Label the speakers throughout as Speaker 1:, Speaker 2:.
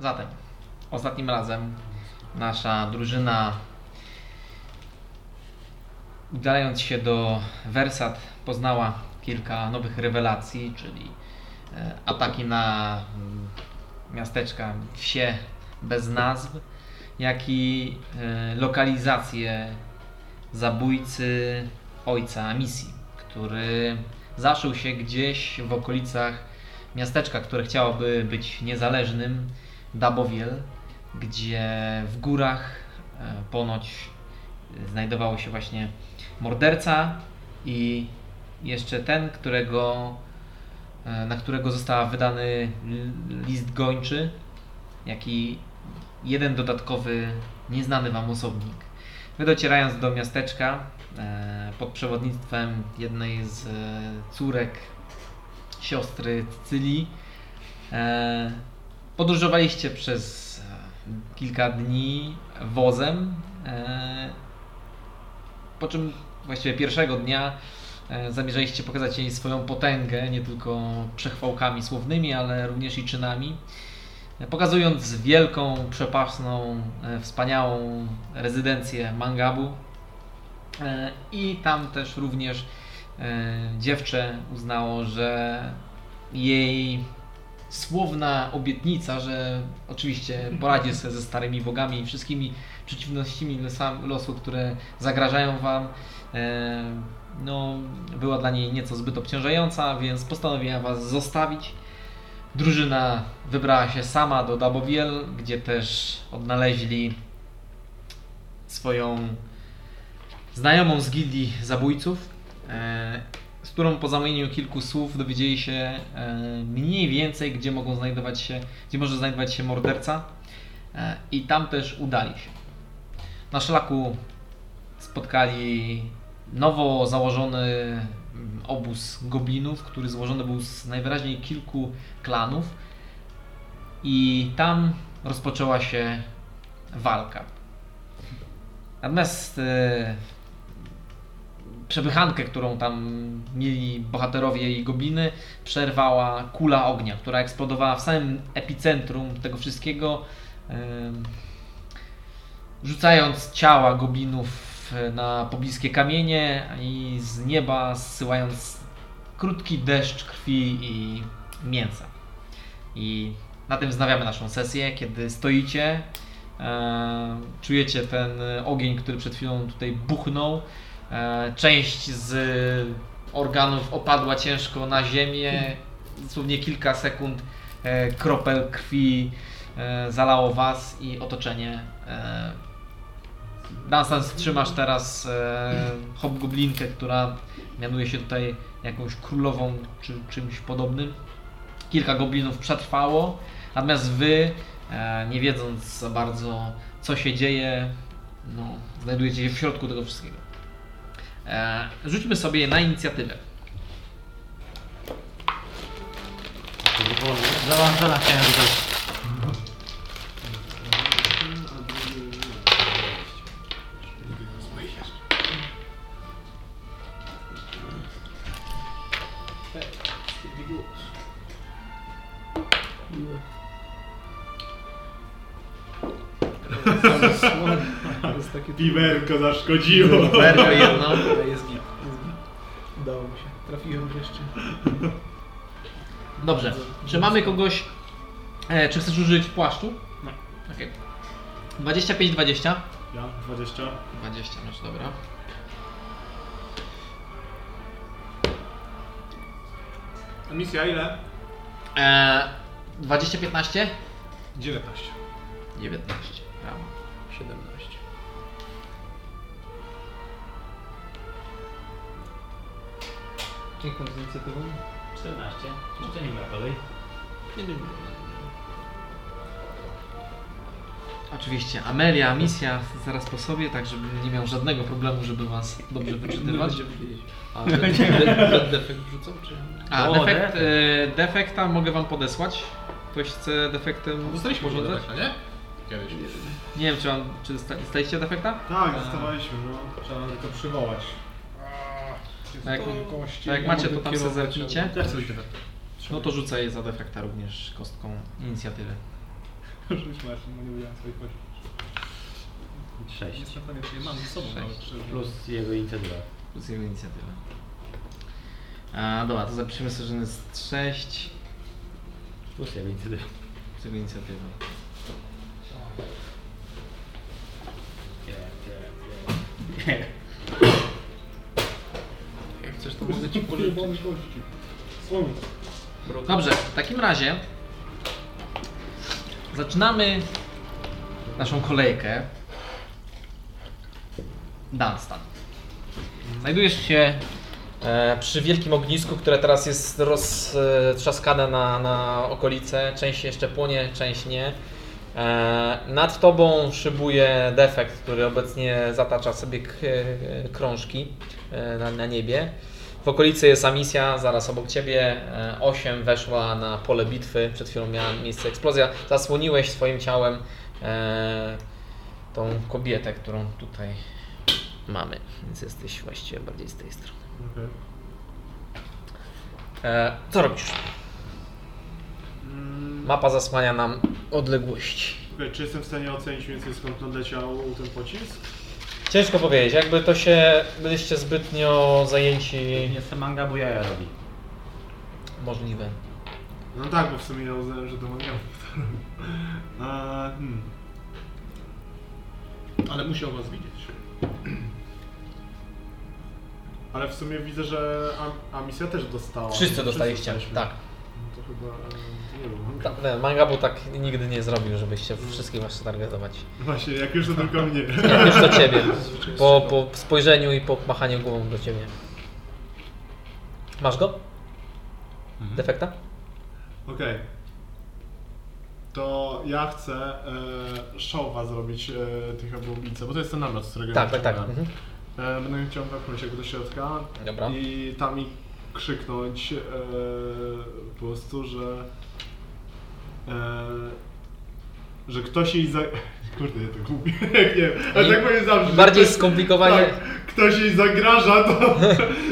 Speaker 1: Zatem, ostatnim razem nasza drużyna, udając się do Versat, poznała kilka nowych rewelacji, czyli e, ataki na mm, miasteczka, wsie bez nazw, jak i e, lokalizację zabójcy ojca misji, który zaszył się gdzieś w okolicach miasteczka, które chciałoby być niezależnym, Dabowiel, gdzie w górach e, ponoć e, znajdowało się właśnie morderca i jeszcze ten, którego, e, na którego został wydany l- list gończy, jak i jeden dodatkowy, nieznany Wam osobnik. Wy docierając do miasteczka e, pod przewodnictwem jednej z e, córek siostry Cycylii, e, podróżowaliście przez e, kilka dni wozem, e, po czym właściwie pierwszego dnia e, zamierzaliście pokazać jej swoją potęgę, nie tylko przechwałkami słownymi, ale również i czynami e, pokazując wielką, przepasną, e, wspaniałą rezydencję Mangabu. E, I tam też również e, dziewczę uznało, że jej słowna obietnica, że oczywiście poradzi sobie ze starymi bogami i wszystkimi przeciwnościami losa- losu, które zagrażają wam, e, no, była dla niej nieco zbyt obciążająca, więc postanowiła was zostawić. Drużyna wybrała się sama do Dabowiel, gdzie też odnaleźli swoją znajomą z gildii zabójców, e, z którą po zamieniu kilku słów dowiedzieli się e, mniej więcej, gdzie mogą znajdować się, gdzie może znajdować się morderca e, i tam też udali się. Na szlaku spotkali nowo założony mm, obóz goblinów, który złożony był z najwyraźniej kilku klanów i tam rozpoczęła się walka. Natomiast e, przepychankę, którą tam mieli bohaterowie i gobliny, przerwała kula ognia, która eksplodowała w samym epicentrum tego wszystkiego, e, rzucając ciała goblinów na pobliskie kamienie i z nieba zsyłając krótki deszcz krwi i mięsa. I na tym wznawiamy naszą sesję, kiedy stoicie, e, czujecie ten ogień, który przed chwilą tutaj buchnął. E, część z organów opadła ciężko na ziemię. Dosłownie kilka sekund e, kropel krwi e, zalało was i otoczenie. E, Dunstan, trzymasz teraz e, hobgoblinkę, która mianuje się tutaj jakąś królową czy czymś podobnym. Kilka goblinów przetrwało, natomiast wy, e, nie wiedząc za bardzo co się dzieje, no, znajdujecie się w środku tego wszystkiego. E, rzućmy sobie na inicjatywę.
Speaker 2: Załączona chciałem rzucać.
Speaker 3: To jest takie
Speaker 4: Piwerko zaszkodziło.
Speaker 1: Bergo jedno.
Speaker 3: Ale jest git. jest git. Udało mi się. Trafiłem wreszcie.
Speaker 1: Dobrze. Czy mamy kogoś? E, czy chcesz użyć płaszczu? No. Okej. 25, 20.
Speaker 4: Ja 20.
Speaker 1: 20 masz, dobra.
Speaker 4: Misja ile?
Speaker 1: E, 20, 15?
Speaker 4: 19.
Speaker 1: 19. Brawo.
Speaker 3: 17. Dziękuję za inicjatywę.
Speaker 2: 14. Czy to nie ma kolej?
Speaker 3: Nie wiem.
Speaker 1: Oczywiście, Amelia, misja zaraz po sobie, tak żebym nie miał żadnego problemu, żeby was dobrze wyczytywać.
Speaker 3: Będziemy wiedzieć.
Speaker 1: A,
Speaker 3: Red defekt wrzucą, czy...
Speaker 1: a
Speaker 2: O,
Speaker 1: defekt,
Speaker 2: defekt.
Speaker 1: e, defekta mogę wam podesłać. Ktoś chce
Speaker 3: No,
Speaker 1: defektem
Speaker 5: Dostaliśmy może
Speaker 1: zarządzać?
Speaker 5: tak, nie? Kiedyś.
Speaker 1: Nie wiem, czy, mam, czy dosta- dostaliście defekta?
Speaker 4: Tak, dostawaliśmy, no. Trzeba nam tylko przywołać.
Speaker 1: Tak, To jak macie, to tam sobie zerknijcie.
Speaker 4: tak.
Speaker 5: Jak chcesz defekt?
Speaker 1: No to rzucę je za defekta również kostką inicjatywy.
Speaker 4: Rzuć Marcin, bo nie widziałem swoich oczy.
Speaker 6: 6.
Speaker 4: Jest na koniec, je mam ze sobą
Speaker 1: Sześć.
Speaker 4: nawet. szczerze.
Speaker 6: Plus jego inicjatywa.
Speaker 1: Plus jego inicjatywa. A, dobra, to zapiszemy sobie, że jest 6
Speaker 6: Plus jego inicjatywa.
Speaker 1: plus jego inicjatywa.
Speaker 7: Jak chcesz, to mogę ci pożyczyć.
Speaker 4: gości. Słowo.
Speaker 1: Dobrze, w takim razie zaczynamy naszą kolejkę. Dunstan. Znajdujesz się e, przy wielkim ognisku, które teraz jest roztrzaskane na, na okolice. Część jeszcze płonie, część nie. E, nad tobą szybuje defekt, który obecnie zatacza sobie k- e, krążki e, na, na niebie. W okolicy jest Amisja, zaraz obok ciebie. 8 weszła na pole bitwy, przed chwilą miała miejsce eksplozja. Zasłoniłeś swoim ciałem e, tą kobietę, którą tutaj mamy, więc jesteś właściwie bardziej z tej strony.
Speaker 4: Okej.
Speaker 1: E, co robisz?
Speaker 4: Mm,
Speaker 1: Mapa zasłania nam odległości.
Speaker 4: okej, Czy jestem w stanie ocenić mniej więcej skąd nadleciał ten pocisk?
Speaker 1: Ciężko powiedzieć, jakby to się byliście zbytnio zajęci.
Speaker 6: Nie jestem manga, bo jaja robi.
Speaker 1: Możliwe.
Speaker 4: No tak, bo w sumie ja uznałem, że to mam A, hmm. Ale musiał was widzieć. Ale w sumie widzę, że Am- Amisja też dostała.
Speaker 1: Wszyscy dostaliście. Tak.
Speaker 4: No to chyba... e, to nie wiem.
Speaker 1: Ta- nie, Mangabu tak nigdy nie zrobił, żebyście wszystkich właśnie targetować.
Speaker 4: Właśnie, jak już to tylko mnie.
Speaker 1: Jak już do ciebie. Po, po spojrzeniu i po machaniu głową do ciebie. Masz
Speaker 4: Hmm?
Speaker 1: go?
Speaker 4: Mhm.
Speaker 1: Defekta?
Speaker 4: Okej. To ja chcę e, showa zrobić e, tych obu ulicy, bo to jest ten namiot, z którego
Speaker 1: Tak,
Speaker 4: ja
Speaker 1: tak, tak.
Speaker 4: uciekłem.
Speaker 1: Mhm.
Speaker 4: E, będę chciał wepchnąć jakby do środka
Speaker 1: Dobra.
Speaker 4: i tam i krzyknąć e, po prostu, że e, że ktoś jej za... Kurde, ja to gubię, nie wiem, ale tak powiem zawsze. że
Speaker 1: Bardziej
Speaker 4: ktoś-
Speaker 1: skomplikowanie.
Speaker 4: Tak, ktoś jej zagraża, to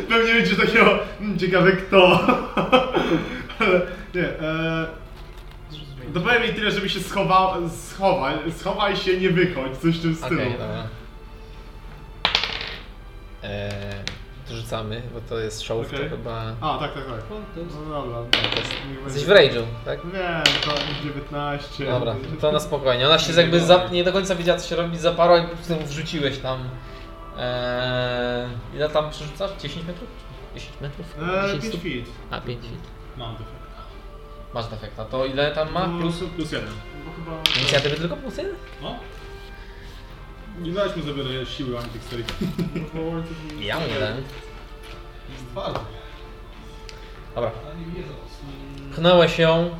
Speaker 4: pewnie będzie takiego, "Hmm, ciekawe kto. Ale nie, e, to powiem jej tyle, żeby się schował, schowaj, schowaj się, nie wychodź, coś w tym stylu.
Speaker 1: Okej, dobra. Eee, to rzucamy, bo to jest show,
Speaker 4: Okej.
Speaker 1: to chyba...
Speaker 4: A, tak, tak, tak. No dobra. Niech
Speaker 1: Jesteś w
Speaker 4: będzie.
Speaker 1: rage'u, tak?
Speaker 4: Nie, to E, 19.
Speaker 1: Dobra, to na spokojnie. Ona się jakby za, nie do końca wiedziała co się robi, zaparła i po prostu ją wrzuciłeś tam. Eee, ile tam przerzucasz? 10 metrów? 10 metrów?
Speaker 4: Eee,
Speaker 1: 10
Speaker 4: 5
Speaker 1: stóp?
Speaker 4: feet.
Speaker 1: A, 5 feet.
Speaker 6: Mam defekt.
Speaker 1: Masz defekta. To ile tam ma?
Speaker 4: No,
Speaker 1: Plus?
Speaker 4: plus 1. Bo chyba...
Speaker 1: Inicjatywy tylko plus jeden?
Speaker 6: No?
Speaker 4: Nie dałeś mu zabiorę siły antyksterii.
Speaker 1: Ja mu nie dałem.
Speaker 4: Jest twardy.
Speaker 1: Dobra. Pchnąłeś ją.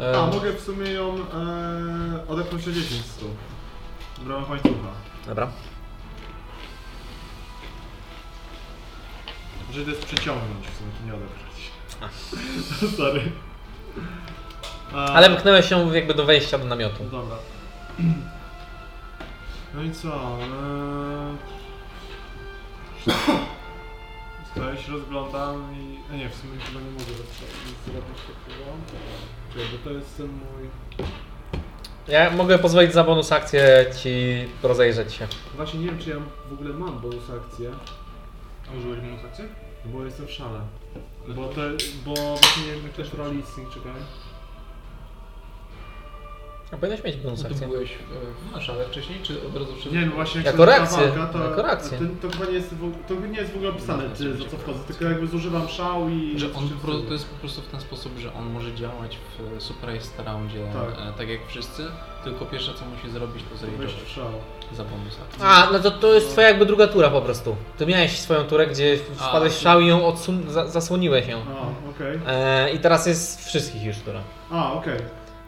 Speaker 1: Eee,
Speaker 4: A, mogę w sumie ją e, odepchnąć o 10 stóp. W ramach łańcucha.
Speaker 1: Dobra.
Speaker 4: Że to jest przeciągnąć w sumie, to nie odeprzeć. Sorry. A,
Speaker 1: Ale pchnąłeś ją jakby do wejścia do namiotu.
Speaker 4: Dobra. No i co? Eee... Stoję się rozglądam i... A nie, w sumie chyba nie mogę rozglądać- zrobić takiego. Czekaj, bo to jest ten mój...
Speaker 1: Ja mogę pozwolić za bonus akcję ci rozejrzeć się.
Speaker 4: Właśnie nie wiem, czy ja w ogóle mam bonus akcję, No
Speaker 6: A użyłeś mu akcję?
Speaker 4: bo jestem w szale. Bo to... bo właśnie nie wiem, jak też roli istnieje, czekaj.
Speaker 1: A powinieneś mieć bonus
Speaker 4: No
Speaker 7: Ty
Speaker 1: akcję.
Speaker 7: byłeś e, na szale wcześniej, czy od razu przed...
Speaker 4: Nie wiem, właśnie
Speaker 1: Jako
Speaker 4: się
Speaker 1: reakcję,
Speaker 4: nazywa walka,
Speaker 1: jako reakcję.
Speaker 4: To, to chyba nie jest, w, to nie jest w ogóle opisane,
Speaker 7: No,
Speaker 4: czy za co wchodzę, tylko jakby zużywam szał i...
Speaker 3: Że on
Speaker 4: czy-
Speaker 3: po prostu, to jest po prostu w ten sposób, że on może działać w e, Super Race Roundzie
Speaker 4: Tak.
Speaker 3: tak. E, tak jak wszyscy, tylko pierwsze co musi zrobić to
Speaker 4: Wejść
Speaker 3: zrejestrować
Speaker 4: w szał.
Speaker 3: za bonus akcji.
Speaker 1: A, no to, to jest twoja jakby druga tura po prostu. Ty miałeś swoją turę, gdzie wpadłeś w szał i ją odsun- za- zasłoniłeś ją.
Speaker 4: A, okej.
Speaker 1: E, I teraz jest wszystkich już tura.
Speaker 4: A, okej.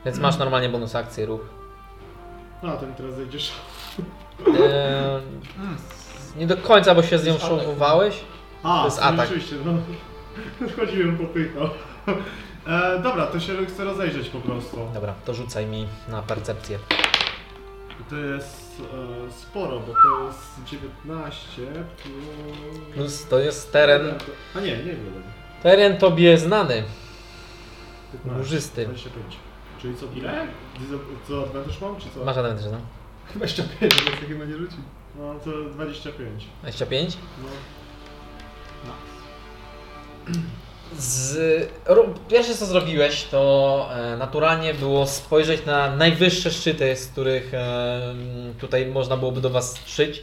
Speaker 1: Więc masz
Speaker 4: Mm.
Speaker 1: normalnie bonus akcji, ruch.
Speaker 4: No, A, to mi teraz zejdziesz.
Speaker 1: E,
Speaker 4: Mm.
Speaker 1: nie do końca, bo się z nią szowowałeś.
Speaker 4: A,
Speaker 1: To jest
Speaker 4: w sumie
Speaker 1: atak.
Speaker 4: Rzeczywiście, no. Chodziłem po pyko. E, dobra, to się chcę rozejrzeć po prostu.
Speaker 1: Dobra, to rzucaj mi na percepcję.
Speaker 4: To jest e, sporo, bo to jest 19 plus...
Speaker 1: Plus to jest teren.
Speaker 4: A nie, nie wiem.
Speaker 1: Teren tobie znany.
Speaker 4: 15,
Speaker 1: Górzysty.
Speaker 4: 25. Czyli co?
Speaker 6: Ile?
Speaker 4: Dis- Co advantage mam, czy co?
Speaker 1: Masz advantage, no.
Speaker 8: Chyba jeszcze pięć, bo tak chyba nie rzuci.
Speaker 4: No to 25.
Speaker 1: 25.
Speaker 4: No.
Speaker 1: Z... ro- Pierwsze co zrobiłeś, to e, naturalnie było spojrzeć na najwyższe szczyty, z których e, tutaj można byłoby do Was szyć.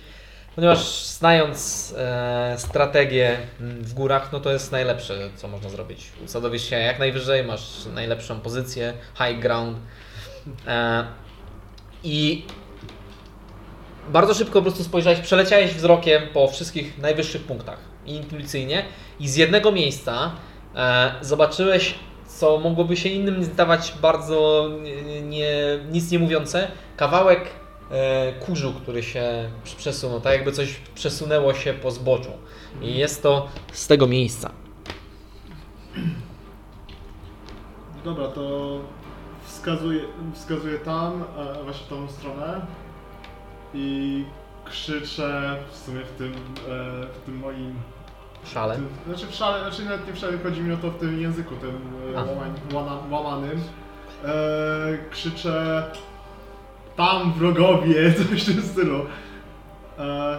Speaker 1: Ponieważ znając e, strategię mm, w górach, no to jest najlepsze, co można zrobić. Usadowisz się jak najwyżej, masz najlepszą pozycję, high ground. E, I bardzo szybko po prostu spojrzałeś, przeleciałeś wzrokiem po wszystkich najwyższych punktach i intuicyjnie i z jednego miejsca e, zobaczyłeś, co mogłoby się innym zdawać bardzo nie, nie, nic nie mówiące, kawałek e, kurzu, który się przesunął, tak jakby coś przesunęło się po zboczu. I jest to z tego miejsca.
Speaker 4: Dobra, to wskazuję, wskazuję tam, e, właśnie w tą stronę i krzyczę w sumie w tym, e, w tym moim... W
Speaker 1: Szale.
Speaker 4: tym, znaczy w szale, znaczy nawet nie w szale, chodzi mi o to w tym języku, tym e,
Speaker 1: A.
Speaker 4: łamań, łana, łamanym. E, krzyczę tam wrogowie, coś w tym stylu. E,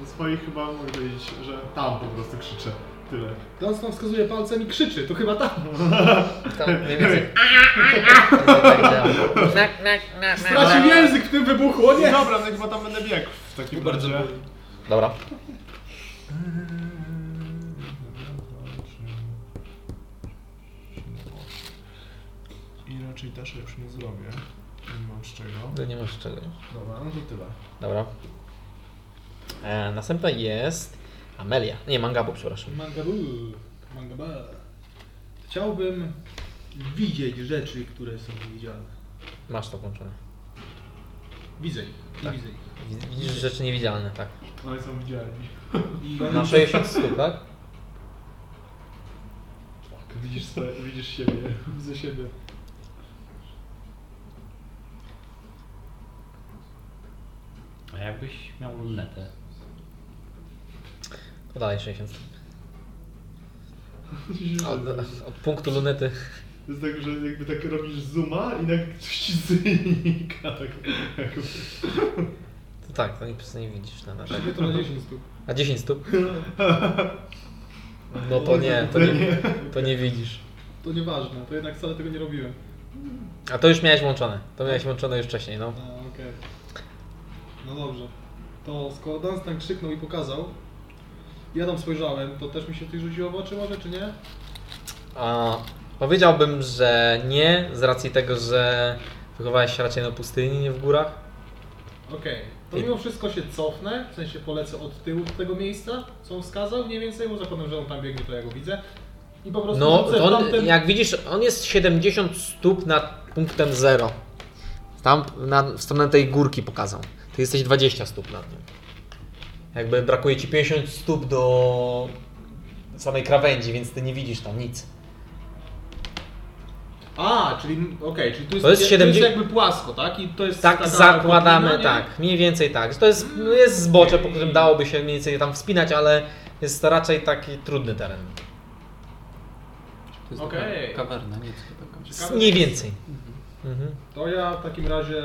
Speaker 4: do swoich chyba mogę powiedzieć, że tam po prostu krzyczę. Tyle.
Speaker 8: Dance nam wskazuje palcem i krzyczy, to chyba tam.
Speaker 1: Tam mniej więcej. Tak działa. Knak, knak, knak, knak, knak.
Speaker 8: Stracił język w tym wybuchu, o nie!
Speaker 4: Dobra, no chyba tam będę biegł w takim
Speaker 5: Bardzo
Speaker 4: razie.
Speaker 5: boli.
Speaker 1: Dobra.
Speaker 4: I raczej też już nie zrobię. Nie mam z czego.
Speaker 1: Ty nie masz czego.
Speaker 4: Dobra, no to tyle.
Speaker 1: Dobra. E, następna jest Amelia. Nie, Mangabu, przepraszam.
Speaker 8: Mangabu, mangaba. Chciałbym widzieć rzeczy, które są niewidzialne.
Speaker 1: Masz to włączone.
Speaker 8: Widzę ich, nie
Speaker 1: Tak.
Speaker 8: widzę ich.
Speaker 1: Wid- Widzisz rzeczy niewidzialne, tak.
Speaker 4: No i są widzialni.
Speaker 8: I
Speaker 1: Na 60 stóp, tak?
Speaker 4: Widzisz, swoje, widzisz siebie.
Speaker 8: widzę siebie.
Speaker 5: A jakbyś miał lunetę?
Speaker 1: To dalej 60 stóp. Od,
Speaker 4: no.
Speaker 1: od punktu lunety.
Speaker 4: To jest tak, że jakby tak robisz zooma i tak coś ci znika. Tak, jakby.
Speaker 1: To tak, to nie, po prostu nie widzisz na nasze.
Speaker 8: Siebie to na 10 stóp.
Speaker 1: A 10 stóp? No to nie, to nie, to nie widzisz.
Speaker 8: To nieważne, to jednak wcale tego nie robiłem.
Speaker 1: A to już miałeś włączone. To miałeś włączone już wcześniej, no.
Speaker 8: A, okej. No dobrze. To skoro Dunstan krzyknął i pokazał, ja tam spojrzałem, to też mi się coś rzuciło w oczy może, czy nie?
Speaker 1: A, powiedziałbym, że nie, z racji tego, że wychowałeś się raczej na pustyni, nie w górach.
Speaker 8: Okej. To mimo wszystko się cofnę, w sensie polecę od tyłu do tego miejsca, co on wskazał, mniej więcej, bo zakładam, że on tam biegnie, to ja go widzę. I po prostu
Speaker 1: No,
Speaker 8: rzucę
Speaker 1: to on,
Speaker 8: tamten...
Speaker 1: jak widzisz, on jest 70 stóp nad punktem 0. Tam na, w stronę tej górki pokazał. Ty jesteś 20 stóp nad nią. Jakby brakuje ci 50 stóp do samej krawędzi, więc ty nie widzisz tam nic.
Speaker 8: A, czyli okej, czyli tu jest,
Speaker 1: To jest
Speaker 8: tu
Speaker 1: 70
Speaker 8: jakby płasko, tak? I to jest
Speaker 1: Tak
Speaker 8: taka
Speaker 1: zakładamy,
Speaker 8: kotlina, nie?
Speaker 1: tak, mniej więcej tak. To jest, no jest zbocze, po którym dałoby się mniej więcej tam wspinać, ale jest to raczej taki trudny teren.
Speaker 5: To jest
Speaker 8: Okej.
Speaker 5: taka kawerna, nie tylko taka.
Speaker 8: Ciekawe,
Speaker 1: Mniej więcej. Mhm.
Speaker 8: To ja w takim razie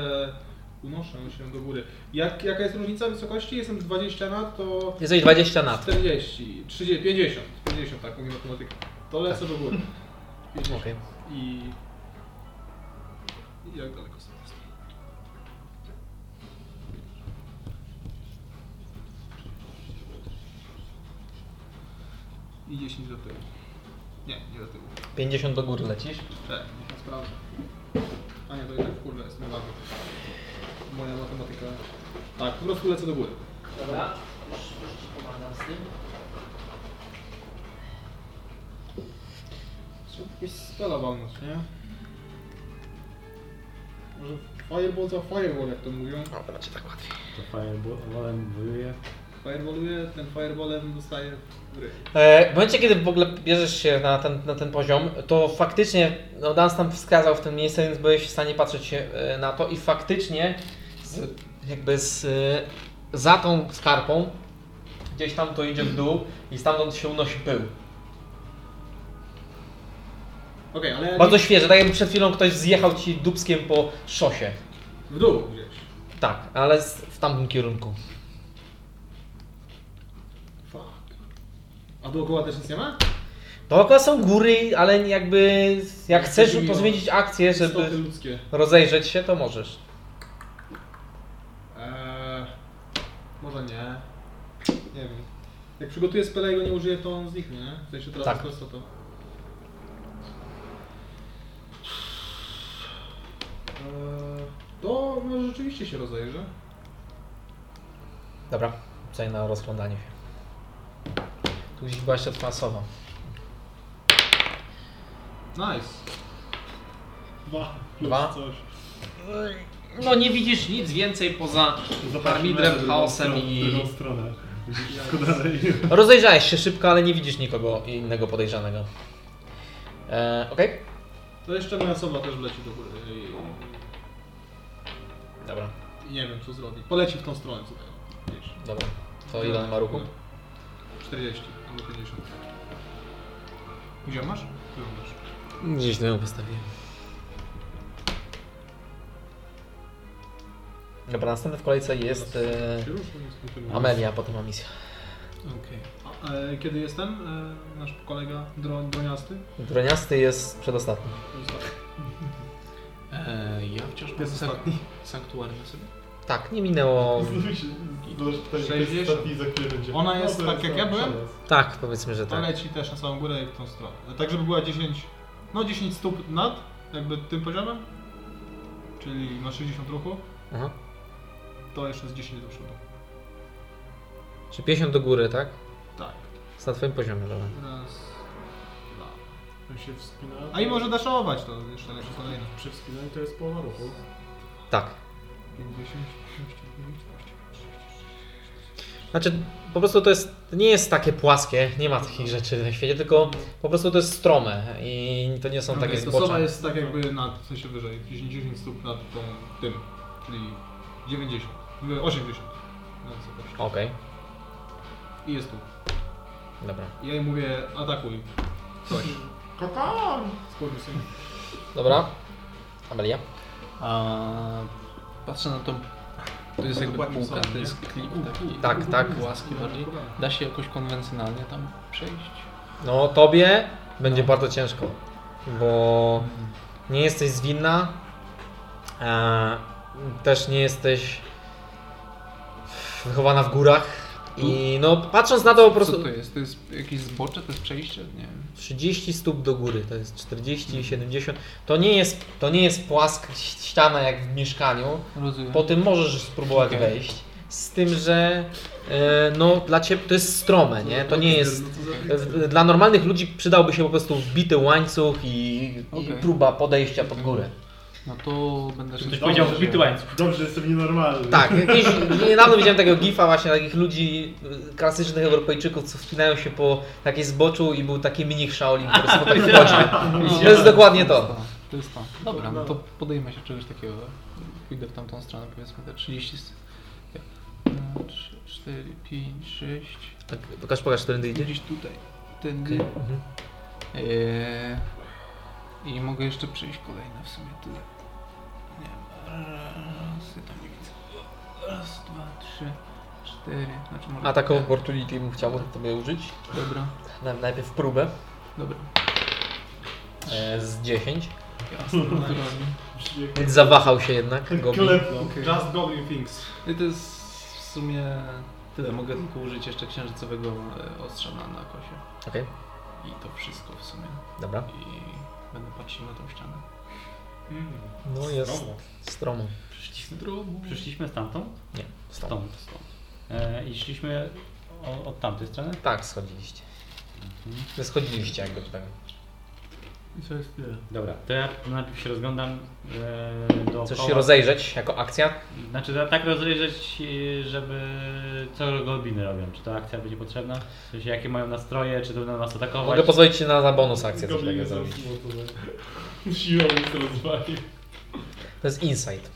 Speaker 8: unoszę się do góry. Jak, jaka jest różnica wysokości? Jestem 20 nad, to
Speaker 1: Jesteś 20 nad.
Speaker 8: 40, 30, 50, 50, tak mówię matematykę. To lecę do góry. 50.
Speaker 1: Tak. Okej.
Speaker 8: I... I jak daleko są? I 10 do tyłu. Nie, nie do tyłu.
Speaker 1: 50 do góry lecisz.
Speaker 8: Tak, to sprawdzę. A nie, to jednak kurwa jest mowa. Moja matematyka. Tak, po prostu lecę do góry.
Speaker 9: Dobra, już, już ci pomagam z tym.
Speaker 8: Trzeba jakieś spela walnąć, nie? Może fireball za fireball, jak to mówią.
Speaker 1: No, to macie tak łatwiej.
Speaker 6: To fireballem wyje.
Speaker 8: Fireballuje, ten fireballem dostaje gry.
Speaker 1: E, W momencie, kiedy w ogóle bierzesz się na ten, na ten poziom, to faktycznie no, Dan tam wskazał w tym miejscu, więc byłeś w stanie patrzeć się e, na to i faktycznie z, jakby z, e, za tą skarpą gdzieś tam to idzie w dół i stamtąd się unosi pył.
Speaker 8: Okej, ale
Speaker 1: Bardzo świeże, tak jakby przed chwilą ktoś zjechał ci dubskiem po szosie.
Speaker 8: w dół gdzieś.
Speaker 1: Tak, ale z- w tamtym kierunku.
Speaker 8: Fuck. A dookoła też nic nie ma?
Speaker 1: Dookoła są góry, ale jakby jak chcesz
Speaker 8: Miło.
Speaker 1: pozmienić akcję, żeby
Speaker 8: Stopy ludzkie.
Speaker 1: rozejrzeć się, to możesz.
Speaker 8: Eee, może nie. Nie wiem. Jak przygotuję spela i go nie użyję, to on zniknie, nie? W sensie teraz
Speaker 1: Tak.
Speaker 8: tak. prosto to. Eee, to może rzeczywiście się rozejrzę.
Speaker 1: Dobra, tutaj na rozglądanie się. Tu gdzieś była jeszcze twoja sowa.
Speaker 8: Nice.
Speaker 4: Dwa. plus
Speaker 1: Dwa?
Speaker 4: Coś.
Speaker 10: No nie widzisz nic więcej poza
Speaker 4: na
Speaker 10: Armidrem,
Speaker 4: drugą
Speaker 10: chaosem
Speaker 4: stronę-
Speaker 10: i...
Speaker 4: drugą stronę. Wszystko dalej.
Speaker 1: Rozejrzałeś się szybko, ale nie widzisz nikogo innego podejrzanego. E, Okej?
Speaker 8: To jeszcze moja osoba też wleci do góry
Speaker 1: Dobra,
Speaker 8: i, i nie wiem co zrobi. Poleci w tą stronę tutaj. o, Gdzieś.
Speaker 1: dobra. To ile on ma ruchu?
Speaker 8: 40 albo 50. Gdzie masz? Wyglądasz.
Speaker 1: Gdzieś to ją postawiłem. Dobra, następny w kolejce jest e, Amelia, potem Amisja.
Speaker 8: Okej. A, e, Kiedy jestem? E, nasz kolega dro, droniasty?
Speaker 1: Droniasty jest przedostatni.
Speaker 3: E, ja wciąż mam
Speaker 8: Jest
Speaker 3: sank-
Speaker 8: ostatni.
Speaker 3: sanktuarium sobie.
Speaker 1: Tak, nie minęło...
Speaker 4: Znów się- Zdąż pytanie, kto jest
Speaker 8: 60.
Speaker 4: ostatni, za chwilę będzie.
Speaker 8: Ona jest
Speaker 4: No, to
Speaker 8: tak, jak ja byłem?
Speaker 4: szalec.
Speaker 1: Tak, powiedzmy, że
Speaker 8: To
Speaker 1: tak.
Speaker 8: leci też na samą górę i w tą stronę. Tak, żeby była 10, no 10 stóp nad, jakby tym poziomem. Czyli ma 60 ruchu,
Speaker 1: Aha.
Speaker 8: to jeszcze z 10 do przodu.
Speaker 1: Czy 50 do góry, tak?
Speaker 8: Tak.
Speaker 1: Jest na twoim poziomie, dobra.
Speaker 8: Raz, dwa.
Speaker 4: Jak się wspinałem,
Speaker 8: A i może daszować to jeszcze lepsze kolejne.
Speaker 4: Przy wspinaniu to jest połowa ruchu.
Speaker 1: Tak.
Speaker 8: 50, 55,
Speaker 1: Znaczy, po prostu to jest, nie jest takie płaskie, nie ma takich rzeczy na świecie, tylko po prostu to jest strome i to nie są takie
Speaker 8: to
Speaker 1: zbocze.
Speaker 8: sowa jest tak jakby nad, w sensie wyżej, 10, 10 stóp nad tą, tym, czyli 90, e, 80. na wysokości.
Speaker 1: Okej,
Speaker 8: tak. I jest tu.
Speaker 1: dobra.
Speaker 8: Ja jej mówię, atakuj. Coś.
Speaker 4: Kotam!
Speaker 8: Skurwysyn.
Speaker 1: Dobra. Amelia.
Speaker 3: A, patrzę na tą. To jest jakby
Speaker 8: dokładnie
Speaker 3: półka,
Speaker 8: są,
Speaker 3: to
Speaker 8: nie?
Speaker 3: jest klip taki.
Speaker 1: Tak, tak.
Speaker 3: Płaski bardziej. Da się jakoś konwencjonalnie tam przejść?
Speaker 1: No, tobie będzie bardzo ciężko, bo nie jesteś zwinna, e, też nie jesteś wychowana w górach i no, patrząc na to po
Speaker 3: Co
Speaker 1: prostu...
Speaker 3: to jest? To jest jakieś zbocze, to jest przejście? Nie wiem.
Speaker 1: 30 stóp do góry, to jest 40, 70. To nie jest, to nie jest płaska ściana jak w mieszkaniu.
Speaker 3: Rozumiem.
Speaker 1: Po tym możesz spróbować
Speaker 3: Okej.
Speaker 1: wejść. Z tym, że e, no, dla ciebie to jest strome, nie? To nie jest. e, Dla normalnych ludzi przydałby się po prostu wbity łańcuch i, i
Speaker 3: Okej.
Speaker 1: próba podejścia pod górę.
Speaker 3: No to będę
Speaker 4: Ktoś
Speaker 3: szybko.
Speaker 4: powiedział wbity
Speaker 6: łańcuch.
Speaker 4: Dobrze, jestem nienormalny.
Speaker 1: Tak, jakieś, niedawno widziałem takiego gifa właśnie takich ludzi, y, klasycznych Europejczyków, co wspinają się po takiej zboczu i był taki mini Shaolin, po prostu po takim
Speaker 3: No.
Speaker 1: bocie. To jest dokładnie to.
Speaker 3: To jest to. Dobra, no to podejmę się czegoś takiego. Pójdę w tamtą stronę, powiedzmy te 30. 3, 4, 5, 6.
Speaker 1: Tak, pokaż, pokaż, którędy idzie.
Speaker 3: Gdzieś tutaj. Tędy.
Speaker 1: Mhm.
Speaker 3: Eee, I mogę jeszcze przejść kolejne w sumie tyle. Nie raz, ja tam nie widzę. Raz, dwa, trzy, cztery. Znaczy może...
Speaker 1: A taką opportunity bym chciał tobie użyć.
Speaker 3: Dobra,
Speaker 1: Na- Najpierw próbę
Speaker 3: dobra.
Speaker 1: e, z 10.
Speaker 3: Jasne, naturalnie.
Speaker 4: Brzmi jak-
Speaker 1: Więc zawahał się jednak. Goblin.
Speaker 8: No,
Speaker 4: Klepną.
Speaker 3: Okej.
Speaker 8: Just Goblin Things.
Speaker 3: I to jest w sumie tyle. Mogę tylko użyć jeszcze księżycowego e, ostrza na, na kosie.
Speaker 1: Okej,
Speaker 3: I to wszystko w sumie.
Speaker 1: dobra.
Speaker 3: I będę patrzył na tą ścianę.
Speaker 1: No jest stromo.
Speaker 6: Przyszliśmy,
Speaker 3: Zdrowo.
Speaker 6: przyszliśmy stamtąd?
Speaker 1: Nie, stromo.
Speaker 6: Stąd. E, I szliśmy o, od tamtej strony?
Speaker 1: Tak, schodziliście. Wy schodziliście jakby tak.
Speaker 3: I co jest tyle.
Speaker 6: Dobra, to ja najpierw się rozglądam e, dookoła.
Speaker 1: Chcesz się rozejrzeć jako akcja?
Speaker 6: Znaczy za- tak rozejrzeć, e, żeby co gobliny robią. Czy to akcja będzie potrzebna? W sensie jakie mają nastroje, czy to będą nas atakować?
Speaker 1: Mogę pozwolić ci na, na bonus akcję. coś
Speaker 4: Goblin
Speaker 1: takiego
Speaker 4: jest
Speaker 1: zrobić.
Speaker 4: rozmontowany. Siłą jest rozwalił.
Speaker 1: To jest insight.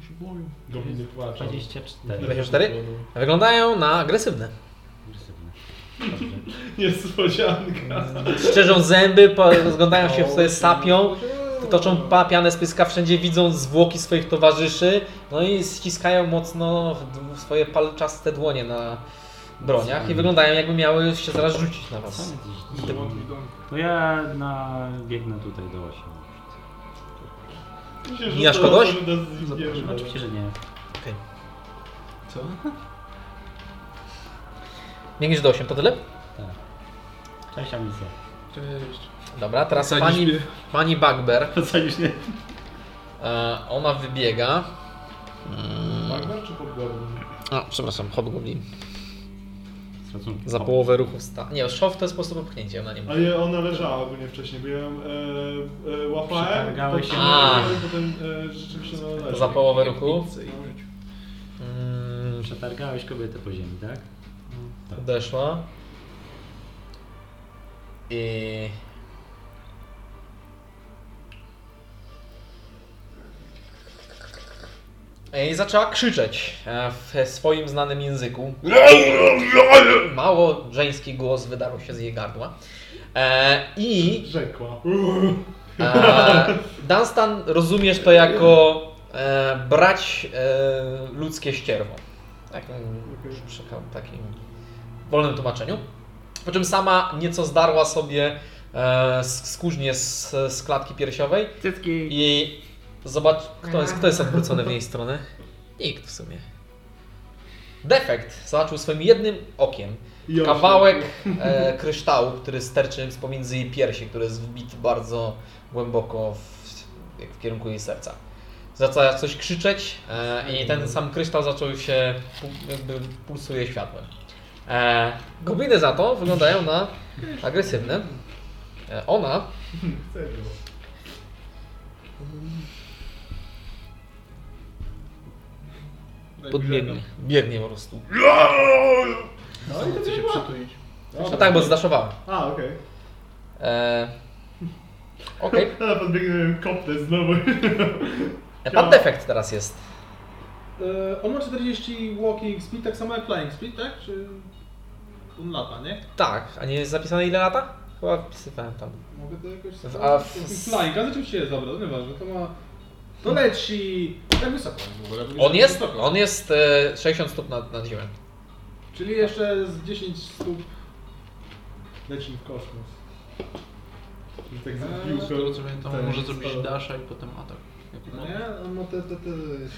Speaker 3: Się boję.
Speaker 4: Gobliny płaczą.
Speaker 6: 24.
Speaker 1: Dwadzieścia cztery? Wyglądają na agresywne.
Speaker 6: Agresywne.
Speaker 4: Niespodzianka.
Speaker 1: Szczerzą zęby, po- rozglądają się, sobie sapią, toczą pa- pianę z pyska, wszędzie widzą zwłoki swoich towarzyszy, no i ściskają mocno w- w swoje palczaste dłonie na broniach i wyglądają jakby miały się zaraz rzucić na was.
Speaker 6: No ja na, biegnę tutaj do 8.
Speaker 4: Myślę, że
Speaker 1: Mijasz
Speaker 4: to
Speaker 1: kogoś?
Speaker 4: osoby nas zginą.
Speaker 6: No, Oczywiście, że nie.
Speaker 5: Co?
Speaker 1: Biegniesz do 8, to tyle?
Speaker 6: Tak. Cześć, Amicja.
Speaker 5: Cześć.
Speaker 1: Dobra, teraz
Speaker 5: Sadzisz
Speaker 1: pani,
Speaker 5: mnie.
Speaker 1: pani Bugbear,
Speaker 6: To co już nie?
Speaker 1: e, ona wybiega.
Speaker 8: Magber czy Podgoblin?
Speaker 1: A, przepraszam, hobgoblin.
Speaker 6: Z szacunkiem.
Speaker 1: Za połowę ruchów sta. Nie, szov to jest sposób opchnięcia, ona nie ma.
Speaker 4: A je, ona leżała ogólnie wcześniej, bo ja ją e, e, łapałem,
Speaker 6: Przetargały się.
Speaker 4: podciągnąłem, potem e, rzeczywiście ona leży.
Speaker 1: Za połowę ruchu. Mm,
Speaker 6: Przetargałeś kobietę po ziemi, tak?
Speaker 1: Odeszła. I... E, I zaczęła krzyczeć e, w swoim znanym języku. Mało żeński głos wydarł się z jej gardła. E, I
Speaker 4: Rzekła.
Speaker 1: e, Dunstan rozumiesz to jako e, brać e, ludzkie ścierwo. Tak, Takim, przeka- takim wolnym tłumaczeniu. Po czym sama nieco zdarła sobie e, sk- skórznię z, z klatki piersiowej
Speaker 6: Cycki.
Speaker 1: i zobacz, kto jest, kto jest odwrócony w jej stronę. Nikt w sumie. Defekt zobaczył swoim jednym okiem
Speaker 4: I ona
Speaker 1: kawałek e, kryształu, który sterczy z pomiędzy jej piersi, który jest wbity bardzo głęboko w, jak w kierunku jej serca. Zaczęła coś krzyczeć e, i ten sam kryształ zaczął się, pu- jakby pulsuje światłem. E, gobliny za to wyglądają na agresywne. E, ona
Speaker 4: Chce go. Tak no.
Speaker 1: podbiegnie, biegnie po prostu.
Speaker 8: No i to się przytulić.
Speaker 1: No tak, bo zdaszowała.
Speaker 4: A, okej.
Speaker 1: E, Okej.
Speaker 4: Ale podbiegnę kopnę znowu.
Speaker 1: E, Pan defekt teraz jest.
Speaker 8: E, on ma 40 walking speed, tak samo jak flying speed, tak? Czy... On lata, nie?
Speaker 1: Tak, a nie jest zapisane ile lata? Chyba wpisywałem tam.
Speaker 8: Mogę to jakoś...
Speaker 1: W- a w-
Speaker 8: Flying, a rzeczywiście jest dobra, to nieważne, to ma... To leci... Tak wysoko w ogóle. bo
Speaker 1: On jest,
Speaker 8: wysoko.
Speaker 1: on jest e, 60 stóp nad, nad ziemią.
Speaker 8: Czyli jeszcze z 10 stóp leci w kosmos.
Speaker 4: Już tak
Speaker 1: No,
Speaker 8: Eee,
Speaker 4: zbił
Speaker 8: to
Speaker 4: go.
Speaker 5: Rozumiem, to
Speaker 4: ten
Speaker 5: może zrobić
Speaker 4: stal.
Speaker 5: dasza i potem atak. Jak
Speaker 8: No
Speaker 5: uda.
Speaker 8: nie? On ma te, te, te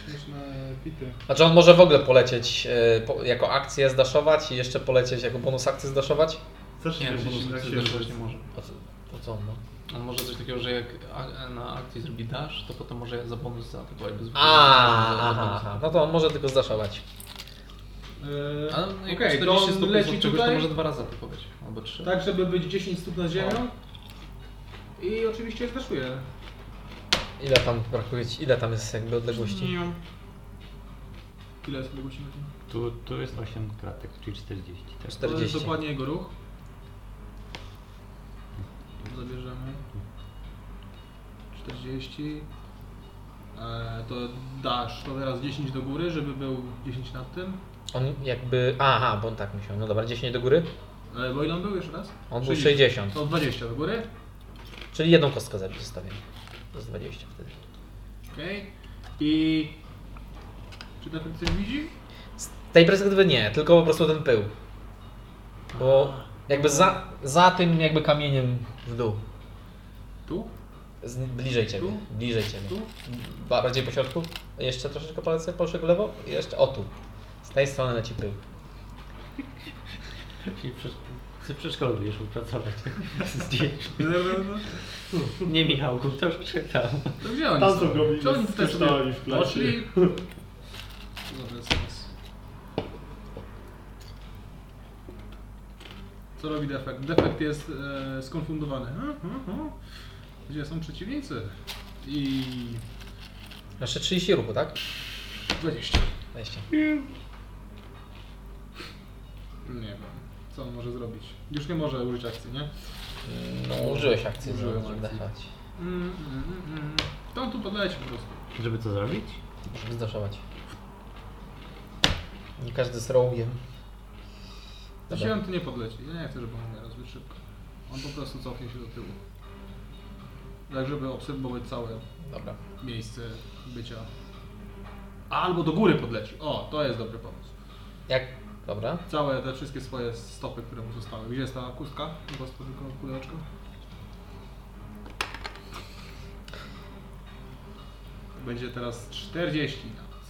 Speaker 8: śmieszne pity.
Speaker 1: Znaczy on może w ogóle polecieć e, po, jako akcję zdaszować i jeszcze polecieć jako bonus akcję zdaszować?
Speaker 4: Zacznij
Speaker 5: Nie,
Speaker 4: się
Speaker 5: bo
Speaker 4: się
Speaker 5: może zderzać nie może.
Speaker 1: O co, o co on ma?
Speaker 5: On może coś takiego, że jak a- e, na akcji zrobi dash, to potem może za bonus zaatakować bez
Speaker 1: A,
Speaker 5: za- za
Speaker 1: aha,
Speaker 5: bonus.
Speaker 1: aha. No to on może tylko zdaszować.
Speaker 8: Eee,
Speaker 5: Ale no, jak
Speaker 8: okej,
Speaker 5: 40
Speaker 8: to on
Speaker 5: stóp
Speaker 8: leci
Speaker 5: jest od czegoś, to
Speaker 8: tutaj.
Speaker 5: może dwa razy atakować. Albo trzy.
Speaker 8: Tak, żeby być 10 stóp nad ziemią. I oczywiście zdaszuje.
Speaker 1: Ile tam brakuje ci, ile tam jest jakby odległości?
Speaker 8: Ile jest odległości na ziemi?
Speaker 6: Tu, tu jest 8 kratek, czyli 40. Tak?
Speaker 8: To jest
Speaker 1: 40.
Speaker 8: dokładnie jego ruch. Zabierzemy. 40. Eee, to dasz, to teraz 10 do góry, żeby był 10 nad tym.
Speaker 1: On jakby, aha, bo on tak musiał. No dobra, 10 do góry?
Speaker 8: Eee, bo ile on był jeszcze raz?
Speaker 1: On był
Speaker 8: 60.
Speaker 1: 60.
Speaker 8: To 20 do góry.
Speaker 1: Czyli jedną kostkę zabił zostawiam. To jest 20 wtedy.
Speaker 8: Okej. I... Czy defekt coś widzi?
Speaker 1: Z tej perspektywy nie, tylko po prostu ten pył. Bo jakby za, za tym jakby kamieniem w dół.
Speaker 8: Tu?
Speaker 1: Z, bliżej ciebie.
Speaker 8: Tu?
Speaker 1: Bliżej ciebie.
Speaker 8: Tu?
Speaker 1: Bardziej po środku. Jeszcze troszeczkę palce poszły w lewo. I Jeszcze o tu. Z tej strony leci pył.
Speaker 6: Czyli przesz- Ty przeszkolę będziesz mógł pracować. Zdjęć. Nie Michałku, to już czytam.
Speaker 8: To gdzie oni
Speaker 4: Tam
Speaker 8: są?
Speaker 4: są gobliny
Speaker 8: Czy
Speaker 4: z
Speaker 8: oni też
Speaker 4: kryształami w klasie.
Speaker 8: poszli? Dobra, sens. Co robi defekt? Defekt jest e, skonfundowany. Hmm, hmm, hmm. Gdzie są przeciwnicy? I...
Speaker 1: Jeszcze 30 ruchu, tak?
Speaker 8: 20.
Speaker 1: 20.
Speaker 8: Nie wiem. Co on może zrobić? Już nie może użyć akcji, nie?
Speaker 1: No użyłeś akcji, żeby
Speaker 8: Użyłem akcji.
Speaker 1: zdaszować.
Speaker 8: Mm, mm, mm, mm. To on tu podleci po prostu.
Speaker 6: Żeby co zrobić?
Speaker 1: Żeby zdaszować. Nie każdy z rołgiem. Dobra.
Speaker 8: Dzisiaj on tu nie podleci. Ja nie chcę, żeby on umierał zbyt szybko. On po prostu cofnie się do tyłu. Tak, żeby obserwować całe
Speaker 1: Dobra.
Speaker 8: miejsce bycia. Albo do góry podleci. O, to jest dobry pomysł.
Speaker 1: Jak? Dobra.
Speaker 8: Całe te wszystkie swoje stopy, które mu zostały. Gdzie jest ta kurtka? Chyba z podwójką kuleczką? Będzie teraz 40 nawet.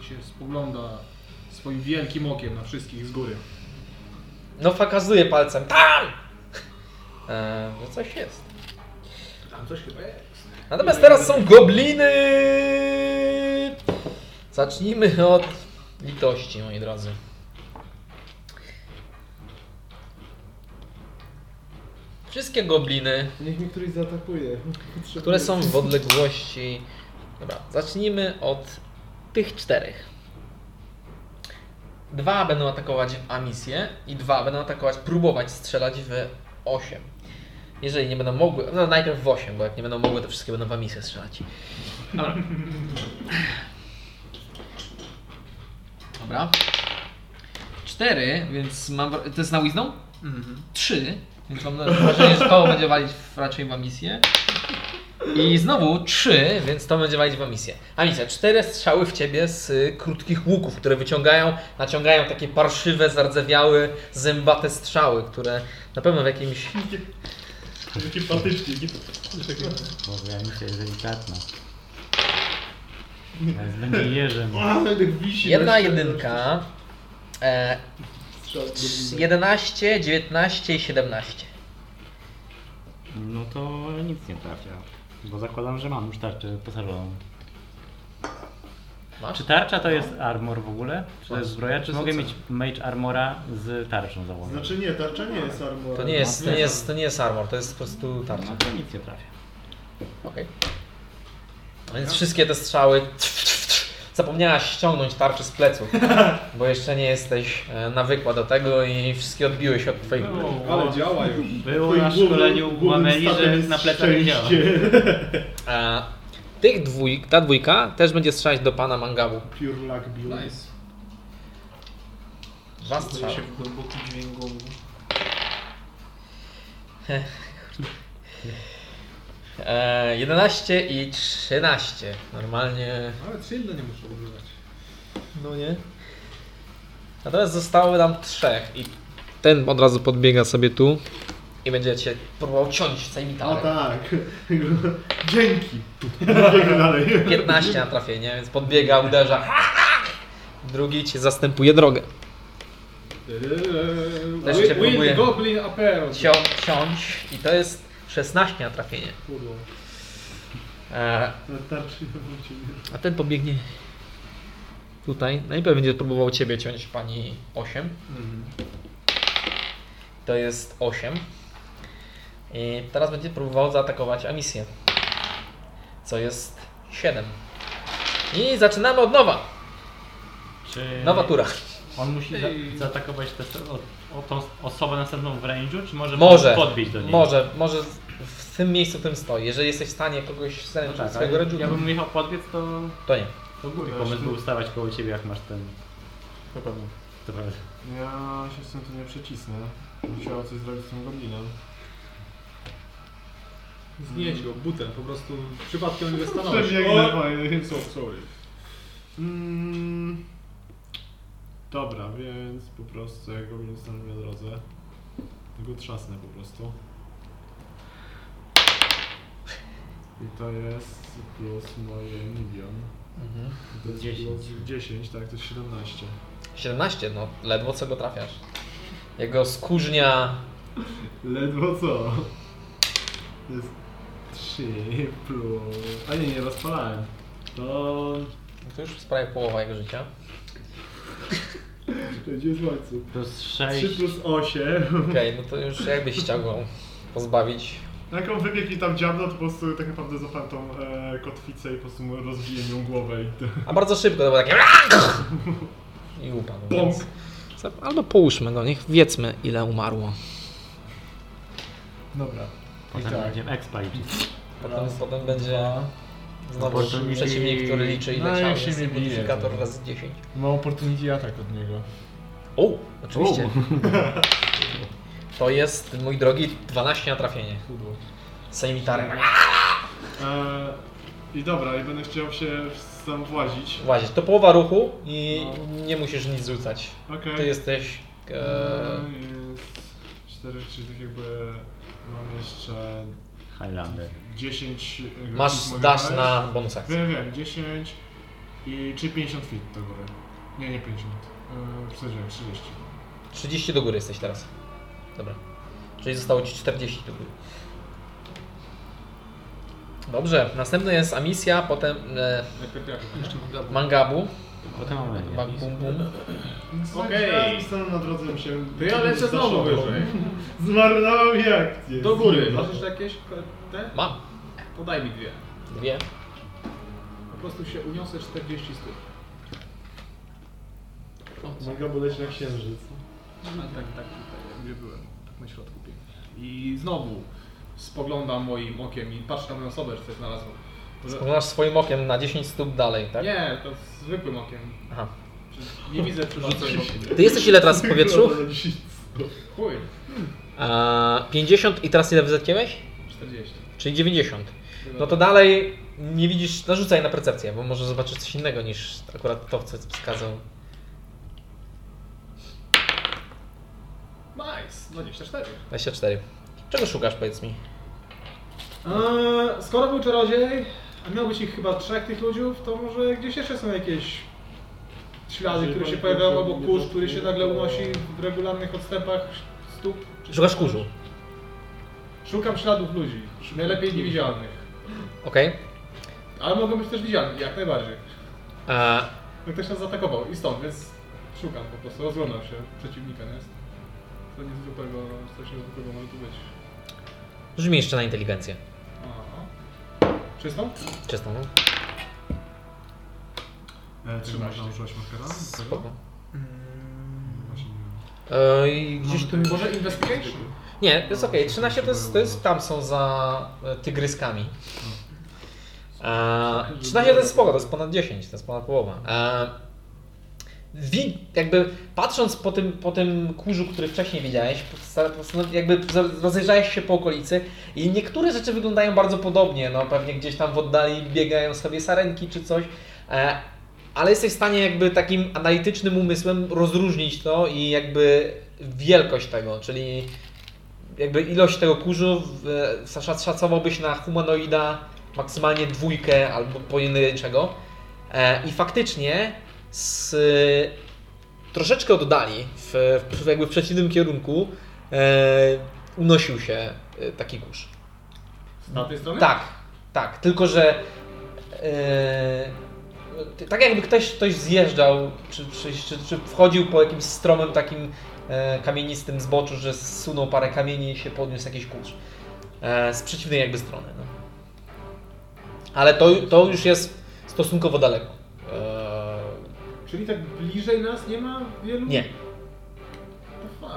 Speaker 8: I się spogląda swoim wielkim okiem na wszystkich z góry.
Speaker 1: No fakazuje palcem. Tam! E, że coś jest.
Speaker 8: Tam coś chyba jest.
Speaker 1: Natomiast teraz są gobliny! Zacznijmy od litości, moi drodzy. Wszystkie gobliny,
Speaker 3: Niech mi któryś zaatakuje.
Speaker 1: które są w odległości. Dobra, zacznijmy od tych czterech. Dwa będą atakować w Amisję i dwa będą atakować, próbować strzelać w 8. Jeżeli nie będą mogły, no najpierw w 8, bo jak nie będą mogły, to wszystkie będą w Amisję strzelać. Dobra. Dobra. Cztery, więc mam. wra- To jest na Wisdom? Trzy, więc mam wrażenie, że to będzie walić w- raczej w Amisję. I znowu 3, więc to będzie walić w misję. A misja, 4 strzały w ciebie z y, krótkich łuków, które wyciągają, naciągają takie parszywe, zardzewiałe, zębate strzały, które na pewno w jakimś.
Speaker 4: Taki patyczki. nie?
Speaker 6: Może ja myślę, że delikatna. Teraz będzie jeżem.
Speaker 4: tak
Speaker 1: Jedna jedynka. E, 11, 19 i 17.
Speaker 6: No to nic nie trafia. Bo zakładam, że mam już tarczę pasażerową.
Speaker 1: Masz?
Speaker 6: Czy tarcza to jest armor w ogóle? Czy to jest zbroja? Czy
Speaker 8: jest
Speaker 6: mogę
Speaker 8: ocena.
Speaker 6: mieć mage armora z tarczą założoną?
Speaker 4: Znaczy nie, tarcza nie jest armor.
Speaker 1: To nie jest, to nie jest, to nie jest armor, to jest po prostu tarcza.
Speaker 6: No to nic nie trafia.
Speaker 1: Okej. A Więc wszystkie te strzały. Zapomniałaś ściągnąć tarczę z pleców, bo jeszcze nie jesteś e, nawykła do tego i wszystkie odbiły się od twoich.
Speaker 4: Ale działa już.
Speaker 6: Było na szkoleniu u Ameli, że na plecach nie działa.
Speaker 1: E, tych dwójk, ta dwójka też będzie strzelać do pana Mangabu.
Speaker 4: Pure luck build.
Speaker 8: Nice.
Speaker 1: Dwa strzały.
Speaker 3: się w głęboki dźwięk głowy.
Speaker 1: E, 11 i 13. Normalnie.
Speaker 8: Ale shielda nie muszę używać.
Speaker 1: No nie. Natomiast zostały nam trzech i ten od razu podbiega sobie tu i będzie cię próbował ciąć całymi
Speaker 4: A
Speaker 1: tarami.
Speaker 4: tak. Dzięki. Biegę dalej.
Speaker 1: 15 na trafienie, więc podbiega, uderza. Drugi ci zastępuje drogę. Też
Speaker 8: Wi-
Speaker 1: się próbuję.
Speaker 8: Wild Goblin Apero.
Speaker 1: Cią, ciąć i to jest 16 na trafienie.
Speaker 8: Kurwa.
Speaker 1: E,
Speaker 4: Na tarczy nie wróci.
Speaker 1: a ten pobiegnie tutaj. No Najpierw będzie próbował ciebie ciąć, pani 8.
Speaker 6: Mhm.
Speaker 1: To jest 8. I teraz będzie próbował zaatakować Amisję. Co jest 7. I zaczynamy od nowa.
Speaker 6: Czy
Speaker 1: Nowa tura.
Speaker 6: on musi za zaatakować tę o, o tą osobę następną w range'u, czy może,
Speaker 1: Może,
Speaker 6: podbić do niej?
Speaker 1: może, może w tym miejscu, w którym stoi. Jeżeli jesteś w stanie kogoś
Speaker 6: No
Speaker 1: zająć
Speaker 6: tak,
Speaker 1: swojego
Speaker 6: ale
Speaker 1: rodzica,
Speaker 6: ja bym jechał podbiec, to,
Speaker 1: to nie.
Speaker 6: to głupi pomysł był stawać koło ciebie, jak masz ten... To prawda.
Speaker 3: Ja się z tym tu nie przecisnę. Musiała coś zrobić z tym goblinem.
Speaker 8: Znieść go butem, po prostu przypadkiem nie stanąłeś.
Speaker 4: Przebiegnę fajnie. So sorry. Mm. Dobra, więc po prostu jak go nie stanę na drodze, to go trzasnę po prostu. I to jest plus moje milion.
Speaker 1: Mhm.
Speaker 4: To jest
Speaker 6: 10.
Speaker 4: plus 10, tak, to jest 17.
Speaker 1: 17, no ledwo co go trafiasz. Jego skórznia.
Speaker 4: Ledwo co? To jest 3 plus... A nie, nie rozpalałem. To...
Speaker 1: To już prawie połowa jego życia.
Speaker 4: Gdzie jest łańcuch?
Speaker 6: Plus
Speaker 4: 3
Speaker 6: 6,
Speaker 4: plus 8.
Speaker 1: Okej, no to już jakbyś chciał go pozbawić.
Speaker 4: Jak on wybiegł i tam dziabnął, to po prostu tak naprawdę złapałem tą e, kotwicę i po prostu mu rozbiłem ją głowę i to...
Speaker 1: A bardzo szybko to było takie. I upadł. Więc... Albo połóżmy go, niech wiedzmy ile umarło.
Speaker 4: Dobra. I
Speaker 6: potem
Speaker 4: tak.
Speaker 6: będziemy expa liczyć.
Speaker 1: Potem, potem będzie znowu
Speaker 6: Opportunity-
Speaker 1: przeciwnik, który liczy ile
Speaker 3: No,
Speaker 1: ciał
Speaker 3: jak się
Speaker 1: jest.
Speaker 3: nie bije,
Speaker 1: Multiplikator
Speaker 3: to-
Speaker 1: razy 10.
Speaker 3: Ma opportunity atak od niego.
Speaker 1: O, oczywiście. To jest, mój drogi, 12 na trafienie. Sanitarem.
Speaker 4: E, I dobra, i będę chciał się tam włazić.
Speaker 1: Włazić. To połowa ruchu i nie musisz nic rzucać.
Speaker 4: Okej.
Speaker 1: Ty jesteś... E,
Speaker 4: E, jest 4, czyli tak jakby mam jeszcze
Speaker 6: Highlander.
Speaker 4: 10...
Speaker 3: No.
Speaker 4: e,
Speaker 1: masz
Speaker 4: moich
Speaker 1: dasz
Speaker 4: rajs.
Speaker 1: na bonus akcji.
Speaker 4: Wiem, wiem, 10 i... czy 50 feet do góry. Nie, nie 50. E, przesadziłem, 30.
Speaker 1: 30 do góry jesteś teraz. Dobra. Czyli zostało ci 40 do góry. Dobrze, następny jest Amisja, potem e,
Speaker 8: Jak jak-
Speaker 1: Mangabu,
Speaker 6: Potem mamy.
Speaker 1: bak, bum, bum.
Speaker 4: Okej. Okay. Stanę na drodze mi się...
Speaker 8: To ja lecę znowu wyżej.
Speaker 4: Zmarnowałem mi akcję.
Speaker 8: Do góry. Masz jeszcze jakieś te?
Speaker 1: Mam
Speaker 8: Podaj mi dwie.
Speaker 1: dwie.
Speaker 8: Po prostu się uniosę 40 stóp.
Speaker 3: Mogę boleć na księżyc.
Speaker 8: No, tak, tak tutaj, gdzie byłem. Tak na środku pięknie. I znowu spoglądam moim okiem i patrzę na moją osobę, czy coś znalazłem. Może-
Speaker 1: Spoglądasz swoim okiem na 10 stóp dalej, tak?
Speaker 8: Nie, to zwykłym okiem.
Speaker 1: Aha.
Speaker 8: Czy- Nie widzę przypadkowego.
Speaker 1: Ty jesteś ile teraz w powietrzu?
Speaker 8: Chuj,
Speaker 1: A, 50 i teraz ile wyzetkiłeś?
Speaker 8: 40.
Speaker 1: Czyli 90. No to dalej nie widzisz, narzucaj na percepcję, bo może zobaczysz coś innego niż akurat to, co wskazał.
Speaker 8: Nice, 24.
Speaker 1: 24. Czego szukasz, powiedz mi?
Speaker 8: Eee, skoro był czarodziej, a miał być ich chyba trzech tych ludziów, to może gdzieś jeszcze są jakieś ślady, które się pojawiają, albo kurz, który się nagle unosi w regularnych odstępach stóp. czy-
Speaker 1: Szukasz kurzu.
Speaker 8: Szukam śladów ludzi, najlepiej niewidzialnych.
Speaker 1: Okej.
Speaker 8: Ale mogą być też widzialni, jak najbardziej.
Speaker 1: A,
Speaker 8: No ktoś nas zaatakował i stąd, więc szukam po prostu, rozglądam się, przeciwnika jest. To niezwykłego, coś niezwykłego może tu być.
Speaker 1: Rzuć mi jeszcze na inteligencję.
Speaker 8: Aha. Czystą?
Speaker 1: Czystą. no.
Speaker 4: E, czy
Speaker 8: 13.
Speaker 4: można używać markera? Tego?
Speaker 1: Spoko.
Speaker 4: Właśnie nie wiem.
Speaker 1: E, i gdzieś tu...
Speaker 8: Może investigation?
Speaker 1: Nie, to jest okej. 13 to jest, to jest... Tam są za e, tygryskami. E, 13 to jest spoko, to jest ponad 10, to jest ponad połowa. E, wi, jakby patrząc po tym, po tym kurzu, który wcześniej widziałeś, posta- postan- no, jakby za- rozejrzałeś się po okolicy i niektóre rzeczy wyglądają bardzo podobnie. No, pewnie gdzieś tam w oddali biegają sobie sarenki czy coś. E, ale jesteś w stanie jakby takim analitycznym umysłem rozróżnić to i jakby wielkość tego, czyli jakby ilość tego kurzu w- e, szac- szacowałbyś na humanoida maksymalnie dwójkę albo pojedynczego. E, I faktycznie z troszeczkę oddali, w, w, jakby w przeciwnym kierunku, e, unosił się e, taki kurz.
Speaker 8: Z tamtej strony?
Speaker 1: Tak, tak, tylko że e, tak jakby ktoś, ktoś zjeżdżał, czy, czy, czy, czy wchodził po jakimś stromym takim e, kamienistym zboczu, że zsunął parę kamieni i się podniósł jakiś kurz. E, z przeciwnej jakby strony. No. Ale to, to już jest stosunkowo daleko. E,
Speaker 8: Czyli tak bliżej nas nie ma wielu?
Speaker 1: nie,
Speaker 8: The fuck.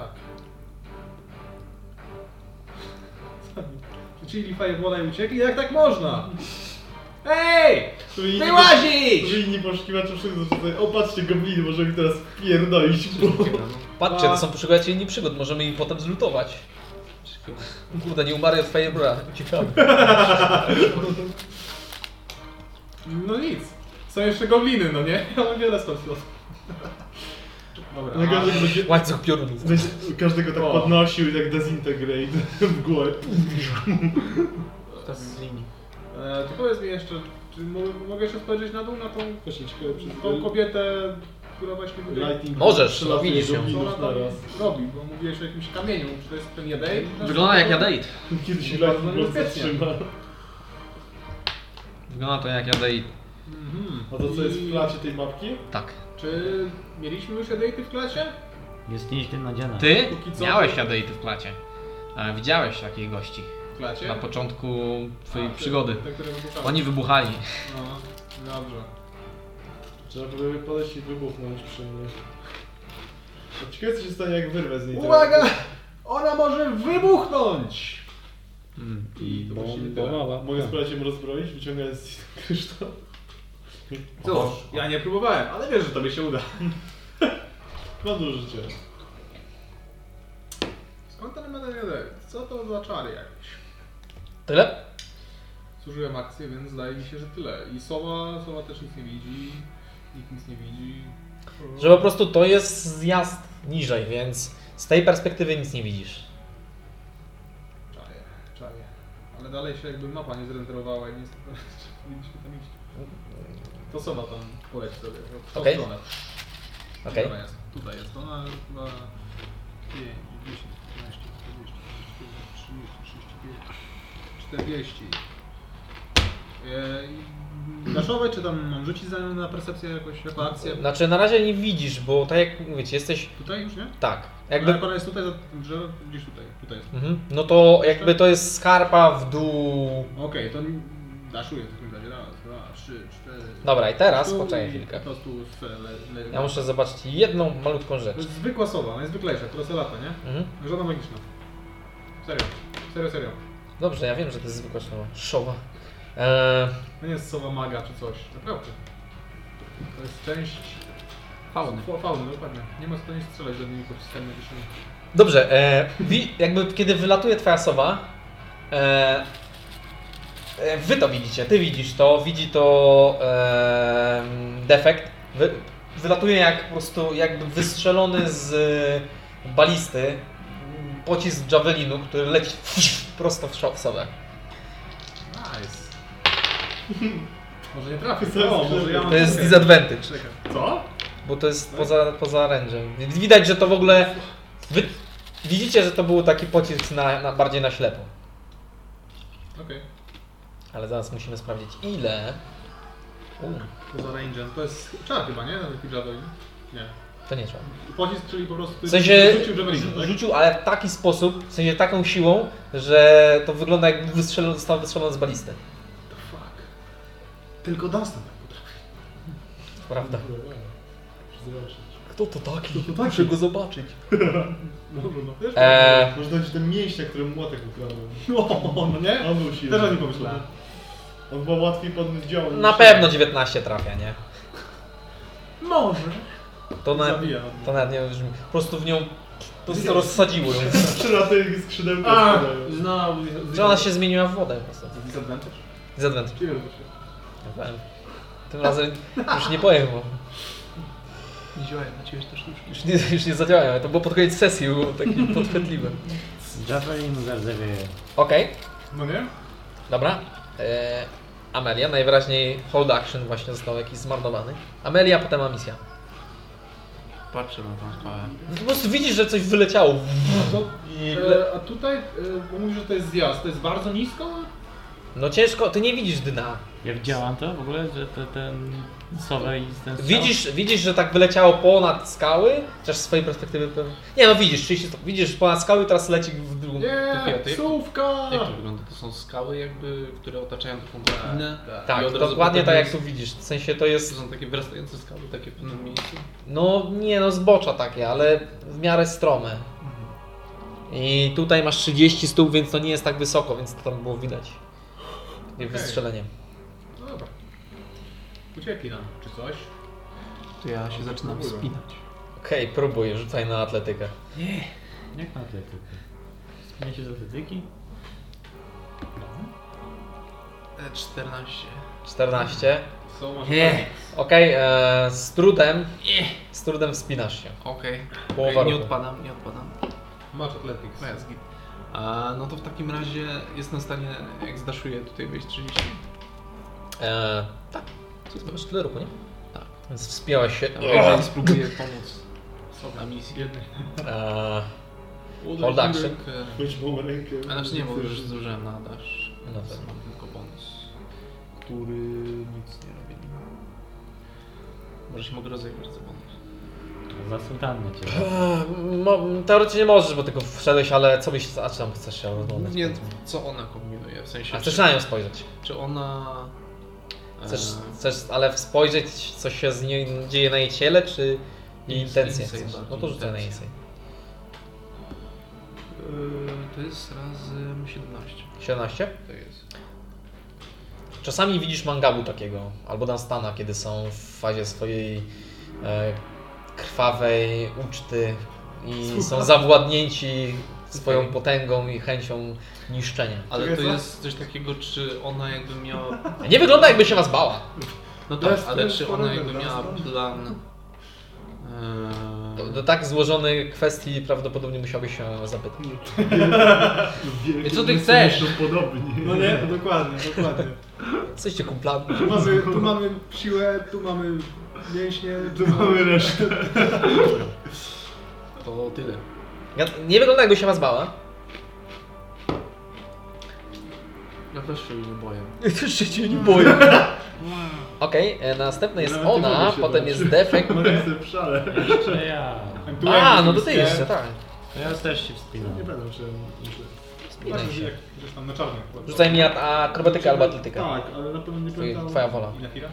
Speaker 8: Rzucili firewalla i uciekli? Jak tak można? Ej!
Speaker 4: Żeby inni
Speaker 8: Ty
Speaker 4: posz-
Speaker 8: łazisz!
Speaker 4: Żeby inni poszukiwacze wszyscy zaczynają, o patrzcie, gobliny, możemy ich teraz pierdolić, bo...
Speaker 1: patrzcie, to są poszukiwacze inni przygód, możemy im potem zlutować. Kurde, nie umarł w Firebra. Ciekawe.
Speaker 8: No nic. Są jeszcze gobliny, no nie? Ja mam wiele stąd slotów. Dobra.
Speaker 4: Na każdym będzie,
Speaker 1: Łańcuch piorunów.
Speaker 4: będzie każdego tak
Speaker 8: O.
Speaker 4: podnosił i tak dezintegrate w głowę.
Speaker 5: Teraz z linii.
Speaker 8: E, to powiedz mi jeszcze, czy mo- mogę jeszcze spojrzeć na dół na tą,
Speaker 3: Właśnie ciekawe przez
Speaker 8: tą kobietę, która właśnie wybiegła?
Speaker 3: Lighting.
Speaker 1: Możesz,
Speaker 3: przelatuje
Speaker 1: widzisz ją.
Speaker 8: Co ona
Speaker 3: goblinów
Speaker 8: tam
Speaker 3: naraz.
Speaker 8: robi? Bo mówiłeś o jakimś kamieniu, czy to jest ten jedej?
Speaker 9: Wygląda jak Jadeit.
Speaker 4: Kiedyś
Speaker 8: Bardzo
Speaker 4: Lighting po prostu
Speaker 8: niebezpiecznie.
Speaker 4: trzyma.
Speaker 9: Wygląda to jak Jadeit.
Speaker 8: Mhm.
Speaker 3: A to co jest w
Speaker 8: I
Speaker 3: placie tej mapki?
Speaker 9: Tak.
Speaker 8: Czy mieliśmy już jedejty w klasie?
Speaker 6: Jest nieźle nadziana.
Speaker 9: Ty
Speaker 8: Póki co-
Speaker 9: miałeś Jadeity w placie. A widziałeś takich gości
Speaker 8: W klasie?
Speaker 9: na początku twojej
Speaker 8: A, te-
Speaker 9: przygody.
Speaker 8: Te, które wybuchały.
Speaker 9: Oni wybuchali.
Speaker 8: No, dobrze.
Speaker 3: Trzeba by podejść i wybuchnąć przy mnie. Ciekawe co się stanie jak wyrwę z niej teraz.
Speaker 8: Uwaga! Ona może wybuchnąć!
Speaker 9: Hmm.
Speaker 8: I to właściwie tyle.
Speaker 6: Bombowa.
Speaker 3: Mogę spróbować ją rozbroić, wyciągając z niej kryształ.
Speaker 8: Cóż, ja nie próbowałem, ale wiesz, że tobie się uda.
Speaker 4: Mam życie.
Speaker 8: Skąd ten MD1? Co to za czary jakieś?
Speaker 1: Tyle?
Speaker 8: Zużyłem akcję, więc zdaje mi się, że tyle. I Sowa, Sowa też nic nie widzi, nikt nic nie widzi.
Speaker 1: Że po prostu to jest zjazd niżej, więc z tej perspektywy nic nie widzisz.
Speaker 8: Czaje, czaje. Ale dalej się jakby mapa nie zrenderowała i nie powinniśmy tam iść. To Sowa tam poleci sobie. w tą
Speaker 1: Okej.
Speaker 8: stronę.
Speaker 1: Okej.
Speaker 8: Dobra, jest. Tutaj jest ona chyba 5, 10, 15, 20, 30, 35, 40. Eee, Daszowe, czy tam mam rzucić za nią na percepcję jakoś, jako akcję?
Speaker 1: Znaczy na razie nie widzisz, bo tak jak mówię, ci, jesteś
Speaker 8: Tutaj już, nie?
Speaker 1: tak.
Speaker 8: Jakby...
Speaker 1: Jakby,
Speaker 8: Jak ona jest tutaj za tym drzewem, gdzieś tutaj, tutaj jest.
Speaker 1: mhm. No to jakby to jest skarpa w dół.
Speaker 8: Okej, to daszuję w takim razie. Raz, dwa, trzy, cztery.
Speaker 1: Dobra, i teraz
Speaker 8: Tu
Speaker 1: poczekaj
Speaker 8: i
Speaker 1: chwilkę.
Speaker 8: Po prostu w le, le,
Speaker 1: Ja muszę zobaczyć jedną malutką rzecz.
Speaker 8: To jest zwykła sowa, najzwyklejsza, która se lata, nie?
Speaker 1: Mhm.
Speaker 8: Żadna magiczna. Serio, serio, serio.
Speaker 1: Dobrze, ja wiem, że to jest zwykła szowa. Szowa. Eee,
Speaker 8: To nie jest sowa maga czy coś, naprawdę. To jest część
Speaker 3: Fauny.
Speaker 8: fa- fauny, dokładnie. Nie ma co do niej strzelać żadnymi pociskiem magicznymi.
Speaker 1: Dobrze, e, wi- jakby kiedy wylatuje twoja sowa, e, e, wy to widzicie, ty widzisz to, widzi to e, defekt. Wy, wylatuje jak po prostu jakby wystrzelony z e, balisty m, pocisk javelinu, który leci prosto w szo- w sobę.
Speaker 8: Nice. może nie trafię,
Speaker 4: To jest
Speaker 8: no, może ja mam...
Speaker 1: To jest
Speaker 8: Okej.
Speaker 1: disadvantage,
Speaker 8: Czekaj.
Speaker 11: Co?
Speaker 1: bo to jest poza, poza range'em. Więc Widać, że to w ogóle... Wy, widzicie, że to był taki pocisk na, na, bardziej na ślepo.
Speaker 8: Okej.
Speaker 1: Ale zaraz musimy sprawdzić ile. U,
Speaker 8: Poza range'em. To jest czar chyba, nie? Taki javelin. Nie.
Speaker 1: to nie trzeba.
Speaker 8: Pocisk, czyli po prostu...
Speaker 1: W sensie
Speaker 8: Rzucił javelin, tak?
Speaker 1: rzucił, ale w taki sposób, w sensie taką siłą, że to wygląda jakby wystrzelony, został wystrzelony z balisty.
Speaker 8: Fuck. Tylko Dunstan tak potrafi.
Speaker 1: Prawda.
Speaker 4: Zobaczyć.
Speaker 1: Kto to taki?
Speaker 4: Kto to taki?
Speaker 1: Muszę go zobaczyć.
Speaker 4: Dobra, no też.
Speaker 1: Eee,
Speaker 4: Może dać ten mięśnia, którym młotek ukradłem.
Speaker 8: No, no nie?
Speaker 4: On był silny.
Speaker 8: Też o nim pomyślałem.
Speaker 4: On chyba łatwiej podnieść działo. niż
Speaker 1: na
Speaker 4: ja.
Speaker 1: pewno 19 trafia, nie?
Speaker 8: Może.
Speaker 1: To, na,
Speaker 8: Zabija.
Speaker 1: to nawet nie brzmi. Po prostu w nią po prostu rozsadziło ją.
Speaker 4: Trzy lata skrzydełka
Speaker 8: A,
Speaker 4: spadają.
Speaker 3: No,
Speaker 8: znowu.
Speaker 1: Że ona się zmieniła w wodę po prostu.
Speaker 8: Disadvantage?
Speaker 1: Zadwent.
Speaker 8: Czyli robisz.
Speaker 1: Tym razem już nie powiem, bo
Speaker 3: Nie działają na ciebie te sztuczki.
Speaker 1: już nie, już nie zadziałają. To było pod koniec sesji, było takie podchwytliwe.
Speaker 6: Javelin zardzewie.
Speaker 1: Okej.
Speaker 8: No nie?
Speaker 1: Dobra. E, Amelia, najwyraźniej hold action właśnie został jakiś zmarnowany. Amelia, potem Amicia.
Speaker 3: Patrzę na tą spałę.
Speaker 1: No, po prostu widzisz, że coś wyleciało.
Speaker 8: To,
Speaker 1: I le-
Speaker 8: e, a tutaj, e, bo mówisz, że to jest zjazd, to jest bardzo nisko?
Speaker 1: No ciężko, ty nie widzisz dna.
Speaker 6: Jak działam to w ogóle, że te, ten sowę i ten strzał?
Speaker 1: Widzisz, widzisz, że tak wyleciało ponad skały, chociaż z swojej perspektywy pewnie... Nie no widzisz, 30 stopni. widzisz ponad skały i teraz leci w drugą.
Speaker 8: Nie,
Speaker 3: ty-
Speaker 8: psówka!
Speaker 3: Jak to wygląda? To są skały jakby, które otaczają taką dolinę. I
Speaker 1: Tak,
Speaker 3: od razu
Speaker 1: dokładnie
Speaker 3: potem
Speaker 1: tak jak
Speaker 3: jest-
Speaker 1: tu widzisz. W sensie to jest,
Speaker 3: To są takie wyrastające skały, takie w pewnym miejscu.
Speaker 1: no nie no zbocza takie, ale w miarę strome. I tutaj masz 30 stóp, więc to nie jest tak wysoko, więc to tam było widać. I wystrzeleniem.
Speaker 8: No dobra. Ucieki nam, czy coś?
Speaker 3: To ja się zaczynam
Speaker 8: Próbuję.
Speaker 3: wspinać.
Speaker 1: Okej, próbuj, rzucaj na atletykę.
Speaker 6: Jak na atletykę? Zmienia się z atletyki?
Speaker 3: E 14.
Speaker 1: 14.
Speaker 8: Co masz?
Speaker 3: Nie.
Speaker 1: Okej, e, z trudem. Z trudem wspinasz się.
Speaker 3: Okej.
Speaker 1: Połowa
Speaker 3: Okej, Nie
Speaker 1: ruchu.
Speaker 3: odpadam, nie odpadam.
Speaker 8: Masz athletics.
Speaker 3: No jest git. A, no to w takim razie jestem w stanie, jak zdaszuję tutaj wejść 30.
Speaker 1: E, tak. To masz tyle ruchu, nie?
Speaker 3: Tak.
Speaker 1: Więc wspinałaś się.
Speaker 3: Tam Jeżeli spróbuję pomóc na misji.
Speaker 1: E, Hold
Speaker 3: Uderz
Speaker 1: action.
Speaker 3: rękę.
Speaker 4: Choć mą rękę.
Speaker 3: A znaczy nie, bo już zużyłem na dash.
Speaker 1: No
Speaker 3: Więc
Speaker 1: tak.
Speaker 3: mam tylko bonus, który nic nie robi. Może się mogę rozegrać za bonus.
Speaker 6: Za sutanny cię.
Speaker 1: e, mo, teoretycznie możesz, bo tylko wszedłeś, ale co byś. A czy tam chcesz się rozglądać?
Speaker 3: Głównie co ona kombinuje, w sensie
Speaker 1: no, A chcesz
Speaker 3: czy,
Speaker 1: na nią spojrzeć.
Speaker 3: czy ona...
Speaker 1: Chcesz,
Speaker 3: e,
Speaker 1: chcesz ale spojrzeć, co się z nią dzieje na jej ciele, czy jej
Speaker 3: Ins-
Speaker 1: intencje
Speaker 3: insight
Speaker 1: chcesz?
Speaker 3: bardziej,
Speaker 1: No to rzucaj na
Speaker 3: intencje.
Speaker 1: insight.
Speaker 3: e, to jest razy 17.
Speaker 1: 17?
Speaker 3: To jest.
Speaker 1: Czasami widzisz mangabu takiego, albo Dunstana, kiedy są w fazie swojej e, krw, krwawej uczty i są
Speaker 8: Słucham.
Speaker 1: zawładnięci swoją potęgą i chęcią niszczenia.
Speaker 3: Ale to
Speaker 12: Czekaj, co?
Speaker 3: jest coś takiego, czy ona jakby miała...
Speaker 1: Nie wygląda jakby się was bała.
Speaker 3: No
Speaker 12: To
Speaker 3: tak,
Speaker 12: jest- to
Speaker 3: ale
Speaker 12: jest
Speaker 3: czy ona
Speaker 12: horror,
Speaker 3: jakby
Speaker 12: tak?
Speaker 3: miała plan...
Speaker 1: Do,
Speaker 3: Eee,
Speaker 1: do tak złożonej kwestii prawdopodobnie musiałbyś się zapytać.
Speaker 4: Wielkie
Speaker 3: I co ty
Speaker 4: umysły
Speaker 3: chcesz?
Speaker 4: myślą Podobnie.
Speaker 8: No nie, no dokładnie, dokładnie.
Speaker 1: Jesteście kumplami.
Speaker 8: Tu mamy, tu mamy siłę, tu mamy mięśnie.
Speaker 4: Tu mamy resztę.
Speaker 3: to tyle.
Speaker 1: Ja, nie wygląda jakby się was bała.
Speaker 3: Ja też się nie boję.
Speaker 1: Ja też się nie boję. Okej, e, następna jest
Speaker 4: Nawet nie
Speaker 1: ona,
Speaker 4: mogę się
Speaker 1: potem
Speaker 4: bać.
Speaker 1: jest Defek.
Speaker 4: No ja sobie przale.
Speaker 6: Jeszcze ja.
Speaker 1: A, no to ty jeszcze, tak.
Speaker 6: No ja też się wspinam.
Speaker 12: Nie będę się myślę.
Speaker 1: Spinaj się.
Speaker 8: Gdzieś tam na czarnym.
Speaker 1: Rzucaj mi at- akrobatykę albo atletykę.
Speaker 12: Tak, ale na pewno nie
Speaker 1: Twoje-
Speaker 12: pamiętam.
Speaker 1: Twoja wola,
Speaker 8: Ile chwila?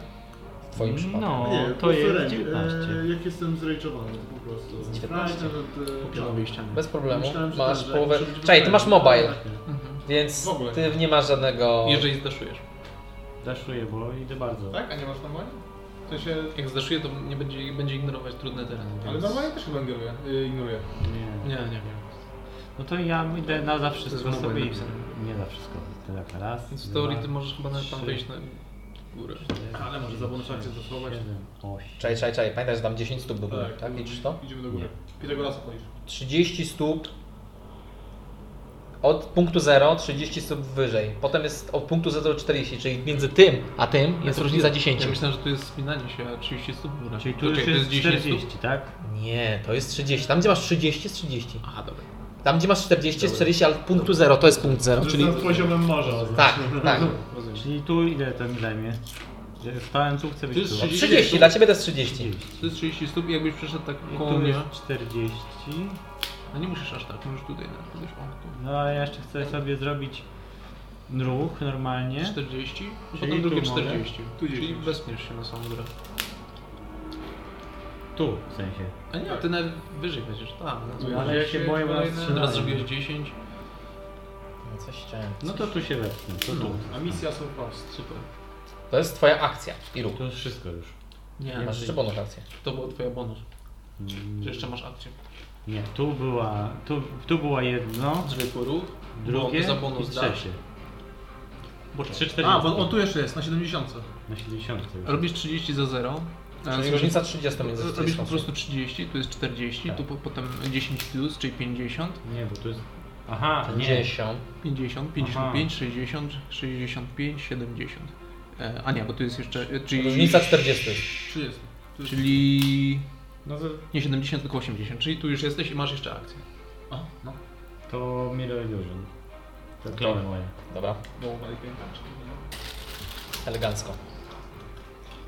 Speaker 1: w twoim przypadku.
Speaker 6: No,
Speaker 12: Nie,
Speaker 6: to jest
Speaker 12: remis.
Speaker 6: 19.
Speaker 12: E, jak jestem zrejczowany, to po prostu. e,
Speaker 1: 19.
Speaker 12: Frajda, że te-
Speaker 3: Pionowymi ścianami.
Speaker 1: Bez problemu,
Speaker 12: Myślałem, że
Speaker 1: masz
Speaker 12: ten, że-
Speaker 1: połowę...
Speaker 12: że będzie
Speaker 1: Czekaj, ty masz mobile,
Speaker 3: Mhm.
Speaker 1: więc
Speaker 8: W ogóle.
Speaker 1: ty nie masz żadnego...
Speaker 3: Jeżeli zdaszujesz.
Speaker 6: Daszuję, bo idę bardzo.
Speaker 8: Tak, a nie masz normalnie? W sensie,
Speaker 3: Jak zdaszuje, to nie będzie, będzie ignorować trudne tereny. Więc...
Speaker 8: ale normalnie też chyba ignoruję. y, ignoruję.
Speaker 6: Nie.
Speaker 3: Nie, nie wiem.
Speaker 6: No to ja idę na za
Speaker 3: To
Speaker 6: wszystko
Speaker 3: jest
Speaker 6: sobie
Speaker 3: mobile
Speaker 6: idę.
Speaker 3: napisane.
Speaker 6: Nie za wszystko. To tak raz.
Speaker 3: Więc w
Speaker 6: dwa,
Speaker 3: teorii ty możesz chyba nawet tam
Speaker 6: trzy,
Speaker 3: wejść na górę.
Speaker 6: cztery,
Speaker 12: Ale może zawłączacie
Speaker 6: pięć,
Speaker 12: zasłować.
Speaker 6: siedem, osiem.
Speaker 1: Czekaj, czekaj, czekaj, pamiętaj, że tam 10 stóp do góry,
Speaker 8: Tak.
Speaker 1: tak? Liczysz to?
Speaker 8: Idziemy do góry. Pitagorasa polisz.
Speaker 1: 30 stóp od punktu 0, 30 stóp wyżej. Potem jest od punktu 0 do 40, czyli między tym a tym jest różnica 10.
Speaker 3: Ja myślałem, że tu jest spinanie się, a 30 stóp w górę.
Speaker 6: Czyli tu
Speaker 3: To
Speaker 6: już
Speaker 3: czekaj,
Speaker 6: jest
Speaker 3: 10 stóp?
Speaker 6: 40, tak?
Speaker 1: Nie, to jest 30. Tam gdzie masz 30 jest 30.
Speaker 3: Aha, dobra.
Speaker 1: Tam gdzie masz 40 jest 40, ale od punktu 0 to jest punkt 0,
Speaker 4: Czyli
Speaker 1: czyli...
Speaker 4: nad poziomem morza.
Speaker 1: Tak, tak.
Speaker 3: Rozumiem.
Speaker 6: Czyli tu ile to mi zajmie? Ja w pałęcu chcę
Speaker 3: To
Speaker 6: być
Speaker 3: jest
Speaker 6: tu.
Speaker 3: 30.
Speaker 1: 30, dla ciebie to jest 30.
Speaker 3: To jest 30 stóp i jakbyś przeszedł tak
Speaker 6: I
Speaker 3: koło
Speaker 6: tu
Speaker 3: mnie.
Speaker 6: jest 40.
Speaker 3: No nie musisz aż tak, możesz tutaj nawet podejść. O,
Speaker 6: No ale ja jeszcze chcę sobie zrobić ruch
Speaker 3: tu.
Speaker 6: normalnie.
Speaker 3: 40, i
Speaker 6: Czyli
Speaker 3: potem drugie
Speaker 6: tu mogę.
Speaker 3: 40.
Speaker 8: Tu
Speaker 3: Czyli
Speaker 8: 10.
Speaker 3: wespniesz się na samą górę.
Speaker 6: Tu w sensie.
Speaker 3: A nie, ty nawet wyżej będziesz, tak.
Speaker 6: No, ale ja się boję, bo nas strzelają.
Speaker 3: Teraz zrobiłeś 10,
Speaker 1: No, Coś chciałem.
Speaker 6: No to tu się wepchnę. To tu.
Speaker 8: A misja są fast.
Speaker 3: super.
Speaker 1: To jest twoja akcja i ruch.
Speaker 6: To jest wszystko już.
Speaker 3: Nie,
Speaker 1: Masz jeszcze bonus akcję.
Speaker 3: to była twoja bonus.
Speaker 6: Mm,
Speaker 3: Czy jeszcze masz akcję?
Speaker 6: Nie, tu była, tu, tu była jedno,
Speaker 3: Zwykły ruch,
Speaker 6: drugie
Speaker 3: bo za bonus
Speaker 6: i trzecie.
Speaker 3: bo
Speaker 6: Trzy, cztery.
Speaker 8: A, bo on tu jeszcze jest, na 70.
Speaker 6: Na 70. już.
Speaker 3: Robisz 30 za 0.
Speaker 1: Czyli Znaczy, różnica 30 między
Speaker 3: Robisz
Speaker 1: 40.
Speaker 3: po prostu 30, tu jest 40,
Speaker 6: Tak.
Speaker 3: tu po, potem 10 plus, czyli 50,
Speaker 6: Nie, bo tu jest... Aha, nie.
Speaker 1: 50.
Speaker 3: 50, 55, 60, 65, 70. E, a nie, bo tu jest jeszcze. e, Czyli,
Speaker 1: Różnica 40 jest.
Speaker 3: 30. Czyli.
Speaker 6: No to,
Speaker 3: Nie 70, tylko 80. Czyli tu już jesteś i masz jeszcze akcję.
Speaker 8: A, no.
Speaker 6: to Mirror Illusion. To klony moje.
Speaker 1: Dobra,
Speaker 8: Bo tak ale piękna.
Speaker 1: elegancko.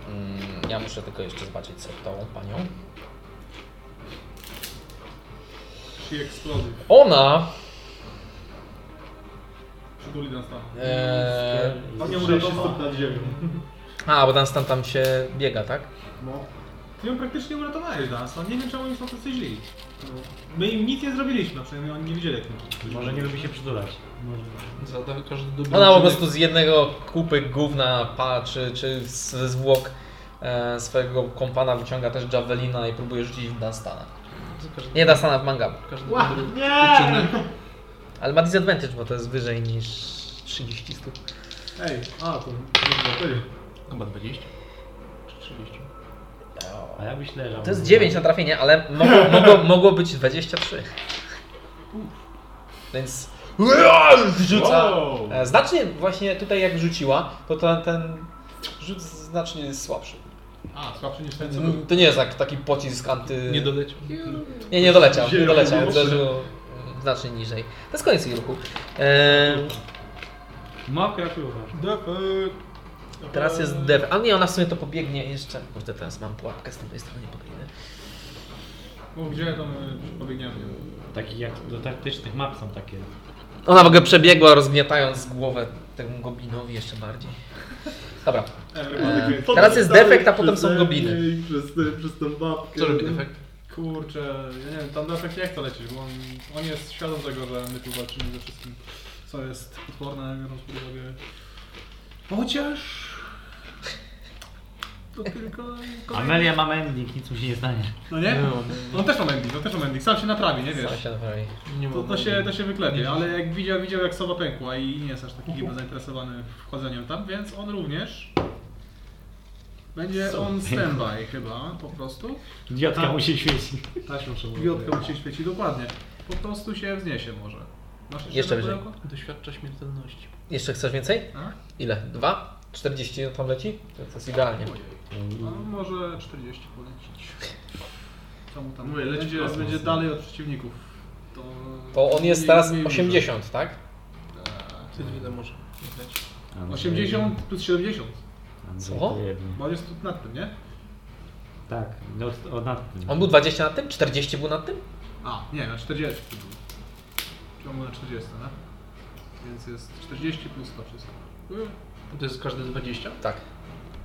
Speaker 1: Mm, ja muszę tylko jeszcze zobaczyć sobie tą panią.
Speaker 8: She exploded.
Speaker 1: Ona
Speaker 8: Przytuli nas tam.
Speaker 1: E,
Speaker 4: A nie
Speaker 8: nie
Speaker 4: muszę
Speaker 8: udało.
Speaker 4: się stąd nad ziemią.
Speaker 1: a, bo Dunstan tam się biega, tak?
Speaker 4: No.
Speaker 8: Ty ją praktycznie uratowałeś nas, no nie wiem czemu oni są tacy źli. My im nic nie zrobiliśmy, przynajmniej oni nie wiedzieli jak mi.
Speaker 6: Może nie lubi się przytulać.
Speaker 3: Za to każdy dobry
Speaker 1: Ona po
Speaker 8: Znaczy,
Speaker 3: uczynek-
Speaker 1: prostu z jednego kupy gówna pa, czy, czy z- ze zwłok e, swojego kompana wyciąga też javelina i próbuje rzucić w Dunstana.
Speaker 3: za Każdy,
Speaker 1: Nie Dunstana, w Mangabu.
Speaker 3: każdy dobry
Speaker 4: Nie!
Speaker 3: uczynek.
Speaker 1: Ale ma disadvantage, bo to jest wyżej niż 30 stóp.
Speaker 4: Ej, a to... dobra, to nie.
Speaker 3: Chyba 20. Czy 30.
Speaker 6: A ja byś leżał.
Speaker 1: To jest 9 na trafienie, ale mogło, mogło, mogło być 23. Więc rzuca.
Speaker 4: Wow!
Speaker 1: E, Znacznie właśnie tutaj jak rzuciła, to ten, ten rzut znacznie jest słabszy.
Speaker 8: A, słabszy niż ten co był.
Speaker 1: Mm, To nie jest tak, taki pocisk anty...
Speaker 3: Nie doleciał.
Speaker 1: nie, nie doleciał, nie
Speaker 4: Zielony
Speaker 1: doleciał,
Speaker 4: mocno.
Speaker 1: uderzył mm, znacznie niżej. To jest koniec jej ruchu. E,
Speaker 6: Mokra piłka.
Speaker 8: Defy. e,
Speaker 1: teraz jest dev. A nie, ona w sumie to pobiegnie jeszcze. Kurde, teraz mam pułapkę z tej strony, nie pobiegnę.
Speaker 8: Mów gdzie to my pobiegniemy.
Speaker 6: Takich jak do taktycznych map są takie.
Speaker 1: Ona w ogóle przebiegła, rozgniatając głowę temu goblinowi jeszcze bardziej. Dobra,
Speaker 4: Everybody
Speaker 1: E, teraz jest defekt, a potem są
Speaker 4: Przeze
Speaker 1: gobliny.
Speaker 4: mnie i Przez, te- przez tą babkę.
Speaker 3: Co robi defekt?
Speaker 8: Kurczę, ja nie wiem, tam defekt nie chce lecieć, bo on, on jest świadom tego, że my tu walczymy ze wszystkim, co jest potworne, biorąc pod uwagę. Chociaż. To tylko...
Speaker 6: Amelia ma mending, nic mu się nie stanie.
Speaker 8: No nie? On też ma mending, on też ma mending. Sam się naprawi, nie
Speaker 1: Sam
Speaker 8: wiesz?
Speaker 1: się naprawi.
Speaker 5: Nie
Speaker 8: To,
Speaker 5: mam
Speaker 8: to, się,
Speaker 5: nadziei.
Speaker 8: to się wyklepie, ale jak widział, widział jak sowa pękła i nie jest aż taki chyba zainteresowany wchodzeniem tam, więc on również... Będzie
Speaker 6: Sowa
Speaker 8: on
Speaker 6: pękła.
Speaker 8: standby chyba, po prostu.
Speaker 6: Diotka mu się świeci.
Speaker 3: Taśmą trzeba
Speaker 8: Gwiazdka mu się świeci dokładnie. Po prostu się wzniesie może. Masz
Speaker 1: Jeszcze
Speaker 8: jedno
Speaker 1: wyżej.
Speaker 8: pudełko?
Speaker 5: Doświadcza śmiertelności.
Speaker 1: Jeszcze chcesz więcej?
Speaker 8: A?
Speaker 1: Ile? Dwa? 40 tam leci? To jest idealnie.
Speaker 8: No, może 40 polecić. Co mu tam?
Speaker 4: Mówię, leci
Speaker 8: będzie,
Speaker 4: kosmos,
Speaker 8: będzie
Speaker 4: no.
Speaker 8: dalej od przeciwników. To,
Speaker 1: To on jest
Speaker 8: mniej-
Speaker 1: teraz
Speaker 8: mniej dużo.
Speaker 1: 80, tak?
Speaker 5: Ty ile może lecieć?
Speaker 8: 80 plus 70,
Speaker 6: Andrzej
Speaker 1: Co?
Speaker 6: to jedno.
Speaker 8: bo on jest tu nad tym, nie?
Speaker 6: Tak, no od, od nad tym.
Speaker 1: On był 20 na tym? 40 był na tym?
Speaker 8: A, nie, na 40 to był. Ciągle na 40, no? Więc jest 40 plus to wszystko.
Speaker 5: To jest każde 20?
Speaker 1: Tak,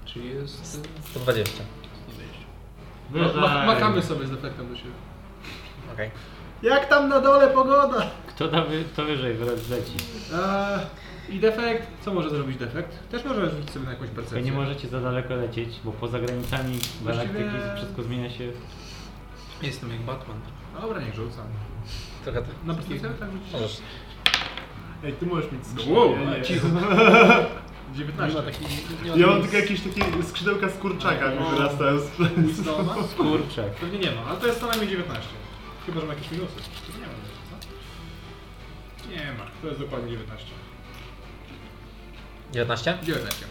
Speaker 5: Czyli jest... y,
Speaker 1: 120.
Speaker 5: 120.
Speaker 6: No
Speaker 8: Ma, ma, machamy sobie z defektem do siebie.
Speaker 1: Okej.
Speaker 8: Jak tam na dole pogoda?
Speaker 6: Kto da wy, to wyżej wyleci?
Speaker 8: Eee, I defekt, co może zrobić defekt? Też może rzucić sobie na jakąś percepcję.
Speaker 6: Tylko nie możecie za daleko lecieć, bo poza granicami galaktyki
Speaker 8: Właściwie-
Speaker 6: wszystko zmienia się.
Speaker 5: Jestem jak Batman. No
Speaker 8: No Dobra, niech rzucam.
Speaker 1: Trochę tak.
Speaker 8: Na percepcję tak rzucić?
Speaker 1: Możesz.
Speaker 4: Ej, ty możesz mieć skrzydła.
Speaker 8: Wow,
Speaker 4: ja nie.
Speaker 8: cicho. 19. Nie ma takiej...
Speaker 4: Ja mam tylko jakieś takie skrzydełka z kurczaka,
Speaker 3: No.
Speaker 4: mi wyrastają z
Speaker 8: Winstona?
Speaker 6: Kurczek.
Speaker 8: Pewnie nie ma, ale to jest co najmniej 19. Chyba, że ma jakieś minusy. Nie ma, no. co? Nie ma, to jest dokładnie 19.
Speaker 1: 19?
Speaker 8: 19.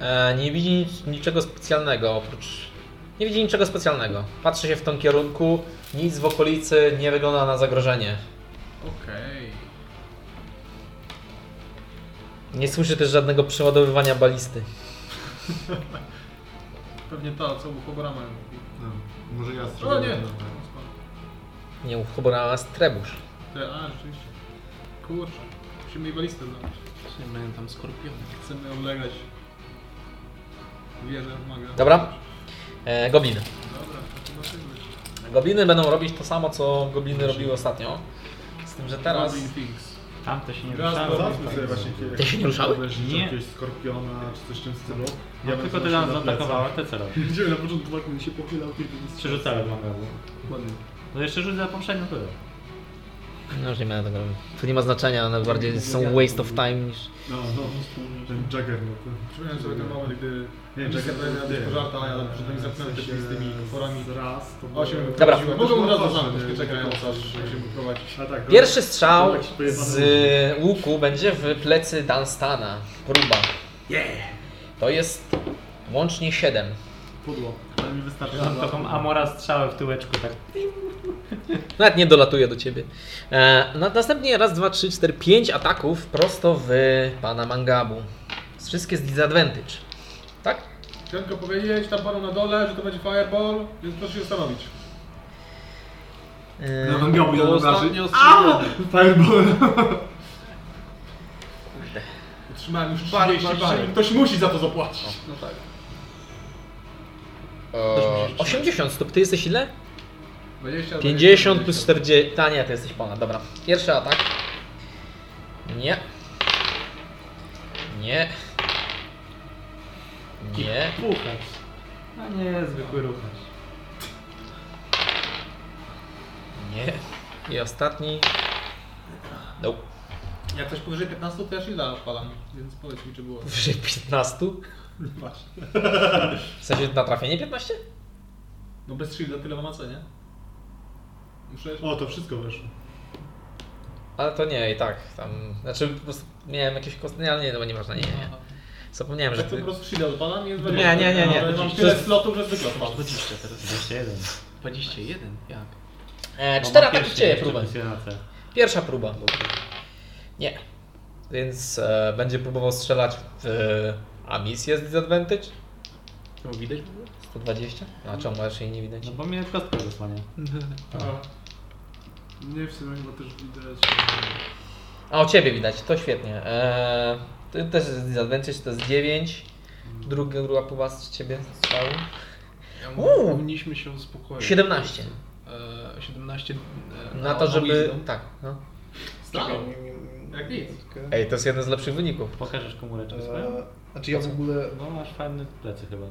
Speaker 1: E, nie widzi nic, niczego specjalnego oprócz. Nie widzi niczego specjalnego. Patrzy się w tym kierunku, nic w okolicy nie wygląda na zagrożenie.
Speaker 8: Okej.
Speaker 1: Nie słyszy też żadnego przeładowywania balisty.
Speaker 8: Pewnie ta, co u Hobora mają.
Speaker 3: No, może ja strzelam.
Speaker 4: No
Speaker 8: O nie!
Speaker 1: Nie u Hobora Trebusz.
Speaker 8: Te, a, rzeczywiście. Kurczę. Musimy jej balistę znaleźć.
Speaker 5: Czyli mają tam skorpiony.
Speaker 8: Chcemy oblegać wieżę maga.
Speaker 1: Dobra? E, gobliny.
Speaker 8: Dobra, to zobaczymy.
Speaker 1: Gobliny będą robić to samo, co gobliny robiły ostatnio. Z tym, że teraz.
Speaker 8: Goblin Things.
Speaker 6: Tam to się nie
Speaker 8: Raz,
Speaker 6: ruszało.
Speaker 8: dwa,
Speaker 3: No, Załatwmy sobie właśnie chwilę.
Speaker 1: Te się nie ruszały?
Speaker 3: Wreszcie
Speaker 6: Nie.
Speaker 3: jakiegoś skorpiona czy coś w tym stylu.
Speaker 6: Ja tylko
Speaker 3: będę
Speaker 6: ty
Speaker 3: nosił
Speaker 6: nas
Speaker 3: na
Speaker 6: zaatakowała,
Speaker 3: plecach.
Speaker 6: te co robi?
Speaker 3: Widziałem na początku, jak on się pochylał, kiedy
Speaker 6: Trzy rzucałem magazu.
Speaker 3: Ładnie.
Speaker 6: No jeszcze rzucę za poprzednią turę.
Speaker 1: No już nie będę tego robił. Tu nie ma znaczenia, one bardziej są waste of time niż.
Speaker 3: No, no, ten no Juggernaut.
Speaker 8: Przypomniałem sobie ten moment, gdy
Speaker 3: Nie,
Speaker 8: Misja
Speaker 3: Juggernaut
Speaker 8: powinna być
Speaker 3: nie.
Speaker 8: pożarta, a ja przy tym zamknąłem
Speaker 3: W
Speaker 8: się
Speaker 3: sensie
Speaker 8: e, z tymi potworami.
Speaker 3: z Raz, to było-
Speaker 8: Osiem
Speaker 1: Dobra.
Speaker 8: wyprowadziłem. e, Mogą od razu
Speaker 3: Otworzy,
Speaker 8: zamknąć, nie
Speaker 3: nie,
Speaker 8: czekają
Speaker 3: tylko
Speaker 8: aż
Speaker 3: otworzy.
Speaker 8: się wyprowadzić.
Speaker 3: A tak,
Speaker 1: Pierwszy strzał z y, łuku będzie w plecy Dunstana. Próba. To jest łącznie 7.
Speaker 3: Pudło.
Speaker 4: Ale mi wystarczy.
Speaker 6: Mam taką amora strzałę w tyłeczku, tak.
Speaker 1: Nawet nie dolatuje do ciebie. E, na, następnie raz, dwa, trzy, cztery, pięć ataków prosto w pana Mangabu. Z Wszystkie z disadvantage. Tak?
Speaker 8: Chciałem tylko powiedzieć tam panu na dole, że to będzie fireball, więc proszę się zastanowić.
Speaker 1: E,
Speaker 4: Na węgiobu jeden obraży.
Speaker 8: ostrzeliłem.
Speaker 4: Fireball.
Speaker 8: Otrzymałem już 30 bary. Ktoś musi za to zapłacić.
Speaker 5: No tak.
Speaker 1: e, 80 stóp. Ty jesteś ile?
Speaker 8: 20,
Speaker 1: 50 plus 40. Ta nie, ty jesteś ponad. Dobra. Pierwszy atak. Nie. Nie. Nie.
Speaker 6: Puchacz. A nie, zwykły ruchacz.
Speaker 1: Nie. I ostatni. No,
Speaker 8: Jak coś powyżej 15 to ja shielda odpalam, więc powiedz mi czy było.
Speaker 1: powyżej 15. W sensie na trafienie 15?
Speaker 8: No bez shielda tyle ma co, nie? Muszę...
Speaker 3: O, to wszystko weszło.
Speaker 1: Ale to nie, i tak. Tam, znaczy, po prostu miałem jakieś kostki, ale nie, no bo nieważne, nie, nie. Zapomniałem, że
Speaker 8: Tak to
Speaker 1: ty...
Speaker 8: po prostu shielda odpalam i jest
Speaker 1: Nie,
Speaker 8: 20.
Speaker 1: nie, nie, nie.
Speaker 8: Ale mam
Speaker 1: To
Speaker 8: tyle
Speaker 1: jest-
Speaker 8: slotów, że zwykle odpalam.
Speaker 5: 20 teraz.
Speaker 6: 21.
Speaker 5: 21? Jak?
Speaker 1: E,
Speaker 6: Bo
Speaker 1: cztery
Speaker 6: mam
Speaker 1: ataki w
Speaker 6: pierścień,
Speaker 1: ciebie
Speaker 6: jeszcze
Speaker 1: próbę.
Speaker 6: plus jeden AC.
Speaker 1: Pierwsza próba. Nie. Więc e, będzie próbował strzelać w... A misja z disadvantage?
Speaker 5: To No, widać w ogóle?
Speaker 1: 120? A czemu masz jej nie widać?
Speaker 6: No bo mnie kostka zasłania.
Speaker 4: Nie, w sumie chyba też widać.
Speaker 1: A o ciebie widać, to świetnie. Eee, to też jest disadvantage, to jest 9. Druga, druga próba z ciebie strzału.
Speaker 5: Ja
Speaker 1: Uuu.
Speaker 5: mówię, powinniśmy się uspokoić.
Speaker 1: 17.
Speaker 5: E, 17 e,
Speaker 1: Na to,
Speaker 5: na
Speaker 1: żeby.
Speaker 5: wisdom.
Speaker 1: Tak. No.
Speaker 8: Stało. Jak nic.
Speaker 1: Ej, to jest jeden z lepszych wyników.
Speaker 6: Pokażesz komóreczkę swoją?
Speaker 3: Znaczy ja w ogóle
Speaker 6: Bo masz fajne plecy chyba.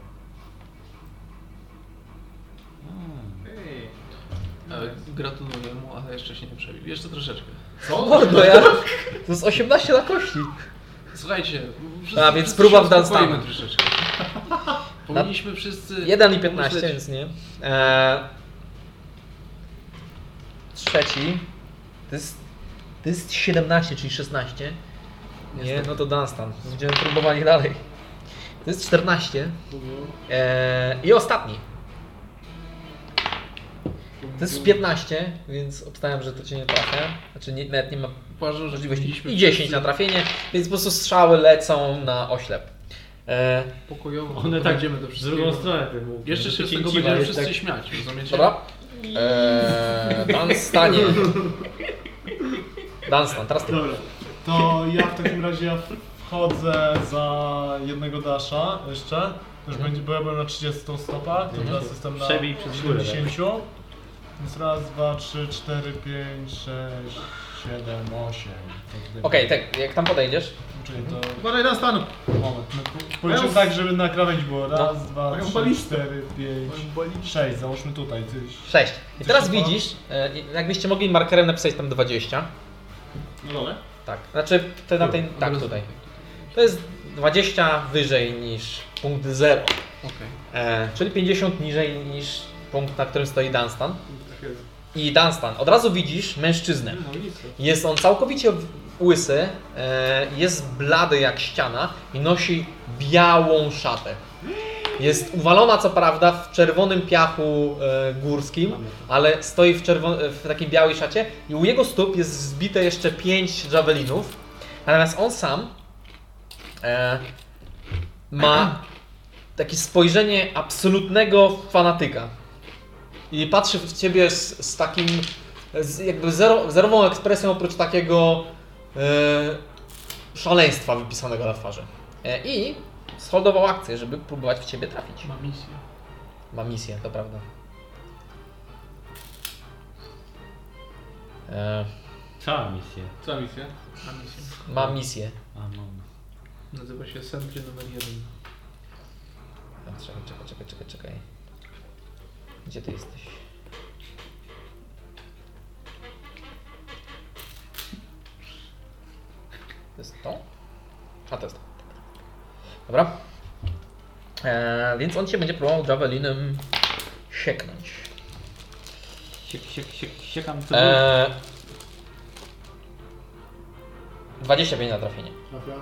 Speaker 5: E, Gratuluję mu, ale jeszcze się nie przebił. Jeszcze troszeczkę.
Speaker 8: Co?
Speaker 1: Mordo, no ja... To jest 18 na kości.
Speaker 5: Słuchajcie,
Speaker 1: A, więc próba w
Speaker 5: się
Speaker 1: Dunstana.
Speaker 5: uspokoimy troszeczkę. Powinniśmy wszyscy...
Speaker 1: 1 i 15,
Speaker 5: pomyśleć-
Speaker 1: więc nie. Eee, trzeci. To jest, to jest 17, czyli 16. Nie,
Speaker 5: Niestety.
Speaker 1: no to Dunstan. Będziemy próbowali dalej. To jest 14. Eee, I ostatni. To
Speaker 8: Mhm.
Speaker 1: jest 15, więc obstawiam, że to cię nie trafia. Znaczy nie, nawet nie ma
Speaker 5: Uważam, że
Speaker 1: możliwości.
Speaker 5: powinniśmy
Speaker 1: I 10
Speaker 5: wszyscy
Speaker 1: na trafienie, więc po prostu strzały lecą na oślep. Eee,
Speaker 5: Pokojowo
Speaker 6: One tak,
Speaker 5: podejdziemy do
Speaker 6: z
Speaker 5: wszystkiego.
Speaker 6: drugą stronę tym łukiem.
Speaker 5: Jeszcze się z tego
Speaker 6: Cięciwa
Speaker 5: będziemy
Speaker 6: jest
Speaker 5: wszyscy
Speaker 6: tak-
Speaker 5: śmiać, rozumiecie?
Speaker 1: Dobra. Eee, Dan stanie. Dan stan, teraz ty.
Speaker 4: Dobra, to ja w takim razie ja wchodzę za jednego dasza jeszcze. Już
Speaker 1: Mhm.
Speaker 4: będzie, bo ja byłem na 30 stopach, to teraz jestem na
Speaker 6: Przebij przez górę, tak?
Speaker 4: 70. Więc raz, dwa, trzy, cztery, pięć, sześć, siedem, osiem.
Speaker 1: Okej, tak, Mhm. jak tam podejdziesz?
Speaker 4: Czyli to
Speaker 8: Uważaj na stan.
Speaker 4: moment. No, Policzę tak, żeby na krawędź było.
Speaker 1: No.
Speaker 4: Raz, dwa,
Speaker 8: Mają
Speaker 4: trzy,
Speaker 8: balistę.
Speaker 4: cztery, pięć, sześć. Załóżmy tutaj. Ty,
Speaker 1: 6. I teraz
Speaker 4: się stało?
Speaker 1: widzisz, e, jakbyście mogli markerem napisać tam 20.
Speaker 8: No dole.
Speaker 1: Tak. Znaczy, te na tej, tak tutaj. To jest 20 wyżej niż punkt 0.
Speaker 5: Okej.
Speaker 1: E, czyli 50 niżej niż punkt, na którym stoi Dunstan.
Speaker 3: Tak jest.
Speaker 1: I Dunstan, od razu widzisz mężczyznę.
Speaker 3: No nic.
Speaker 1: Jest on całkowicie w- łysy, e, jest blady jak ściana i nosi białą szatę. Jest uwalona co prawda w czerwonym piachu e, górskim, ale stoi w, czerwo- w takiej białej szacie i u jego stóp jest zbite jeszcze pięć javelinów. Natomiast on sam e, ma takie spojrzenie absolutnego fanatyka. I patrzy w ciebie z, z takim z jakby zero, zerową ekspresją oprócz takiego e, szaleństwa wypisanego na twarzy. E, I sholdował akcję, żeby próbować w ciebie trafić.
Speaker 5: Ma misję.
Speaker 1: Ma misję, to prawda. E,
Speaker 6: Cała misja.
Speaker 8: Co misja?
Speaker 5: Ma misję.
Speaker 1: ma misję.
Speaker 6: A, no. mam.
Speaker 5: Nazywa się Sędzie numer jeden.
Speaker 1: A, No, Czekaj, czekaj, czekaj, czekaj, czekaj. Gdzie ty jesteś? To jest to? A to jest to. Dobra. Eee, więc on się będzie próbował javelinem sieknąć.
Speaker 6: Siek, siek, siek, siekam co
Speaker 9: E,
Speaker 1: Eee, 25 na trafienie.
Speaker 3: Trafia.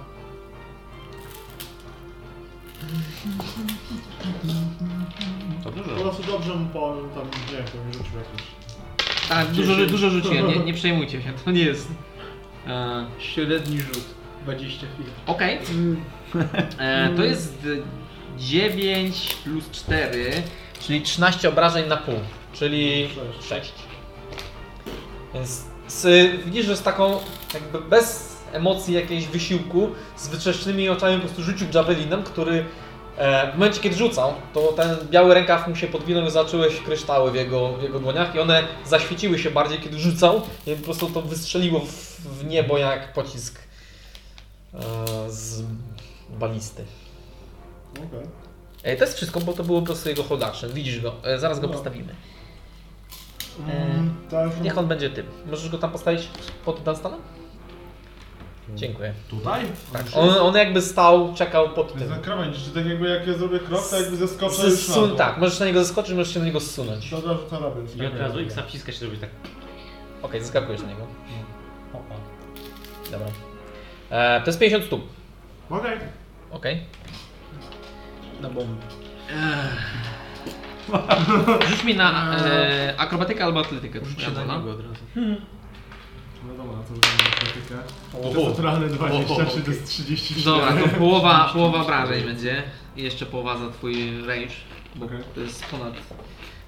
Speaker 6: To
Speaker 3: Po
Speaker 6: dużo.
Speaker 3: prostu dobrze mu powiem, tam nie wiem, powiem rzucił jakiś.
Speaker 9: Tak, dużo, dużo rzuciłem, nie, nie przejmujcie się, to nie jest. E,
Speaker 5: Średni rzut. 20 chwil.
Speaker 9: Okej. E, to jest 9 plus 4.
Speaker 1: Czyli 13 obrażeń na pół, czyli
Speaker 3: Sześć.
Speaker 1: 6. Więc z, widzisz, że z taką jakby bez emocji jakiegoś wysiłku, z wytrzeszczonymi oczami po prostu rzucił javelinem, który e, w momencie kiedy rzucał, to ten biały rękaw mu się podwinął i zaczęły się kryształy w jego, w jego dłoniach i one zaświeciły się bardziej kiedy rzucał i po prostu to wystrzeliło w, w niebo jak pocisk e, z balisty.
Speaker 3: Okej.
Speaker 1: E, to jest wszystko, bo to było po prostu jego hold action. Widzisz go, e, zaraz go postawimy.
Speaker 3: Mm, tak,
Speaker 1: E, Niech on będzie tym. Możesz go tam postawić pod Dunstanem? Dziękuję.
Speaker 4: tutaj?
Speaker 1: Tak. On, on jakby stał, czekał pod
Speaker 3: Jest na
Speaker 1: tym.
Speaker 3: krawędzi, czy tak jakby jak ja zrobię krok, to jakby zeskoczę już na
Speaker 1: Zsun,
Speaker 3: dół.
Speaker 1: tak, możesz na niego zeskoczyć, możesz się na niego zsunąć. Okej,
Speaker 3: Dobra, że to robię.
Speaker 6: I od razu X wciska się robić tak.
Speaker 1: zeskakujesz na niego.
Speaker 6: O, o.
Speaker 1: Dobra. E, to jest 50 stóp.
Speaker 3: Okej.
Speaker 1: Okej.
Speaker 5: Na bombę.
Speaker 9: Rzuć mi na e, akrobatykę albo atletykę.
Speaker 5: Rzuć się
Speaker 9: Dobra,
Speaker 5: na
Speaker 9: no.
Speaker 5: niego od razu.
Speaker 4: No dobra, to już mam krytykę. To jest
Speaker 6: Oho.
Speaker 4: naturalne 20,
Speaker 6: Oho,
Speaker 4: czy to
Speaker 6: okej.
Speaker 4: jest 34?
Speaker 9: Dobra, to połowa, połowa obrażeń będzie. I jeszcze połowa za twój range, bo
Speaker 4: Okej.
Speaker 9: to jest ponad...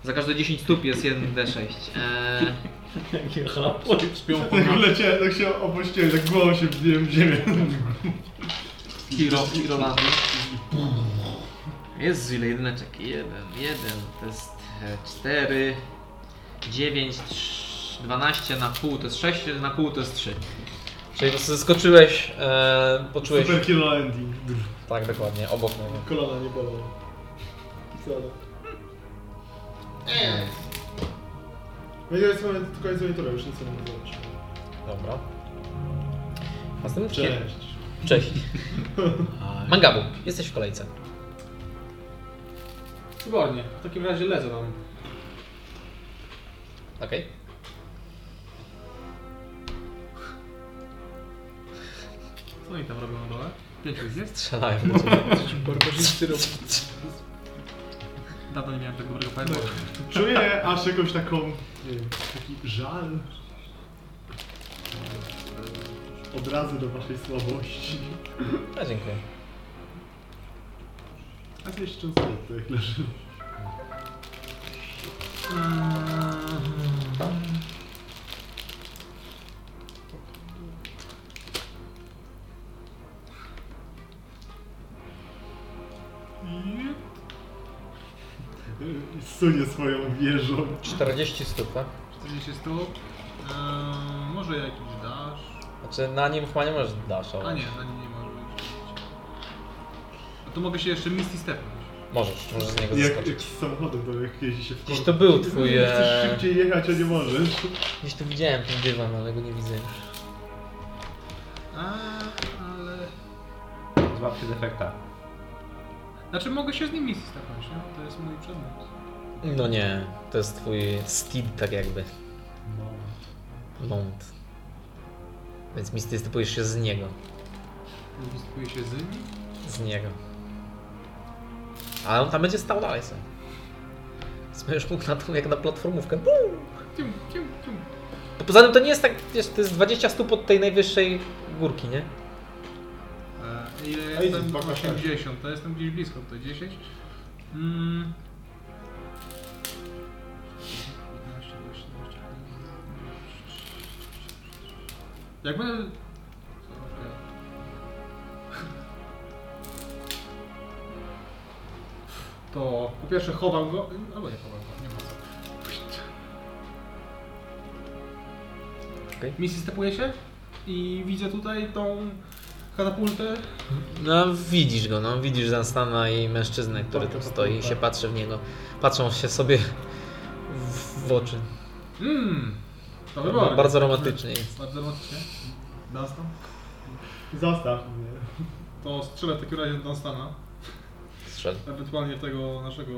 Speaker 9: Za każde 10 stóp jest 1d6. E,
Speaker 6: Jakie chlapło.
Speaker 5: Spią po
Speaker 4: Tak lecie, tak się opuściłem, tak głową się wbiłem w ziemię.
Speaker 9: Hero, Hero Landy. Jezu, ile jedyneczek. Jeden, jeden, to jest e, cztery, dziewięć, trz- dwanaście na pół to jest sześć, na pół to jest trzy.
Speaker 1: Czyli po prostu zeskoczyłeś, e, poczułeś...
Speaker 4: Super kilo ending.
Speaker 1: Tak, dokładnie, obok niego.
Speaker 3: Kolana nie bolą. Wcale.
Speaker 13: No i teraz mamy tylko izolatora, już nic nie mogę zrobić.
Speaker 1: Dobra. Następny?
Speaker 13: Cześć.
Speaker 1: Cześć. Mangabu, jesteś w kolejce.
Speaker 8: Wybornie. W takim razie lecę tam.
Speaker 1: Okej.
Speaker 8: Co oni No tam robią na dole? Pięciu ich jest?
Speaker 1: Strzelałem do ciebie.
Speaker 8: Barbarzyńcy robią. Dawno nie miałem tak dobrego fireballa.
Speaker 3: No.
Speaker 4: Czuję aż jakąś taką, nie wiem, taki żal. Odrazy do waszej słabości.
Speaker 1: A, dziękuję.
Speaker 4: A ty jeszcze często jak leży. I y, Sunie swoją wieżą.
Speaker 1: 40 stóp, tak?
Speaker 8: 40 stóp. Eee, może jakiś dasz?
Speaker 1: Znaczy na nim chyba nie możesz dasza.
Speaker 8: A nie, na nim nie może być. A to mogę się jeszcze Misty stepnąć.
Speaker 1: Możesz, możesz z niego
Speaker 4: Jak, jak
Speaker 1: zaskoczyć.
Speaker 4: z samochodem, to jak jeździ się w
Speaker 1: Gdzieś
Speaker 4: korku.
Speaker 1: to był twój, e,
Speaker 4: Chcesz szybciej jechać, a nie możesz.
Speaker 1: Gdzieś tu widziałem ten dywan, ale go nie widzę już.
Speaker 8: A, ale...
Speaker 6: Złap się defekta.
Speaker 8: Znaczy mogę się z nim Misty stepnąć, nie? To jest mój przedmiot.
Speaker 1: No nie, to jest twój steed tak jakby. No. Mount. Więc mistystypujesz się z niego.
Speaker 8: Mistykuję się z nim.
Speaker 1: Z niego. Ale on tam będzie stał dalej sobie. Zmierz mógł na tą jak na platformówkę. Bum!
Speaker 8: Cium, cium, cium.
Speaker 1: To poza tym to nie jest tak, wiesz, to jest 20 stóp od tej najwyższej górki, nie?
Speaker 8: E, Ile ja
Speaker 13: A ile
Speaker 8: jestem?
Speaker 13: dwa kostki?
Speaker 8: 80, to jestem gdzieś blisko, to 10. Mm. 15, 12, 12. Jak będę... To po pierwsze chowam go, albo nie chowam go, nie ma co.
Speaker 1: Okej.
Speaker 8: Misji stepuje się i widzę tutaj tą katapultę.
Speaker 1: No widzisz go, no widzisz Zanstana i mężczyznę, który tam stoi i się patrzy w niego. Patrzą się sobie w, w oczy.
Speaker 8: Mmm, to wybornie.
Speaker 1: No, Bardzo romantycznie jest.
Speaker 8: Bardzo romantycznie. Dunstan?
Speaker 4: Zostaw mnie.
Speaker 8: To strzelę w takim razie do Dunstana.
Speaker 1: Strzel.
Speaker 8: Ewentualnie w tego naszego...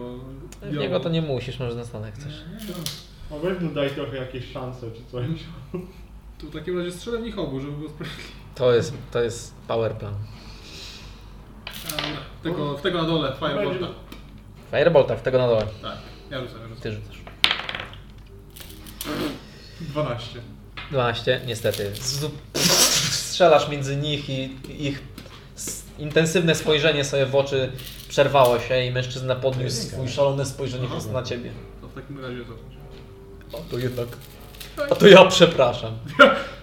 Speaker 1: W niego to nie musisz, możesz Zanstana jak chcesz.
Speaker 4: A weź mu daj trochę jakieś szanse czy coś.
Speaker 8: To w takim razie strzelę w nich obu, żeby było sprawiedliwie.
Speaker 1: To jest, to jest power plan.
Speaker 8: Dobra, w Tego, w tego na dole, firebolta.
Speaker 1: Fireball, tak, tego na dole.
Speaker 8: Tak, ja rzucam, ja rzucam.
Speaker 1: Ty rzucasz.
Speaker 8: 12.
Speaker 1: 12, niestety. Z- Strzelasz między nich i ich s- intensywne spojrzenie sobie w oczy przerwało się i mężczyzna podniósł swój szalone spojrzenie prosto na ciebie.
Speaker 8: To w takim razie to.
Speaker 1: O, to jednak... A to ja przepraszam.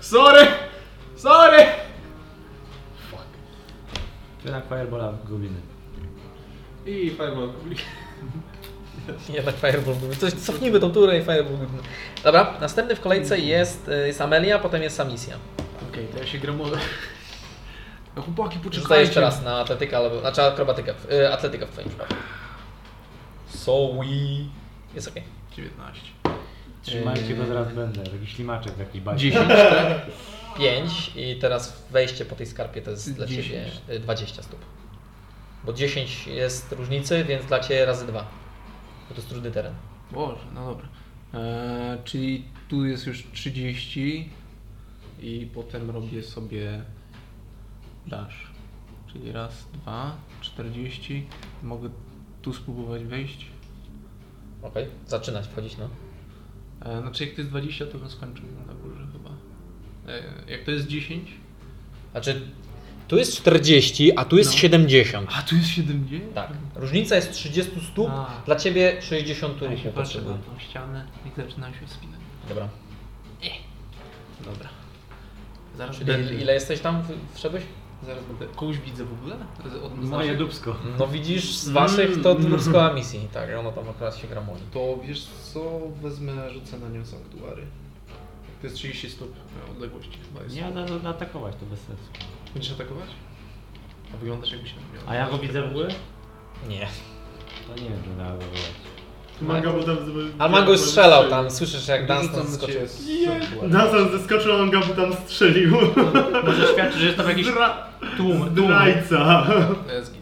Speaker 8: Sorry! Sorry!
Speaker 6: Jednak Firebola gubiny.
Speaker 8: I fireball.
Speaker 1: Jednak Fireball był. Coś, cofnijmy tą turę i Fireball był. Dobra, następny w kolejce jest, y, jest Amelia, potem jest Samisja.
Speaker 3: Okej, to ja się gramolę. No chłopaki,
Speaker 1: Rzucaj
Speaker 3: poczekajcie.
Speaker 1: jeszcze raz na atletykę, albo, znaczy akrobatykę, y, atletykę w twoim przypadku. So we... Jest okej.
Speaker 3: 19.
Speaker 6: Trzymajcie go, zaraz będę. Jakiś ślimaczek w jakiejś bajce.
Speaker 1: 5 i teraz wejście po tej skarpie to jest dla
Speaker 3: 10.
Speaker 1: Ciebie y, 20 stóp. Bo 10 jest różnicy, więc dla Ciebie razy 2. Bo to jest trudny teren.
Speaker 3: Boże, no dobra. Eee, czyli tu jest już 30 i potem robię sobie dash. Czyli raz, dwa, 40. Mogę tu spróbować wejść.
Speaker 1: Ok? Zaczynać wchodzić, no.
Speaker 3: Eee, znaczy jak to jest 20, to bym skończył na górze chyba. Eee, jak to jest 10?
Speaker 1: Znaczy, tu jest 40, a tu jest
Speaker 3: No.
Speaker 1: 70.
Speaker 3: A tu jest 70?
Speaker 1: Tak. Różnica jest 30 stóp,
Speaker 3: A.
Speaker 1: dla Ciebie 60
Speaker 3: Ja
Speaker 1: ruchu
Speaker 3: się no. patrzę
Speaker 1: potrzebuje.
Speaker 3: na tą ścianę i zaczynam się wspinać.
Speaker 1: Dobra.
Speaker 3: Dobra. Zaraz będę.
Speaker 1: Czyli ile jesteś tam? w- Wszedłeś?
Speaker 3: Zaraz będę. Kogoś widzę w ogóle? Od,
Speaker 14: znaczy-
Speaker 6: Moje dupsko.
Speaker 1: No widzisz, z
Speaker 3: Mm.
Speaker 1: waszych to Drubskoła misji. Tak, ona tam akurat się gramoli.
Speaker 3: To wiesz co, wezmę, rzucę na nią sanktuary. To jest 30 stóp odległości chyba jest.
Speaker 6: Nie, na, na, atakować to bez sensu.
Speaker 3: Będziesz atakować? A wyglądasz jakby się miał. Tak,
Speaker 6: A ja go widzę w ogóle?
Speaker 1: Nie.
Speaker 6: To nie wiem, że miałem go wywołać.
Speaker 4: Manga, bo tam...
Speaker 1: Almango już No. strzelał tam, słyszysz jak Dunstan
Speaker 3: Dorzucam do
Speaker 1: skoczył.
Speaker 3: ciebie
Speaker 4: Nathan zeskoczył, a Manga mu tam strzelił.
Speaker 6: Może świadczy, że jest tam jakiś
Speaker 4: Zdra...
Speaker 6: tłum. tłum.
Speaker 4: Zdrajca.
Speaker 3: To jest git.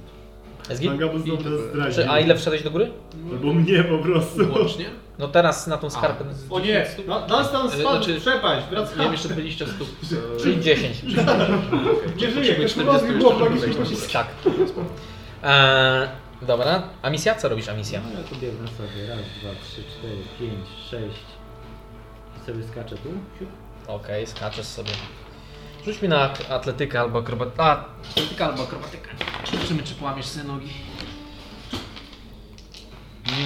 Speaker 1: Jest git?
Speaker 4: Manga mu
Speaker 3: I
Speaker 4: znowu
Speaker 3: to
Speaker 4: nas
Speaker 3: było.
Speaker 4: zdradził.
Speaker 1: Czy, a ile wszedłeś do góry?
Speaker 4: Albo mnie po prostu.
Speaker 3: Łącznie?
Speaker 1: No teraz na tą skarpę.
Speaker 3: A, z
Speaker 8: O nie,
Speaker 3: 10 stóp?
Speaker 8: no, Dunstan
Speaker 3: E,
Speaker 8: spadł,
Speaker 3: znaczy-
Speaker 8: przepaść, wracam.
Speaker 3: Miałem jeszcze 20 stóp. e,
Speaker 1: Czyli 10.
Speaker 3: okej,
Speaker 8: Gdzie
Speaker 3: potrzebuję
Speaker 8: żyje? Ktoś
Speaker 3: 40
Speaker 8: urodził,
Speaker 3: jeszcze,
Speaker 8: było
Speaker 3: żeby
Speaker 8: magicznie
Speaker 3: wejść na
Speaker 8: poślizgnąć.
Speaker 1: Tak. Eee, dobra. A misja? Co robisz, a misja?
Speaker 6: No ja tu biegnę sobie. Raz, dwa, trzy, cztery, pięć, sześć. I sobie skaczę tu. Siup.
Speaker 1: Okej, skaczesz sobie. Rzuć mi na ak- atletykę albo akrobatykę. Atletyka albo akrobatykę. Zobaczymy, czy połamiesz sobie nogi.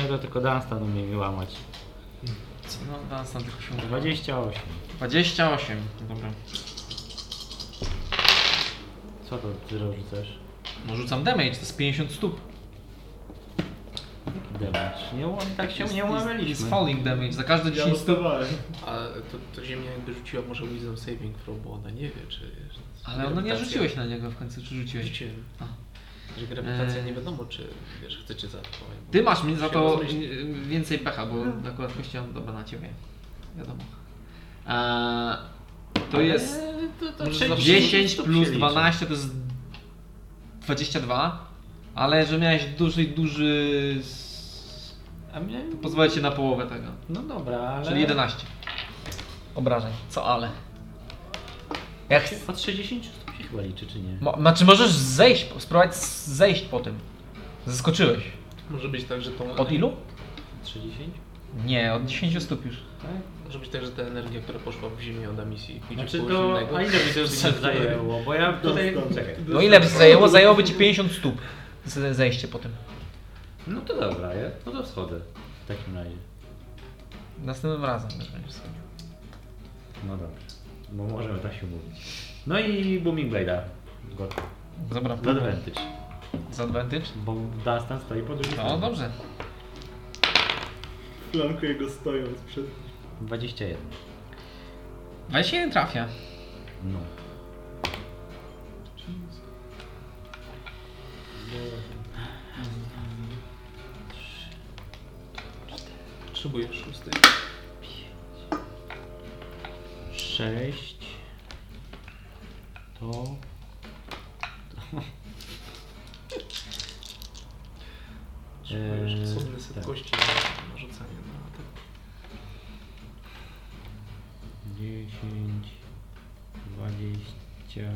Speaker 6: Nie, to tylko Dunstan umie łamać.
Speaker 14: Co? No, Dunstan tylko się mówi.
Speaker 6: 28.
Speaker 14: 28. Dobra.
Speaker 6: Co to ty rzucasz?
Speaker 14: No rzucam damage, to jest 50 stóp.
Speaker 6: Damage. Nie, łam- tak się
Speaker 14: Jest-
Speaker 6: nie
Speaker 14: jest- Jest
Speaker 6: łamaliśmy.
Speaker 14: falling damage, za każde
Speaker 4: Ja
Speaker 14: 10 stóp.
Speaker 4: dostawałem.
Speaker 3: A to, to ziemia jakby rzuciła może Wisdom Saving Throw, bo ona nie wie, czy...
Speaker 14: Ale no nie
Speaker 3: grawitacja-
Speaker 14: rzuciłeś na niego w końcu, czy rzuciłeś?
Speaker 3: Rzuciłem.
Speaker 14: A.
Speaker 3: Że grawitacja
Speaker 14: Eee.
Speaker 3: nie wiadomo, czy wiesz, chce czy za to.
Speaker 14: Ty masz mi za
Speaker 3: Się
Speaker 14: to
Speaker 3: rozmyśli.
Speaker 14: y, więcej pecha, bo akurat kością dobra na ciebie. Wiadomo. Eee, to jest
Speaker 3: Eee, to- to
Speaker 1: Może
Speaker 3: trzy-
Speaker 1: za
Speaker 3: trzy-
Speaker 14: 10
Speaker 3: to
Speaker 14: plus
Speaker 3: przeliczę.
Speaker 14: 12 to jest 22, ale że miałeś duży, duży... s-
Speaker 6: A mnie...
Speaker 14: Pozwolę ci na połowę tego,
Speaker 6: No dobra, ale...
Speaker 14: czyli 11. Obrażeń. Co ale? Jak... chc-
Speaker 6: Od 60 stóp się chyba liczy, czy nie?
Speaker 14: Mo- ma- czy możesz zejść, po- spróbować z- zejść po tym? Zaskoczyłeś.
Speaker 3: Może być tak, że tą...
Speaker 14: Od ilu?
Speaker 6: 30?
Speaker 14: Nie, od 10 stóp już.
Speaker 3: Może być tak, że ta energia, która poszła w ziemię od emisji pójdzie
Speaker 6: Znaczy
Speaker 3: w kogoś
Speaker 6: to...
Speaker 3: innego.
Speaker 6: A ile by to już zajęło? Bo ja tutaj... Czekaj.
Speaker 14: No ile by zajęło? Zajęłoby ci 50 stóp z- zejście po tym.
Speaker 6: No to dobra, ja... No to schodzę. W takim razie.
Speaker 14: Następnym razem już będziesz schodził.
Speaker 6: No dobrze. Bo możemy tak się mówić. No i Booming Blade'a. Gotów.
Speaker 14: Dobra,
Speaker 6: Z Advantage.
Speaker 14: z advantage?
Speaker 6: Bo Dunstan stoi po drugiej
Speaker 14: No dobrze.
Speaker 4: Flankuję go stojąc przed...
Speaker 6: 21.
Speaker 14: 21 trafia.
Speaker 6: No.
Speaker 3: Potrzebuję szóstej.
Speaker 14: E,
Speaker 6: 6 to... to...
Speaker 3: Potrzebujesz
Speaker 6: Eee,
Speaker 3: osobny set
Speaker 6: tak.
Speaker 3: kości na- na rzucanie. No, tak.
Speaker 6: 10, 20,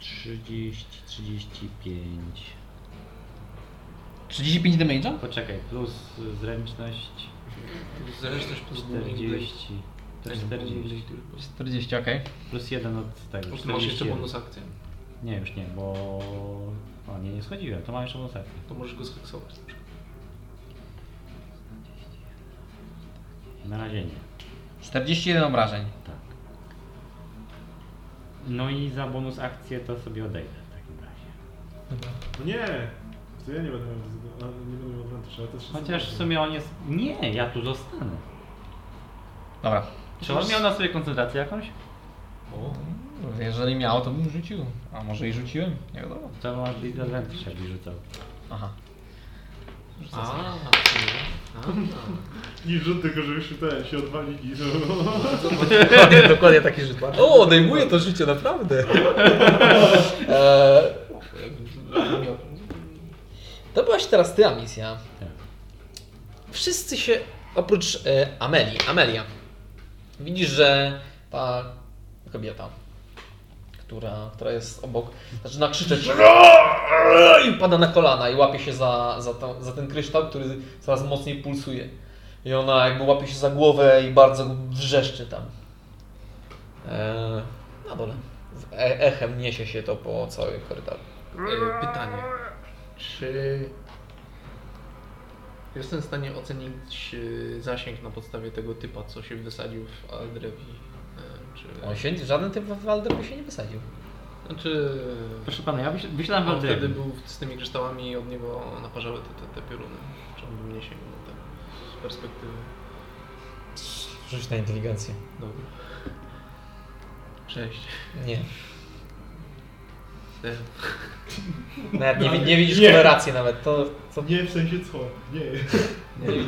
Speaker 6: 30, 35.
Speaker 14: 35 damage'a?
Speaker 6: Poczekaj, plus zręczność
Speaker 3: Zresztą plus booming blade.
Speaker 6: 40. To jest 40.
Speaker 14: 40, okej.
Speaker 6: Plus 1 od tego.
Speaker 3: Plus masz jeszcze
Speaker 6: 41.
Speaker 3: bonus akcję.
Speaker 6: Nie, już nie, bo... O, nie, nie schodziłem, to mam jeszcze bonus akcję.
Speaker 3: To możesz go zheksować. na przykład.
Speaker 6: Na razie nie.
Speaker 14: 41 obrażeń.
Speaker 6: Tak. No i za bonus akcję to sobie odejdę w takim razie.
Speaker 4: No nie! To ja nie będę miał... względu- a, Nie będę miał advantage, ale to jest...
Speaker 6: Chociaż w sumie on jest... Nie, ja tu zostanę.
Speaker 14: Dobra.
Speaker 6: Czy on miał na sobie koncentrację jakąś?
Speaker 14: Jeżeli miało, to bym rzucił. A może i rzuciłem? Nie wiadomo.
Speaker 6: To ma disadvantage jakby rzucał.
Speaker 14: Aha.
Speaker 3: A, a,
Speaker 4: I rzut tylko, żebyśmy ten, się odwalili. No.
Speaker 1: Dokładnie, dokładnie taki rzut. O, odejmuje to życie, naprawdę. Eee, to byłaś teraz ty, Amicia.
Speaker 6: Tak.
Speaker 1: Wszyscy się, oprócz e, Amelii, Amelia, widzisz, że ta kobieta, która, która jest obok, znaczy zaczyna krzyczeć i pada na kolana i łapie się za, za, to, za ten kryształ, który coraz mocniej pulsuje. I ona jakby łapie się za głowę i bardzo wrzeszczy tam. Eee, na dole. Z E echem niesie się to po całej korytarzu.
Speaker 3: a. E, Pytanie. Czy jestem w stanie ocenić e, zasięg na podstawie tego typa, co się wysadził w Aldrewi? E, Czy...
Speaker 1: On się, żaden typ w Alderby się nie wysadził.
Speaker 3: Znaczy...
Speaker 6: Proszę pana, ja wyś- wyślałem
Speaker 1: No,
Speaker 3: On
Speaker 6: wam
Speaker 3: wtedy był z tymi kryształami i od niego naparzały te, te, te pioruny. Czy on by mnie sięgnął tak z perspektywy?
Speaker 1: Rzuć na inteligencję.
Speaker 3: Dobra. Cześć.
Speaker 1: Nie.
Speaker 3: E,
Speaker 5: ten.
Speaker 1: Nawet nie, wi- nie widzisz
Speaker 3: Nie.
Speaker 1: koloracji nawet, to, to
Speaker 3: Nie w sensie co? Nie.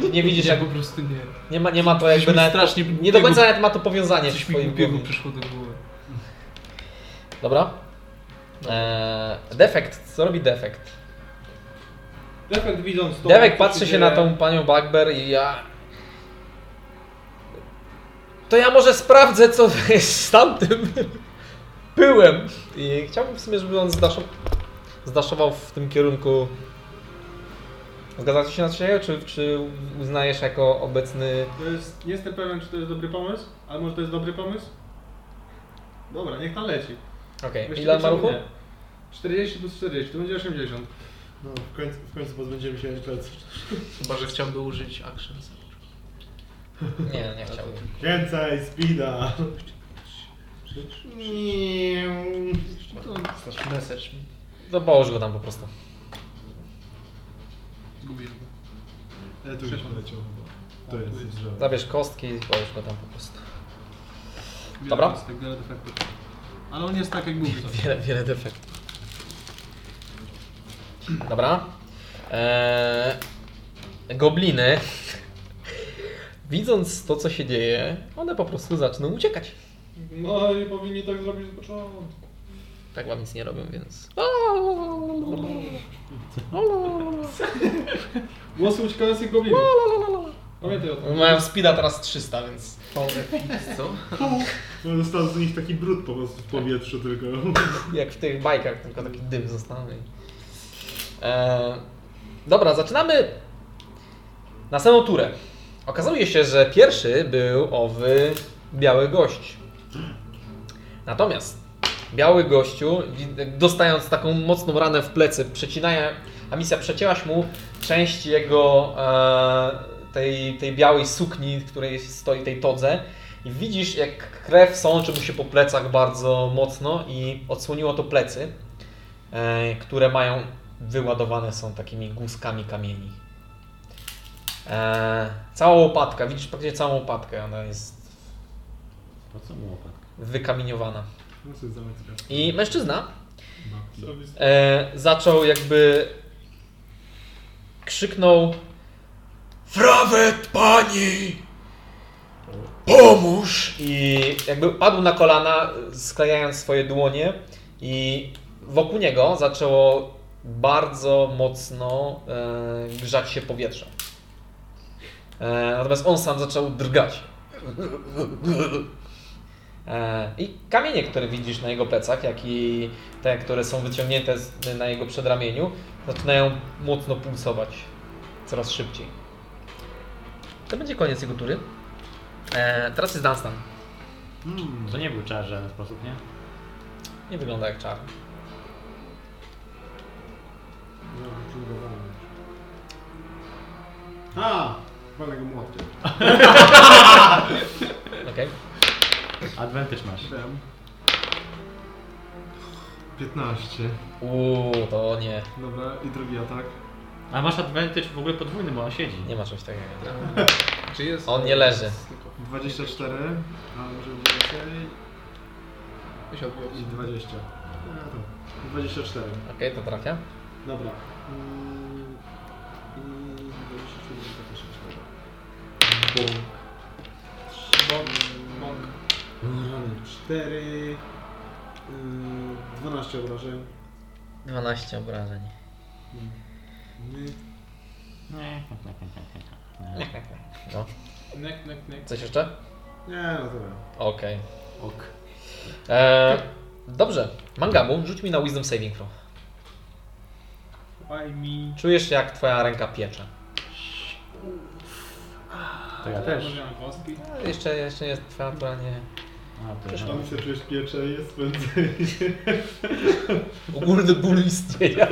Speaker 1: nie, nie widzisz
Speaker 5: Ja
Speaker 1: jak,
Speaker 5: po prostu nie.
Speaker 1: nie ma, nie ma to
Speaker 5: Coś
Speaker 1: jakby
Speaker 5: mi
Speaker 1: nawet,
Speaker 5: strasznie
Speaker 1: nie do
Speaker 5: głupiego-
Speaker 1: końca nawet ma to powiązanie w
Speaker 5: Coś mi
Speaker 1: swoim
Speaker 5: głupiego
Speaker 1: głowie.
Speaker 5: przyszło do głowy.
Speaker 1: Dobra? Eee, defekt, co robi defekt?
Speaker 3: Defekt widząc to.
Speaker 1: Dewek
Speaker 3: co
Speaker 1: patrzy się
Speaker 3: dzieje-
Speaker 1: na tą panią Bugbear i ja... To ja może sprawdzę, co jest z tamtym pyłem. I chciałbym w sumie, żeby on zdaszo... zdaszował w tym kierunku. Zgadzacie się na coś takiego, czy, czy uznajesz jako obecny...
Speaker 8: To jest, nie jestem pewien, czy to jest dobry pomysł, ale może to jest dobry pomysł? Dobra, niech tam leci.
Speaker 1: Okej,
Speaker 8: Właściwie
Speaker 1: ile on ma
Speaker 8: czemu
Speaker 1: ruchu?
Speaker 8: nie? 40 plus 40, to będzie 80.
Speaker 3: No, w końcu, w końcu pozbędziemy się śledztw.
Speaker 5: Chyba, że chciałby użyć actions.
Speaker 1: Nie, nie chciałbym.
Speaker 3: Kręcaj, spina.
Speaker 5: Znaczy message mi.
Speaker 1: To połóż go tam po prostu.
Speaker 5: Gubię go.
Speaker 4: Ale tu już poleciał chyba. To
Speaker 6: Tak,
Speaker 4: jest drzewo.
Speaker 1: Zabierz kostki i połóż go tam po prostu.
Speaker 8: Wiele
Speaker 1: Dobra.
Speaker 8: kostek, wiele defektów. Ale on jest tak jak mówi.
Speaker 1: Wiele, wiele defektów. Dobra. Eee, gobliny, widząc to, co się dzieje, one po prostu zaczną uciekać.
Speaker 3: No i powinni tak zrobić z początku.
Speaker 1: Tak wam nic nie robią, więc.
Speaker 3: Głosy uciekających goblinów. Pamiętaj o tym.
Speaker 1: Mają speeda teraz 300, więc.
Speaker 5: Co?
Speaker 4: No, Został z nich taki brud po prostu w powietrzu tylko.
Speaker 1: Jak w tych bajkach, tylko taki dym został. i- Eee, dobra, zaczynamy na samą turę. Okazuje się, że pierwszy był owy biały gość. Natomiast biały gościu, wi- dostając taką mocną ranę w plecy, przecinania, a misja przecięłaś mu część jego e, tej, tej białej sukni, w której stoi tej todze. I widzisz, jak krew sączy mu się po plecach bardzo mocno i odsłoniło to plecy, e, które mają wyładowane są takimi głuskami kamieni. E, cała łopatka, widzisz praktycznie całą łopatkę, ona jest
Speaker 6: Po co mu łopatka?
Speaker 1: wykamieniowana.
Speaker 4: No co jest za łatwe.
Speaker 1: I mężczyzna
Speaker 3: Co mi-
Speaker 1: e, zaczął jakby krzyknął Frawet pani! Pomóż! I jakby padł na kolana, sklejając swoje dłonie i wokół niego zaczęło bardzo mocno e, grzać się powietrze. E, natomiast on sam zaczął drgać. E, I kamienie, które widzisz na jego plecach, jak i te, które są wyciągnięte z, na jego przedramieniu, zaczynają mocno pulsować coraz szybciej. To będzie koniec jego tury. E, teraz jest Dunstan.
Speaker 4: Hmm.
Speaker 6: To nie był czar w żaden sposób, nie?
Speaker 1: Nie wygląda jak czar.
Speaker 4: A! Walę go młotkiem.
Speaker 1: Okej.
Speaker 6: Advantage masz.
Speaker 4: 15.
Speaker 1: Uuu, to nie.
Speaker 4: Dobra, i drugi atak.
Speaker 6: A masz advantage w ogóle podwójny, bo on siedzi.
Speaker 1: Nie ma czegoś takiego.
Speaker 3: E,
Speaker 5: Czy jest?
Speaker 1: On nie leży.
Speaker 4: 24, a może być więcej.
Speaker 5: Wysiadło.
Speaker 4: I 20. No to 24.
Speaker 1: Okej, to trafia.
Speaker 4: Dobra. Mm, I 24 to też jest dobra. Bąk. Bąk. Rany 4. Yy, 12 Mm, obrażeń.
Speaker 1: 12 obrażeń.
Speaker 4: Nie.
Speaker 6: Nie.
Speaker 1: No.
Speaker 8: Nek, nek, nek.
Speaker 1: Coś jeszcze?
Speaker 4: Nie, no dobra.
Speaker 1: Okej.
Speaker 6: Ok.
Speaker 1: E, Dobrze. Mangabu, rzuć mi na Wisdom Saving Throw.
Speaker 8: Why me?
Speaker 1: Czujesz, jak twoja ręka piecze.
Speaker 6: To ja też.
Speaker 8: Użyłem kostki.
Speaker 1: A, E, Jeszcze, jeszcze jest twoja tura nie...
Speaker 6: A, to ja.
Speaker 3: Tam się czujesz piecze jest pędzej.
Speaker 1: Ogólny ból istnienia.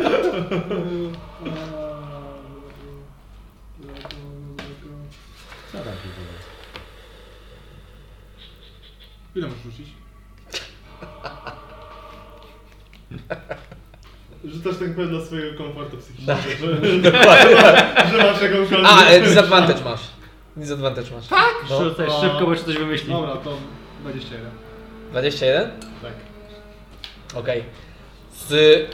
Speaker 6: Co tam się dzieje?
Speaker 8: Ile możesz rzucić?
Speaker 3: Rzucasz ten kład dla swojego komfortu psychicznego, że, że masz jakąkolwiek...
Speaker 1: A, e, disadvantage masz. Disadvantage masz. Tak? No.
Speaker 6: Rzucaj szybko, bo się coś wymyśli.
Speaker 8: Dobra, to 21.
Speaker 1: 21?
Speaker 3: Tak.
Speaker 1: Okej. Ty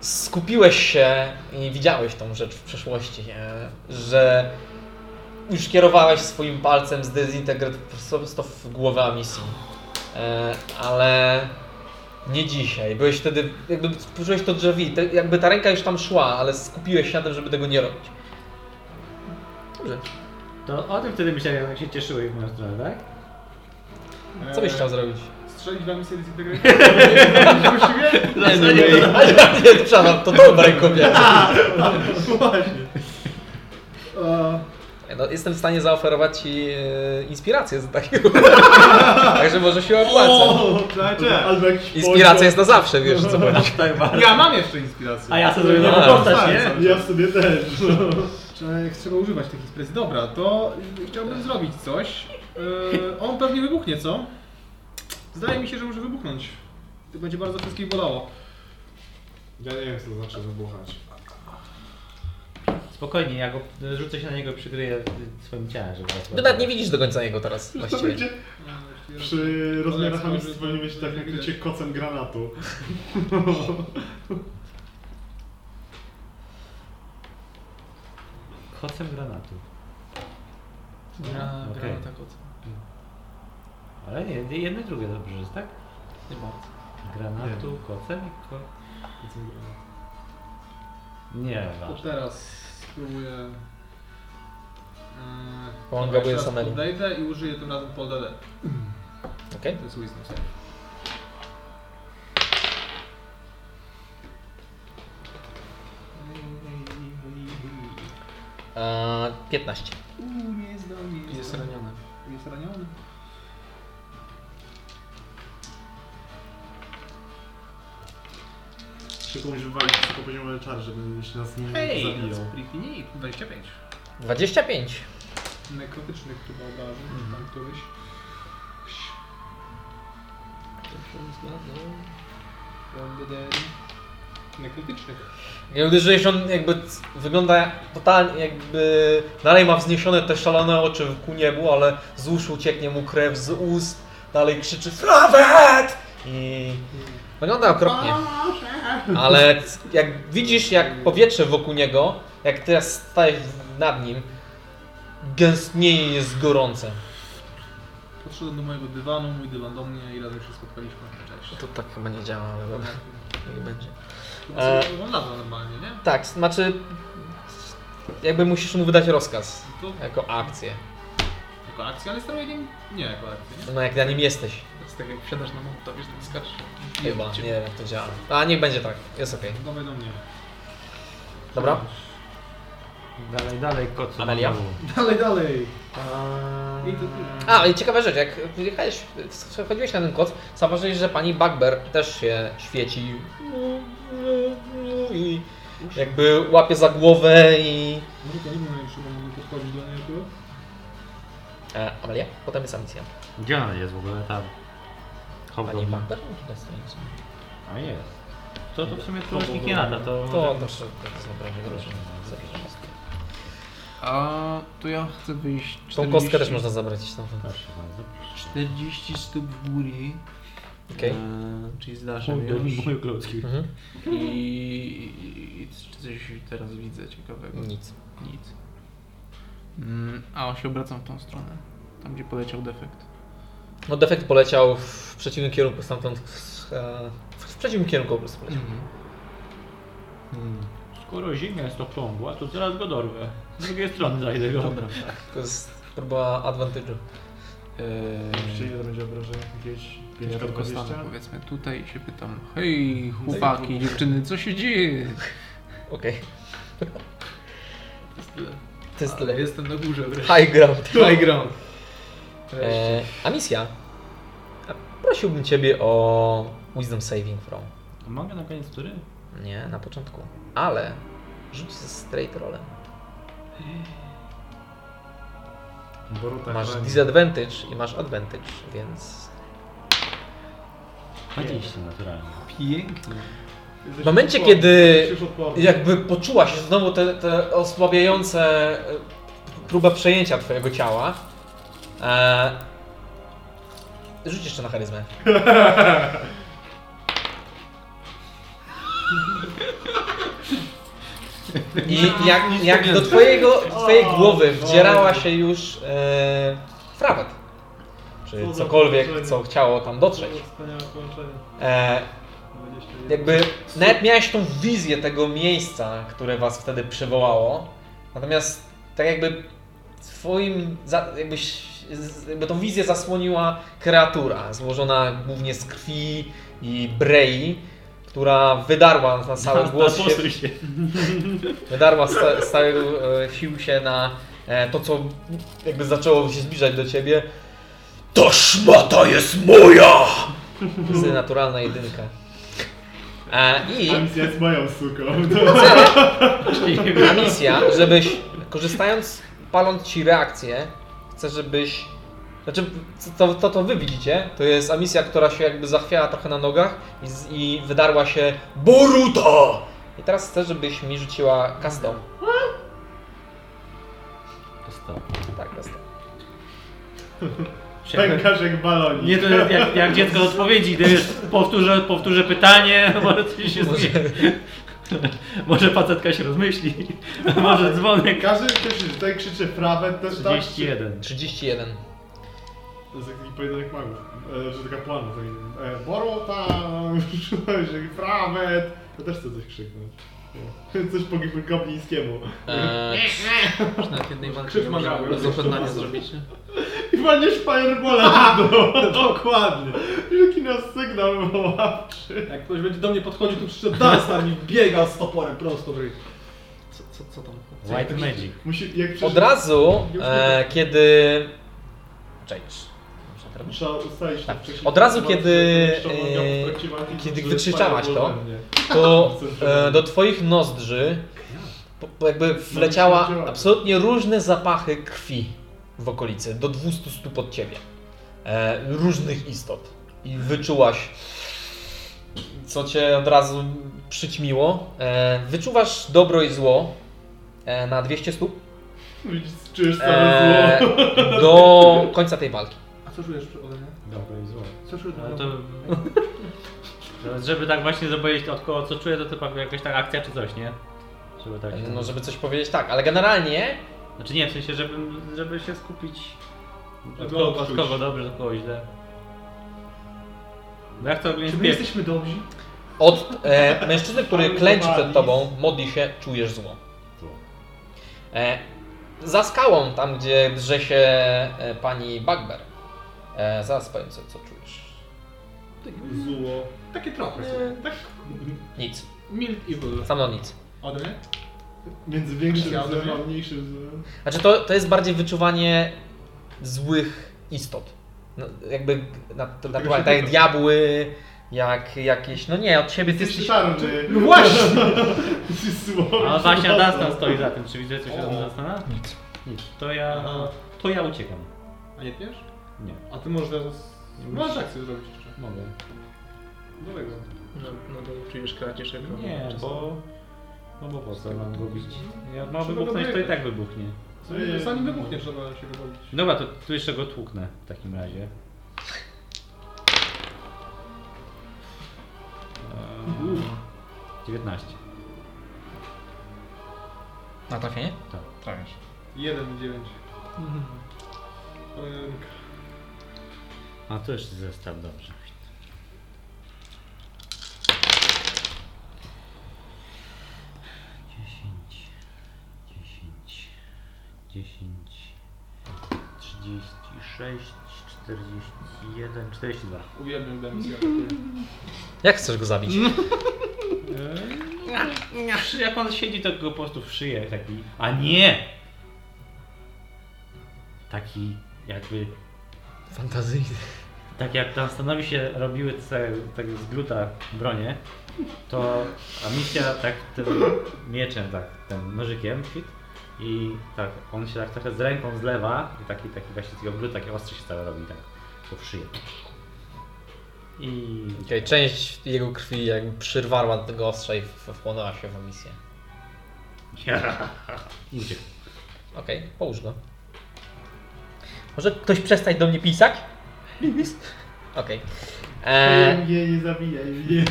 Speaker 1: skupiłeś się i widziałeś tą rzecz w przeszłości, e, że już kierowałeś swoim palcem z Desintegrate prosto w głowę Amisji. E, Ale nie dzisiaj. Byłeś wtedy, jakby poczułeś to drzwi, te, jakby ta ręka już tam szła, ale skupiłeś się na tym, żeby tego nie robić. Dobrze.
Speaker 6: To o tym wtedy myślałem, jak się cieszyły w moją stronę, tak?
Speaker 1: Co byś chciał zrobić?
Speaker 8: Strzelić wam misję Disintegrate?
Speaker 1: Nie, nie, nie, nie, przepraszam, to tą ręką miałem.
Speaker 3: Tak, Właśnie.
Speaker 1: No, jestem w stanie zaoferować Ci e, inspirację z takiego. Także może się opłaca.
Speaker 3: Albo jakiś
Speaker 1: Inspiracja jest na zawsze, wiesz co chodzi.
Speaker 8: Ja mam jeszcze inspirację.
Speaker 6: A ja sobie zrobię
Speaker 1: A,
Speaker 6: nową postać, nie?
Speaker 3: poziom. Ja w sobie też. no.
Speaker 8: Czy Trzeba używać tych inspiracji. Dobra, to y, chciałbym zrobić coś. Yy, on pewnie wybuchnie, co? Zdaje mi się, że może wybuchnąć. To będzie bardzo wszystkich bolało.
Speaker 3: Ja nie wiem co to znaczy wybuchać.
Speaker 6: Spokojnie, ja go rzucę się na niego i przykryję y, swoim ciałem, żeby
Speaker 1: Ty nawet nie widzisz do końca jego teraz
Speaker 3: Już to
Speaker 1: właściwie.
Speaker 3: będzie przy rozmiarach
Speaker 8: Ale jak
Speaker 3: hamstwa nie będzie tak nakrycie kocem granatu.
Speaker 6: Kocem granatu.
Speaker 5: Ja
Speaker 6: Okej.
Speaker 5: grałem tak od.
Speaker 6: Ale nie, jedno i drugie dobrze jest, tak?
Speaker 5: Nie bardzo.
Speaker 6: Granatu, kocem i ko... Nie,
Speaker 8: To
Speaker 6: ważne.
Speaker 8: teraz spróbuję. Yy,
Speaker 1: Pomagam
Speaker 8: dobra,
Speaker 1: go
Speaker 8: jeszcze raz
Speaker 1: samemu.
Speaker 8: Podejdę i użyję tym razem Paul DD.
Speaker 1: Okej?
Speaker 8: To jest Wisdom save.
Speaker 1: Eee, 15.
Speaker 8: Uuu, nie jest do mnie.
Speaker 5: Jest raniony.
Speaker 8: Jest raniony.
Speaker 3: Tylko musisz wywalić wysokopoziomowe czar, żeby się nas nie zabiją.
Speaker 8: that's pretty neat. 25.
Speaker 1: 25.
Speaker 8: Nekrotycznych chyba obrażeń, czy tam któryś. Nekrotycznych.
Speaker 1: Nie uderzyłeś on jakby c- wygląda totalnie jakby dalej ma wzniesione te szalone oczy ku niebu, ale z uszu cieknie mu krew z ust, dalej krzyczy FLAWET! I wygląda okropnie. Ale c- jak widzisz jak powietrze wokół niego, jak teraz stajesz nad nim, gęstnieje jest gorące.
Speaker 8: Podszedłem do mojego dywanu, mój dywan do mnie i razem się spotkaliśmy. Cześć.
Speaker 1: To tak chyba nie działa, ale dobra, niech będzie.
Speaker 8: Chyba sobie lata Znaczy, normalnie, nie?
Speaker 1: Tak, znaczy jakby musisz mu wydać rozkaz,
Speaker 8: To
Speaker 1: jako akcję.
Speaker 8: jako akcja, ale steruję nim? Nie jako akcja, nie?
Speaker 1: No jak na nim jesteś.
Speaker 8: To jest tak jak wsiadasz na mont, to wiesz, tak skaczesz.
Speaker 1: Chyba,
Speaker 8: Cię.
Speaker 1: nie wiem jak to działa. A niech będzie tak, jest okej.
Speaker 8: Dawaj do mnie.
Speaker 1: Dobra?
Speaker 6: Dalej, dalej, kocem.
Speaker 1: Amelia?
Speaker 8: Dalej, dalej. I to
Speaker 1: A, i ciekawa rzecz, jak jechałeś, wchodziłeś na ten koc, zauważyłeś, że pani Bugbear też się świeci. I jakby łapie za głowę i...
Speaker 8: Może to nie mówię, czy mogę podchodzić do niego.
Speaker 1: E, Amelia? Potem jest Amicja.
Speaker 6: Gdzie ona jest w ogóle tam?
Speaker 1: Pani
Speaker 6: Hobgoblin.
Speaker 1: Bugbear? Może to jest to nic.
Speaker 6: A jest. To, to w sumie to nie lata, to...
Speaker 1: To proszę, to jest naprawdę groźne. Zabierzesz.
Speaker 5: A to ja chcę wyjść. 40,
Speaker 1: Tą kostkę też można zabrać no. stamtąd.
Speaker 6: Proszę bardzo.
Speaker 5: 40 stóp w góry.
Speaker 1: Okej.
Speaker 5: E, czyli zdarzem już.
Speaker 6: Mój klocki.
Speaker 1: Mhm.
Speaker 5: I, i, i czy coś teraz widzę ciekawego?
Speaker 1: Nic.
Speaker 5: Nic. Mm, a on się obracam w tą stronę. Tam gdzie poleciał defekt.
Speaker 1: No defekt poleciał w przeciwnym kierunku stamtąd. e, W przeciwnym kierunku po prostu poleciał.
Speaker 6: Skoro ziemia jest okrągła, to zaraz go dorwę. Z drugiej strony zajdę go. Dobra.
Speaker 1: To jest próba Yy, advantage'u.
Speaker 3: Jeszcze
Speaker 5: Eee,
Speaker 3: ile będzie obrażeń? Jakieś
Speaker 5: ja
Speaker 3: 5
Speaker 5: tylko stanę
Speaker 3: 20?
Speaker 5: powiedzmy tutaj i się pytam. Hej, chłopaki, dziewczyny, co się dzieje?
Speaker 1: Okej.
Speaker 5: To jest tyle.
Speaker 1: To jest tyle.
Speaker 5: Jestem na górze wreszcie.
Speaker 1: High ground.
Speaker 5: High ground.
Speaker 1: E, a misja? A Prosiłbym Ciebie o Wisdom Saving Throw.
Speaker 6: Mogę na koniec który?
Speaker 1: Nie, na początku. Ale rzuć ze straight rollem.
Speaker 3: Boruta
Speaker 1: masz
Speaker 3: chroni.
Speaker 1: disadvantage i masz advantage, więc...
Speaker 6: 20 naturalnie.
Speaker 5: Pięknie.
Speaker 3: Jesteś
Speaker 1: W momencie,
Speaker 3: odporny.
Speaker 1: kiedy
Speaker 3: Jesteś odporny.
Speaker 1: jakby poczułaś znowu te, te osłabiające e, próbę przejęcia Twojego ciała, e, rzuć jeszcze na charyzmę. I jak, jak do twojego, twojej głowy wdzierała się już e, frawet,
Speaker 3: Co
Speaker 1: czy
Speaker 3: za
Speaker 1: cokolwiek,
Speaker 3: połączenie.
Speaker 1: co chciało tam dotrzeć,
Speaker 3: Wspaniałe połączenie.
Speaker 1: e,
Speaker 3: 21.
Speaker 1: jakby nawet miałeś tą wizję tego miejsca, które was wtedy przywołało, natomiast tak jakby twoim, za, jakbyś, z- jakby tą wizję zasłoniła kreatura złożona głównie z krwi i brei, która wydarła na cały głos się,
Speaker 6: Naposuj się.
Speaker 1: Wydarła z, ca- z całych e, sił się na e, to, co jakby zaczęło się zbliżać do ciebie. Ta szmata jest moja! To jest naturalna jedynka. E, I
Speaker 4: Misja jest moją suką.
Speaker 1: a misja, żebyś korzystając, paląc ci reakcję, chcę, żebyś. Znaczy, to, to, to wy widzicie, to jest amisja, która się jakby zachwiała trochę na nogach i, z, i wydarła się BORUTA! I teraz chcę, żebyś mi rzuciła kastą. Tak, kastą.
Speaker 4: Pękasz jak balonik.
Speaker 6: Nie, to jest jak, jak dziecko do odpowiedzi, gdy wiesz, powtórzę, powtórzę pytanie, może coś się
Speaker 1: Może-
Speaker 6: zmieni. Może facetka się rozmyśli, może dzwonek.
Speaker 4: Każdy, kto się tutaj krzyczy prawę, też tak?
Speaker 6: 31.
Speaker 1: 31.
Speaker 4: To jest taki pojedynek magów, e, że taka plana. tak, E, Boruta, prawet. To też chcę coś krzyknąć. Nie. Coś po goblińskiemu.
Speaker 1: Eee,
Speaker 5: Już na jednej walce
Speaker 4: krzyk
Speaker 5: nie
Speaker 4: magały,
Speaker 5: można
Speaker 4: jakieś
Speaker 5: zapoznanie
Speaker 4: to
Speaker 5: zrobić, nie?
Speaker 4: I będziesz firebola w dół. Dokładnie. Jaki nas sygnał wywoławczy.
Speaker 8: Jak ktoś będzie do mnie podchodził, to przyszedł Dunstar mi biega z toporem prosto w ryj.
Speaker 5: Co, co, co tam?
Speaker 6: White Magic.
Speaker 4: Musi, jak
Speaker 1: od razu, e, kiedy. Cześć. Muszę teraz-
Speaker 4: Trzeba ustalić tak. wcześniej.
Speaker 1: Od razu, kiedy,
Speaker 4: Trzeba było
Speaker 1: e,
Speaker 4: w trakcie walki,
Speaker 1: kiedy
Speaker 4: że
Speaker 1: wykrzyczałaś to,
Speaker 4: fireball we mnie.
Speaker 1: to e, do Twoich nozdrzy po- po- jakby wleciała absolutnie różne zapachy krwi w okolicy, do 200 stóp od Ciebie. E, różnych istot. I wyczułaś, co Cię od razu przyćmiło. E, wyczuwasz dobro i zło e, na 200 stóp
Speaker 4: Widzisz, Czujesz całe
Speaker 1: e,
Speaker 4: zło.
Speaker 1: do końca tej walki.
Speaker 8: A co czujesz przy ode mnie?
Speaker 6: Dobra, i zło.
Speaker 8: Co czujesz
Speaker 6: Ale
Speaker 8: to...
Speaker 6: No to... Żeby tak właśnie zobaczyć od kogo co czuję, to to pewnie jakaś taka akcja czy coś, nie? Żeby tak...
Speaker 1: No, żeby coś powiedzieć tak, ale generalnie
Speaker 6: Znaczy nie, w sensie, żebym, żeby się skupić
Speaker 4: Od
Speaker 6: od kogo,
Speaker 4: kogo
Speaker 6: od kogo dobrze, od kogo źle. Bo ja chcę
Speaker 8: Czy
Speaker 6: oglądać
Speaker 8: my
Speaker 6: pieprz.
Speaker 8: jesteśmy dobrzy?
Speaker 1: Od e, mężczyzny, który
Speaker 4: Pan
Speaker 1: klęczy przed
Speaker 4: Gowalic.
Speaker 1: tobą, modli się, czujesz zło. E, za skałą, tam gdzie drze się e, pani Bagber, e, zaraz powiem co, co czujesz.
Speaker 4: Zło.
Speaker 8: Takie trochę sobie. Tak
Speaker 1: Nic,
Speaker 8: mild evil.
Speaker 1: samo nic.
Speaker 8: Ode mnie?
Speaker 4: Między większym
Speaker 8: Ja
Speaker 4: złem a
Speaker 8: rozumiem.
Speaker 4: mniejszym złem.
Speaker 1: Znaczy to, to jest bardziej wyczuwanie złych istot. No, jakby nat- naturalnie, tak jak diabły, jak jakieś, no nie, od siebie ty
Speaker 4: Jesteś
Speaker 1: jesteś...
Speaker 4: szarny.
Speaker 8: No właśnie!
Speaker 4: Słowo.
Speaker 6: A właśnie Adastan stoi za tym, czy widzę coś od
Speaker 8: O.
Speaker 6: Adastana?
Speaker 1: Nic.
Speaker 6: Nic. To ja...
Speaker 8: Aha.
Speaker 6: To ja uciekam.
Speaker 8: A nie pijesz?
Speaker 6: Nie.
Speaker 8: A ty możesz teraz... Możesz akcję zrobić jeszcze.
Speaker 6: Mogę.
Speaker 8: Dobrego.
Speaker 5: No, no bo czujesz kradzież ekranu.
Speaker 6: Nie,
Speaker 5: czasem.
Speaker 6: bo... No bo po co mam gubić? Jak ma
Speaker 4: Trzeba
Speaker 6: wybuchnąć, to i
Speaker 4: wyjechać.
Speaker 6: tak wybuchnie.
Speaker 4: Co nie-
Speaker 8: Zanim wybuchnie trzeba się wybawić.
Speaker 6: Dobra, to tu jeszcze go tłuknę w takim razie. Eee, 19.
Speaker 1: Na trafienie?
Speaker 6: Tak.
Speaker 1: Trafisz.
Speaker 8: 1 i 9.
Speaker 3: Mhm.
Speaker 8: Kolejna rynka.
Speaker 6: A to jeszcze zestaw, dobrze. Dziesięć, dziesięć, dziesięć, trzydzieści sześć, czterdzieści jeden, czterdzieści dwa.
Speaker 8: Uwielbiam demisję.
Speaker 1: Jak chcesz go zabić?
Speaker 6: Eee, Jak on siedzi, to go po prostu w szyję taki. A nie! Taki jakby.
Speaker 1: Fantazyjny.
Speaker 6: Tak jak tam stanowi się robiły te, tak z gluta bronie, to Amicia tak tym mieczem, tak tym nożykiem fit, i tak on się tak trochę z ręką zlewa i taki, taki właśnie z tego gluta, takie ostrze się całe robi, tak po w szyję. I
Speaker 1: Okej, część jego krwi jakby przyrwarła do tego ostrza i w- wchłonęła się w emisję.
Speaker 6: I uciekł.
Speaker 1: Okej, połóż go. Może ktoś przestać do mnie pisać? Okej. E,
Speaker 4: Nie, nie zabijaj mnie.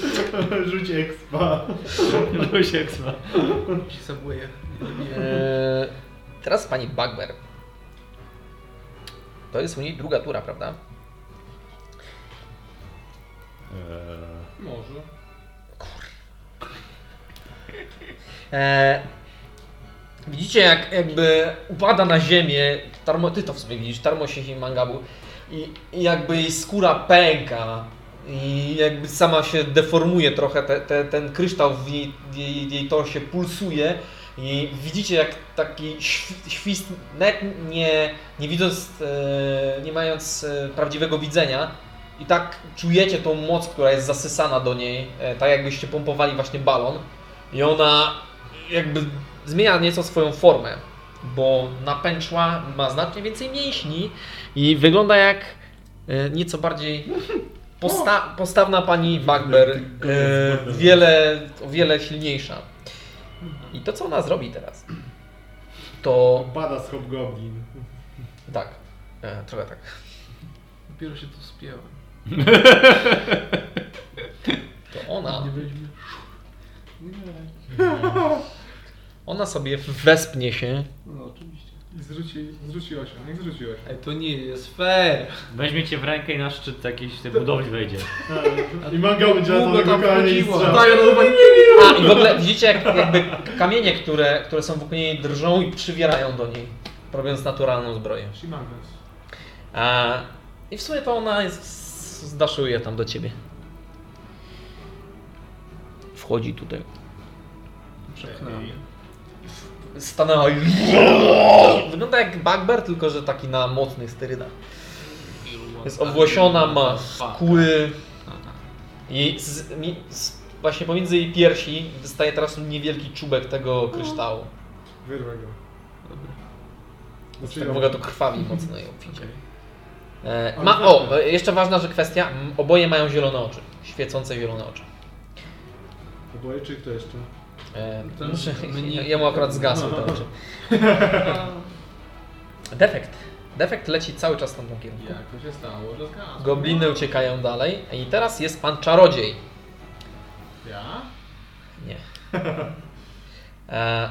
Speaker 4: Rzuć expa.
Speaker 6: Rzuć ekstra.
Speaker 5: Ci subwaye.
Speaker 1: e, teraz pani Bagber. To jest u niej druga tura, prawda?
Speaker 3: Może.
Speaker 1: E, widzicie, jak jakby upada na ziemię, tarmo, ty to w sumie widzisz, Tarmosich i Mangabu, i, i jakby jej skóra pęka i jakby sama się deformuje trochę, te, te, ten kryształ w jej, w jej, w jej torsie pulsuje i widzicie, jak taki św- świst, net nie, nie widząc, e, nie mając e, prawdziwego widzenia, i tak czujecie tą moc, która jest zasysana do niej, e, tak jakbyście pompowali właśnie balon. I ona jakby zmienia nieco swoją formę, bo napęczła, ma znacznie więcej mięśni i wygląda jak e, nieco bardziej posta postawna pani Bagber, e, wiele, o wiele silniejsza. I to co ona zrobi teraz, to
Speaker 4: Bada z Hobgoblin.
Speaker 1: tak, e, trochę tak.
Speaker 5: Dopiero się tu spięłem.
Speaker 1: To ona.
Speaker 5: Nie weźmie.
Speaker 1: Ona sobie wespnie się.
Speaker 5: No oczywiście.
Speaker 8: Zrzuci, zrzuciła się, niech zrzuciła się.
Speaker 5: Ej, to nie jest fair.
Speaker 6: Weźmie cię w rękę i na szczyt jakiejś tej budowli wejdzie.
Speaker 4: Tak. I manga będzie na to
Speaker 5: Długo tam
Speaker 4: wykonanie i
Speaker 5: chodziła.
Speaker 4: strzał.
Speaker 5: Tak, ona chyba nie
Speaker 1: A i w ogóle widzicie jak, jakby kamienie, które, które są wokół niej drżą i przywierają do niej, robiąc naturalną zbroję.
Speaker 8: Shimangas.
Speaker 1: A, I w sumie to ona jest, zdaszuje tam do ciebie. Wchodzi tutaj.
Speaker 5: przepchnęła mnie.
Speaker 1: Stanęła i... Wygląda jak Bugbear, tylko że taki na mocnych sterydach. Jest obłosiona, ma skóry i z, mi, z, właśnie pomiędzy jej piersi wystaje teraz niewielki czubek tego kryształu.
Speaker 3: Wyrwę go.
Speaker 5: Dobra.
Speaker 3: Znaczy,
Speaker 1: Tak
Speaker 3: ja-
Speaker 1: w ogóle to krwawi mocno ją obficie.
Speaker 5: Okej.
Speaker 1: E, ma, o, e, jeszcze ważna że kwestia, m, oboje mają zielone oczy, świecące zielone oczy.
Speaker 3: Oboje czy kto jeszcze?
Speaker 1: E,
Speaker 5: To
Speaker 1: muszę,
Speaker 5: mnie-
Speaker 1: ja- jemu akurat zgasły te oczy. Defekt. Defekt leci cały czas w tamtym kierunku.
Speaker 3: Jak to się stało? Że zgasł.
Speaker 1: Gobliny uciekają dalej i teraz jest pan czarodziej.
Speaker 3: Ja?
Speaker 1: Nie. E,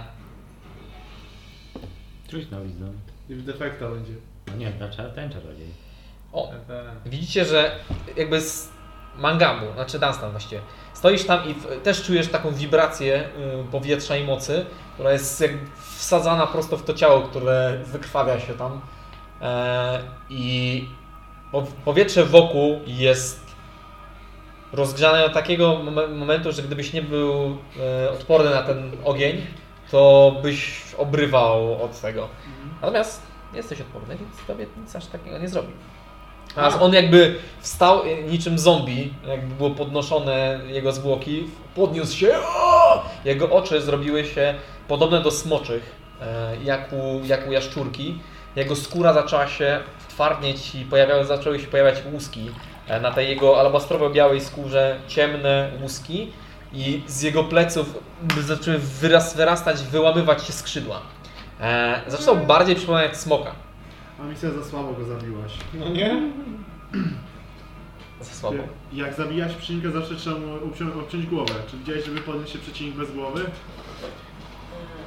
Speaker 6: Rzuć na wisdom.
Speaker 3: I w defekta będzie.
Speaker 6: No nie, na czar, ten czarodziej.
Speaker 1: o, widzicie, że jakby z mangabu, znaczy Dunstan właściwie, stoisz tam i w, też czujesz taką wibrację y, powietrza i mocy, która jest jak wsadzana prosto w to ciało, które wykrwawia się tam. E, I po, powietrze wokół jest rozgrzane do takiego mom- momentu, że gdybyś nie był e, odporny na ten ogień, to byś obrywał od tego. Natomiast nie jesteś odporny, więc tobie nic aż takiego nie zrobi. A on jakby wstał e, niczym zombie, jakby było podnoszone jego zwłoki, podniósł się, o! jego oczy zrobiły się podobne do smoczych, e, jak u, jak u jaszczurki. Jego skóra zaczęła się twardnieć i pojawiały, zaczęły się pojawiać łuski e, na tej jego alabastrowo-białej skórze, ciemne łuski i z jego pleców zaczęły wyras, wyrastać, wyłamywać się skrzydła. E, zaczynał bardziej przypominać smoka.
Speaker 4: A misja za słabo go zabiłaś.
Speaker 3: No nie?
Speaker 1: Za słabo.
Speaker 4: Jak zabijasz przeciwnika, zawsze trzeba mu obcią- obciąć głowę. Czy widziałeś, żeby podnieść się przeciwnik bez głowy?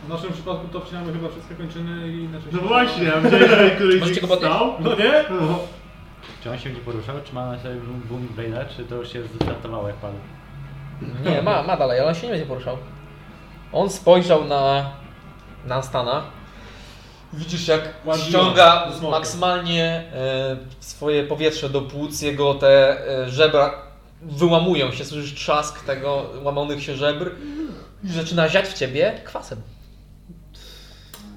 Speaker 8: W naszym przypadku to obcinamy chyba wszystkie kończyny i inaczej.
Speaker 4: No właśnie, a widziałeś, że któryś
Speaker 1: Możecie
Speaker 4: z nich
Speaker 1: go podnieść?
Speaker 4: stał? No nie? No.
Speaker 6: Czy on się będzie poruszał? Czy ma na sobie boom, boom Blade'a, czy to już się zdestartowało jak padł?
Speaker 1: Nie, ma, ma dalej, ale on się nie będzie poruszał. On spojrzał na, na Stana. Widzisz, jak
Speaker 3: Ładnie.
Speaker 1: ściąga
Speaker 3: Smoka.
Speaker 1: maksymalnie e, swoje powietrze do płuc, jego te e, żebra wyłamują się, słyszysz trzask tego łamanych się żebr i zaczyna ziać w ciebie kwasem.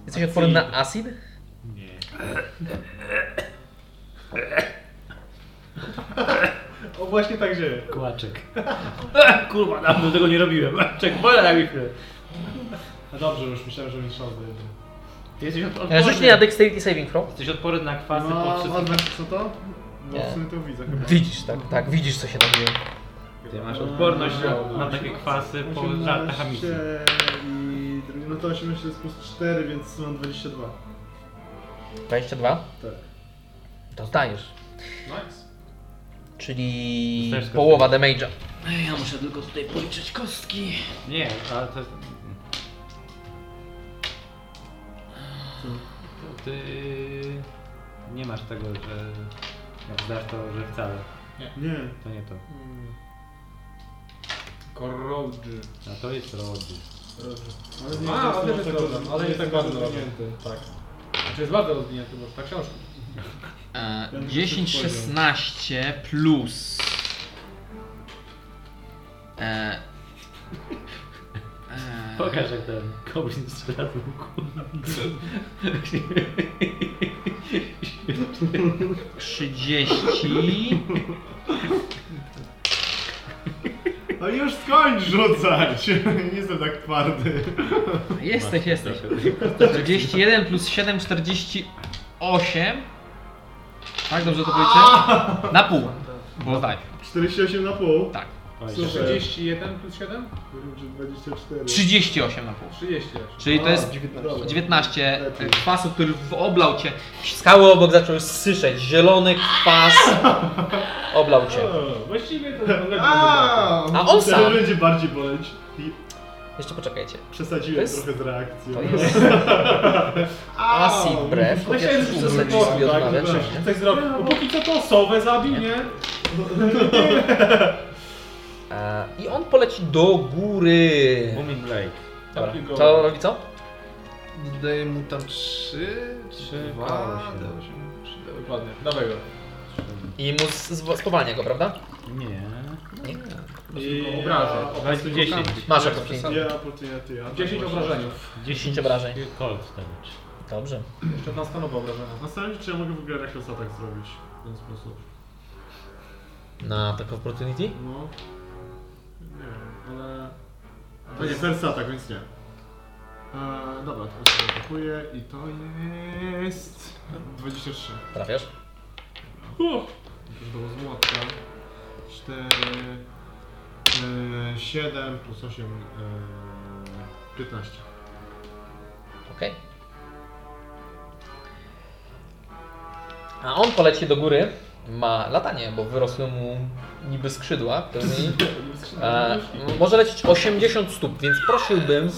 Speaker 1: Jesteś odporny na acid?
Speaker 4: Nie.
Speaker 3: O właśnie tak dzieje.
Speaker 6: Kłaczek. Kurwa, dawno tego nie robiłem. Czek, bola na mi chwilę.
Speaker 3: A dobrze, już myślałem, że mi strzał zajdzie.
Speaker 1: No,
Speaker 6: Ty jesteś od,
Speaker 1: E,
Speaker 6: odporny.
Speaker 1: Rzuć mi na dexterity saving throw.
Speaker 6: Jesteś odporny na kwasy po
Speaker 4: No,
Speaker 6: wszystkim.
Speaker 4: odwróć, co to? No
Speaker 1: Nie.
Speaker 4: w sumie to widzę chyba.
Speaker 1: Widzisz, tak, tak, widzisz co się tam dzieje.
Speaker 6: Ty masz odporność na, na takie kwasy po żartach amicji.
Speaker 4: 18 i drugi, no to 18 jest plus 4, więc mam 22.
Speaker 1: 22?
Speaker 4: Tak.
Speaker 1: To zdajesz.
Speaker 3: Nice.
Speaker 1: Czyli
Speaker 6: Dostajesz kostkę.
Speaker 1: połowa damage'a.
Speaker 9: Ja muszę tylko tutaj policzyć kostki.
Speaker 6: Nie, ale to... to ty nie masz tego, że jak zdasz to, że wcale.
Speaker 3: Nie.
Speaker 6: To nie to.
Speaker 8: Korodży.
Speaker 6: A to jest rodzin.
Speaker 3: Ale nie
Speaker 8: A, ale jest
Speaker 3: tak
Speaker 8: problem, ale jest tak bardzo
Speaker 3: rozwinięty.
Speaker 8: Tak. Znaczy jest bardzo rozwinięty, bo ta książka.
Speaker 9: E,
Speaker 3: bym
Speaker 9: 10,
Speaker 3: się spojrzał.
Speaker 9: 16 plus. E, e,
Speaker 6: Pokaż jak ten goblin strzela w łuku.
Speaker 9: Trzydzieści.
Speaker 4: No i już skończ rzucać! Nie jestem tak twardy.
Speaker 9: Jesteś, jesteś.
Speaker 6: Proszę.
Speaker 9: 41 plus 7, 48. Tak, dobrze to policzę? Na pół. Bo tak,
Speaker 3: 48 na pół.
Speaker 9: tak.
Speaker 6: Oj,
Speaker 3: Słuchaj.
Speaker 8: 31 plus 7?
Speaker 3: Powiem, że 24.
Speaker 9: 38 na pół.
Speaker 8: 30.
Speaker 9: Czyli to
Speaker 3: A,
Speaker 9: jest
Speaker 3: 19.
Speaker 9: 19
Speaker 3: Lepiej.
Speaker 9: kwasu, który oblał cię.
Speaker 1: Skały obok zaczęły syszeć, zielony kwas oblał cię.
Speaker 8: O, właściwie to lepiej
Speaker 4: A,
Speaker 1: A on
Speaker 4: To
Speaker 1: sam.
Speaker 4: będzie bardziej boleć. I
Speaker 1: Jeszcze poczekajcie.
Speaker 4: przesadziłem
Speaker 1: To jest-
Speaker 4: trochę z reakcją.
Speaker 1: To jest acid breath.
Speaker 8: Myślę, że
Speaker 1: Chociaż
Speaker 8: to
Speaker 1: umrę
Speaker 8: jest
Speaker 1: dziś
Speaker 8: tak,
Speaker 1: sobie odmawiać.
Speaker 8: wygląda. Coś zrobił. Bo póki co to sowę zabił, nie?
Speaker 1: E, I on poleci do góry.
Speaker 6: Mumin Blade.
Speaker 1: Dobra. Tak. To robi co?
Speaker 5: Daję mu tam 3,
Speaker 6: Trzy,
Speaker 5: 2,
Speaker 6: koło się.
Speaker 5: 8, 3,
Speaker 8: Dokładnie, dawaj go.
Speaker 1: I mu z- z- spowalnia go, prawda?
Speaker 6: Nie.
Speaker 1: Nie.
Speaker 8: I obrażeń.
Speaker 6: Weź tu 10.
Speaker 1: Masz jako pięć.
Speaker 3: Ja opportunity, ja.
Speaker 8: 10 obrażeniów.
Speaker 1: 10 obrażeń.
Speaker 6: Cold damage.
Speaker 1: Dobrze.
Speaker 8: Jeszcze na stanowe obrażenia.
Speaker 4: Zastanawiam się, czy ja mogę w ogóle Rakosa tak zrobić w ten sposób.
Speaker 1: Na taką opportunity?
Speaker 4: No. Nie wiem, ale... To nie, serca tak, więc nie. Eee, dobra, to się atakuję i to jest... 23.
Speaker 1: Trafiasz?
Speaker 4: Już było złota. 4... 7 plus 8... Eee, 15.
Speaker 1: Okej. A on poleci do góry. Ma latanie, bo wyrosły mu niby skrzydła. którymi- E, może lecieć 80 stóp, więc prosiłbym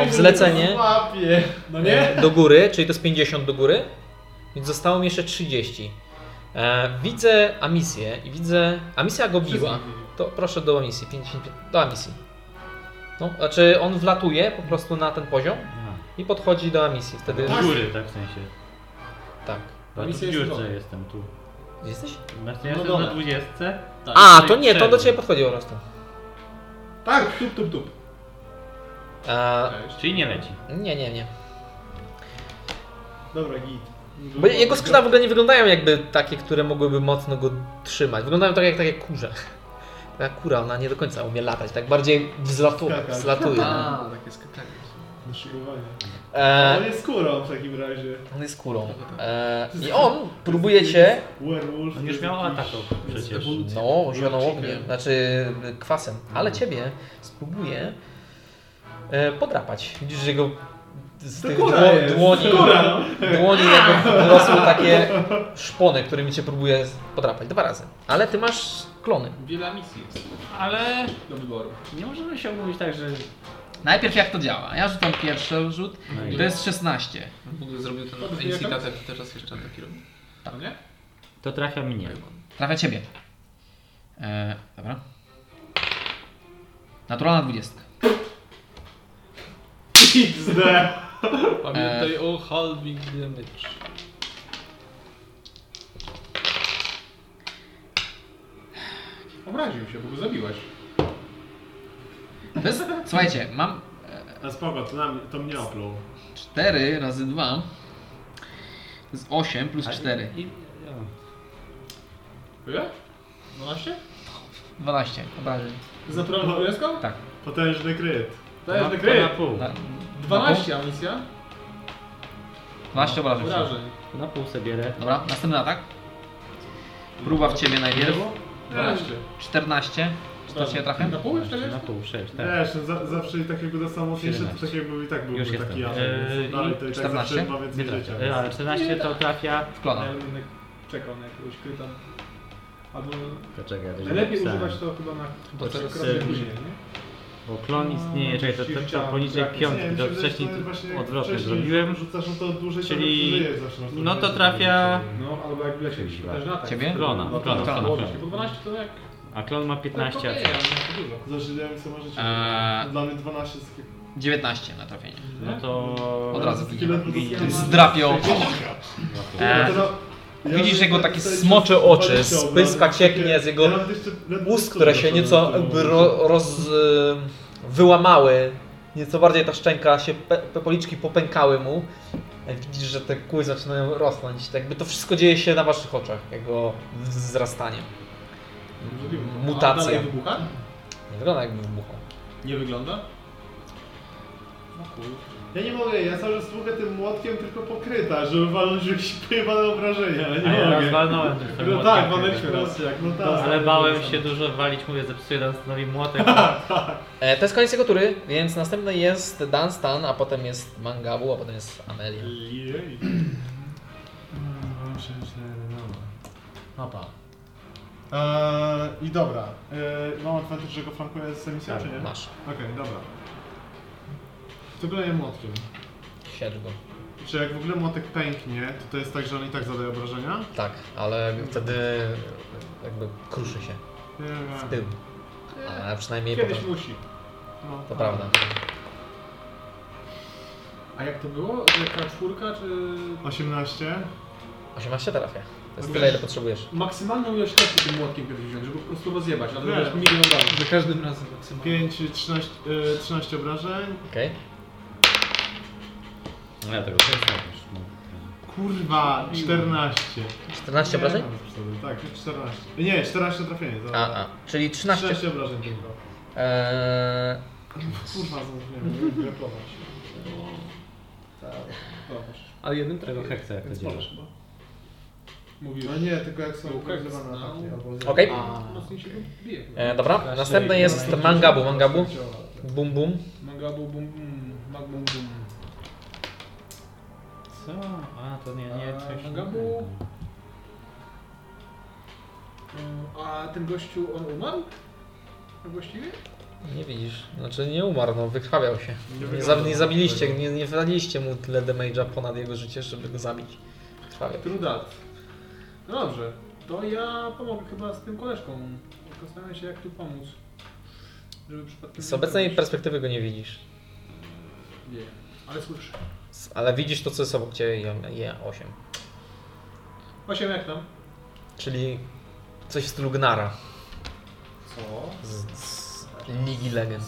Speaker 1: o wzlecenie
Speaker 3: Łapie. No nie?
Speaker 1: e, do góry, czyli to jest 50 do góry. Więc zostało mi jeszcze 30. E, widzę Amisję i widzę. Amisja go biła. To proszę do Amisji. 50, do Amisji. No, znaczy on wlatuje po prostu na ten poziom
Speaker 6: A,
Speaker 1: i podchodzi do Amisji. Wtedy.
Speaker 6: do góry, tak w sensie.
Speaker 1: Tak.
Speaker 6: Ja tu w
Speaker 8: Misja jest dobra.
Speaker 6: dziurce jestem tu.
Speaker 1: Gdzie jesteś?
Speaker 6: Masz ja jestem
Speaker 8: dole.
Speaker 6: na 20?
Speaker 3: Tak.
Speaker 1: A, to nie, to do ciebie podchodzi po prostu.
Speaker 8: Tak, tup, tup, tup.
Speaker 1: E,
Speaker 6: Czyli nie leci.
Speaker 1: nie, nie, nie.
Speaker 3: Dobra, git.
Speaker 1: Bo jego skrzydła w ogóle nie wyglądają jakby takie, które mogłyby mocno go trzymać. Wyglądają tak jak takie kurze. Ta kura, ona nie do końca umie latać, tak bardziej wzlatuje.
Speaker 3: Skakać.
Speaker 1: wzlatuje.
Speaker 5: A, takie tak. skakanie.
Speaker 3: Naszybowanie.
Speaker 1: E,
Speaker 3: On jest kurą w takim razie.
Speaker 1: on jest kurą. E, I on próbuje cię,
Speaker 3: Werewolf.
Speaker 6: On już miał atak przecież.
Speaker 1: no, zieloną ogniem, znaczy kwasem, ale ciebie spróbuje e, podrapać. Widzisz, że jego z tych
Speaker 3: kura
Speaker 1: dło,
Speaker 3: jest,
Speaker 1: dłoni,
Speaker 3: kura, no.
Speaker 1: dłoni jego wyrosły takie szpony, którymi cię próbuje podrapać dwa razy. Ale ty masz klony.
Speaker 8: Wiele misji jest
Speaker 6: Ale
Speaker 8: do wyboru.
Speaker 6: nie możemy się mówić tak, że...
Speaker 9: Najpierw jak to działa? Ja rzucam pierwszy rzut
Speaker 6: No
Speaker 9: i
Speaker 6: i-
Speaker 9: to jest 16.
Speaker 5: W ogóle zrobił ten
Speaker 8: To by
Speaker 5: AC
Speaker 8: jakaś-
Speaker 5: atak i teraz jeszcze ataki robi.
Speaker 8: No nie?
Speaker 6: To trafia mnie.
Speaker 9: Trafia ciebie. E, dobra. Naturalna 20.
Speaker 3: XD.
Speaker 5: Pamiętaj o halving damage.
Speaker 8: Obraził się, bo go zabiłeś.
Speaker 9: To jest, słuchajcie, mam
Speaker 4: A spoko, to, na, mnie- to mnie opluł.
Speaker 9: 4 razy 2. To jest 8 plus 4.
Speaker 6: I, i, o.
Speaker 8: Ile? 12?
Speaker 9: 12 obrażeń.
Speaker 8: Z naturalną dwudziestką?
Speaker 9: Tak.
Speaker 4: Potężny kryt.
Speaker 8: To jest
Speaker 6: na-
Speaker 8: dekryt.
Speaker 6: na pół.
Speaker 9: Na-
Speaker 8: 12 amunicja?
Speaker 9: 12 No, obrażeń.
Speaker 8: Obrażeń.
Speaker 6: Na pół sobie bierę.
Speaker 9: Dobra, następny atak. Próba w ciebie najpierw.
Speaker 8: 12.
Speaker 9: 14. Czy to cię trafia?
Speaker 8: Na pół jeszcze jest?
Speaker 6: Na pół, sześć, tak.
Speaker 4: Wiesz, za, zawsze i tak jakby dostał mocniejszy, to tak jakby i tak byłby
Speaker 6: Już
Speaker 4: taki
Speaker 6: jestem.
Speaker 4: atak.
Speaker 6: Eee,
Speaker 4: więc dalej to i tak
Speaker 9: 14?
Speaker 4: zawsze ma
Speaker 6: Nie
Speaker 4: więcej życia.
Speaker 6: trafia. E, Ale 14 to trafia...
Speaker 9: W klona.
Speaker 8: Ja bym jednak czekał na jakiegoś kryta. Albo
Speaker 6: Poczekaj, to źle
Speaker 8: najlepiej
Speaker 6: napisałem.
Speaker 8: używać to chyba na
Speaker 6: Bo teraz
Speaker 8: krople
Speaker 6: y,
Speaker 8: później, nie?
Speaker 6: Bo klon istnieje, czekaj, to, to trzeba
Speaker 8: Chciałem
Speaker 6: poniżej
Speaker 8: trafić.
Speaker 6: piątki,
Speaker 3: mi się
Speaker 6: to
Speaker 3: wydaje,
Speaker 6: wcześniej
Speaker 3: że to właśnie jak
Speaker 6: odwrotnie
Speaker 3: wcześniej
Speaker 6: zrobiłem.
Speaker 3: Rzucasz no to dłużej
Speaker 6: Czyli-
Speaker 3: to przeżyjesz zawsze.
Speaker 6: no to trafia-
Speaker 8: No, albo jak lecieć.
Speaker 6: Kurwa.
Speaker 8: Też na tak.
Speaker 9: Ciebie?
Speaker 6: Klona,
Speaker 8: No,
Speaker 6: klona,
Speaker 8: tak,
Speaker 6: klona,
Speaker 8: tak,
Speaker 6: klona.
Speaker 8: Po 12 to jak...
Speaker 6: A klon ma 15, a
Speaker 8: tak,
Speaker 6: co?
Speaker 8: okej, ale to dużo.
Speaker 3: Zażyłem co możecie.
Speaker 9: Eee.
Speaker 3: Dla mnie 12 jest takie...
Speaker 9: 19 na trafienie.
Speaker 6: No to...
Speaker 9: Od razu
Speaker 3: Tyle
Speaker 9: widzimy.
Speaker 3: produkcji,
Speaker 8: Ja
Speaker 3: a
Speaker 8: mam-
Speaker 9: Zdrapią.
Speaker 6: E,
Speaker 9: Eee, widzisz jego takie smocze oczy, spyska cieknie z jego ust, które się nieco jakby ro, roz, y, wyłamały. Nieco bardziej ta szczęka się, pe, pe- policzki popękały mu. Jak widzisz, że te kły zaczynają rosnąć. Tak jakby to wszystko dzieje się na waszych oczach, jego wzrastaniem.
Speaker 8: A
Speaker 9: Mutacja.
Speaker 8: dalej wybucha?
Speaker 9: Nie wygląda jakby wybuchał.
Speaker 8: Nie wygląda?
Speaker 3: Ja nie mogę, ja cały czas słucham tym młotkiem tylko pokryta, żeby walnąć jakieś pojebane obrażenia, ale
Speaker 6: A
Speaker 3: nie
Speaker 6: ja
Speaker 3: mogę.
Speaker 6: raz walnąłem tym swoim
Speaker 3: No tak,
Speaker 6: młotkiem,
Speaker 3: walnęliśmy
Speaker 6: kurde.
Speaker 3: raz jak, no tak.
Speaker 6: Ale bałem się dużo walić, mówię, zepsuję Dunstanowi młotek.
Speaker 1: E, to jest koniec jego tury, więc następny jest Dan Stan, a potem jest Mangabu, a potem jest Amelia.
Speaker 3: Jej.
Speaker 6: Opa.
Speaker 4: Eee, I dobra. Eee, mam advantage, że go flankuję z emisją,
Speaker 6: Tak,
Speaker 4: czy nie?
Speaker 1: Masz.
Speaker 4: Okej, dobra. To kolejnym młotkiem.
Speaker 1: Siedź go.
Speaker 4: Czy jak w ogóle młotek pęknie, to to jest tak, że on i tak zadaje obrażenia?
Speaker 1: Tak, ale wtedy jakby kruszy się
Speaker 4: Nie, nie.
Speaker 1: w tył. A przynajmniej
Speaker 8: Kiedyś
Speaker 1: potem-
Speaker 8: musi.
Speaker 4: No,
Speaker 1: To prawda.
Speaker 8: A jak to było? Jaka czwórka czy...
Speaker 4: tak. 18.
Speaker 1: 18 trafia. To
Speaker 8: No
Speaker 1: jest tyle, ile potrzebujesz.
Speaker 8: Maksymalną ilość testu tym młotkiem kiedyś wziąć, żeby po prostu rozjebać, ale
Speaker 4: Nie.
Speaker 8: wiesz, milion razy.
Speaker 5: Za każdym razem maksymalnie.
Speaker 4: 5, 13, e, 13 obrażeń.
Speaker 1: Okej?
Speaker 6: No ja tego nie znam już. no.
Speaker 4: Kurwa, 14.
Speaker 1: 14 obrażeń?
Speaker 4: Nie, Tak, 14. Nie, 14 trafienie. Za...
Speaker 1: A, a. Czyli 13.
Speaker 4: 13 obrażeń tylko.
Speaker 1: Eee,
Speaker 4: Kurwa,
Speaker 3: no,
Speaker 4: zapomniałem grapować.
Speaker 8: Tak.
Speaker 5: Ale jednym
Speaker 6: Tego
Speaker 5: trafiłem.
Speaker 6: heksa jak to
Speaker 4: Więc
Speaker 6: działa.
Speaker 4: możesz chyba.
Speaker 8: Mówisz.
Speaker 3: No nie, tylko jak są
Speaker 8: Łukek
Speaker 3: ukrywane
Speaker 8: znał.
Speaker 3: ataki. albo zero.
Speaker 1: Okej.
Speaker 8: Mocniej się go bije. chyba.
Speaker 1: E, dobra, następny jest Mangabu. Mangabu. Bum bum.
Speaker 8: Mangabu bum bum, mag bum bum.
Speaker 6: Co? A, to nie, nie,
Speaker 8: A,
Speaker 6: coś...
Speaker 8: Mangabu? Mm, A ten gościu, on umarł? A właściwie?
Speaker 1: Nie widzisz. Znaczy nie umarł, no wykrwawiał się. Nie, za,
Speaker 4: wygląda
Speaker 1: nie
Speaker 4: na
Speaker 3: Tak.
Speaker 1: zabiliście,
Speaker 4: tego.
Speaker 1: nie, nie wdaliście mu tyle damage'a ponad jego życie, żeby go zabić. Krwawiał.
Speaker 8: Trudat. No dobrze, to ja pomogę chyba z tym koleżką. Tylko staram się jak tu pomóc. Żeby przypadkiem...
Speaker 1: Z
Speaker 8: nie
Speaker 1: obecnej
Speaker 8: zabić.
Speaker 1: perspektywy go nie widzisz.
Speaker 8: Nie, ale słyszę.
Speaker 1: S- Ale widzisz to, co jest obok ciebie i je 8.
Speaker 8: Osiem jak tam?
Speaker 1: Czyli coś w stylu Gnara
Speaker 8: Co?
Speaker 1: z, z Ligi Legend.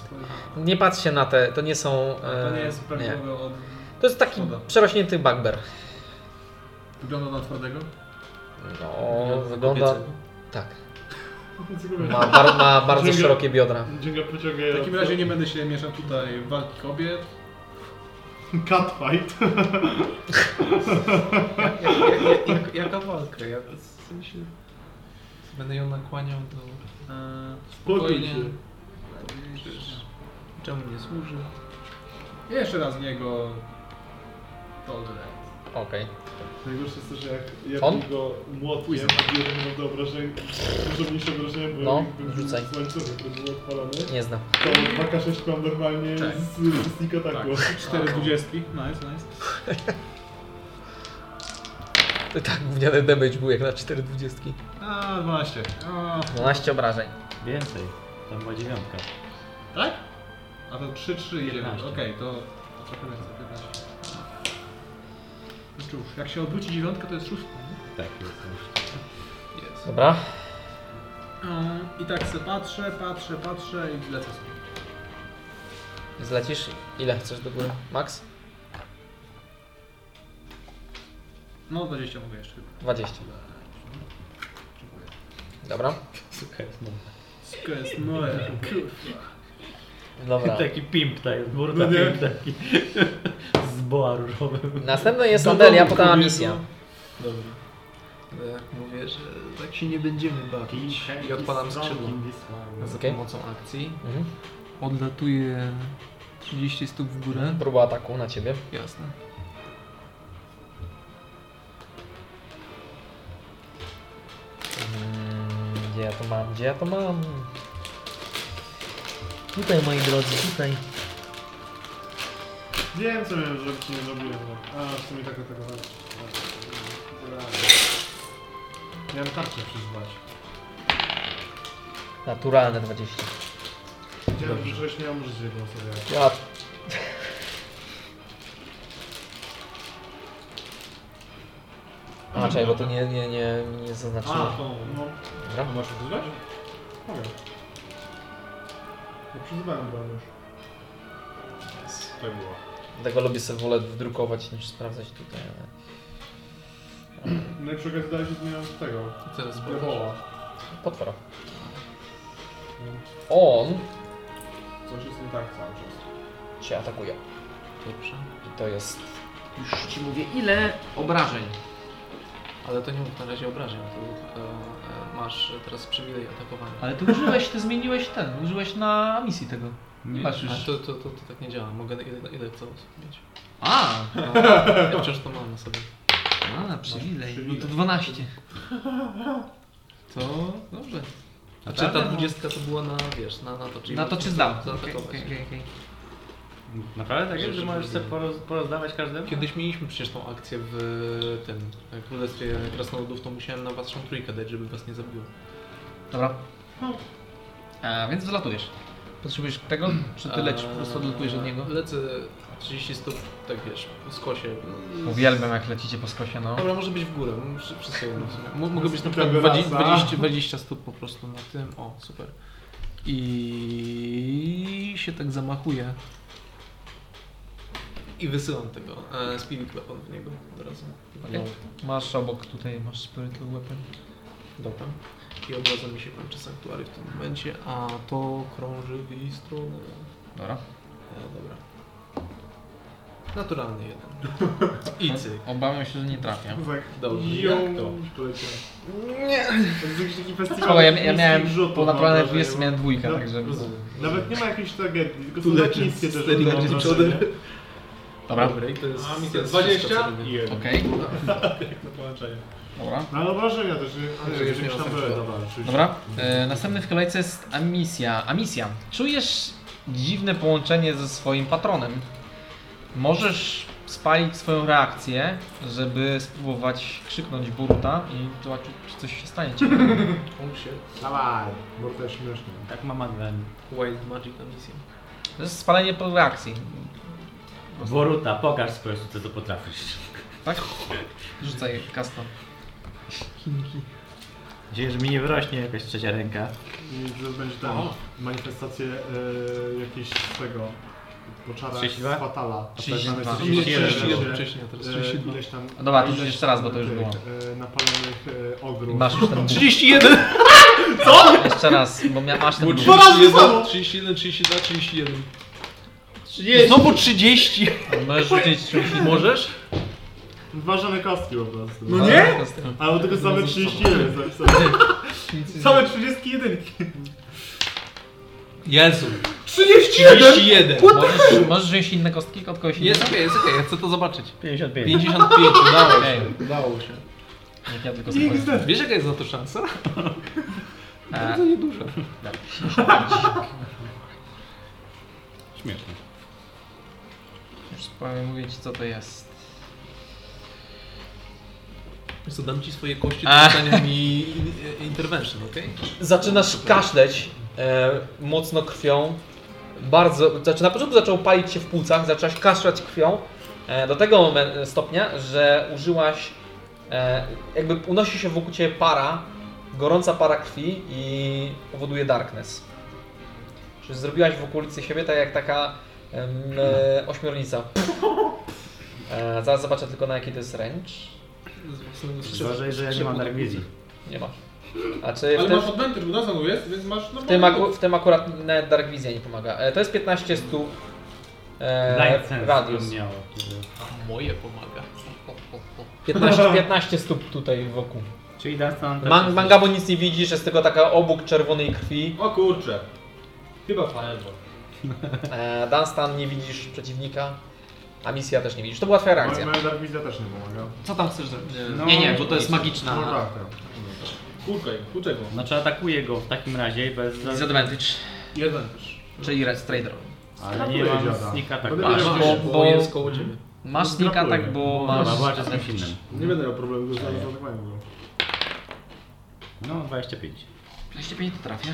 Speaker 1: Nie patrzcie na te, to nie są...
Speaker 8: To nie
Speaker 1: e,
Speaker 8: jest prawidłowe od...
Speaker 1: To jest taki
Speaker 8: Szkoda.
Speaker 1: przerośnięty bugbear.
Speaker 8: Wygląda na twardego?
Speaker 1: No, wygląda... Tak.
Speaker 3: Dziękuję.
Speaker 1: Ma, bar, ma bardzo szerokie biodra.
Speaker 3: Dziękuję, pociągaj.
Speaker 8: W takim razie nie będę się mieszał tutaj w walki kobiet.
Speaker 4: Catfight.
Speaker 5: Jak, jak, jak, jak, jaka walka? Ja w sensie... Będę ją nakłaniał do...
Speaker 8: Eee,
Speaker 3: Spokój się.
Speaker 5: Przecież Czemu nie służy?
Speaker 8: Jeszcze raz w niego. Tolerant.
Speaker 1: Okej.
Speaker 3: Najgorsze jest to, że jak ja
Speaker 1: On?
Speaker 3: On? go młotkiem
Speaker 8: Ujza.
Speaker 3: odbiorę mu do obrażeń, dużo mniejsze obrażenia, bo
Speaker 1: No,
Speaker 3: jakby
Speaker 1: rzucaj.
Speaker 3: z łańcuchy, który był odpalony,
Speaker 1: Nie znam.
Speaker 3: to 2K6 mam normalnie
Speaker 8: Tak.
Speaker 3: z, z sneak ataku.
Speaker 8: Tak, 4 dwudziestki. Nice, nice.
Speaker 1: Tak, gówniany damage był jak na 4,20.
Speaker 8: A, 12. A,
Speaker 1: 12 obrażeń.
Speaker 6: Więcej. Tam była dziewiątka.
Speaker 8: tak? A to 3, 3 idzie.
Speaker 6: 11.
Speaker 8: Okej, to, to trochę więcej, 15. No cóż, jak się obróci dziewiątka, to jest szóstka. nie?
Speaker 6: Tak, jest.
Speaker 5: Jest.
Speaker 1: Dobra.
Speaker 8: Mm, I tak se patrzę, patrzę, patrzę i lecę sobie.
Speaker 1: Zlecisz? Ile chcesz do góry? Max?
Speaker 8: No 20 mogę jeszcze chyba.
Speaker 1: 20.
Speaker 8: Dziękuję.
Speaker 1: Dobra.
Speaker 6: Słuchaj, no.
Speaker 8: Wszystko jest moje. Kurwa.
Speaker 1: Dobra.
Speaker 6: Taki pimp, tak, burda
Speaker 3: No nie.
Speaker 6: pimp taki. Z boa różowym.
Speaker 1: Następny jest Andelia, potem Amicia.
Speaker 5: Dobra. No jak mówię, że tak się nie będziemy bawić i odpalam skrzydło za
Speaker 1: Okej.
Speaker 5: pomocą akcji.
Speaker 1: Mhm.
Speaker 5: Odlatuję 30 stóp w górę.
Speaker 1: Próba ataku na ciebie.
Speaker 5: Jasne.
Speaker 1: Mm, ja to mam? Gdzie ja to mam? Tutaj moi drodzy, tutaj.
Speaker 4: Wiem co miałem zrobić, nie zrobiłem. no. A, w sumie tak atakowałem. Miałem tarczę przyzwać.
Speaker 1: Naturalne 20.
Speaker 4: Wiedziałem, że czegoś nie umrzeć w jedną sobie.
Speaker 1: Ja... A, czekaj, bo to nie, no. nie, nie, nie zaznaczyłem.
Speaker 4: A, to no.
Speaker 1: Dobra.
Speaker 15: A masz przyzwać? Mogę.
Speaker 4: No,
Speaker 15: Ja przyzywałem broń już.
Speaker 4: To było.
Speaker 1: Dlatego lubię sobie wolę wdrukować niż sprawdzać tutaj, ale...
Speaker 15: No i przy okazji dalej się zmieniam z tego.
Speaker 3: Co jest
Speaker 15: Lewola.
Speaker 1: Potwora. On
Speaker 15: Coś jest nie tak cały czas.
Speaker 1: cię atakuje.
Speaker 3: Dobrze.
Speaker 1: I to jest...
Speaker 16: Już ci mówię, ile obrażeń.
Speaker 3: Ale to nie mów na razie obrażeń, to tylko e, masz teraz przywilej atakowania.
Speaker 16: Ale ty użyłeś, ty zmieniłeś ten, użyłeś na misji tego. Nie masz już.
Speaker 3: A to, to, to, to tak nie działa, mogę ile, ile chcę osób mieć.
Speaker 16: A,
Speaker 3: Ja wciąż to mam na sobie.
Speaker 16: a przywilej. No to 12. To dobrze.
Speaker 3: Znaczy ta dwudziestka to była na, wiesz, na, na to, czyli
Speaker 16: Na to czy zdał? Okej,
Speaker 3: zaatakować.
Speaker 16: okej, okej, okej.
Speaker 6: Naprawdę tak jest, że
Speaker 3: Żeby
Speaker 6: możesz sobie
Speaker 3: nie-
Speaker 6: poroz, porozdawać każdemu?
Speaker 3: Kiedyś mieliśmy przecież tą akcję w tym e, Królestwie Krasnoludów, to musiałem na waszą trójkę dać, żeby was nie zabiło.
Speaker 16: Dobra. Hmm. A, więc wylatujesz. Potrzebujesz tego? Czy ty lecisz po prostu odlatujesz od niego?
Speaker 3: E, Lecę 30 stóp, tak wiesz, po skosie.
Speaker 16: Uwielbiam jak lecicie po skosie, no.
Speaker 3: Dobra, może być w górę, muszę wszystko jedno no w sumie. Mo- Mogę być na
Speaker 15: Ciągle
Speaker 3: przykład 20,
Speaker 15: raz, a?
Speaker 3: 20, 20 stóp po prostu na tym, o super. I się tak zamachuję. I wysyłam tego e, speedy weapon w niego od razu.
Speaker 16: Okej. Masz obok tutaj, masz spiritual weapon.
Speaker 3: Dobra. I od razu mi się kończy sanktuary w tym momencie, a to krąży w jej stronę.
Speaker 16: Dobra.
Speaker 3: E, dobra. Naturalny jeden. I cyk.
Speaker 16: Obawiam się, że nie trafię.
Speaker 4: Tak.
Speaker 3: Dobrze.
Speaker 4: Jak to?
Speaker 1: Nie!
Speaker 4: To jest jakiś taki festiwal
Speaker 16: Szkoda, ja, ja
Speaker 4: miejskich
Speaker 16: miałem
Speaker 4: rzutów,
Speaker 16: po naturalnej
Speaker 4: mam wrażenie,
Speaker 16: 20
Speaker 4: bo-
Speaker 16: miałem dwójkę,
Speaker 4: No,
Speaker 16: także...
Speaker 4: rozumiem. Nawet nie ma jakiejś tragedii, tylko
Speaker 3: Tu
Speaker 4: są
Speaker 3: leczy,
Speaker 4: takie niskie też
Speaker 3: steady
Speaker 4: rzuty, mam
Speaker 3: leczy,
Speaker 4: wrażenie.
Speaker 16: Dobra, okej.
Speaker 3: Dobra, i to jest.
Speaker 15: A, mi
Speaker 3: to jest
Speaker 8: 20?
Speaker 3: wszystko, co robię.
Speaker 15: I jeden. Na połączenie.
Speaker 16: Dobra.
Speaker 4: No ale obrażenia też,
Speaker 3: Ale
Speaker 4: że
Speaker 3: już
Speaker 4: już
Speaker 3: nie
Speaker 4: tam
Speaker 3: ma
Speaker 4: były,
Speaker 3: sensu.
Speaker 4: dobra, oczywiście.
Speaker 16: Dobra, e, następny w kolejce jest Amisja. Amisja, czujesz dziwne połączenie ze swoim patronem. Możesz spalić swoją reakcję, żeby spróbować krzyknąć burta i zobaczyć, czy coś się stanie. ci.
Speaker 3: On się
Speaker 15: Dawaj, bo to jest śmieszne.
Speaker 6: Tak mam adwen.
Speaker 3: Wild Magic na misję.
Speaker 16: To jest spalenie po reakcji,
Speaker 6: Boruta, pokaż społecznicy co potrafisz.
Speaker 16: tak? Rzucaj kasno.
Speaker 6: Dzieje, że mi nie wyrośnie jakaś trzecia ręka.
Speaker 4: I to będzie tam manifestację e, jakieś z tego poczara z
Speaker 6: 32?
Speaker 4: Fatala. tak
Speaker 16: Trzydzieści-
Speaker 4: Tam jest
Speaker 6: 31
Speaker 3: 31
Speaker 4: 31,
Speaker 3: wcześniej, a teraz
Speaker 4: e,
Speaker 3: 32.
Speaker 4: Ileś tam,
Speaker 16: A dobra, to
Speaker 4: ileś
Speaker 16: już jeszcze raz, bo to już
Speaker 4: tych,
Speaker 16: było.
Speaker 4: e, Napalonych e,
Speaker 16: I
Speaker 4: ogrów.
Speaker 16: masz już ten burt.
Speaker 3: 31!
Speaker 16: Jeszcze raz, bo mia- masz ten burt.
Speaker 4: Dwa razy samo!
Speaker 3: 31, 32, 31.
Speaker 15: 30!
Speaker 3: Znowu 30!
Speaker 16: Możesz rzucić czymś innym.
Speaker 3: Możesz?
Speaker 4: Dwa żadne kostki po prostu.
Speaker 15: No nie?
Speaker 4: Albo tylko same tak 31 jest zapisane. Same 31.
Speaker 3: Jezu!
Speaker 15: 31!
Speaker 3: 31!
Speaker 16: Możesz, możesz wziąć inne kostki od kogoś
Speaker 3: Jest
Speaker 16: innego?
Speaker 3: okej, jest okej, ja chcę to zobaczyć.
Speaker 6: 55.
Speaker 3: 55, udało
Speaker 16: Okej.
Speaker 3: się. Udało się.
Speaker 16: Niech ja tylko sobie powiem.
Speaker 3: Wiesz jaka jest na to szansa?
Speaker 16: E,
Speaker 3: Bardzo nieduża.
Speaker 6: Śmieszne.
Speaker 16: Już powiem, mówię ci co to jest.
Speaker 3: Wiesz co, dam ci swoje kości do
Speaker 16: A.
Speaker 3: pytania mi in- intervention, okej?
Speaker 1: Zaczynasz kaszleć e, mocno krwią. Bardzo, znaczy na początku zaczął palić się w płucach, zaczęłaś kaszlać krwią e, do tego momen- stopnia, że użyłaś, e, jakby unosi się wokół Ciebie para, gorąca para krwi i powoduje darkness. Czy zrobiłaś w okolicy siebie tak jak taka em, e, ośmiornica. E, zaraz zobaczę tylko na jaki to jest range.
Speaker 3: Z własnego strzela.
Speaker 6: Uważaj, że ja nie mam tak dark vision.
Speaker 1: Nie masz. A czy w
Speaker 8: Ale
Speaker 1: tym-
Speaker 8: masz odmęty, bo na znowu jest, więc masz no
Speaker 1: W tym, aku- w tym akurat nawet Dark Vision nie pomaga. E, to jest 15 stóp e,
Speaker 6: Blind sense
Speaker 1: radius.
Speaker 6: miało.
Speaker 3: A moje pomaga.
Speaker 1: 15, 15 stóp tutaj wokół.
Speaker 6: Czyli Dunstan...
Speaker 1: Man- Mangabo nic nie widzi, że jest tylko taka obłok czerwonej krwi.
Speaker 8: O kurczę. Chyba fireball.
Speaker 1: E, Dunstan nie widzisz przeciwnika, a misja też nie widzisz. To była twoja reakcja.
Speaker 4: Moja darwizja też nie pomaga.
Speaker 16: Co tam chcesz zrobić?
Speaker 6: No,
Speaker 16: Nie, nie, bo to jest magiczna.
Speaker 4: No tak, tak.
Speaker 8: Kurkaj, kluczaj go.
Speaker 6: Znaczy atakuje go w takim razie bez...
Speaker 9: Disadvantage,
Speaker 8: Jeden też.
Speaker 9: czyli Restraderowy.
Speaker 6: Ale nie mam tak
Speaker 4: Dziada.
Speaker 6: sneak attack.
Speaker 4: Będę
Speaker 9: Masz,
Speaker 4: miał
Speaker 9: bo,
Speaker 4: jakieś-
Speaker 9: bo
Speaker 3: jest koło ciebie.
Speaker 9: masz
Speaker 8: No,
Speaker 9: sneak
Speaker 4: Gratuluję.
Speaker 1: tak,
Speaker 9: attack, bo
Speaker 6: Bo
Speaker 9: masz...
Speaker 6: ma walczę z kimś innym.
Speaker 4: Nie będę miał problemu, bo znam zaatakowanie go.
Speaker 6: No 25.
Speaker 9: 25 to trafia.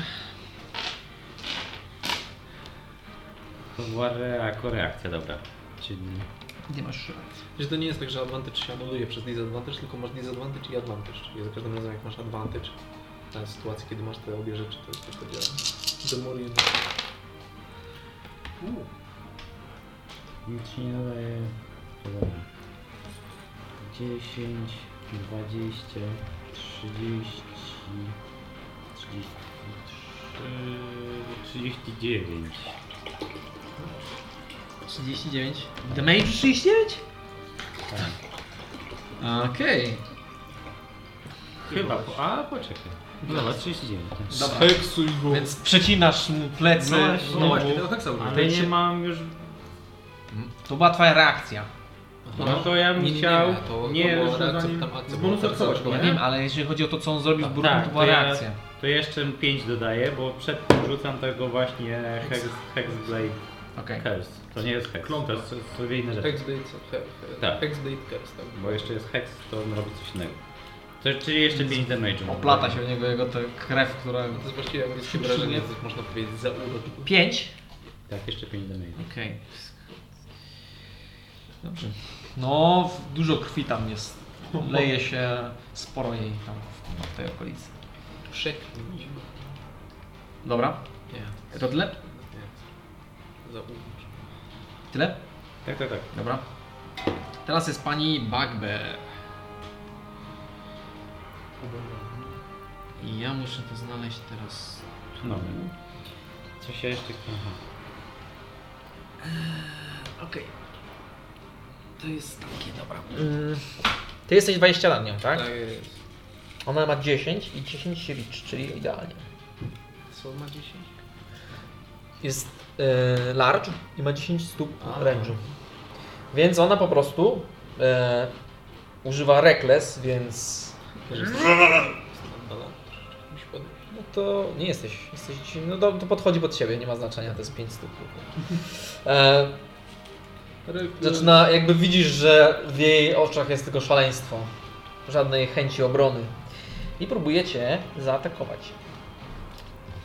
Speaker 6: To była re- jako reakcja, dobra. Czyli...
Speaker 9: Nie masz racji.
Speaker 3: Że to nie jest tak, że advantage się anuluje przez disadvantage, tylko masz disadvantage i advantage. I za każdym razem jak masz advantage, ta sytuacja, kiedy masz te obie rzeczy, to jest to działa. Demolion.
Speaker 6: Nic się nie nadaje. To dobra. 10, 20, 30, 33, 39.
Speaker 9: 39. Damage 39?
Speaker 6: Tak.
Speaker 9: Okej.
Speaker 6: Chyba, po, a poczekaj. Dobra, 39.
Speaker 9: Dobra.
Speaker 3: Heksuj go.
Speaker 9: Więc przecinasz mu plecy.
Speaker 6: No właśnie,
Speaker 9: znowu.
Speaker 6: no
Speaker 3: no tak samo.
Speaker 6: Ale nie mam już...
Speaker 9: To była twoja reakcja.
Speaker 6: No to ja bym chciał... Nie, już zanim-
Speaker 3: akcja.
Speaker 8: z bonusem akceptować go,
Speaker 9: Ja
Speaker 8: nie?
Speaker 9: wiem, ale jeżeli chodzi o to, co on zrobił z
Speaker 6: Tak,
Speaker 9: Burun, to
Speaker 6: to
Speaker 9: była
Speaker 6: ja-
Speaker 9: reakcja.
Speaker 6: To jeszcze 5 dodaję, bo przed tym rzucam tego właśnie Hex, Hexblade
Speaker 9: Okej.
Speaker 6: Curse. To nie jest Hex, to jest to jest inna rzecz.
Speaker 3: Hexblade,
Speaker 6: Tak.
Speaker 3: tak. Hexblade curse, tak.
Speaker 6: Bo jeszcze jest Hex, to on robi coś innego. To, czyli jeszcze 5 damage'u.
Speaker 9: Oplata się w niego jego to krew, która...
Speaker 3: To jest właściwie angielskie wrażenie, to można powiedzieć, za urok.
Speaker 9: 5?
Speaker 6: Tak, jeszcze 5 damage'u.
Speaker 9: Okej. Dobrze. No, w- dużo krwi tam jest. Leje się sporo jej tam w- w tej okolicy.
Speaker 3: Przeknij.
Speaker 9: Dobra,
Speaker 3: Nie,
Speaker 9: to tyle?
Speaker 3: za urok.
Speaker 9: Tyle?
Speaker 6: Tak, tak, tak.
Speaker 9: Dobra. Teraz jest pani Bugbear. I ja muszę to znaleźć teraz.
Speaker 6: No. Coś ja jeszcze... Aha.
Speaker 9: Okej. To jest takie, dobra.
Speaker 1: Mm, Ty jesteś 20 nad nią, tak?
Speaker 3: Tak jest.
Speaker 1: Ona ma 10 i 10 się liczy, czyli idealnie.
Speaker 3: Co ma 10?
Speaker 1: Jest e, large i ma 10 stóp range'u. Więc ona po prostu e, używa reckless, więc
Speaker 3: Standalone. Musi podejść.
Speaker 1: no to nie jesteś. jesteś no to, to podchodzi pod siebie, nie ma znaczenia, to jest 5 stóp. E, Zaczyna, Znaczy, jakby widzisz, że w jej oczach jest tylko szaleństwo. Żadnej chęci obrony. I próbuje cię zaatakować.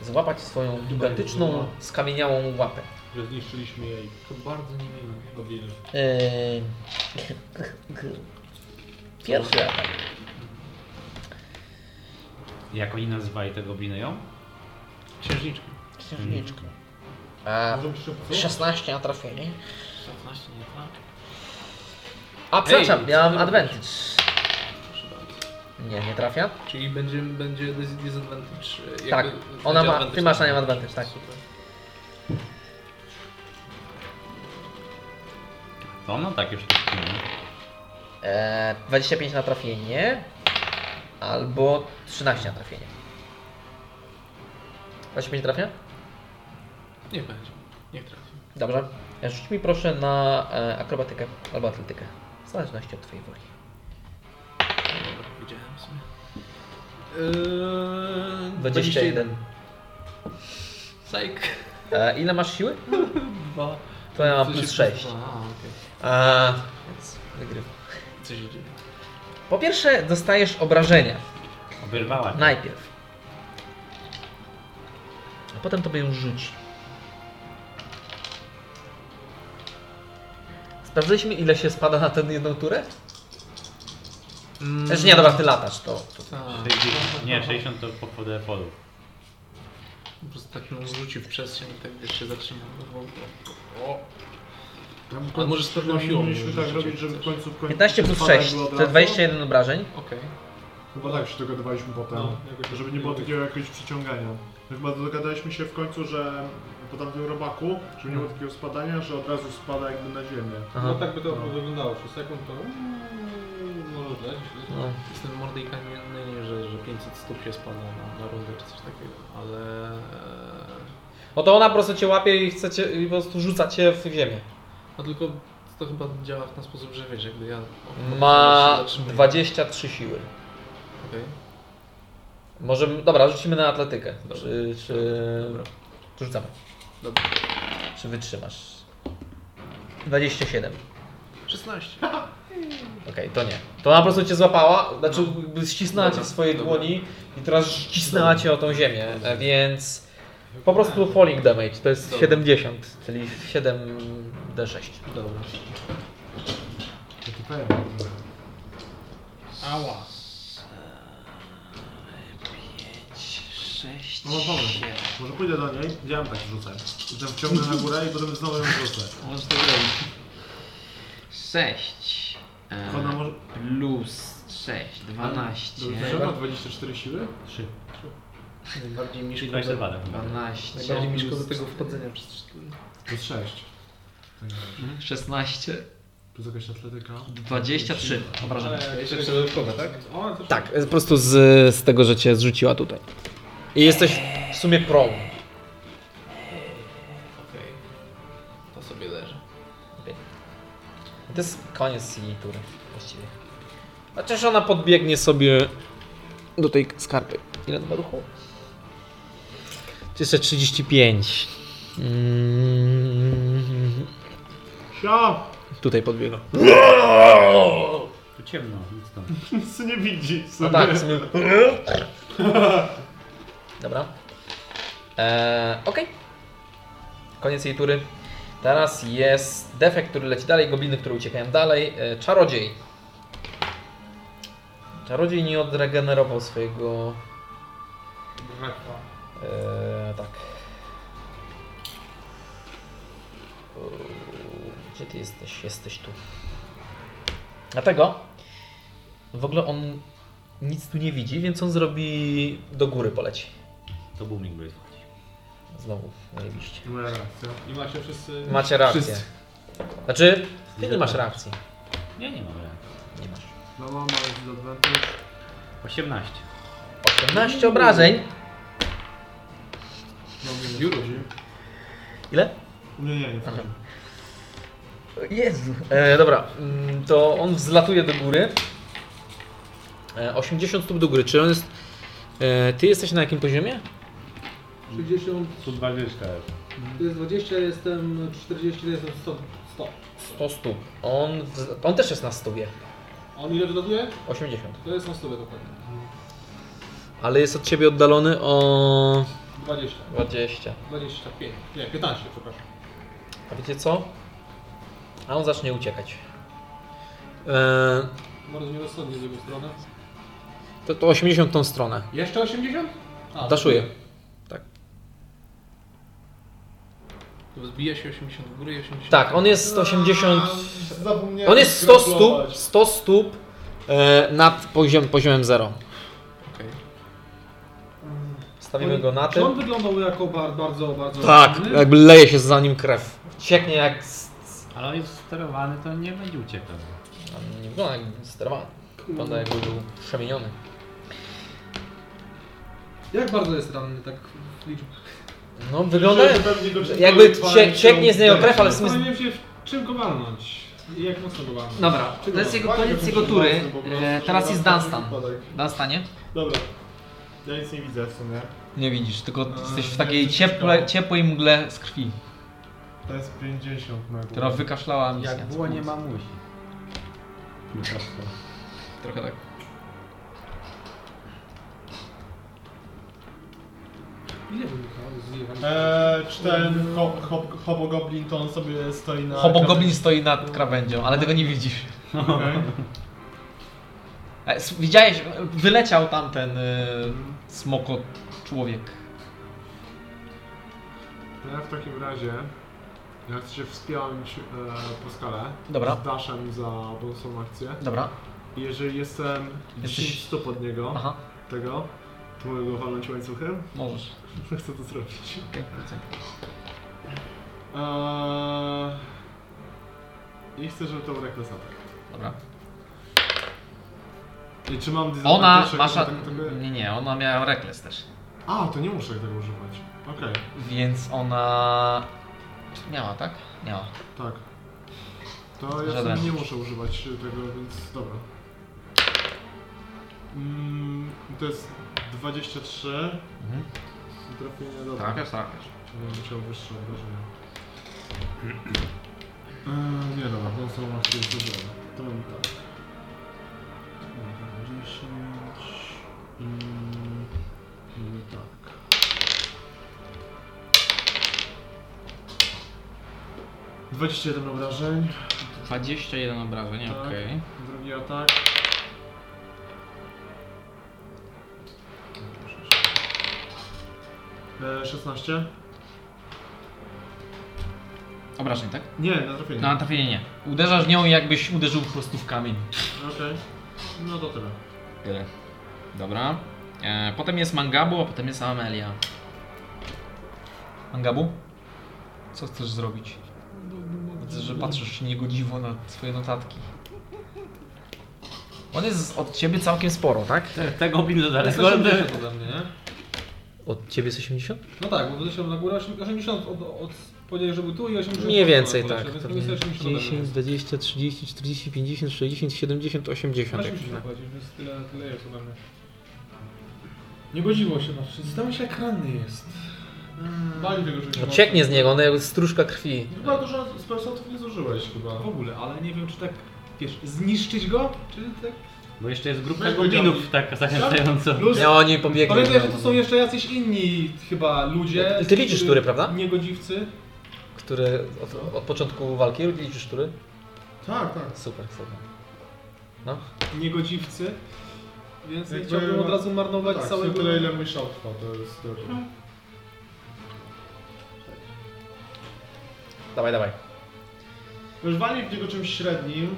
Speaker 1: Złapać swoją gigantyczną, skamieniałą łapę.
Speaker 4: Że zniszczyliśmy jej.
Speaker 3: To bardzo niemiłe.
Speaker 4: Gobliny.
Speaker 1: Eee, Pierwszy atak.
Speaker 6: Jak oni nazywali tego ją?
Speaker 3: Księżniczka.
Speaker 1: Księżniczka. A,
Speaker 4: Możemy szybko?
Speaker 1: 16 na trafienie.
Speaker 3: 16 nie trafi.
Speaker 1: tak? A przepraszam,
Speaker 3: Ej,
Speaker 1: miałam
Speaker 3: co ty
Speaker 1: advantage.
Speaker 3: Proszę bardzo.
Speaker 1: Nie, nie trafia.
Speaker 3: Czyli będzie, będzie dis- disadvantage. e, Jakby
Speaker 1: Tak,
Speaker 3: będzie
Speaker 1: ona ma-
Speaker 3: advantage.
Speaker 1: ty masz na nią advantage, tak.
Speaker 3: Super.
Speaker 6: To no tak już tak. nie?
Speaker 1: Eee, 25 na trafienie albo 13 na trafienie. 25 trafia?
Speaker 3: Nie będzie. Niech trafi.
Speaker 1: Dobrze. Rzuć mi proszę na e, akrobatykę albo atletykę. W zależności od Twojej woli.
Speaker 3: Dobra, widziałem sobie. Yy,
Speaker 1: 21.
Speaker 3: Psych.
Speaker 1: E, ile masz siły?
Speaker 3: Dwa.
Speaker 1: To ja mam
Speaker 3: Co
Speaker 1: plus
Speaker 3: się
Speaker 1: 6.
Speaker 3: A, okej.
Speaker 1: E, więc wygrywam.
Speaker 3: Co się dzieje?
Speaker 1: Po pierwsze dostajesz obrażenia.
Speaker 6: Oberwała. cię.
Speaker 1: Najpierw. A potem tobie ją rzuci. Sprawdziliśmy ile się spada na tę jedną turę?
Speaker 3: Mm,
Speaker 1: Znaczy nie, dobra, ty latasz to. to.
Speaker 3: Tak.
Speaker 6: 60. Nie, 60 to po po defaultu.
Speaker 3: Po prostu tak ją rzuci w przestrzeń i tak wiesz, się zatrzyma.
Speaker 4: Ja bym
Speaker 3: Ale może z pewną siłą
Speaker 4: Powinniśmy
Speaker 3: już
Speaker 4: tak
Speaker 3: życie
Speaker 4: robić, żeby w
Speaker 3: chcesz.
Speaker 4: końcu w końcu.
Speaker 1: 15 plus
Speaker 4: spadek
Speaker 1: 6
Speaker 4: było od
Speaker 1: to
Speaker 4: razu.
Speaker 1: 21 obrażeń.
Speaker 3: Okej.
Speaker 4: Chyba tak się dogadywaliśmy potem.
Speaker 3: No, jakoś-
Speaker 4: żeby nie było takiego jakiegoś przyciągania. My chyba dogadaliśmy się w końcu, że po tamtym robaku, żeby nie było takiego spadania, że od razu spada jakby na ziemię.
Speaker 8: No
Speaker 1: Aha.
Speaker 8: tak by to
Speaker 4: No.
Speaker 8: wyglądało. 6 sekund to... mm, Może źle, źle.
Speaker 1: No.
Speaker 3: Jestem mordej kamienny, że, że 500 stóp się spada na, na rundę czy coś takiego, ale... e,
Speaker 1: No to ona po prostu cię łapie i chce cię, i po prostu rzuca cię w ziemię.
Speaker 3: No tylko to chyba działa w ten sposób, że wiesz, No jakby ja...
Speaker 1: Ma
Speaker 3: się zatrzymuję.
Speaker 1: 23 siły.
Speaker 3: Okej.
Speaker 1: Może, dobra, rzucimy na atletykę. Czy, czy... Dobra. Rzucamy.
Speaker 3: Dobra.
Speaker 1: Czy wytrzymasz? 27.
Speaker 3: 16.
Speaker 1: Okej, to nie. To ona po prostu cię złapała, znaczy jakby ścisnęła cię
Speaker 3: Dobra,
Speaker 1: w swojej
Speaker 3: dobra.
Speaker 1: dłoni i teraz ścisnęła cię o tą ziemię, e, więc po prostu falling damage to jest
Speaker 3: Dobra.
Speaker 1: 70, czyli 7d6.
Speaker 3: Dobra.
Speaker 8: Ała.
Speaker 3: 6.
Speaker 4: No mam pomysł. Może pójdę do niej, gdzie ja ją tak rzucę. I tam wciągnę na górę i potem znowu ją rzucę.
Speaker 9: Możesz to zrobić. 6.
Speaker 4: Tylko Ona może...
Speaker 9: Plus 6, 12.
Speaker 4: Dobrze.
Speaker 3: ma 24 siły?
Speaker 6: Trzy.
Speaker 3: Najbardziej
Speaker 6: Czyli
Speaker 3: miszko
Speaker 6: 22
Speaker 3: do,
Speaker 6: tak naprawdę.
Speaker 9: 12.
Speaker 3: najbardziej miszko do
Speaker 9: plus
Speaker 3: tego wchodzenia przez 4.
Speaker 4: Plus 6.
Speaker 9: 16.
Speaker 4: Plus jakaś atletyka.
Speaker 9: 23. Obrażenia.
Speaker 3: Jeszcze jeszcze dodatkowe, tak?
Speaker 8: O, to
Speaker 1: Tak, po prostu z, z tego, że cię zrzuciła tutaj. I jesteś w sumie prone.
Speaker 3: Okej. To sobie leży.
Speaker 1: To jest koniec jej tury właściwie. Chociaż ona podbiegnie sobie do tej skarpy. Ile ma ruchu? To Jeszcze 35. Mm,
Speaker 4: Sio!
Speaker 1: tutaj podbiega.
Speaker 6: Tu ciemno, nic tam.
Speaker 4: Nic nie widzi.
Speaker 1: No
Speaker 4: Sobie.
Speaker 1: tak, w sumie. Dobra. Eee, Okej. Koniec jej tury. Teraz jest defekt, który leci dalej, gobliny, które uciekają dalej. E, czarodziej. Czarodziej nie odregenerował swojego.
Speaker 8: Brefa.
Speaker 1: E, tak. O, Gdzie ty jesteś? Jesteś tu. Dlatego w ogóle on nic tu nie widzi, więc on zrobi do góry poleci.
Speaker 6: To booming blade wchodzi.
Speaker 1: Znowu, najbliżej.
Speaker 4: Moja reakcja.
Speaker 8: I macie wszyscy...
Speaker 1: Macie reakcję.
Speaker 8: Wszyscy.
Speaker 1: Znaczy, ty nie masz reakcji.
Speaker 6: Nie, nie mam reakcji.
Speaker 1: Nie masz.
Speaker 4: No mam ale advantage.
Speaker 6: 18.
Speaker 1: 18 obrażeń.
Speaker 4: No mnie nie wchodzi.
Speaker 1: Ile?
Speaker 4: Nie, nie, nie wchodzi.
Speaker 1: Aha. Jezu. E, dobra, mm, to on wzlatuje do góry. E, 80 stóp do góry. Czy on jest. E, ty jesteś na jakim poziomie?
Speaker 8: 60,
Speaker 6: Tu dwa gryzka.
Speaker 8: to jest 20, jestem 40, to jestem 100. 100.
Speaker 1: 100 stóp. On, w, on też jest na stówie.
Speaker 8: On ile dodatuje?
Speaker 1: 80.
Speaker 8: To jest na 100 dokładnie.
Speaker 1: Ale jest od ciebie oddalony o.
Speaker 8: 20,
Speaker 1: 20.
Speaker 8: 25, nie, 15, przepraszam.
Speaker 1: A wiecie co? A on zacznie uciekać. E,
Speaker 8: Bardzo nierozsądnie z jego strony.
Speaker 1: to, to 80 tą stronę.
Speaker 8: Jeszcze 80? A,
Speaker 1: Daszuję.
Speaker 3: Wzbija się 80 w górę i 80
Speaker 1: Tak, on jest 80.
Speaker 4: A, zapomniałem
Speaker 1: On jest 100 stóp,
Speaker 4: gratulować.
Speaker 1: 100 stóp e, nad poziom, poziomem 0.
Speaker 3: Okej.
Speaker 1: Stawimy go na
Speaker 8: Czy on
Speaker 1: tym.
Speaker 8: wyglądał jako bar, bardzo, bardzo...
Speaker 1: Tak,
Speaker 8: ranny?
Speaker 1: jakby leje się za nim krew. Cieknie jak. z-
Speaker 6: Ale on jest sterowany, to nie będzie uciekał.
Speaker 1: On nie wygląda no, jak sterowany. Wygląda jakby był przemieniony.
Speaker 8: Jak bardzo jest ranny, tak w liczbach?
Speaker 1: No wygląda
Speaker 4: Że pewnie go przed
Speaker 1: jakby
Speaker 4: twoim
Speaker 1: cie-
Speaker 4: palcem
Speaker 1: cieknie z niego krew, ale w sumie.
Speaker 8: Zastanawiam się, w czym go walnąć i jak mocno go walnąć.
Speaker 9: Dobra,
Speaker 4: Czego?
Speaker 9: to jest jego
Speaker 4: Fajnie,
Speaker 9: koniec
Speaker 4: że
Speaker 9: jego
Speaker 4: się
Speaker 9: tury.
Speaker 4: mocno po prostu,
Speaker 9: E,
Speaker 4: że
Speaker 9: Teraz jest
Speaker 4: na taki
Speaker 9: Dunstan.
Speaker 4: wypadek.
Speaker 9: Dunstanie?
Speaker 4: Dobra. Ja nic nie widzę w sumie.
Speaker 9: Nie widzisz, tylko
Speaker 4: A,
Speaker 9: jesteś w
Speaker 4: nie,
Speaker 9: takiej
Speaker 4: coś
Speaker 9: cieple,
Speaker 4: ciekawe.
Speaker 9: ciepłej mgle z krwi,
Speaker 4: To jest 50 na górę.
Speaker 9: która wykaszlała misję.
Speaker 6: Jak było, nie ma musi.
Speaker 9: Trochę tak.
Speaker 8: Ile wybuchał? Zjechał.
Speaker 4: Eee, czy ten ho, ho, hobogoblin to on sobie stoi na...
Speaker 9: Hobogoblin stoi nad krawędzią, ale tego nie widzisz.
Speaker 4: Okej.
Speaker 9: E, s- Widziałeś, e, wyleciał tamten e, smoko człowiek.
Speaker 4: To Ja w takim razie... Ja chcę się wspiąć e, po skalę.
Speaker 9: Dobra.
Speaker 4: Z daszem za bonusową akcję.
Speaker 9: Dobra,
Speaker 4: I jeżeli jestem
Speaker 9: Jesteś-
Speaker 4: 10 stóp od niego,
Speaker 9: aha,
Speaker 4: tego, to mogę go walnąć łańcuchem?
Speaker 9: możesz.
Speaker 4: Chcę to zrobić.
Speaker 9: Okej, wrócę.
Speaker 4: Eee, I chcę, żeby to był rekles atak.
Speaker 9: Dobra.
Speaker 4: I czy mam
Speaker 9: Ona,
Speaker 4: disadvantage, jak
Speaker 9: masza.
Speaker 4: tak tego-
Speaker 9: Nie, nie, ona miała rekles też.
Speaker 4: A, to nie muszę tego używać. Okej,
Speaker 9: Więc ona. Miała, tak? Miała.
Speaker 4: tak. To ja
Speaker 9: Żaden.
Speaker 4: sobie nie muszę używać tego, więc dobra. Mm, to jest 23.
Speaker 9: Mhm. Tak.
Speaker 4: Trafienie do.
Speaker 1: Tak.
Speaker 9: Trafiasz, trafiasz.
Speaker 4: Będę musiał wyższe obrażenia. Eee, nie dobra, to są właśnie dużo. To mam tak. 10 i... i tak. Dwadzieścia jeden obrażeń.
Speaker 9: 21 obrażeń,
Speaker 4: Tak.
Speaker 9: okej.
Speaker 4: Drugi atak. Eee, 16?
Speaker 9: Obrażeń, tak?
Speaker 4: Nie, na trafienie.
Speaker 9: No, na trafienie nie. Uderzasz nią i jakbyś uderzył chrustów w kamień.
Speaker 4: Okej. No to tyle.
Speaker 9: Tyle. Dobra. E, potem jest Mangabu, a potem jest Amelia. Mangabu? Co chcesz zrobić? Widzę, że patrzysz niegodziwo na swoje notatki. On jest od ciebie całkiem sporo, tak?
Speaker 6: Te goblin to dalej.
Speaker 8: Jest 80 ode mnie, nie?
Speaker 1: Od ciebie jest 80?
Speaker 8: No tak, bo wyleciał na górę 80, 80 od, od podzielę, że był tu i 80.
Speaker 1: Mniej więcej,
Speaker 8: poleciał,
Speaker 1: tak.
Speaker 8: Więc
Speaker 1: Pewnie
Speaker 8: drugi sobie 80 ode mnie.
Speaker 1: 10, 20, 30, 40, 50, 60, 70, 80.
Speaker 8: 80 poleciał, więc tyle, tyle jest ode mnie. Niegodziwo się masz. Zastanawiam się jak ranny jest. Hmm. Bali tego, że się
Speaker 1: No, Cieknie z niego, ona jak stróżka krwi.
Speaker 9: No,
Speaker 4: Chyba dużo spelsotów nie zużyłeś chyba.
Speaker 8: W ogóle, ale nie wiem czy tak, wiesz, zniszczyć go, czy tak...
Speaker 6: Bo jeszcze jest grupa
Speaker 4: Weź go
Speaker 6: goblinów
Speaker 4: dziadki.
Speaker 6: tak zachęcająco.
Speaker 4: Plus,
Speaker 1: Ja oni pobiegną.
Speaker 8: Pamiętaj, że tu są jeszcze jacyś inni chyba ludzie.
Speaker 1: Ty liczysz
Speaker 8: którzy-
Speaker 1: tury, prawda?
Speaker 8: Niegodziwcy.
Speaker 1: Które od, od początku walki liczysz tury?
Speaker 4: Tak, tak.
Speaker 1: Super, super.
Speaker 8: Niegodziwcy. Więc nie
Speaker 4: Jakby-
Speaker 8: chciałbym od razu marnować
Speaker 4: tak
Speaker 8: całego...
Speaker 4: tyle ile mój shot trwa, to jest tyle.
Speaker 1: Dawaj, dawaj.
Speaker 4: Już walnij w niego czymś średnim.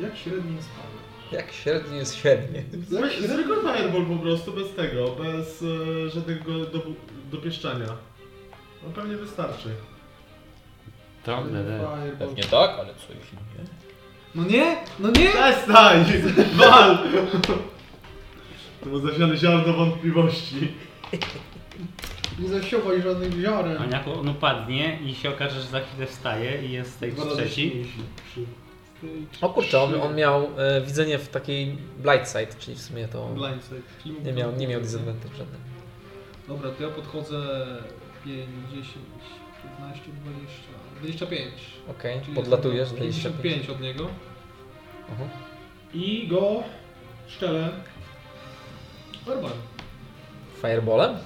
Speaker 8: Jak średni jest Paweł?
Speaker 1: Jak średni jest średni.
Speaker 4: Zrób- Zwykły fireball po prostu, bez tego, bez e, żadnego dobu- dopieszczania. No pewnie wystarczy.
Speaker 6: To, ne, ne.
Speaker 8: Fireball.
Speaker 1: Pewnie tak, ale co jeśli nie?
Speaker 8: No nie? No nie?
Speaker 4: Przestań! Wal! To było zawiane ziarno wątpliwości.
Speaker 8: Nie zasiowaj żadnych wiarę.
Speaker 6: On jak on upadnie i się okaże, że za chwilę wstaje i jest tej trzeci.
Speaker 1: O kurczę, on, on miał e, widzenie w takiej blight side, czyli w sumie to
Speaker 8: Blindside. Czyli
Speaker 1: nie miał, nie miał disadvantage żadnych.
Speaker 8: Dobra, to ja podchodzę 5, 10, 15, 20, 25.
Speaker 1: Okej,
Speaker 8: Czyli
Speaker 1: podlatujesz, Mhm.
Speaker 8: jestem
Speaker 1: 25.
Speaker 8: 55 od niego.
Speaker 1: Aha.
Speaker 8: I go szczelę. Barbar.
Speaker 1: Fireballem?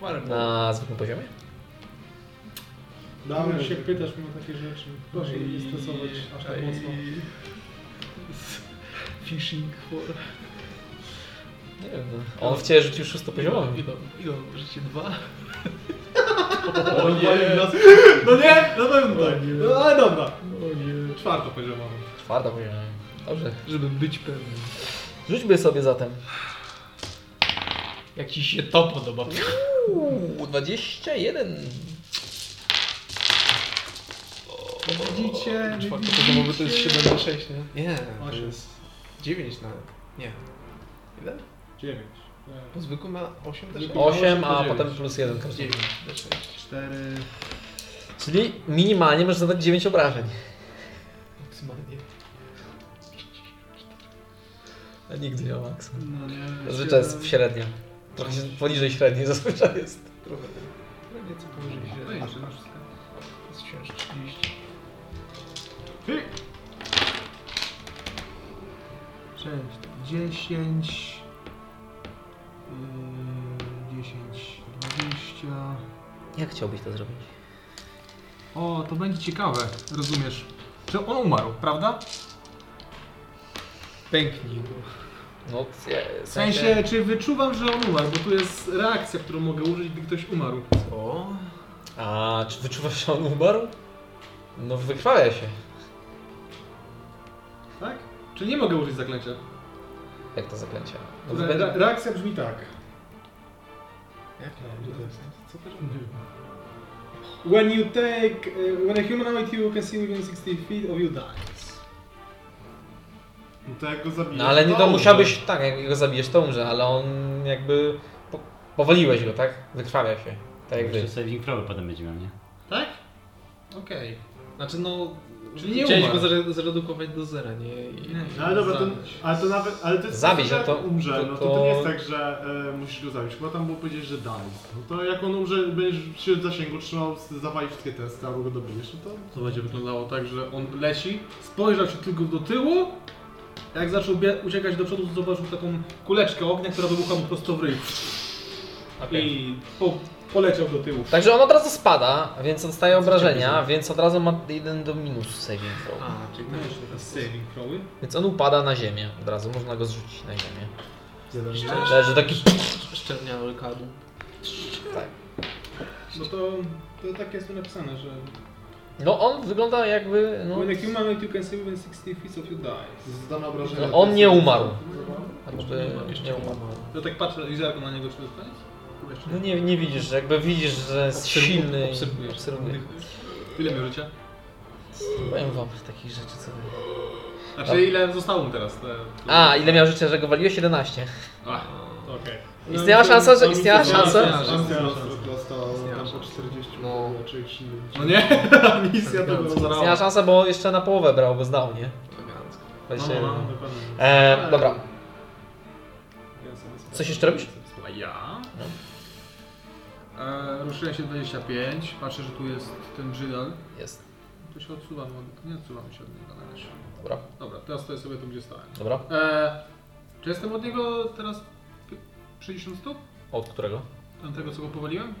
Speaker 8: Barbar.
Speaker 1: Na zwykłym poziomie?
Speaker 8: Dałem się pytasz mnie o takie rzeczy. Proszę
Speaker 4: I-
Speaker 8: nie stresować aż tak
Speaker 4: i-
Speaker 8: mocno. Fishing for...
Speaker 1: Nie wiem. no. On w ciebie rzucił szóstopoziomowym.
Speaker 8: Idą, życie dwa.
Speaker 4: O nie!
Speaker 8: No nie, na pewno tak. No ale dobra. Czwarto poziomowe.
Speaker 1: Czwarta poziomem. Dobrze.
Speaker 8: Żeby być pewnym.
Speaker 1: Rzućmy sobie zatem.
Speaker 5: Jak ci się to podoba.
Speaker 1: Uuu, 21.
Speaker 8: Widzicie?
Speaker 3: Czwartopoziomowy to jest 7 na 6, nie? Nie, to
Speaker 8: Osiem.
Speaker 3: jest 9 nawet. Nie. Ile?
Speaker 4: Dziewięć.
Speaker 3: Bo zwykły ma 8 też?
Speaker 8: Zwykły-
Speaker 1: 8, a
Speaker 8: podzielić.
Speaker 1: potem plus 1 każdy.
Speaker 3: 9 na 6.
Speaker 4: Cztery.
Speaker 1: Czyli minimalnie możesz zadać 9 obrażeń.
Speaker 3: Maksymalnie.
Speaker 1: A nigdy nie ma maksa.
Speaker 8: No nie.
Speaker 1: Zazwyczaj jest średnia. Trochę się poniżej średniej zazwyczaj jest.
Speaker 3: Trochę. Prawie No co powyżej
Speaker 8: Ej,
Speaker 3: się.
Speaker 8: czy masz wszystko?
Speaker 3: A, jest wciąż 30.
Speaker 4: Ty!
Speaker 8: 6, 10, yy, 10, 20.
Speaker 1: Jak chciałbyś to zrobić?
Speaker 8: O, to będzie ciekawe, rozumiesz. Czy on umarł, prawda?
Speaker 3: Pęknij go.
Speaker 1: No, c- e,
Speaker 8: W sensie, czy wyczuwam, że on umarł, bo tu jest reakcja, którą mogę użyć, gdy ktoś umarł.
Speaker 3: Co?
Speaker 1: A, czy wyczuwasz, że on umarł? No, wykrwawia się.
Speaker 8: Tak? Czy nie mogę użyć zaklęcia?
Speaker 1: Jak to zaklęcie? No,
Speaker 8: Re-
Speaker 1: wybierz-
Speaker 8: re- reakcja brzmi tak.
Speaker 3: Jak to? Co to robi?
Speaker 8: When you take, uh, when a humanoid you can see within 60 feet of you dies.
Speaker 4: No to jak go zabijesz,
Speaker 1: No ale nie to
Speaker 4: umrze.
Speaker 1: musiałbyś, tak, jak go zabijesz, to umrze, ale on jakby po, powaliłeś go, tak? Wykrwawia się, tak jak wy.
Speaker 6: Jeszcze saving throwy potem będzie miał, nie?
Speaker 8: Okej. Tak? Znaczy no, Czyli nie
Speaker 3: Chciałeś
Speaker 8: umarł.
Speaker 3: go zre- zredukować do zera, nie? I,
Speaker 8: Nie.
Speaker 4: No ale dobra, to,
Speaker 3: zabić.
Speaker 4: ale to nawet, ale to jest
Speaker 1: Zabić,
Speaker 4: że
Speaker 1: no to-
Speaker 4: umrze,
Speaker 1: to-
Speaker 4: no to, to nie jest
Speaker 1: to-
Speaker 4: tak, że e, musisz go zabić, chyba tam było powiedzieć, że dalej. No to jak on umrze, będziesz się w zasięgu trzymał, zawalisz wszystkie testy albo go dobijesz, no to...
Speaker 8: To będzie wyglądało tak, że on leci, spojrzał się tylko do tyłu, jak zaczął bie- uciekać do przodu, to zobaczył taką kuleczkę ognia, która wybuchła mu prosto w ryj. I po, poleciał do tyłu.
Speaker 1: Także on od razu spada, więc dostaje obrażenia, więc od razu ma jeden do minus w saving throw.
Speaker 3: A, czyli to już teraz
Speaker 8: Saving throwy.
Speaker 1: Więc on upada na ziemię od razu, można go zrzucić na ziemię.
Speaker 3: Szczer-
Speaker 1: Leży taki...
Speaker 3: Szczerniały kadł.
Speaker 8: No to, to tak jest tu napisane, że...
Speaker 1: No on wygląda jakby... No,
Speaker 8: When a human you can save within 60 feet of your dice.
Speaker 4: Zdane obrażenia.
Speaker 1: no on nie umarł.
Speaker 3: Nie
Speaker 1: Jakby
Speaker 3: ma, tak, jeszcze
Speaker 1: nie umarł.
Speaker 8: Ja tak patrzę, Izarko na niego, czy to jest koniec?
Speaker 1: No nie, nie widzisz, że jakby widzisz, że jest
Speaker 3: Obserwu-
Speaker 1: silny. i
Speaker 3: obserwujesz.
Speaker 1: Obserwuję.
Speaker 8: Ile miał życia?
Speaker 1: Powiem wam takich rzeczy co...
Speaker 8: Znaczy ile zostało mu teraz? Te...
Speaker 1: A, ile miał życia, że go waliłeś? 11.
Speaker 8: Ach, okej.
Speaker 1: Istniała szansa, że... Istniała szansa?
Speaker 4: Misja
Speaker 8: Szansa.
Speaker 4: dostała tam po 40
Speaker 3: No.
Speaker 4: czy 30.
Speaker 8: No nie, misja to była zarała.
Speaker 1: Istniała szansa, bo jeszcze na połowę brał, bo znał, nie?
Speaker 3: Elegancko.
Speaker 8: No,
Speaker 1: 21.
Speaker 8: no, no, dokładnie.
Speaker 1: E, dobra. Coś jeszcze robisz? No.
Speaker 8: A ja? E, ruszyłem się 25, patrzę, że tu jest ten Żydal.
Speaker 1: Jest.
Speaker 8: To się odsuwam, od- nie odsuwam się od niego na razie.
Speaker 1: Dobra,
Speaker 8: Dobra, teraz stoję sobie tu, gdzie stałem.
Speaker 1: dobra.
Speaker 8: E, czy jestem od niego teraz pi- 60 stóp?
Speaker 1: Od którego?
Speaker 8: Tamtego, co go powaliłem?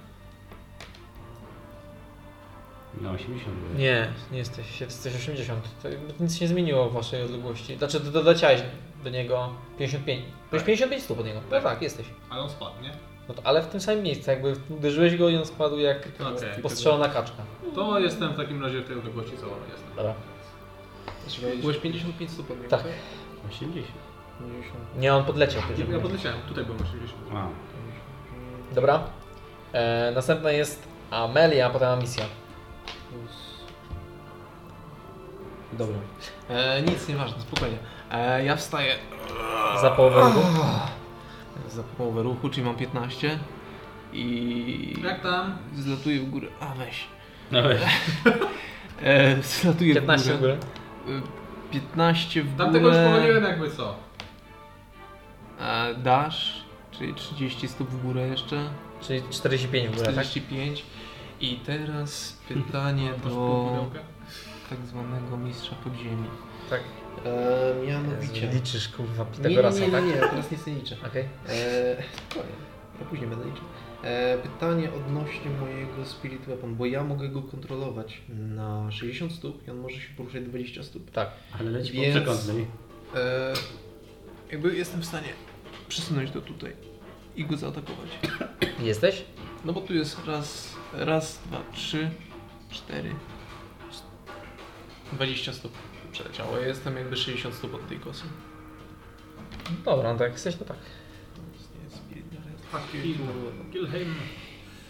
Speaker 6: Na 80 No, było.
Speaker 1: Nie, nie jesteś, jesteś 80. To jakby nic się nie zmieniło w waszej odległości. Znaczy, do- doleciałeś do niego 55. Byłeś 55 stóp od niego. Tak, tak, jesteś.
Speaker 8: Ale on spadł, nie?
Speaker 1: No to, ale w tym samym miejscu, jakby uderzyłeś go i on spadł jak
Speaker 8: Okej.
Speaker 1: postrzelona kaczka.
Speaker 8: To jestem w takim razie w tej odległości, co on jest.
Speaker 1: Dobra.
Speaker 3: Byłeś 55 stóp od niego,
Speaker 1: Tak.
Speaker 6: 80.
Speaker 3: 50.
Speaker 1: Nie, on podleciał.
Speaker 8: Ja, ja podleciałem, tutaj byłem 80.
Speaker 6: A.
Speaker 1: Dobra. E, następna jest Amelia, a potem Amisja.
Speaker 3: Dobra. E, nic, nieważne, spokojnie. E, ja wstaję
Speaker 1: Za połowę ruchu.
Speaker 3: za połowę ruchu, czyli mam 15 i
Speaker 8: Jak tam?
Speaker 3: zlatuję w górę. A weź.
Speaker 6: No weź.
Speaker 3: E, zlatuję
Speaker 1: 15 w
Speaker 3: w górę.
Speaker 1: górę.
Speaker 3: E, 15 w górę.
Speaker 8: Tamtego już powaliłem jakby co.
Speaker 3: E, dasz, czyli 30 stóp w górę jeszcze.
Speaker 1: Czyli 45 w górę, tak?
Speaker 3: 45. I teraz pytanie
Speaker 8: Masz
Speaker 3: do
Speaker 8: pudełkę?
Speaker 3: tak zwanego mistrza podziemi.
Speaker 1: Tak.
Speaker 3: E, mianowicie.
Speaker 1: Liczysz kurwa
Speaker 3: Nie, nie,
Speaker 1: Pitagorasa,
Speaker 3: nie, nie,
Speaker 1: tak?
Speaker 3: nie, teraz nic nie liczę.
Speaker 1: Okej.
Speaker 3: Eee, ja później będę liczył. Eee, pytanie odnośnie mojego Spirit Weapon, bo ja mogę go kontrolować na 60 stóp i on może się poruszać 20 stóp.
Speaker 1: Tak.
Speaker 6: Ale leci po
Speaker 3: Więc-
Speaker 6: przekątnej.
Speaker 3: Eee, jakby jestem w stanie przesunąć go tutaj i go zaatakować.
Speaker 1: Jesteś?
Speaker 3: No bo tu jest raz, raz, dwa, trzy, cztery, 20 stóp przeleciało. Ja jestem jakby 60 stóp od tej kosy.
Speaker 1: Dobra, no tak jak jesteś, to tak.
Speaker 8: Fuck, kill. Kill him.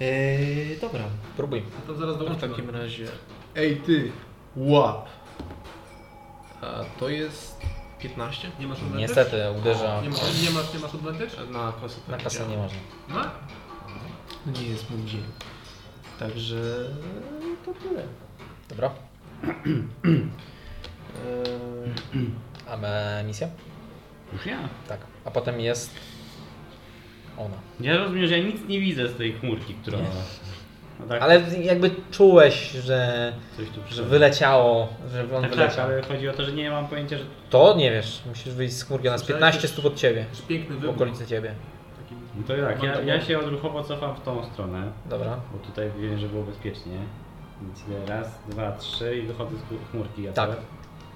Speaker 3: Eee, dobra.
Speaker 1: Próbuj.
Speaker 8: To No zaraz
Speaker 3: To w
Speaker 8: dołączę.
Speaker 3: takim razie. Ej ty! Łap! A to jest 15?
Speaker 8: Nie masz odwęty?
Speaker 1: Niestety uderza.
Speaker 8: Nie masz, nie masz, nie masz advantage?
Speaker 3: Na kosę to
Speaker 1: Na kasę nie można.
Speaker 8: No.
Speaker 3: No nie jest mój dzień. Także
Speaker 1: e,
Speaker 3: to tyle.
Speaker 1: Dobra. E,
Speaker 3: Eee,
Speaker 1: A me- misja?
Speaker 6: Już ja.
Speaker 1: Tak. A potem jest. Ona.
Speaker 6: Ja rozumiem, że ja nic nie widzę z tej chmurki, która... No tak,
Speaker 1: Ale jakby czułeś, że,
Speaker 6: coś tu
Speaker 1: że
Speaker 6: przyszedł.
Speaker 1: wyleciało, że on
Speaker 6: Tak, tak,
Speaker 1: wyleciał.
Speaker 6: ale chodzi o to, że nie mam pojęcia, że...
Speaker 1: To nie wiesz, musisz wyjść z chmurki, ona jest 15 stóp od ciebie.
Speaker 8: Jakiś piękny
Speaker 1: W
Speaker 8: wybuch.
Speaker 1: okolicy ciebie.
Speaker 6: No to tak, ja, ja się odruchowo cofam w tą stronę,
Speaker 1: Dobra.
Speaker 6: bo tutaj wiem, że było bezpiecznie. Więc idę raz, dwa, trzy i wychodzę z chmur- chmurki. Ja
Speaker 1: Tak.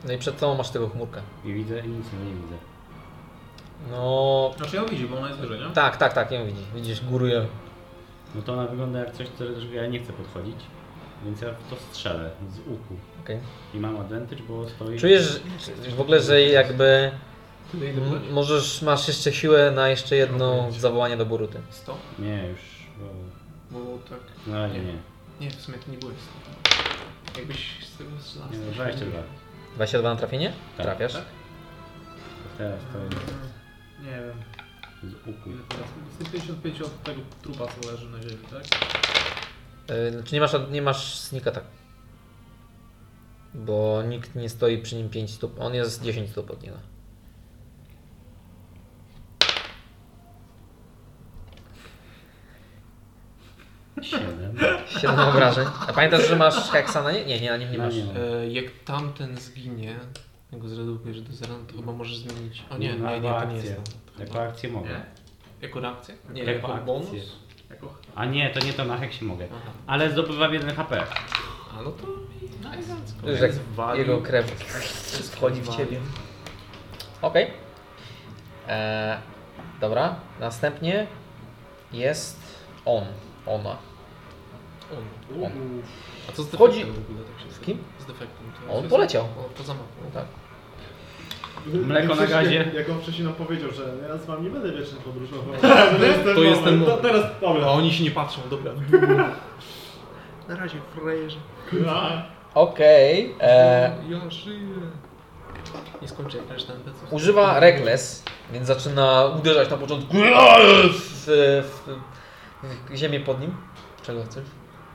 Speaker 1: No i przed sobą masz tego chmurkę.
Speaker 6: I widzę i nic nie widzę.
Speaker 1: No.
Speaker 8: Znaczy ją widzi, bo ona jest wyżej, nie?
Speaker 1: Tak, tak, tak, ją widzisz. Widzisz, góruje.
Speaker 6: No to ona wygląda jak coś, co- do czego ja nie chcę podchodzić, więc ja w to strzelę z łuku.
Speaker 1: Okej.
Speaker 6: I mam advantage, bo stoi...
Speaker 1: Czujesz że- czy- w ogóle, że jakby.
Speaker 3: tyle ile
Speaker 1: m-
Speaker 3: brać?
Speaker 1: Możesz, masz jeszcze siłę na jeszcze
Speaker 6: No,
Speaker 1: jedno zawołanie do Boruty.
Speaker 3: 100?
Speaker 6: Nie, już... Bo...
Speaker 3: Bo tak.
Speaker 6: Na razie nie.
Speaker 3: Nie, w sumie to nie było 100. Jakbyś z tego strzelał.
Speaker 6: Nie, no 22.
Speaker 1: 22 na trafienie?
Speaker 6: Tak.
Speaker 1: Trafiasz.
Speaker 6: Tak. Teraz to
Speaker 1: Tak.
Speaker 6: jest
Speaker 8: Nie wiem,
Speaker 6: z łuku.
Speaker 8: ile teraz. 155 od tego trupa, co leży na ziemi, tak?
Speaker 1: E, Y, Znaczy nie masz, nie masz snika tak. Bo nikt nie stoi przy nim 5 stóp. On jest 10 stóp od niego.
Speaker 6: Siedem.
Speaker 1: 7 obrażeń. A pamiętasz, że masz heksa na nie? Nie, nie, na nim nie
Speaker 6: Na
Speaker 1: masz.
Speaker 6: nie mam.
Speaker 3: E, jak tamten zginie, jak go zredukujesz do zera, no to chyba możesz zmienić. O nie,
Speaker 6: Na
Speaker 3: nie, nie, to nie
Speaker 6: akcję.
Speaker 3: jest. tam.
Speaker 6: Jako akcję mogę.
Speaker 3: Jako reakcję? Nie,
Speaker 6: Jako
Speaker 3: jako,
Speaker 6: akcję.
Speaker 3: bonus?
Speaker 4: Jako...
Speaker 6: A nie, to nie to na heksie mogę.
Speaker 3: Aha.
Speaker 6: Ale zdobywam 1 HP.
Speaker 3: A no to...
Speaker 1: Już jak
Speaker 3: Zwalił.
Speaker 1: jego krew wchodzi w ciebie. Okej. Eee, Dobra, następnie jest on, ona.
Speaker 3: On.
Speaker 1: On.
Speaker 3: A co z defektem
Speaker 1: Wchodzi-
Speaker 3: w ogóle tak się
Speaker 1: Z kim?
Speaker 3: Z defektem. to
Speaker 1: On
Speaker 3: jest-
Speaker 1: poleciał.
Speaker 3: O, poza mapą.
Speaker 1: Tak.
Speaker 6: Mleko na gazie.
Speaker 4: Mhm. Jak on wcześniej nam powiedział, że ja z wami nie będę wiecznie podróżował. To jest ten
Speaker 3: To jest ten
Speaker 4: moment. No. To
Speaker 3: moment.
Speaker 4: teraz,
Speaker 3: A
Speaker 4: dobra.
Speaker 3: oni się nie patrzą, dobra. Na razie, frajerze.
Speaker 4: No, A,
Speaker 1: Okej. eee,
Speaker 3: Ja żyję. Nie skończę jak reszta NPC.
Speaker 1: Używa Reckless, więc zaczyna uderzać na początku w, w, w, w ziemię pod nim. Czego chcesz?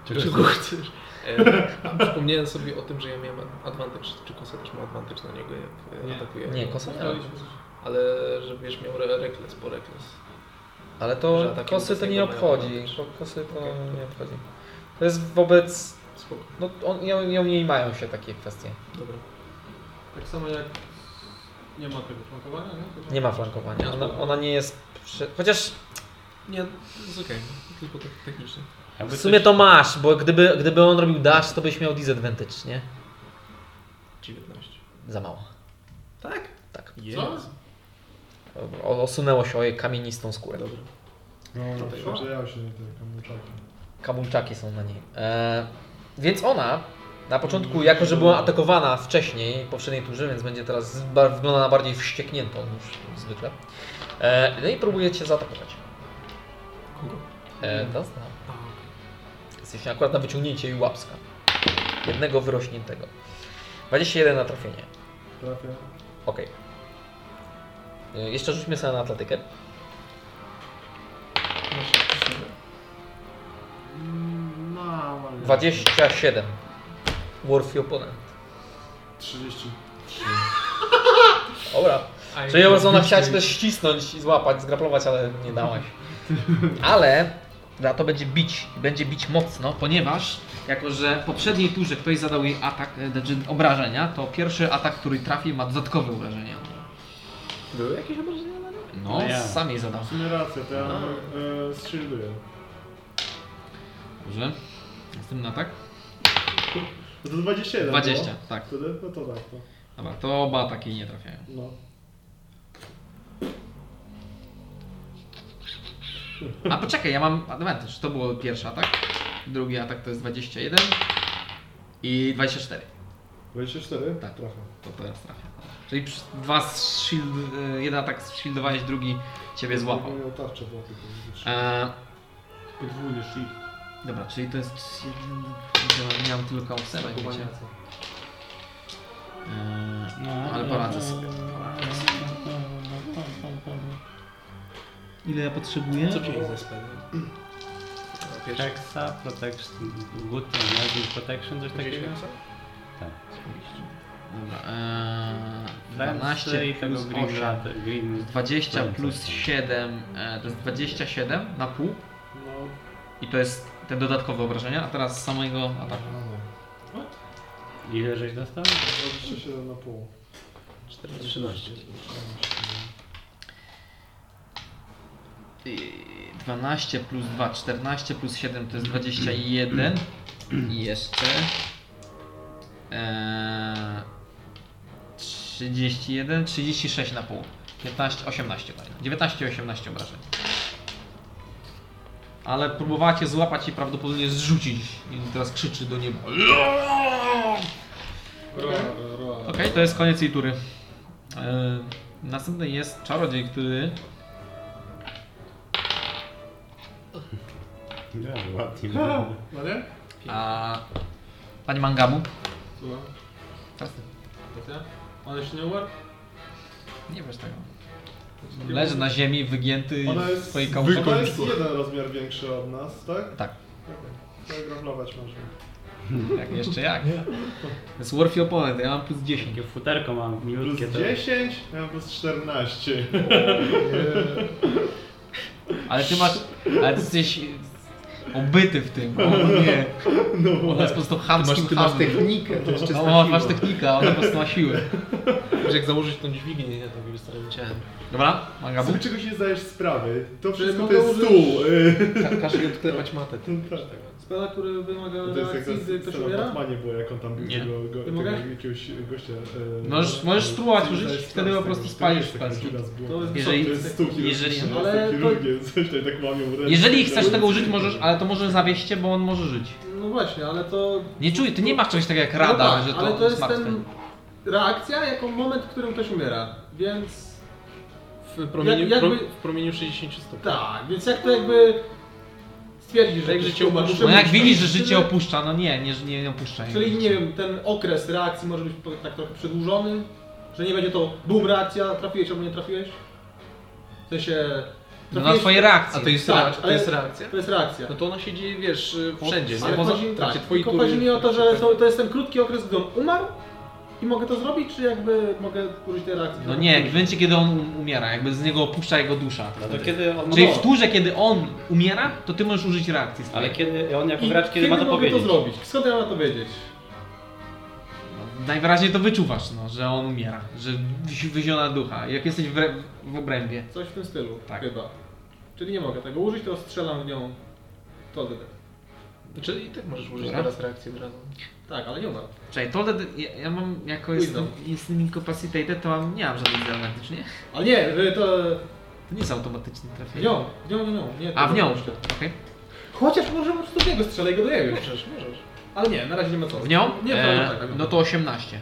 Speaker 3: Czego chcesz? E, przypomniałem sobie o tym, że ja miałem advantage. Czy Kosa też ma advantage na niego, jak e,
Speaker 8: Nie.
Speaker 3: atakuje?
Speaker 1: Nie, kosa nie ma.
Speaker 3: Ale że wiesz, miał re- reckless po reckless.
Speaker 1: Ale to
Speaker 3: Że ataki
Speaker 1: kosy to nie
Speaker 3: obecnego mają
Speaker 1: obchodzi.
Speaker 3: advantage.
Speaker 1: Kosy to
Speaker 3: Okej.
Speaker 1: nie obchodzi. To jest wobec...
Speaker 3: Spoko,
Speaker 1: No, on, nie, nie, nie mają się takie kwestie.
Speaker 3: dobra.
Speaker 8: Tak samo jak... Nie ma tego flankowania, nie? Chyba.
Speaker 1: Nie ma flankowania. Ona, ona nie jest... Przy... Chociaż
Speaker 3: Nie, jest okej. Tylko tak technicznie.
Speaker 6: Jakby
Speaker 1: w sumie
Speaker 6: coś-
Speaker 1: to masz, bo gdyby, gdyby on robił dash, to byś miał disadvantage, nie?
Speaker 3: 19.
Speaker 1: Za mało.
Speaker 3: Tak?
Speaker 1: Tak.
Speaker 3: Jest.
Speaker 1: O, osunęło się o jej kamienistą skórę.
Speaker 3: Dobra.
Speaker 4: no,
Speaker 3: Tutaj
Speaker 4: przejrzał się tym kamyczakiem.
Speaker 1: Kabulczaki są na niej. E, więc ona na początku, jako że była atakowana wcześniej, w poprzedniej turze, więc będzie teraz ba- wygląda na bardziej wściekniętą niż zwykle. E, no i próbuje cię zaatakować.
Speaker 3: Kogo?
Speaker 1: E, to zna.
Speaker 3: A, okej.
Speaker 1: Jesteś akurat na wyciągnięcie i łapska. Jednego wyrośniętego. 21 na trafienie.
Speaker 4: Trafia.
Speaker 1: Ok. E, jeszcze rzućmy sobie na atletykę.
Speaker 3: Masz jakieś inne?
Speaker 4: Mm, No, ale...
Speaker 1: 27. Warfy opponent.
Speaker 4: 30.
Speaker 1: Dobra.
Speaker 3: A,
Speaker 1: Czyli
Speaker 3: jak-
Speaker 1: ją ona chciała cię też ścisnąć i złapać, zgraplować, ale nie dałaś. Ale za to będzie bić, będzie bić mocno, ponieważ
Speaker 9: Jako, że w poprzedniej turze ktoś zadał jej atak, e, znaczy obrażenia, to pierwszy atak, który trafi ma dodatkowe obrażenia.
Speaker 3: Były jakieś obrażenia na nią?
Speaker 9: No,
Speaker 6: No ja.
Speaker 9: sam jej zadał.
Speaker 4: W sumie racja, to ja e, zshilduję.
Speaker 9: Dobrze. Następny atak?
Speaker 4: No to 27
Speaker 9: 20,
Speaker 4: było.
Speaker 9: tak.
Speaker 4: Wtedy? No to tak, to.
Speaker 9: Dobra, to oba ataki nie trafiają.
Speaker 4: No.
Speaker 9: A poczekaj, ja mam advantage. To było pierwszy atak. Drugi atak to jest 21 i 24.
Speaker 4: 24?
Speaker 9: Tak.
Speaker 4: Trafia.
Speaker 9: To teraz trafia. Czyli przy- dwa z shield, y, jeden atak shieldowałeś, drugi ciebie złapał.
Speaker 4: Miał tarczę była tylko. widzisz.
Speaker 9: E,
Speaker 8: Podwójny shield.
Speaker 9: dobra, czyli to jest... Miałem tylko obserwę, wiecie. E,
Speaker 6: No,
Speaker 9: ale poradzę sobie. Poradzę sobie. Ile ja potrzebuję?
Speaker 3: Co wzięli ze spellu? Pierwszy.
Speaker 6: Hexa, protection, good energy protection, coś takiego. Tak.
Speaker 9: Dobra, eee, 12
Speaker 6: 12 i tego
Speaker 9: plus
Speaker 6: green,
Speaker 9: 8.
Speaker 6: rat- green
Speaker 9: 20
Speaker 6: Więcej.
Speaker 9: plus 7 e, to jest 27 na pół
Speaker 4: No.
Speaker 9: i to jest te dodatkowe obrażenia, a teraz samego ataku.
Speaker 6: Ile żeś dostał?
Speaker 4: 27 na pół.
Speaker 3: 13.
Speaker 9: Yy, 12 plus 2, 14 plus 7 to jest 21 i jeszcze eee, 31, 36 na pół. 15, 18 daje. 19, 18 obrażeń. Ale próbowała cię złapać i prawdopodobnie zrzucić. I teraz krzyczy do nieba.
Speaker 4: Ro, ro.
Speaker 9: Okej, to jest koniec jej tury. Eee, następny jest czarodziej, który
Speaker 6: Ja, ładnie.
Speaker 4: No nie?
Speaker 9: A pani Mangamu?
Speaker 8: Słucham.
Speaker 9: Teraz ty.
Speaker 8: Racja? On jeszcze nie umarł?
Speaker 9: Nie wiesz tego. Leży na ziemi, wygięty
Speaker 4: Ona
Speaker 9: w
Speaker 4: jest,
Speaker 9: swojej
Speaker 4: ona
Speaker 9: kałuży.
Speaker 4: jest jeden rozmiar większy od nas, tak?
Speaker 9: Tak.
Speaker 4: Okej. To graflować można.
Speaker 1: Jak jeszcze jak? To jest Warfio Opponent, ja mam plus 10.
Speaker 6: Takie futerko mam
Speaker 4: Plus
Speaker 6: miłutkie. to-
Speaker 4: 10, ja mam plus 14.
Speaker 1: Ale ty masz. Ale ty jesteś obyty w tym. O nie.
Speaker 4: No
Speaker 1: Ona jest po prostu chamskim
Speaker 3: Ty masz
Speaker 1: chamem.
Speaker 3: technikę, to jest czysta
Speaker 1: No, masz,
Speaker 3: siła.
Speaker 1: masz technikę, a ona po prostu ma siłę.
Speaker 3: Wiesz, jak założyć tą dźwignię, nie? Takim starym ciałem.
Speaker 1: Dobra, Magabu?
Speaker 4: Sobie czegoś nie zdajesz sprawy. To wszystko to
Speaker 8: mogę
Speaker 4: jest
Speaker 8: użyć-
Speaker 4: stół. y,
Speaker 3: Ka- Każ jej odklepać matę. ty.
Speaker 4: Tak.
Speaker 8: Spela, który wymaga
Speaker 4: To jest jak
Speaker 8: reakcji, gdy
Speaker 4: za
Speaker 8: ktoś
Speaker 4: Stella
Speaker 8: umiera?
Speaker 4: Batmanie było, jak on tam był
Speaker 1: Nie.
Speaker 4: tego, go,
Speaker 8: Nie mogę?
Speaker 4: tego jakiegoś gościa. y,
Speaker 1: Możesz- możesz
Speaker 4: y,
Speaker 1: spróbować
Speaker 4: sobie
Speaker 1: użyć,
Speaker 4: zdajesz
Speaker 1: wtedy
Speaker 4: sprawę
Speaker 1: po
Speaker 4: z
Speaker 1: prostu
Speaker 4: tego, że
Speaker 1: spalisz
Speaker 4: to jest taki
Speaker 1: w palcu.
Speaker 4: raz było.
Speaker 8: To jest
Speaker 1: Jeżeli-
Speaker 4: To jest stół
Speaker 1: jeżeli-
Speaker 4: chirurgiczny,
Speaker 8: ale
Speaker 4: ale
Speaker 8: to-
Speaker 4: chirurgiem, coś tutaj tak łamią ręce.
Speaker 1: Jeżeli chcesz tego użyć, możesz, ale to może zawieść cię, bo on może żyć.
Speaker 8: No właśnie, ale to...
Speaker 1: Nie czuj, ty nie masz czegoś takiego jak rada,
Speaker 8: no tak,
Speaker 1: że to,
Speaker 8: ale to jest
Speaker 1: martwe.
Speaker 8: ten... Reakcja jako moment, w którym ktoś umiera, więc...
Speaker 3: W promieniu,
Speaker 8: Jak- jakby-
Speaker 3: pro, w promieniu 60 stopni.
Speaker 8: Tak, więc jak to jakby... Stwierdzisz, że
Speaker 3: Jak
Speaker 8: ktoś
Speaker 3: życie
Speaker 8: umarł,
Speaker 3: opuszcza-
Speaker 1: No jak
Speaker 8: muszę-
Speaker 1: widzisz, że życie
Speaker 8: wtedy-
Speaker 1: opuszcza, no nie, nie, nie opuszcza.
Speaker 8: Czyli nie wiem, ten okres reakcji może być po- tak trochę przedłużony, że nie będzie to boom reakcja, trafiłeś albo nie trafiłeś. W sensie...
Speaker 1: No na
Speaker 8: trafiłeś-
Speaker 1: twoje
Speaker 3: A
Speaker 1: reakcje.
Speaker 3: to jest,
Speaker 8: Tak,
Speaker 3: reak- to
Speaker 8: ale-
Speaker 3: jest reakcja?
Speaker 8: To jest reakcja.
Speaker 3: No to ona się dzieje, wiesz, y, wszędzie, nie? Znaczy,
Speaker 8: Ale
Speaker 3: Poza-
Speaker 8: chodzi,
Speaker 3: w
Speaker 8: tak,
Speaker 3: trakcie twojej
Speaker 8: tylko chodzi
Speaker 3: tury-
Speaker 8: mi o to, że to, to jest ten krótki okres, gdy on umarł i mogę to zrobić, czy jakby mogę użyć tej reakcji?
Speaker 1: No nie, w momencie kiedy on um- umiera, jakby z niego opuszcza jego dusza.
Speaker 6: No to kiedy on
Speaker 1: Czyli
Speaker 6: ma-
Speaker 1: w turze, kiedy on umiera, to ty możesz użyć reakcji swojej.
Speaker 6: Ale kiedy on jako
Speaker 8: I
Speaker 6: gracz, kiedy ma to
Speaker 8: mogę
Speaker 6: powiedzieć?
Speaker 8: to zrobić? Skąd ja mam to wiedzieć?
Speaker 1: No, najwyraźniej to wyczuwasz, no, że on umiera, że wyzi- wyziona ducha. Jak jesteś w, re- w obrębie.
Speaker 8: Coś w tym stylu,
Speaker 1: Tak.
Speaker 8: chyba. Czyli nie mogę tego użyć, to strzelam w nią. To tyle.
Speaker 3: Znaczy i tak możesz użyć
Speaker 1: Dobra.
Speaker 3: teraz reakcji od razu.
Speaker 8: Tak, ale nie umarł.
Speaker 1: Czekaj, to wtedy- ja, ja mam, jako jestem, jestem incapacitated, to mam, nie mam żadnych diagnostycz, nie?
Speaker 8: Ale nie, y, to...
Speaker 1: To nie jest automatyczne
Speaker 8: W
Speaker 1: trafienie.
Speaker 8: nią, w nią, w nią. Nie,
Speaker 1: A,
Speaker 8: to
Speaker 1: w nią.
Speaker 8: nie muszę.
Speaker 1: Okej.
Speaker 8: Chociaż może po prostu w niego strzelę i go dojebię.
Speaker 3: Możesz, możesz.
Speaker 8: Ale nie, na razie nie ma co.
Speaker 1: W nią?
Speaker 8: Nie, to,
Speaker 1: E,
Speaker 8: tak, tak,
Speaker 1: no to 18.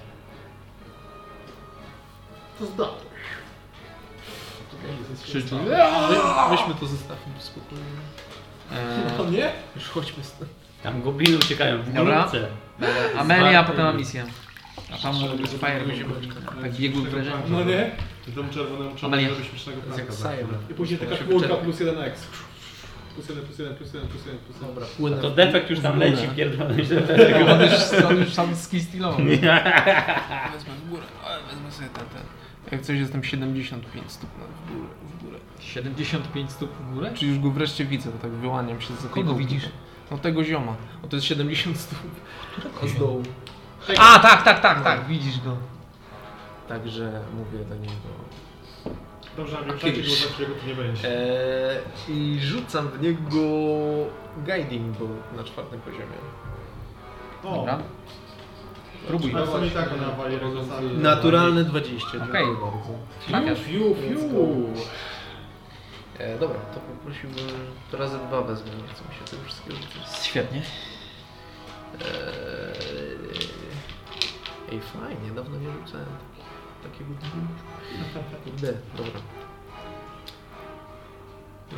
Speaker 8: To zda.
Speaker 1: Krzyczą.
Speaker 3: My, myśmy to zostawmy w spokoju.
Speaker 1: E,
Speaker 8: To nie?
Speaker 3: Już chodźmy stąd.
Speaker 6: Tam gobliny uciekają w
Speaker 1: Dobra.
Speaker 6: górce.
Speaker 1: e, Amelia, a potem Amicia. A tam może być Fireball. Tak biegły wrażenie.
Speaker 8: No nie?
Speaker 4: Ty Temu czerwonemu
Speaker 1: Amelia.
Speaker 4: czarnemu robi śmiesznego
Speaker 3: To jest jak
Speaker 4: pranka.
Speaker 1: no.
Speaker 3: sajem.
Speaker 8: I później taka
Speaker 3: Się
Speaker 8: chmurka
Speaker 3: wyczerpie.
Speaker 8: plus 1 X. Plus 1, plus 1, plus 1, plus 1, plus 1.
Speaker 3: Dobra, płynę.
Speaker 6: To
Speaker 3: w-
Speaker 6: defekt już tam
Speaker 3: w górę.
Speaker 6: leci, pierdolony
Speaker 1: On już, on już sam skistilował.
Speaker 3: Tak.
Speaker 17: Wezmę w górę, ale wezmę sobie ten, ten. Jak coś jestem 75 stopni w górę, w górę.
Speaker 1: 75 stóp w górę?
Speaker 17: Czy już go wreszcie widzę, bo tak wyłaniam się z tej
Speaker 1: Kogo
Speaker 17: grupy.
Speaker 1: widzisz?
Speaker 17: No tego zioma. O to jest 70 stóp.
Speaker 3: A z dołu.
Speaker 1: A, tak, tak, tak, tak, widzisz go.
Speaker 3: Także mówię do niego.
Speaker 4: Dobrze, a wiem, że go zawsze tu nie będzie.
Speaker 3: Eee, I rzucam w niego guiding był na czwartym poziomie.
Speaker 4: O,
Speaker 1: Dobra. Próbuj.
Speaker 4: ale w sumie i tak ona wali rozwiązanie.
Speaker 3: Naturalne 20. dziękuję
Speaker 1: Okej.
Speaker 3: bardzo.
Speaker 1: Trafiasz.
Speaker 8: Fiu,
Speaker 3: Let's
Speaker 8: fiu.
Speaker 3: go. Eee, dobra, to poprosiłbym, to razy dwa wezmę, nie chcę mi się tego wszystkiego rzucić.
Speaker 1: Świetnie.
Speaker 3: Eee, ej, fajnie, dawno nie rzucałem taki- takiego guidingu. D, dobra.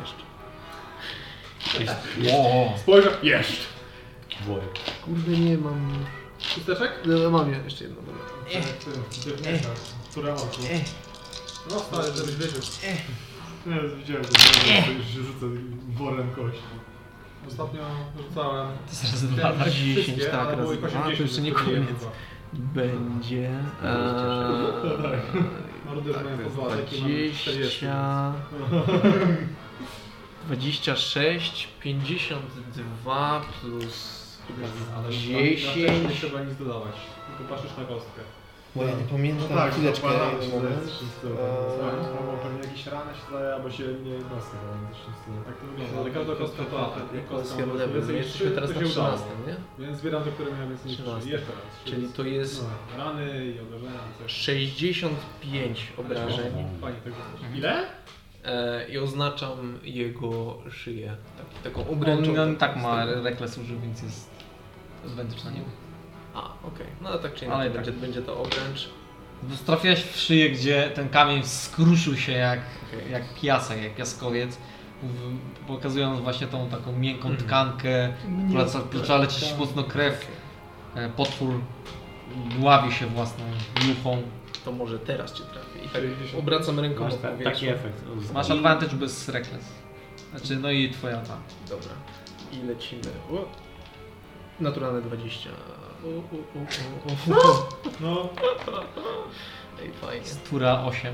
Speaker 3: Jeszcze.
Speaker 1: Wow.
Speaker 4: Spojrzę, jeszcze.
Speaker 3: Kurde, nie mam...
Speaker 8: Chusteczek?
Speaker 3: No, mam je- jeszcze jedno, dobra.
Speaker 4: Która oku?
Speaker 8: No stary, żebyś wiedział.
Speaker 4: Teraz widziałem, go, że już rzucę worem kości.
Speaker 8: Ostatnio rzucałem
Speaker 1: To jest razy dwa, tak?
Speaker 17: 10,
Speaker 8: wszystkie,
Speaker 17: tak,
Speaker 8: ale było
Speaker 17: razy
Speaker 8: ich
Speaker 17: dwa, to
Speaker 8: 80,
Speaker 17: jeszcze nie
Speaker 8: to nie
Speaker 17: koniec.
Speaker 8: chyba.
Speaker 17: Będzie...
Speaker 3: e,
Speaker 8: Tak. Mordy,
Speaker 3: Tak,
Speaker 8: że mają po dwa ataki, mamy 40.
Speaker 17: 20...
Speaker 3: 26, 52 plus
Speaker 8: Ale na- Na test nie
Speaker 3: 10.
Speaker 8: trzeba nic dodawać, tylko patrzysz na kostkę.
Speaker 3: Bo ja nie
Speaker 4: No
Speaker 3: pamiętam.
Speaker 4: tak,
Speaker 3: chwileczkę.
Speaker 4: zakładam,
Speaker 3: jeden
Speaker 4: że to
Speaker 3: moment.
Speaker 4: jest wszystko.
Speaker 3: E,
Speaker 4: Albo pewnie jakieś rany się zdaje, albo się nie nosy. bo coś w stylu. Tak to wygląda.
Speaker 8: No, Ale każda kostka to atak. Jak
Speaker 3: To jest
Speaker 8: kostka
Speaker 3: ja
Speaker 8: może
Speaker 3: level,
Speaker 8: więcej
Speaker 3: no,
Speaker 8: niż
Speaker 3: jesteśmy
Speaker 8: trzy,
Speaker 3: teraz
Speaker 8: to
Speaker 3: na
Speaker 8: się udało.
Speaker 3: 13, nie?
Speaker 8: Więc zbieram te, które miałem więcej niż 3.
Speaker 3: 13.
Speaker 8: Jeszcze raz.
Speaker 3: Czyli to jest
Speaker 8: No, Rany i obrażenia. coś.
Speaker 3: 65 obrażeń
Speaker 8: Fajnie tak wygląda.
Speaker 4: Ile?
Speaker 3: e, i oznaczam jego szyję. Tak, taką obręczą.
Speaker 1: On, on
Speaker 3: taką
Speaker 1: tak ma
Speaker 3: z tego.
Speaker 1: rekles użył, więc jest odwędyczna niego.
Speaker 3: A, okej. No ale tak czy
Speaker 1: Ale
Speaker 3: inaczej
Speaker 1: tak.
Speaker 3: będzie, będzie to obręcz.
Speaker 1: Trafiłaś w szyję, gdzie ten kamień skruszył się jak,
Speaker 3: Okej.
Speaker 1: jak piasek, jak piaskowiec, w, pokazując właśnie tą taką miękką
Speaker 3: Mhm.
Speaker 1: tkankę, która ca- zaczęła lecieć mocno krew. E, Potwór dławi się własną juchą.
Speaker 3: To może teraz cię trafię. I tak
Speaker 4: 60.
Speaker 3: obracam ręką
Speaker 6: Masz tak,
Speaker 3: w
Speaker 6: ta,
Speaker 3: powietrzu.
Speaker 6: taki efekt.
Speaker 1: Masz advantage bez reckless. Znaczy, no i twoja ta.
Speaker 3: Dobra. I lecimy. O. Naturalne 20. U, u, u, u, u.
Speaker 8: No,
Speaker 3: Ej, fajnie.
Speaker 9: Stura 8.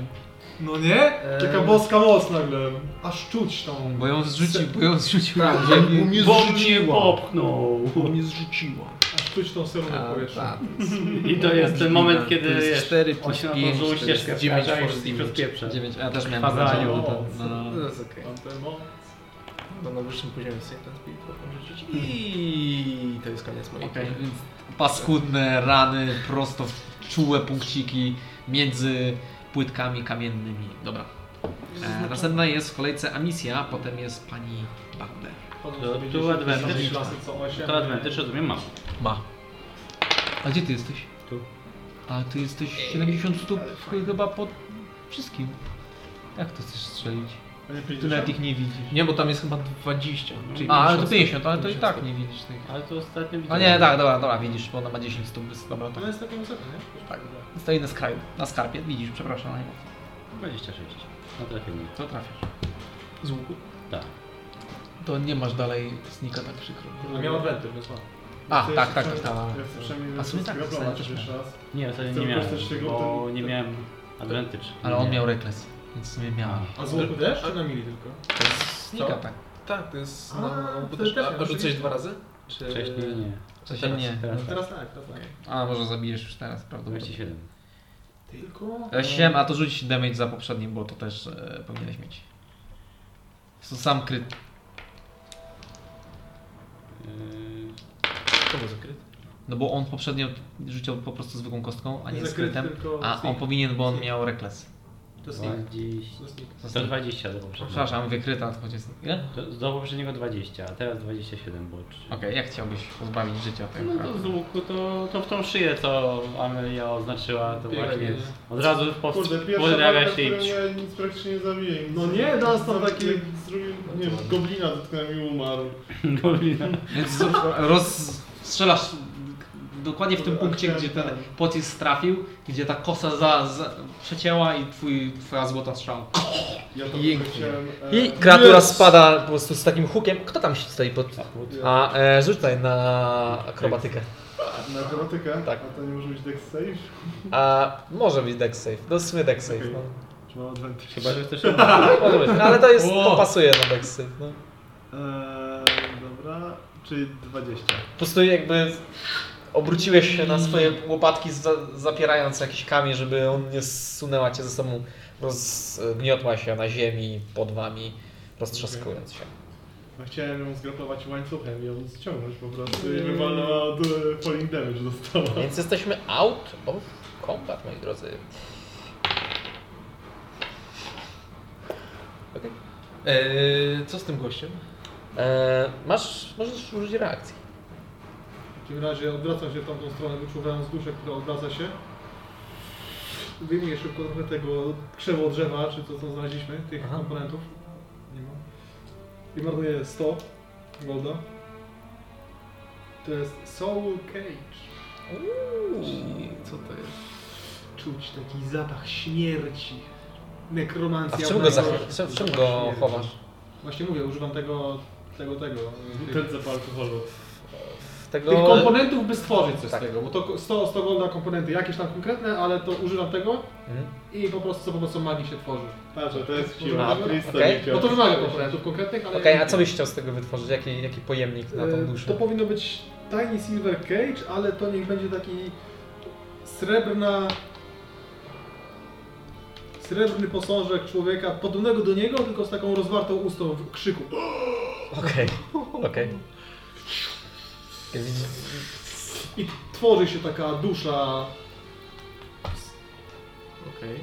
Speaker 8: no nie? Taka
Speaker 3: Eee.
Speaker 8: boska moc nagle. Aż czuć tą.
Speaker 5: Bo ją zrzucił, bo ją zrzucił
Speaker 3: Tak,
Speaker 5: na ziemię.
Speaker 3: mnie
Speaker 6: Bo mnie popchnął.
Speaker 3: Bo mnie zrzuciła.
Speaker 8: Aż czuć tą stronę
Speaker 5: A,
Speaker 8: powierzchni.
Speaker 5: tak.
Speaker 6: I to jest ten moment, kiedy
Speaker 5: To jest
Speaker 6: wiesz,
Speaker 5: cztery plus
Speaker 6: on się na tą
Speaker 5: pięć, to
Speaker 6: złą
Speaker 5: jest
Speaker 6: ścieżkę
Speaker 5: dziewięć
Speaker 6: wkracza
Speaker 5: force
Speaker 6: i- i
Speaker 5: damage.
Speaker 6: rozpieprza.
Speaker 9: 9, ja też miałem
Speaker 6: Fazaniu.
Speaker 9: zaznaczone, to- no, no.
Speaker 3: To jest okej.
Speaker 8: Mam tę moc.
Speaker 3: No, na wyższym poziomie sobie ten speed potem rzucić. I to jest koniec mojej
Speaker 9: Okej,
Speaker 3: tury.
Speaker 9: więc paskudne rany prosto w czułe punkciki między płytkami kamiennymi. Dobra. E, następna jest w kolejce Amisja, potem jest pani Bagner.
Speaker 6: To-
Speaker 8: Chodzą
Speaker 6: tu
Speaker 8: sobie
Speaker 6: advantage.
Speaker 8: dziesięć klasy co osiem.
Speaker 6: To advantage, rozumiem, mam.
Speaker 9: Ma. A gdzie ty jesteś?
Speaker 6: Tu.
Speaker 9: A ty jesteś 70 stóp chyba pod wszystkim. Jak to chcesz strzelić?
Speaker 8: Panie
Speaker 9: Ty nawet
Speaker 8: Pięćdziesiąt.
Speaker 9: ich nie widzisz.
Speaker 3: Nie, bo tam jest chyba 20. czyli
Speaker 9: A, ale to
Speaker 3: 50.
Speaker 9: 50, ale to i tak nie widzisz tych.
Speaker 6: Ale to ostatnio
Speaker 9: No nie, tak, dobra, dobra, widzisz, bo ona ma 10 stóp, więc dobra, to
Speaker 8: To jest taka wysoka, nie?
Speaker 9: tak. Stoi na skraju, na skarpie, widzisz, przepraszam, najmocniej.
Speaker 6: 26. No trafienie.
Speaker 9: To trafiasz.
Speaker 3: Z łuku.
Speaker 6: Tak.
Speaker 9: To nie masz dalej snika, tak przykro.
Speaker 8: A miał adventure, więc mam.
Speaker 9: A,
Speaker 8: Chcę
Speaker 9: tak,
Speaker 8: jeszcze
Speaker 9: tak, tak,
Speaker 8: przynajmniej-
Speaker 9: tak.
Speaker 8: Ja chcę przynajmniej
Speaker 9: A w sumie tak, zostaje
Speaker 8: Wielkopolskiego Brona
Speaker 9: też
Speaker 8: jeszcze raz.
Speaker 6: Nie, ostatnio
Speaker 8: Chcę
Speaker 6: nie miałem,
Speaker 8: wykorzystać tego-
Speaker 6: bo
Speaker 8: ten-
Speaker 6: nie
Speaker 8: ten-
Speaker 6: miałem advantage.
Speaker 9: Ale on
Speaker 6: Nie.
Speaker 9: miał reckless, więc w sumie miał.
Speaker 6: A.
Speaker 8: A z łuku też, czy na mili tylko?
Speaker 9: Snika, tak.
Speaker 3: Tak, to jest
Speaker 8: A,
Speaker 3: na...
Speaker 8: to
Speaker 3: bo też-
Speaker 8: też
Speaker 3: A, a rzucałeś
Speaker 8: oczywiście.
Speaker 3: dwa razy? Czy...
Speaker 6: Wcześniej nie.
Speaker 9: Co się nie.
Speaker 6: Teraz tak.
Speaker 8: Teraz tak, teraz tak.
Speaker 9: A, może zabijesz już teraz, prawdopodobnie.
Speaker 6: 27.
Speaker 8: Tylko...
Speaker 9: E, 7, a to rzuć damage za poprzednim, bo to też e, powinieneś mieć. To sam kryt.
Speaker 6: Yy,
Speaker 3: To był zakryty.
Speaker 9: No bo on poprzednio rzucił po prostu zwykłą kostką, a nie z
Speaker 8: Zakryty,
Speaker 9: krytem.
Speaker 8: tylko
Speaker 9: A on
Speaker 8: sneak.
Speaker 9: powinien, bo on
Speaker 8: Sneak.
Speaker 9: miał reckless.
Speaker 8: To
Speaker 6: Yy,
Speaker 8: sneak.
Speaker 6: 20,
Speaker 8: To sneak.
Speaker 9: To sneak.
Speaker 6: 120 do poprzedniego.
Speaker 9: Przepraszam, wykryta, chodzi Ile?
Speaker 6: Do, do poprzedniego 20, a teraz 27, bo...
Speaker 9: Okej, jak chciałbyś pozbawić życia tego?
Speaker 6: No to z łuku to, to w tą szyję, co Amelia oznaczyła, to
Speaker 3: Bieganie.
Speaker 6: właśnie od razu
Speaker 4: Kurde,
Speaker 6: powst-
Speaker 4: pierwsza walka,
Speaker 6: podrabia
Speaker 4: w
Speaker 6: się i...
Speaker 4: której mnie nic praktycznie nie zabije.
Speaker 8: No nie, no, są takie-
Speaker 4: Zrobił, nie wiem, goblina dotknąłem i umarł.
Speaker 6: Goblina.
Speaker 9: Więc z- roz... strzelasz dokładnie w tym punkcie, gdzie ten pocisk trafił, gdzie ta kosa za, za przecięła i twój, twoja złota strzała.
Speaker 4: Ja to
Speaker 9: Pięknie.
Speaker 4: chciałem... e,
Speaker 1: I kreatura
Speaker 4: Jezus!
Speaker 1: spada po prostu z takim hukiem. Kto tam stoi pod... A, e, rzuć tutaj na akrobatykę.
Speaker 4: Na akrobatykę?
Speaker 1: Tak.
Speaker 4: A to nie może być dex save?
Speaker 1: A może być deck save. No w sumie deck save, no.
Speaker 4: Czy mam advantage?
Speaker 6: Chyba, że chcesz...
Speaker 1: Może być. No, ale to jest,
Speaker 9: O!
Speaker 1: to pasuje na deck save, no.
Speaker 4: Eee, dobra, czyli 20.
Speaker 1: Po prostu jakby obróciłeś się na swoje łopatki za, zapierając jakiś kamień, żeby on nie zsunęła cię ze sobą, rozgniotła się na ziemi pod wami, roztrzaskując się.
Speaker 4: No chciałem ją zgraplować łańcuchem i ją ściągnąć po prostu i wywalnęła od e, falling damage dostała.
Speaker 1: Więc jesteśmy out of combat, moi drodzy.
Speaker 3: Eee, co z tym gościem?
Speaker 1: E, masz, możesz użyć reakcji.
Speaker 8: W takim razie odwracam się w tamtą stronę, wyczuwając duszę, która odwraca się. Wyjmuję szybko trochę tego krzewu drzewa, czy to co znaleźliśmy, tych
Speaker 1: Aha.
Speaker 8: komponentów. Nie ma. I marnuję 100 golda. To jest Soul Cage.
Speaker 3: Co to jest?
Speaker 8: Czuć taki zapach śmierci. Nekromancja.
Speaker 1: A w czym go,
Speaker 8: najgorsza.
Speaker 1: zach- w czym- w czym go chowasz?
Speaker 8: Właśnie mówię, używam tego, tego, tego. Tych,
Speaker 4: Butelce po alkoholu.
Speaker 1: W
Speaker 8: tych
Speaker 1: tego...
Speaker 8: komponentów, by stworzyć coś
Speaker 1: Tak.
Speaker 8: z tego. Bo to 100, 100 golda komponenty, jakieś tam konkretne, ale to używam tego.
Speaker 1: Mhm.
Speaker 8: I po prostu za pomocą magii się tworzy.
Speaker 4: Patrz, to jest
Speaker 8: A,
Speaker 4: siła. Krista
Speaker 1: okej.
Speaker 4: nie chciał.
Speaker 8: No to wymaga komponentów konkretnych, ale...
Speaker 1: Okej, a co byś chciał z tego wytworzyć? Jaki, jaki pojemnik na tą
Speaker 8: E, To
Speaker 1: duszę?
Speaker 8: powinno być Tiny Silver Cage, ale to niech będzie taki srebrna... Srebrny posążek człowieka, podobnego do niego, tylko z taką rozwartą ustą w krzyku.
Speaker 1: Okej, okej. Widzisz-
Speaker 8: I tworzy się taka dusza.
Speaker 3: Okej.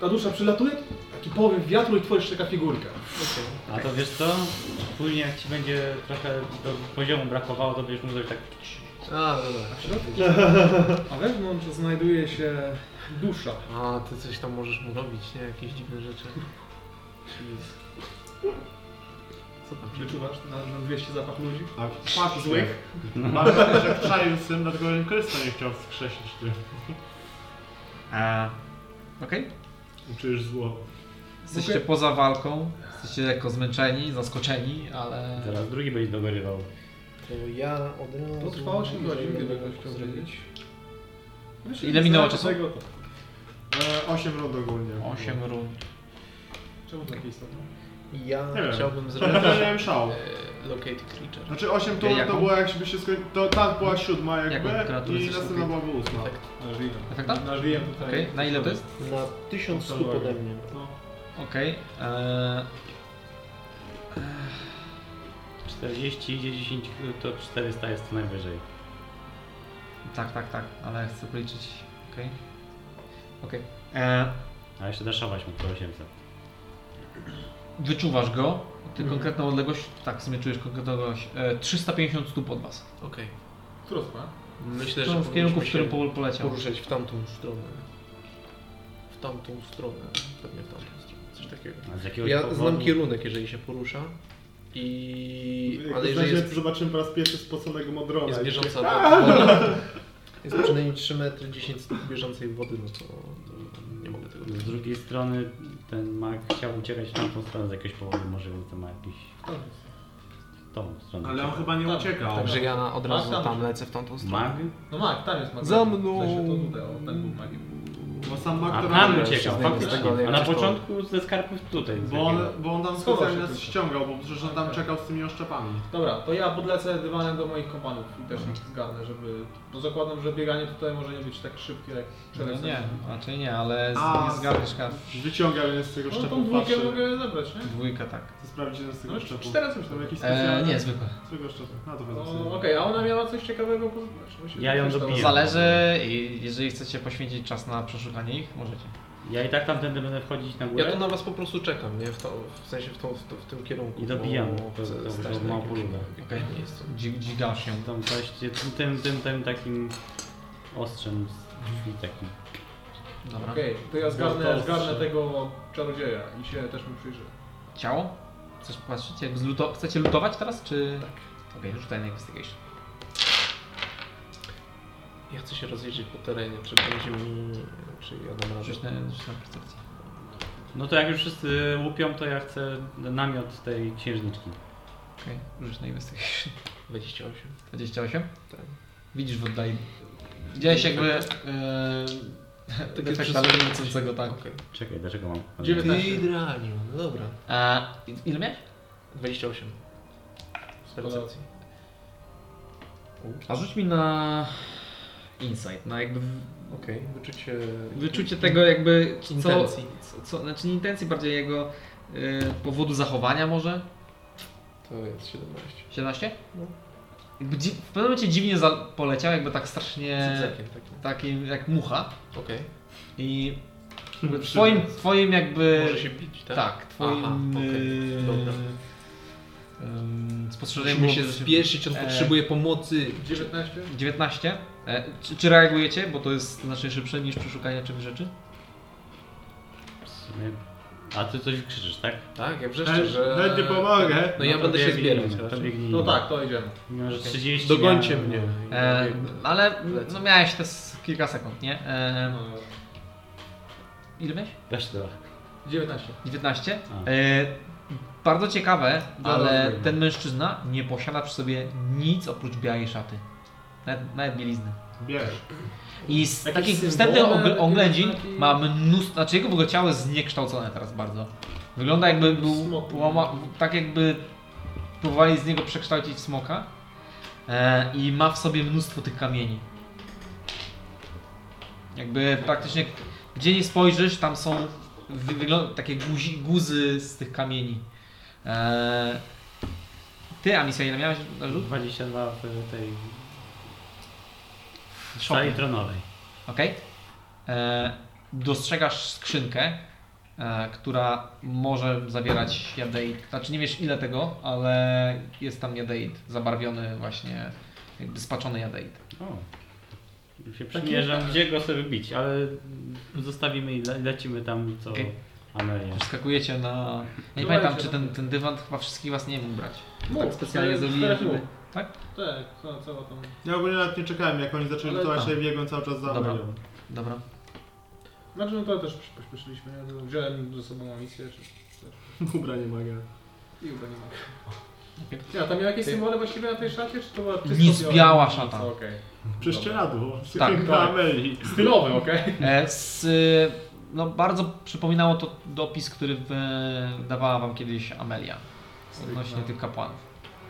Speaker 8: Ta dusza przylatuje, taki powiew wiatru i tworzy się taka figurka.
Speaker 6: A to wiesz co? Później jak ci będzie trochę do poziomu brakowało, to będziesz mógł zrobić tak...
Speaker 3: A, dobra.
Speaker 8: A wewnątrz znajduje się dusza.
Speaker 3: A, ty coś tam możesz mu robić, nie? Jakieś dziwne rzeczy. Jeez. Co tam?
Speaker 8: Wyczuwasz na, na 200 zapach ludzi?
Speaker 4: A
Speaker 8: Patrz złych.
Speaker 4: Mam wrażenie, że czaił syn, dlatego Krista nie chciał wskrzesić ty.
Speaker 9: A, Okej?
Speaker 4: Czujesz zło.
Speaker 9: Jesteście
Speaker 8: Okej.
Speaker 9: poza walką, jesteście lekko zmęczeni, zaskoczeni, ale...
Speaker 6: Teraz drugi będzie dogorywał.
Speaker 3: To ja od razu...
Speaker 8: To trwa 8 godzin,
Speaker 3: jeżeli
Speaker 8: gdyby
Speaker 3: będę
Speaker 8: ktoś
Speaker 3: mógł
Speaker 8: chciał
Speaker 3: zrobić.
Speaker 8: wiedzieć.
Speaker 1: Ile minęło czasu?
Speaker 8: Tego to.
Speaker 4: E, 8 rund ogólnie.
Speaker 1: 8 rund.
Speaker 8: Czemu takie istotne?
Speaker 3: Ja
Speaker 4: Nie wiem.
Speaker 3: chciałbym zrobić
Speaker 4: Trochę miałem szał.
Speaker 3: e, Locate Creature.
Speaker 4: Znaczy 8 to,
Speaker 1: Jaką?
Speaker 4: to było jakby się skończyło. To ta była siódma jakby
Speaker 1: Jaką? Która tu
Speaker 4: i
Speaker 1: jest
Speaker 4: następna byłaby ósma.
Speaker 3: Tak.
Speaker 8: Na żyję.
Speaker 1: Efekta?
Speaker 8: Na żyję tutaj.
Speaker 1: Okej, na ile to jest?
Speaker 3: Na 1000 stóp ode mnie.
Speaker 8: No.
Speaker 1: Okej. eee,
Speaker 6: 40 idzie 10, to 400 jest to najwyżej.
Speaker 1: tak, tak, tak, ale chcę policzyć. Okej. Okej. Eee,
Speaker 6: A jeszcze daszować mu to 800.
Speaker 1: wyczuwasz go. Ty konkretną odległość, tak w sumie czujesz konkretną odległość. E, 350 stóp od was.
Speaker 3: Okej.
Speaker 8: Która spa?
Speaker 3: Myślę,
Speaker 1: To
Speaker 3: że
Speaker 1: w kierunku, w
Speaker 3: powinniśmy
Speaker 1: którym
Speaker 3: się
Speaker 1: Paul poleciał.
Speaker 3: poruszać w tamtą stronę. W tamtą stronę. Pewnie w tamtą stronę. Coś takiego.
Speaker 6: A z jakiegoś
Speaker 3: Ja
Speaker 6: powodu...
Speaker 3: znam kierunek, jeżeli się porusza. I...
Speaker 4: Jak
Speaker 3: Ale
Speaker 4: Ale
Speaker 3: jeżeli jest,
Speaker 4: zobaczymy po raz pierwszy spoconego modrona.
Speaker 3: jest
Speaker 4: I-
Speaker 3: bieżąca
Speaker 6: Tak.
Speaker 3: woda... Jest przynajmniej 3 metry 10 stóp bieżącej wody, no to... Nie mogę tego...
Speaker 6: Z drugiej strony ten mag chciał uciekać w tamtą stronę z jakiegoś powodu, może więc to ma jakiś... w Tą stronę.
Speaker 4: Ale on
Speaker 6: ucieka.
Speaker 4: chyba nie
Speaker 8: Tak,
Speaker 4: uciekał.
Speaker 8: tak,
Speaker 18: Także ja od razu
Speaker 8: A, tam.
Speaker 18: tam lecę w tamtą stronę.
Speaker 6: Mag?
Speaker 8: No Mark, tam jest Mark.
Speaker 18: Za mną.
Speaker 8: W sensie to tutaj, o, ten był Mark.
Speaker 4: Bo sam
Speaker 6: A
Speaker 4: Mark to
Speaker 6: tam
Speaker 4: robił.
Speaker 6: uciekał,
Speaker 18: się z tego,
Speaker 6: faktycznie.
Speaker 18: jak
Speaker 6: A na
Speaker 18: coś
Speaker 6: początku ze skarpów tutaj. z
Speaker 4: Bo on,
Speaker 6: jakiego-
Speaker 4: bo on tam
Speaker 8: Schował się
Speaker 4: specjalnie nas
Speaker 8: tylko.
Speaker 4: ściągał, bo przecież on tam
Speaker 8: Tak.
Speaker 4: czekał z tymi oszczepami.
Speaker 8: Dobra, to ja podlecę dywanem do moich kompanów i też ich zgarnę, żeby... Bo zakładam, że bieganie tutaj może nie być tak szybkie jak
Speaker 1: No
Speaker 8: przelecenie.
Speaker 1: nie, raczej nie, ale z,
Speaker 4: A,
Speaker 1: nie zgarniesz ka-
Speaker 4: Wyciągał jeden z tego
Speaker 8: No
Speaker 4: szczepu,
Speaker 8: tą dwójkę
Speaker 4: patrzy.
Speaker 8: mogę zabrać, nie?
Speaker 1: dwójka, tak.
Speaker 4: Chcę sprawdzić jeden z tego
Speaker 8: No
Speaker 4: szczepu.
Speaker 8: cztery coś tam.
Speaker 4: Tam jakiś
Speaker 1: E,
Speaker 4: specjalny?
Speaker 1: nie, zwykłe.
Speaker 4: Zwykłe szczepy. No to wezmę
Speaker 8: No,
Speaker 4: sobie.
Speaker 8: Okej, a ona miała coś ciekawego poznać. Myślę,
Speaker 6: Ja
Speaker 8: że
Speaker 6: ją
Speaker 8: coś tam-
Speaker 6: dobiję.
Speaker 1: Zależy i jeżeli chcecie poświęcić czas na przeszukanie ich, możecie.
Speaker 6: Ja i tak tamtędy będę wchodzić na górę
Speaker 3: Ja tu na was po prostu czekam, nie? W, to, w sensie w, tą, w, to, w tym kierunku.
Speaker 6: i dobijam
Speaker 3: bo
Speaker 6: to,
Speaker 3: chcę
Speaker 6: to,
Speaker 3: stać
Speaker 6: to,
Speaker 3: na
Speaker 6: małą
Speaker 3: jakimś-
Speaker 6: polubę.
Speaker 1: Okej.
Speaker 3: Nie jest to-
Speaker 1: Dzi- Dzigasz się.
Speaker 6: Tam coś, tym, tym, tym, tym takim ostrzem z drzwi takim.
Speaker 1: Dobra.
Speaker 8: Okej, to ja
Speaker 6: To
Speaker 8: zgarnę,
Speaker 6: ostrze.
Speaker 8: zgarnę tego czarodzieja i się też mu przyjrzę.
Speaker 1: Ciało? Chcesz patrzeć? Jak zluto... Chcecie lutować teraz, czy... Tak. Okej, rzucaj na investigation.
Speaker 3: Ja chcę się rozjeździć po terenie, czy będzie mi... Czy ja dam radę.
Speaker 1: Rzuć na, rzuć na percepcję.
Speaker 6: No to jak już wszyscy łupią, to ja chcę namiot tej księżniczki.
Speaker 1: Okej, rzuć na investigation.
Speaker 3: 28.
Speaker 1: 28?
Speaker 3: Tak.
Speaker 1: Widzisz w oddali. Widziałeś jakby... Yy,
Speaker 8: Eee,
Speaker 3: Takie
Speaker 1: efekta
Speaker 3: wszystko-
Speaker 1: lecącego, tak.
Speaker 3: Okej.
Speaker 6: Czekaj, dlaczego mam?
Speaker 8: 19.
Speaker 3: Hydranium, no dobra.
Speaker 1: A, ile miałeś?
Speaker 3: 28. Z percepcji.
Speaker 1: A rzuć mi na... Insight, na jakby w-
Speaker 3: Okej, wyczucie...
Speaker 1: wyczucie tego jakby co,
Speaker 3: Intencji.
Speaker 1: co, co znaczy nie intencji bardziej jego y, powodu zachowania może
Speaker 3: To jest 17.
Speaker 1: 17?
Speaker 3: No.
Speaker 1: Jakby dzi- w pewnym momencie dziwnie za, poleciał, jakby tak strasznie
Speaker 3: Cyczakiem takim.
Speaker 1: takim jak mucha
Speaker 3: Okej.
Speaker 1: i jakby twoim, twoim jakby
Speaker 3: Może się bić, tak?
Speaker 1: e, tak, twoim
Speaker 3: Aha, okej,
Speaker 1: y,
Speaker 3: dobra.
Speaker 1: ym, spostrzeżeniem
Speaker 3: Musimy
Speaker 1: było,
Speaker 3: się
Speaker 1: że
Speaker 3: spieszyć, on
Speaker 1: E,
Speaker 3: potrzebuje pomocy.
Speaker 8: 19?
Speaker 1: 19. E, czy, czy reagujecie? Bo to jest znacznie szybsze niż przeszukanie czegoś rzeczy.
Speaker 6: W sumie- A ty coś krzyczysz, tak?
Speaker 3: Tak, ja wrzeszczę,
Speaker 4: Nawet-
Speaker 3: że...
Speaker 4: Nawet nie pomogę.
Speaker 3: No ja
Speaker 6: to
Speaker 3: będę się
Speaker 6: biegnijmy,
Speaker 3: zbierać
Speaker 6: To
Speaker 3: raczej.
Speaker 6: biegnijmy.
Speaker 8: No tak, to idziemy.
Speaker 6: Mimo, że 30
Speaker 3: Dogońcie
Speaker 6: miałem, no
Speaker 3: mnie.
Speaker 1: E, ale
Speaker 3: Lecę.
Speaker 1: no, miałeś te s- kilka sekund, nie? E,
Speaker 8: No,
Speaker 1: ile miałeś?
Speaker 6: Też to.
Speaker 8: 19.
Speaker 1: 19.
Speaker 6: A.
Speaker 1: E, bardzo ciekawe,
Speaker 6: Dobra,
Speaker 1: ale
Speaker 6: dobra.
Speaker 1: ten mężczyzna nie posiada przy sobie nic oprócz białej szaty. Nawet, nawet bielizny.
Speaker 4: Bierz.
Speaker 1: I z
Speaker 8: Jakieś
Speaker 1: takich
Speaker 8: symbole,
Speaker 1: wstępnych
Speaker 8: jakieś
Speaker 1: og- oględzin
Speaker 8: znaki?
Speaker 1: ma mnóstwo, znaczy jego w ogóle ciało jest zniekształcone teraz bardzo. Wygląda jakby był,
Speaker 8: Smok.
Speaker 1: łama, tak jakby próbowali z niego przekształcić w smoka. E, I ma w sobie mnóstwo tych kamieni. Jakby praktycznie gdzie nie spojrzysz, tam są wy, wyglą- takie guzi, guzy z tych kamieni. E, ty, Amisja, ile miałeś na rzut?
Speaker 6: 22 w tej
Speaker 1: Szopie.
Speaker 6: sali tronowej.
Speaker 1: Okej. E, Dostrzegasz skrzynkę, e, która może zawierać jadeit. Znaczy nie wiesz ile tego, ale jest tam jadeit zabarwiony właśnie, jakby spaczony jadeit.
Speaker 6: O. Już się przymierzam, gdzie go sobie bić, ale zostawimy i le- lecimy tam, co
Speaker 1: Okej.
Speaker 6: Amelia.
Speaker 1: Wskakujecie na... Ja nie
Speaker 8: Słuchajcie,
Speaker 1: pamiętam czy ten,
Speaker 8: no.
Speaker 1: ten dywan chyba wszystkich was nie mógł brać.
Speaker 8: Mów,
Speaker 1: tak specjalnie
Speaker 8: teraz-
Speaker 1: zrobiłem,
Speaker 8: teraz
Speaker 1: żeby...
Speaker 8: mów.
Speaker 1: Tak?
Speaker 8: Tak, co, cała tam...
Speaker 4: Ja ogólnie nawet nie czekałem, jak oni zaczęli
Speaker 8: Ale tak.
Speaker 4: lutować,
Speaker 1: tam.
Speaker 4: ja biegłem cały czas za
Speaker 1: Dobra.
Speaker 4: Amelią.
Speaker 1: Dobra.
Speaker 8: Znaczy no to też przy- pośpieszyliśmy, ja wziąłem ze sobą misję czy...
Speaker 4: Ubranie magia.
Speaker 8: i ubranie mam. Ja, tam miał jakieś symbole właściwie na tej szacie, czy to była czysto
Speaker 1: Nic, biała szata.
Speaker 8: Nic, okej.
Speaker 4: Prześcieradło.
Speaker 1: Tak,
Speaker 4: Sypienka
Speaker 8: tak.
Speaker 4: Ameli.
Speaker 8: Stylowy, okej.
Speaker 1: E, Z, y, no bardzo przypominało to dopis, który wy- dawała wam kiedyś Amelia odnośnie tych kapłanów.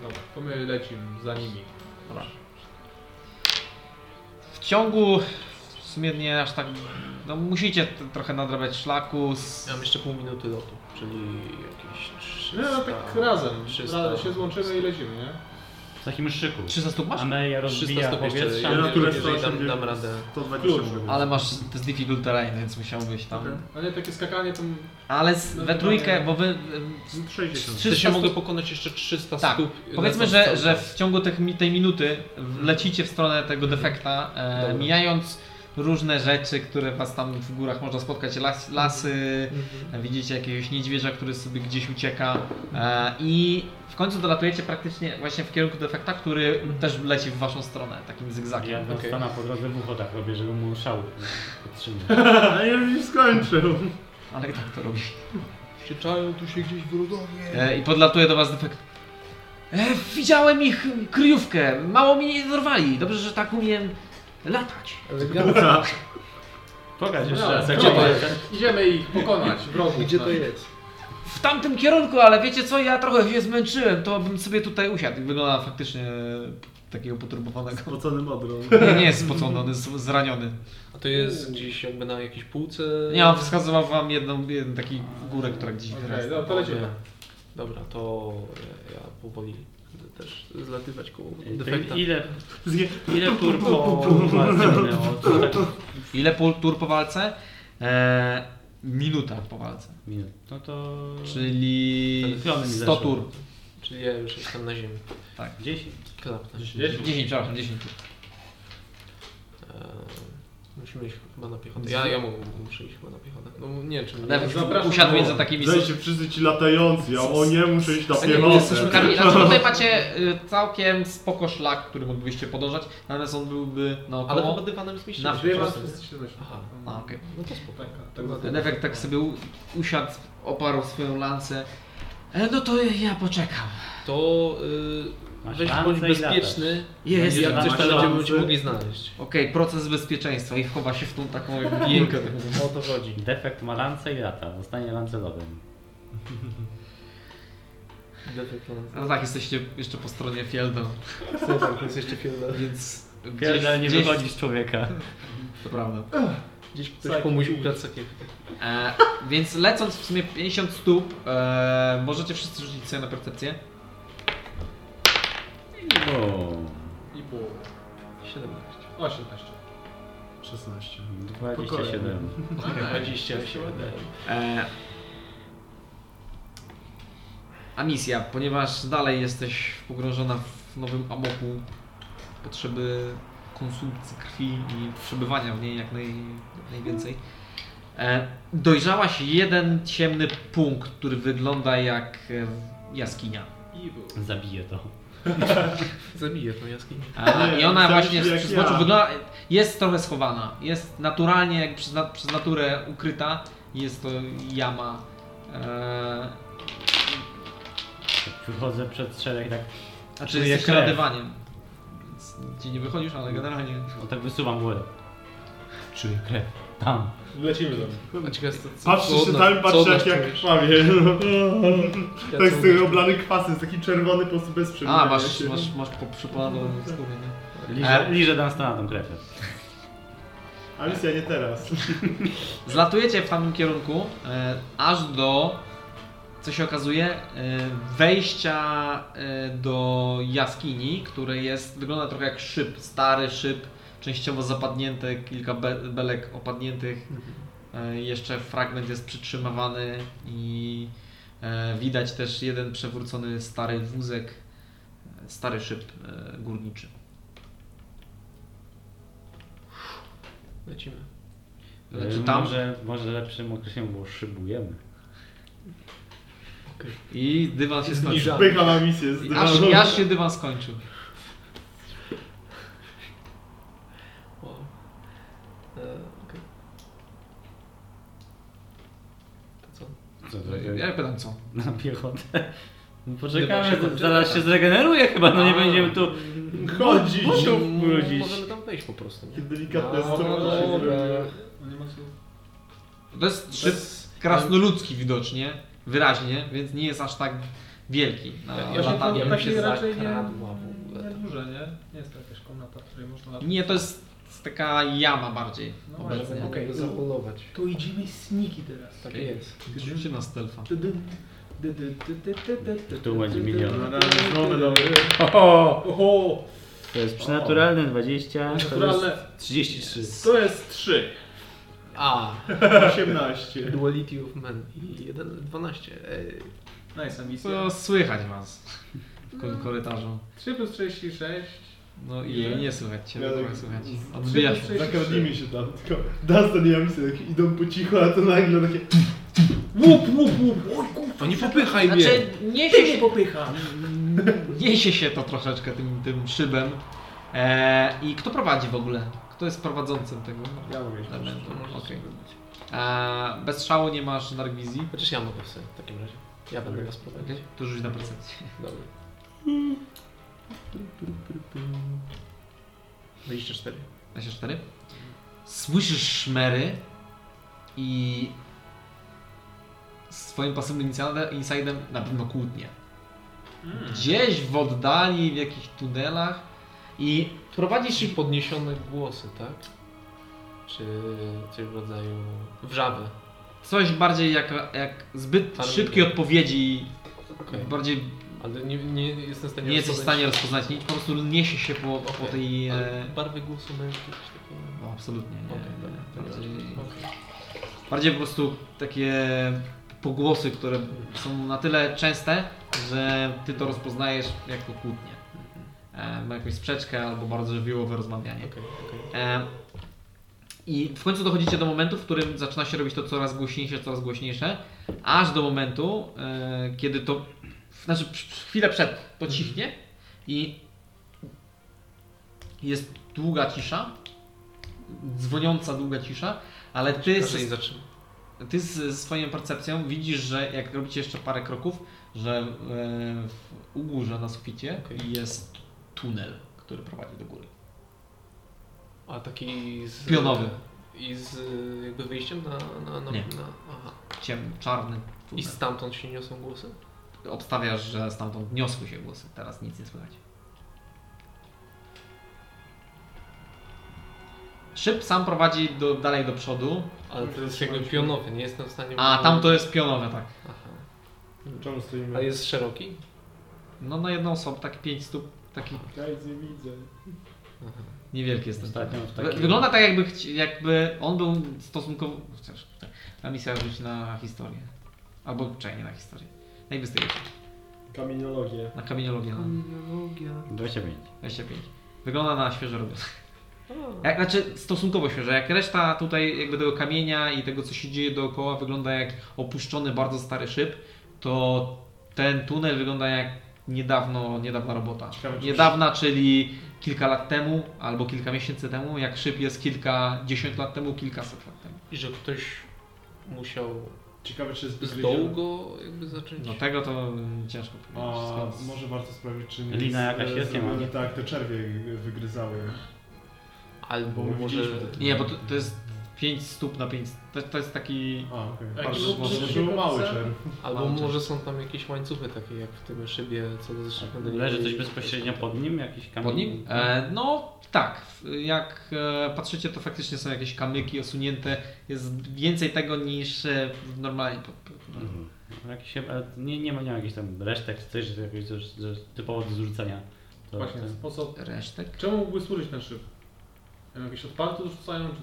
Speaker 8: Dobra, to my lecimy za nimi.
Speaker 1: Dobra. W ciągu w sumie nie aż tak. No musicie t- trochę nadrabiać szlaku. Z...
Speaker 3: Ja mam jeszcze pół minuty lotu, czyli jakieś 300...
Speaker 8: No, no tak razem.
Speaker 3: 300,
Speaker 8: Razem się złączymy i lecimy, nie?
Speaker 6: W takim szyku.
Speaker 1: 300 stóp masz?
Speaker 6: Amelia
Speaker 3: 300
Speaker 6: rozbija
Speaker 3: stopni jeszcze.
Speaker 6: powietrze.
Speaker 4: Ja na
Speaker 3: Jeżeli
Speaker 4: turę
Speaker 3: dam- dam radę.
Speaker 4: 120
Speaker 8: Klucz.
Speaker 4: było.
Speaker 1: Ale masz to jest difficult terrain, więc musiałbyś tam.
Speaker 4: Okej.
Speaker 8: No nie, takie skakanie to...
Speaker 1: Ale z,
Speaker 8: No
Speaker 1: we
Speaker 8: to
Speaker 1: trójkę,
Speaker 8: mamy-
Speaker 1: bo wy. y,
Speaker 4: Z 60.
Speaker 3: Czy
Speaker 1: 300
Speaker 3: się mogę
Speaker 1: stóp...
Speaker 3: pokonać jeszcze 300
Speaker 1: Tak.
Speaker 3: stóp?
Speaker 1: Powiedzmy,
Speaker 3: lecąc
Speaker 1: że,
Speaker 3: cały
Speaker 1: że
Speaker 3: czas?
Speaker 1: w ciągu tych, mi- tej minuty lecicie w stronę tego defekta, e,
Speaker 3: Dobra.
Speaker 1: mijając różne rzeczy, które was tam w górach można spotkać, las, lasy,
Speaker 3: Mhm.
Speaker 1: Widzicie jakiegoś niedźwiedzia, który sobie gdzieś ucieka e, i w końcu dolatujecie praktycznie właśnie w kierunku defekta, który też leci w waszą stronę, takim
Speaker 6: Ja
Speaker 1: zygzakiem.
Speaker 6: okay.
Speaker 3: Okej.
Speaker 6: stana po drodze w ucho tak robię, żeby mu szał podtrzymać.
Speaker 4: A ja już skończył.
Speaker 1: Ale tak to robi.
Speaker 3: Krzyczają tu się gdzieś w Rudowie.
Speaker 1: E, I podlatuje do was defekt. E, widziałem ich kryjówkę, mało mnie nie dorwali, dobrze, że tak umiem latać.
Speaker 4: Dobra.
Speaker 6: Pokaż jeszcze
Speaker 8: No,
Speaker 6: raz, jak
Speaker 8: gdzie
Speaker 6: to
Speaker 8: to
Speaker 6: jest.
Speaker 8: Idziemy ich pokonać, wrogów.
Speaker 3: Gdzie to
Speaker 1: Tak.
Speaker 8: naszych.
Speaker 3: jest?
Speaker 1: W tamtym kierunku, ale wiecie co, ja trochę się zmęczyłem, to bym sobie tutaj usiadł. I Wygląda faktycznie e, takiego poturbowanego.
Speaker 4: Spocony modrą.
Speaker 1: Nie, nie jest spocony, on jest zraniony.
Speaker 3: A to jest gdzieś jakby na jakiejś półce?
Speaker 1: Nie, on wskazywał wam jedną, jeden taki górę, która gdzieś
Speaker 8: Okej,
Speaker 1: wyrasta.
Speaker 8: no to lecimy.
Speaker 3: Nie. Dobra, to ja powoli będę też zlatywać koło defekta.
Speaker 6: Defekta. Ile,
Speaker 4: Zje...
Speaker 6: ile tur po walce minęło? To tak
Speaker 1: Ile pól, tur po walce? Eee, minuta po walce.
Speaker 6: minut. No to...
Speaker 1: Czyli
Speaker 6: Telefony mi
Speaker 1: 100
Speaker 6: zeszły.
Speaker 1: tur.
Speaker 3: Czyli ja już jestem na ziemi.
Speaker 6: 10.
Speaker 3: Klapnę.
Speaker 8: Gdzieś?
Speaker 1: 10, przepraszam, 10 tur.
Speaker 3: Eee, musimy iść chyba na piechotę. Ja, ja mu, muszę iść chyba na piechotę. No nie wiem, czy...
Speaker 1: Lewy
Speaker 8: Zapraszam.
Speaker 1: usiadł między takimi...
Speaker 4: Dajcie wszyscy ci latający, a o nie muszę iść na
Speaker 1: E, Nie, bo jesteśmy
Speaker 4: piechotę.
Speaker 1: kamieni. Znaczy tutaj macie y, całkiem spoko szlak, który moglibyście podążać, natomiast on byłby
Speaker 3: Ale
Speaker 1: naokoło.
Speaker 3: chyba dywanem zmieścimy
Speaker 1: Na
Speaker 3: się
Speaker 8: Dwie was
Speaker 3: czasem.
Speaker 8: wszyscy nosi.
Speaker 3: Aha.
Speaker 1: A, okej.
Speaker 3: No to spoko.
Speaker 8: Tak, tak.
Speaker 3: Dobra.
Speaker 1: Ten efekt tak sobie u- usiadł, oparł swoją lancę. E, no to ja poczekam.
Speaker 3: To yy,
Speaker 6: Masz
Speaker 3: weź
Speaker 6: lancę
Speaker 3: bądź
Speaker 6: i
Speaker 3: bezpieczny.
Speaker 1: Jest.
Speaker 3: Jak
Speaker 6: Masz
Speaker 3: coś tam
Speaker 6: lancę.
Speaker 3: będziemy cię mogli znaleźć.
Speaker 1: Okej, proces bezpieczeństwa i wchowa się w tą taką jękę.
Speaker 3: O to chodzi.
Speaker 6: Defekt ma lance i lata. Zostanie lancelowym.
Speaker 1: No tak, jesteście jeszcze po stronie Fieldo,
Speaker 3: To jest jeszcze chwilę.
Speaker 1: więc...
Speaker 6: Pierdol nie
Speaker 1: gdzieś-
Speaker 6: wychodzi z człowieka.
Speaker 1: To prawda.
Speaker 3: Gdzieś ktoś komuś ukradł sakiewkę.
Speaker 1: E, więc lecąc w sumie 50 stóp, e, możecie wszyscy rzucić sobie na percepcję.
Speaker 6: Bum.
Speaker 8: I pół.
Speaker 3: 17.
Speaker 8: 18.
Speaker 4: 16.
Speaker 6: 27.
Speaker 3: No,
Speaker 6: tak.
Speaker 3: 27.
Speaker 1: E, a misja, ponieważ dalej jesteś pogrążona w nowym amoku potrzeby konsumpcji krwi i przebywania w niej jak naj, najwięcej. E, dojrzałaś jeden ciemny punkt, który wygląda jak e, jaskinia.
Speaker 8: I pół.
Speaker 6: Zabiję to.
Speaker 3: Zabiję tą jaskinię.
Speaker 1: A,
Speaker 4: Nie,
Speaker 1: E, I ona
Speaker 4: tak
Speaker 1: właśnie
Speaker 4: jak
Speaker 1: z przeznoczy
Speaker 4: ja.
Speaker 1: wygląda, jest trochę schowana. Jest naturalnie, jak przez, na, przez naturę ukryta. Jest to jama. Eee,
Speaker 6: Wychodzę przed szereg tak,
Speaker 1: znaczy
Speaker 6: Czuję
Speaker 1: jesteś
Speaker 6: krew.
Speaker 1: radywaniem. Więc Ci nie wychodzisz, ale generalnie.
Speaker 6: no tak wysuwam głowę. Czuję krew. Tam.
Speaker 8: Lecimy do nich.
Speaker 3: no. A ciekawe jest to, co-
Speaker 4: Patrzcie
Speaker 3: co
Speaker 4: się
Speaker 3: od
Speaker 4: tam,
Speaker 3: nas- co od
Speaker 4: patrzcie
Speaker 3: nas
Speaker 4: jak, jak
Speaker 3: czujesz?
Speaker 4: krwawie.
Speaker 3: Ja
Speaker 4: To jest
Speaker 3: co
Speaker 4: z tych
Speaker 3: mówię?
Speaker 4: oblanych kwasem, jest taki czerwony po prostu bez
Speaker 1: A,
Speaker 4: przemieniania
Speaker 1: masz,
Speaker 4: się.
Speaker 1: masz, masz po- przypalaną skórę, nie?
Speaker 6: Liżę, liżę dam stana tą krew.
Speaker 4: A misja nie teraz.
Speaker 1: Zlatujecie w tamtym kierunku, e, aż do, co się okazuje, e, wejścia e, do jaskini, które jest, wygląda trochę jak szyb, stary szyb, częściowo zapadnięte, kilka be, belek opadniętych. E, jeszcze fragment jest przytrzymywany i e, widać też jeden przewrócony stary wózek, e, stary szyb e, górniczy.
Speaker 3: Lecimy.
Speaker 1: Znaczy
Speaker 6: Y,
Speaker 1: tam-
Speaker 6: Może, może lepszym określeniem było szybujemy.
Speaker 1: I dywan się
Speaker 4: I
Speaker 1: skończył.
Speaker 4: Pycha na misję.
Speaker 1: I Aż, i aż się dywan skończył.
Speaker 3: Wow. E, okej. To co?
Speaker 6: Co
Speaker 1: Ja pytam co?
Speaker 6: Na piechotę. No
Speaker 3: Chyba się
Speaker 6: Poczekamy,
Speaker 3: tam
Speaker 6: zaraz
Speaker 3: czyta.
Speaker 6: się zregeneruje chyba, no nie będziemy tu
Speaker 4: Chodzić.
Speaker 6: butów brudzić.
Speaker 3: Możemy tam wejść po prostu, nie?
Speaker 4: Delikatne
Speaker 3: No,
Speaker 4: strony
Speaker 3: dobra.
Speaker 4: się zrobiły.
Speaker 8: No nie ma co.
Speaker 1: To jest szyb krasnoludzki widocznie, wyraźnie, więc nie jest aż tak wielki na
Speaker 3: Ja- ja
Speaker 8: Właśnie
Speaker 1: latanie.
Speaker 8: to
Speaker 3: się
Speaker 8: takie raczej nie,
Speaker 3: zakradła w ogóle.
Speaker 8: nie duże, nie? Nie jest to jakaś komnata, w której można latać.
Speaker 1: Nie, to jest taka jama bardziej
Speaker 8: No
Speaker 1: obecnie.
Speaker 8: właśnie.
Speaker 3: Okej,
Speaker 8: Okej.
Speaker 3: zapolować.
Speaker 8: Tu idziemy sniki teraz.
Speaker 3: Tak jest.
Speaker 1: Rzućcie na stealtha.
Speaker 8: Ty, ty, ty, ty, ty, ty, ty, ty, ty,
Speaker 6: Tu będzie
Speaker 8: ty, ty,
Speaker 6: milion.
Speaker 8: ty, ty,
Speaker 4: No
Speaker 8: ty,
Speaker 4: dalej,
Speaker 8: ty,
Speaker 4: znowu
Speaker 8: ty,
Speaker 4: dobry.
Speaker 8: ty.
Speaker 6: Oho!
Speaker 8: Oho!
Speaker 6: To jest przynaturalne 20, to jest
Speaker 8: Naturalne.
Speaker 6: 33.
Speaker 4: To jest 3.
Speaker 3: A,
Speaker 4: 18.
Speaker 3: Duality of Men i 1, 12. Ej,
Speaker 8: Nice misja.
Speaker 1: To słychać was w ko- korytarzu.
Speaker 8: 3 plus 36.
Speaker 1: No i
Speaker 4: Ile?
Speaker 1: nie słychać cię,
Speaker 4: Ja
Speaker 1: bo
Speaker 4: tak-
Speaker 1: słychać.
Speaker 4: z-
Speaker 1: Odbija się.
Speaker 4: Zakradnijmy się tam, tylko Dustin i Jamisy tak idą po cichu, a to nagle takie...
Speaker 8: Łup, łup, łup! Oj, kurwa,
Speaker 3: To nie popychaj mnie!
Speaker 1: Znaczy, niesie
Speaker 8: ty
Speaker 1: się,
Speaker 8: mnie popycha!
Speaker 1: niesie się to troszeczkę tym, tym szybem. E, I kto prowadzi w ogóle? Kto jest prowadzącym tego
Speaker 4: Ja mówię,
Speaker 1: elementu? Okej.
Speaker 3: zrobić.
Speaker 1: A Bez szału nie masz narwizji?
Speaker 3: Chociaż ja mogę w sobie w takim razie. Ja będę was prowadzić.
Speaker 1: Okej, to rzuć na percepcję.
Speaker 3: Dobra. 24.
Speaker 1: 24. Słyszysz szmery i swoim pasywnym inside- insidem na pewno kłótnie. Gdzieś w oddali, w jakichś tunelach i prowadzisz
Speaker 3: Czy
Speaker 1: ich...
Speaker 3: podniesione głosy, tak? Czy coś w rodzaju wrzawy?
Speaker 1: Coś bardziej jak, jak zbyt
Speaker 3: Targi.
Speaker 1: szybkie odpowiedzi,
Speaker 3: Okej.
Speaker 1: bardziej
Speaker 3: Ale nie, nie jestem w stanie
Speaker 1: nie jesteś w stanie
Speaker 3: rozpoznać-
Speaker 1: rozpoznać nic, po prostu niesie się po, po
Speaker 3: Okej.
Speaker 1: tej...
Speaker 3: Ale
Speaker 1: E...
Speaker 3: barwy głosu mają jakieś takie...
Speaker 1: No, absolutnie nie.
Speaker 3: Okej, dobra.
Speaker 1: nie,
Speaker 3: Dobra,
Speaker 1: bardziej-
Speaker 3: okej.
Speaker 1: Bardziej po prostu takie pogłosy, które są na tyle częste, że ty to rozpoznajesz jako kłótnię. E, ma jakąś sprzeczkę albo bardzo żywiołowe rozmawianie.
Speaker 3: Okej, okej.
Speaker 1: E, I w końcu dochodzicie do momentu, w którym zaczyna się robić to coraz głośniejsze, coraz głośniejsze, aż do momentu, e, kiedy to, znaczy przy- przy- chwilę przed to cichnie i jest długa cisza, dzwoniąca długa cisza, ale ty,
Speaker 3: Każdy
Speaker 1: ze-
Speaker 3: jej zatrzyma.
Speaker 1: ty ze swoją percepcją widzisz, że jak robicie jeszcze parę kroków, że e, w u górze na suficie
Speaker 3: Okej.
Speaker 1: jest tunel, który prowadzi do góry.
Speaker 3: A taki z...
Speaker 1: Pionowy.
Speaker 3: I z y, jakby wyjściem na... na, na,
Speaker 1: Nie.
Speaker 3: na aha.
Speaker 1: Ciemny, czarny
Speaker 3: I
Speaker 1: tunel.
Speaker 3: stamtąd się niosą głosy?
Speaker 1: Obstawiasz, że stamtąd niosły się głosy. Teraz nic nie słychać. Szyb sam prowadzi do, dalej do przodu,
Speaker 3: Ale to jest jakby pionowy, nie jestem w stanie...
Speaker 1: a tam to jest pionowe, tak.
Speaker 3: Aha.
Speaker 4: Czemu
Speaker 3: A
Speaker 4: stoimy?
Speaker 3: jest szeroki?
Speaker 1: No na jedną osobę, tak 5 stóp, taki
Speaker 4: Guys, nie widzę.
Speaker 3: Aha.
Speaker 1: niewielki jest ten
Speaker 6: Ostatnio w
Speaker 1: Wy-
Speaker 6: takim...
Speaker 1: Wygląda tak jakby, chci- jakby on był stosunkowo... Chociaż, tak. A misja rzuć na historię. Albo, czekaj, nie na historię. Najwyżej
Speaker 4: Kaminologię.
Speaker 1: na kamieniologię
Speaker 3: Mm.
Speaker 1: na
Speaker 3: Ideologia.
Speaker 6: 25.
Speaker 1: 25. Wygląda na świeżo robione. Jak, znaczy stosunkowo świeże, jak reszta tutaj jakby tego kamienia i tego co się dzieje dookoła wygląda jak opuszczony bardzo stary szyb, to ten tunel wygląda jak niedawno, niedawna robota.
Speaker 4: Ciekawe, czy-
Speaker 1: Niedawna, czyli kilka lat temu albo kilka miesięcy temu, jak szyb jest kilkadziesiąt lat temu, kilkaset lat temu.
Speaker 3: I że ktoś musiał
Speaker 4: Ciekawe czy jest
Speaker 3: z
Speaker 4: bezwiedziony.
Speaker 3: dołu go jakby zacząć...
Speaker 1: No tego to mm, ciężko powiedzieć.
Speaker 4: A
Speaker 1: Skąd-
Speaker 4: może warto sprawdzić czy nie
Speaker 6: Lina jakaś
Speaker 4: e,
Speaker 6: jest, nie ma,
Speaker 4: zrobione
Speaker 6: nie?
Speaker 4: Tak, te czerwie wygryzały.
Speaker 3: Albo
Speaker 4: Bo my
Speaker 3: może...
Speaker 4: widzieliśmy te-
Speaker 1: Nie, bo to, to jest 5 stóp na 5. To, to jest taki.
Speaker 4: A, okej.
Speaker 8: Taki
Speaker 4: Bardzo
Speaker 8: był
Speaker 4: może
Speaker 8: przy-
Speaker 4: był
Speaker 8: przy
Speaker 4: mały
Speaker 8: kopce?
Speaker 4: czerw.
Speaker 3: Albo
Speaker 1: Mam
Speaker 3: może są tam jakieś łańcuchy takie jak w tym szybie, co do zeszłego
Speaker 6: Tak, Leży coś bezpośrednio pod nim, jakiś kamień?
Speaker 1: Pod nim? E, no tak, W- jak e, patrzycie, to faktycznie są jakieś kamyki osunięte. Jest więcej tego niż e, w normalnie. Pod, pod,
Speaker 6: Mhm. Jakiś, ale nie, nie, ma, nie ma jakichś tam resztek czy coś, że jakoś że, że typowo do zrzucenia.
Speaker 1: Tak,
Speaker 6: To,
Speaker 8: Właśnie,
Speaker 6: to-
Speaker 8: po co?
Speaker 1: Resztek?
Speaker 8: Czemu mógłby służyć ten szyb? Nie wiem, Jakieś odpalty rzucają, czy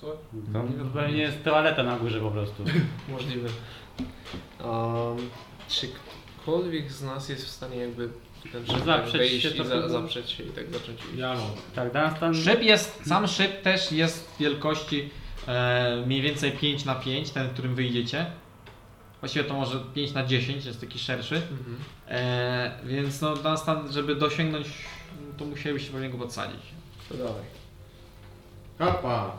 Speaker 8: co?
Speaker 6: Tam pewnie jest toaleta na górze po prostu.
Speaker 3: Możliwe. Um, czy ktokolwiek z nas jest w stanie jakby ten szyb tak
Speaker 6: Zaprzeć
Speaker 3: wejść
Speaker 6: się
Speaker 3: i
Speaker 6: to
Speaker 3: za,
Speaker 6: chyba-
Speaker 3: zaprzeć się i tak zacząć iść?
Speaker 4: Ja mam.
Speaker 6: Tak, Dunstan...
Speaker 1: Szyb jest, sam szyb też jest wielkości e, mniej więcej 5 na 5 ten, którym wyjdziecie. Właściwie to może 5 na 10 jest taki szerszy.
Speaker 3: Mhm.
Speaker 1: E, więc no, ten stan, żeby dosięgnąć, to musielibyście pewnie go podsadzić.
Speaker 3: To dalej.
Speaker 4: Kapa!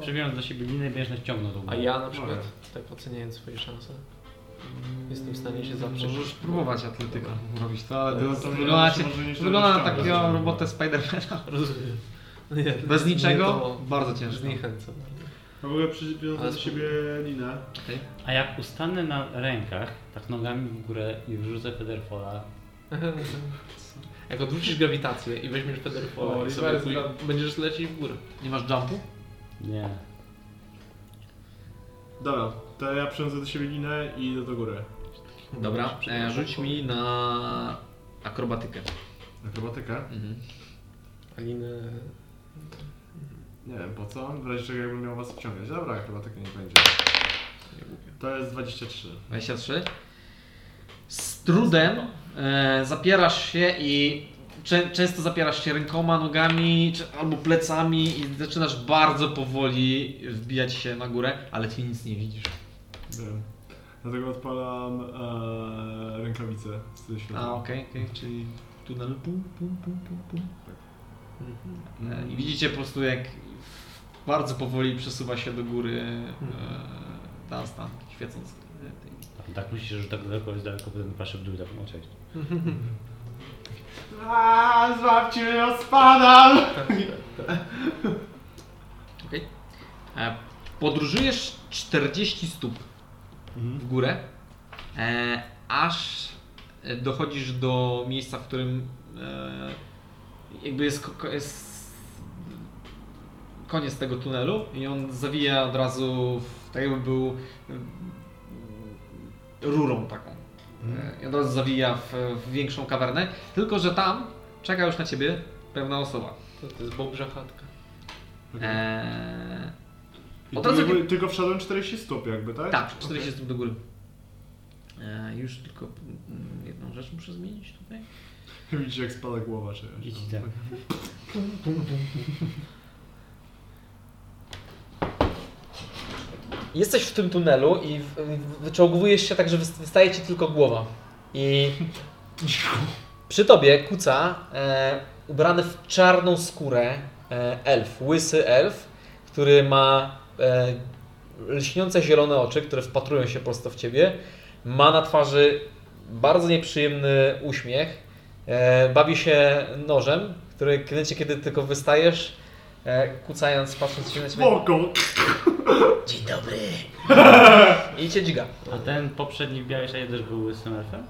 Speaker 6: Przybiorąc do siebie linę, będziesz nas ciągnął do góry.
Speaker 3: A ja na przykład,
Speaker 4: Dobra.
Speaker 3: tak oceniając swoje szanse, Jestem w stanie się zawsze...
Speaker 1: Możesz próbować atletykę robić to, ale
Speaker 4: Ale
Speaker 1: to,
Speaker 4: to
Speaker 1: to
Speaker 4: wygląda
Speaker 1: wygląda,
Speaker 4: się
Speaker 1: cię-
Speaker 4: może nieźle
Speaker 1: wygląda na
Speaker 4: rozciągać.
Speaker 1: taką robotę Spidermana.
Speaker 3: Rozumiem. No Nie,
Speaker 1: Bez
Speaker 3: nie
Speaker 1: niczego?
Speaker 3: to
Speaker 1: Bardzo ciężko.
Speaker 3: Zniechęcam.
Speaker 4: A w ogóle przywiązał
Speaker 3: Ale
Speaker 4: do siebie linę.
Speaker 1: Okej.
Speaker 6: A jak ustanę na rękach, tak nogami w górę i wrzucę Federfola,
Speaker 3: Jak odwrócisz grawitację i weźmiesz
Speaker 8: O,
Speaker 3: federfola i
Speaker 8: jest
Speaker 3: sobie
Speaker 8: bardzo
Speaker 3: pój-
Speaker 8: dobry.
Speaker 3: będziesz lecieć w górę.
Speaker 1: Nie masz jumpu?
Speaker 6: nie.
Speaker 4: Dobra, to ja przywiązę do siebie linę i idę do góry.
Speaker 1: Dobra, e, rzuć mi na akrobatykę. Mhm.
Speaker 4: Akrobatykę?
Speaker 3: Alinę...
Speaker 4: Nie wiem po co, w razie czego jakbym miał was wciągać. Dobra, akrobatyka nie będzie. To jest 23.
Speaker 1: 23. Z trudem e, zapierasz się i czę- często zapierasz się rękoma, nogami czy, albo plecami i zaczynasz bardzo powoli wbijać się na górę, ale ty nic nie widzisz.
Speaker 4: Wiem. Dlatego odpalam e, rękawice z
Speaker 1: A,
Speaker 4: światła.
Speaker 1: okej, okej, czyli tunel pum, pum, pum, pum, pum.
Speaker 3: Mhm.
Speaker 1: E, I widzicie po prostu jak bardzo powoli przesuwa się do góry e, Dunstan, świecąc e, tej
Speaker 6: Tam tak myślisz, że tak daleko jest daleko, potem patrzę w dół i tak no cześć.
Speaker 4: A, złapcie mnie, ja spadam!
Speaker 1: Okej. E, Podróżujesz 40 stóp w górę, e, aż e, dochodzisz do miejsca, w którym e, jakby jest, ko- ko- jest koniec tego tunelu i on zawija od razu, w, tak jakby był mm, rurą taką. E, I od razu zawija w, w większą kawernę, tylko że tam czeka już na ciebie pewna osoba.
Speaker 3: To, to jest Bobrza chatka.
Speaker 1: E,
Speaker 4: I
Speaker 1: Od
Speaker 4: tu
Speaker 1: razu
Speaker 4: jakby tylko wszedłem 40 stóp jakby, tak?
Speaker 1: Tak, 40 stóp do góry. E, już tylko mm, jedną rzecz muszę zmienić tutaj.
Speaker 4: Okej. Widzicie jak spada głowa czy
Speaker 6: Idź tak.
Speaker 19: Jesteś w tym tunelu i w- w- wyczołgowujesz się tak, że wys- wystaje ci tylko głowa. I przy tobie kuca e, ubrany w czarną skórę e, elf, łysy elf, który ma e, lśniące zielone oczy, które wpatrują się prosto w ciebie. Ma na twarzy bardzo nieprzyjemny uśmiech. E, bawi się nożem, który kręci, kiedy tylko wystajesz, e, kucając, patrząc się na ciebie.
Speaker 4: Spoko!
Speaker 19: Dzień dobry. I cię dźga.
Speaker 6: A ten poprzedni w białej szali też był łysym elfem?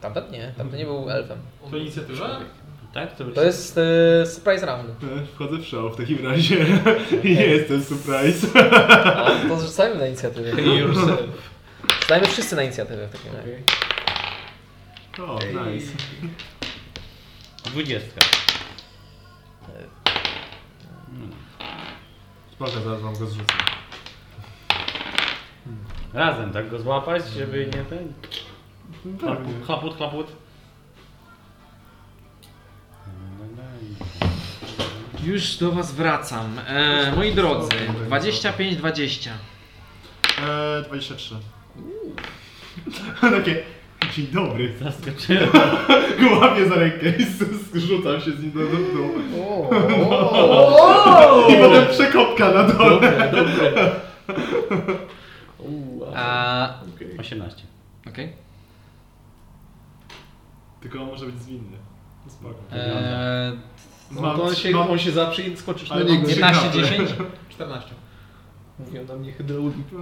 Speaker 19: Tamten nie, tamten nie był elfem.
Speaker 6: To inicjatywa? Tak? To,
Speaker 19: To jest
Speaker 1: y,
Speaker 19: e, surprise round.
Speaker 4: E, Wchodzę w szał w takim razie. I nie jestem surprise.
Speaker 19: A, to rzucajmy na inicjatywę.
Speaker 3: yourself.
Speaker 19: Rzucajmy wszyscy na inicjatywę w takim razie.
Speaker 3: Okay.
Speaker 4: O, nice.
Speaker 6: Dwudziestka. Hmm.
Speaker 4: Spoko, zaraz wam go zrzucę.
Speaker 6: Razem tak go złapać, żeby nie ten...
Speaker 4: Tak.
Speaker 6: Chlaput, chlaput, chlaput.
Speaker 1: Już do Was wracam. E, moi drodzy, 25-20.
Speaker 4: E, 23. Takie, dzień dobry.
Speaker 6: Zaskoczyłem.
Speaker 4: Go łapię za rękę i z- zrzucam się z nim do dół. I potem przekopka na dole.
Speaker 3: Dobre, dobre. Uuu, a...
Speaker 1: A,
Speaker 6: 18.
Speaker 1: okej.
Speaker 4: Tylko on może być zwinny. Spoko.
Speaker 1: E,
Speaker 4: Mam-
Speaker 3: no to on się,
Speaker 4: mam-
Speaker 3: on się zaprze i skoczysz na
Speaker 4: Ale
Speaker 3: niego.
Speaker 4: mam-
Speaker 1: 15-10.
Speaker 3: 14. Mówią na mnie hydraulik. Na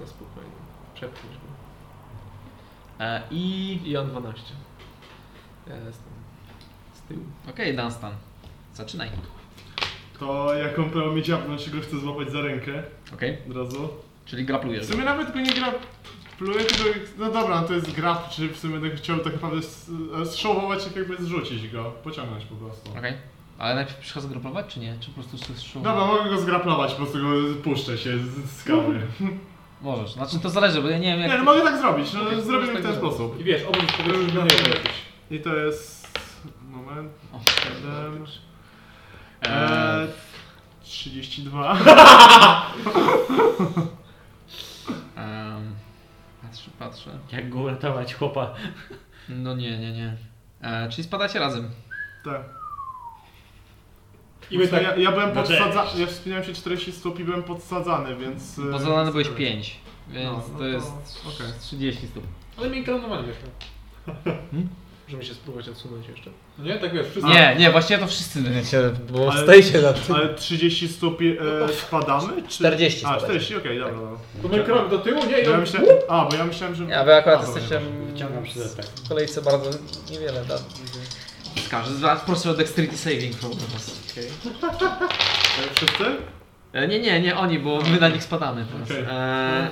Speaker 3: No, spokojnie. Przepchnij go.
Speaker 1: E, I.
Speaker 3: I on 12. Ja jestem z tyłu.
Speaker 1: Okej, Dunstan. Zaczynaj.
Speaker 4: To jak on prawie mnie dziabnął, czy go chcę złapać za rękę
Speaker 1: Okej,
Speaker 4: od razu.
Speaker 1: czyli
Speaker 4: W
Speaker 1: graplujesz.
Speaker 4: sumie nawet go nie gra... Pluję tylko... No dobra, no to jest grab, czy w sumie tak chciałbym tak naprawdę s- zszołować, jak jakby zrzucić go. Pociągnąć po prostu.
Speaker 1: Okej. Ale najpierw przychodzę graplować, czy nie? Czy po prostu słyszysz?
Speaker 4: Dobra, mogę go zgraplować, po prostu go puszczę się z, z skały.
Speaker 1: Mhm. Możesz. Znaczy to zależy, bo ja nie wiem jak.
Speaker 4: Nie,
Speaker 1: ty-
Speaker 4: no mogę tak zrobić, no
Speaker 1: Okej,
Speaker 4: zrobimy
Speaker 1: możesz
Speaker 4: w
Speaker 1: tak
Speaker 4: ten sposób.
Speaker 8: I wiesz, obrót się już na niego jakiś.
Speaker 4: I to jest... moment...
Speaker 1: O,
Speaker 4: 7...
Speaker 1: Eee,
Speaker 4: Eee, 32.
Speaker 1: em, patrzę, patrzę.
Speaker 6: Jak go uratować chłopa?
Speaker 1: No nie, nie, nie. E, czyli spadacie razem.
Speaker 4: Tak.
Speaker 8: I my
Speaker 4: W sumie
Speaker 8: tak-
Speaker 4: Tak. ja, ja byłem
Speaker 6: no
Speaker 4: podsadzany,
Speaker 6: cześć.
Speaker 4: ja wspinałem się 40 stóp i byłem podsadzany, więc... y,
Speaker 9: Pozwolony byłeś
Speaker 4: tyle.
Speaker 9: 5,
Speaker 3: No,
Speaker 9: więc
Speaker 3: no
Speaker 9: to jest
Speaker 3: okej.
Speaker 9: 30 stóp.
Speaker 8: Ale mi inkarnowali wiesz.
Speaker 3: Możemy się spróbować odsunąć jeszcze.
Speaker 8: No nie, tak wiesz, wszystko.
Speaker 9: Nie, nie, właściwie to wszyscy
Speaker 1: Wiecie, bo
Speaker 4: Ale-
Speaker 1: stoi się na tym.
Speaker 4: Ale 30 stóp e, spadamy? Czy...
Speaker 1: 40
Speaker 4: A,
Speaker 1: spadać.
Speaker 4: 40, okej, dobra. dobra.
Speaker 8: To my krok do tyłu, nie,
Speaker 4: Bo Ja
Speaker 8: i
Speaker 4: myślałem, a, bo ja myślałem, że...
Speaker 1: Ja wy akurat
Speaker 4: A, dobra,
Speaker 1: jesteście
Speaker 6: Wyciągam przylepek.
Speaker 1: w kolejce bardzo niewiele tak? da.
Speaker 9: Każdy z was proszę o dexterity saving throw do was.
Speaker 4: E, Wszyscy?
Speaker 9: E, Nie, nie, nie oni, bo my na nich spadamy teraz.
Speaker 4: Okej.
Speaker 9: E,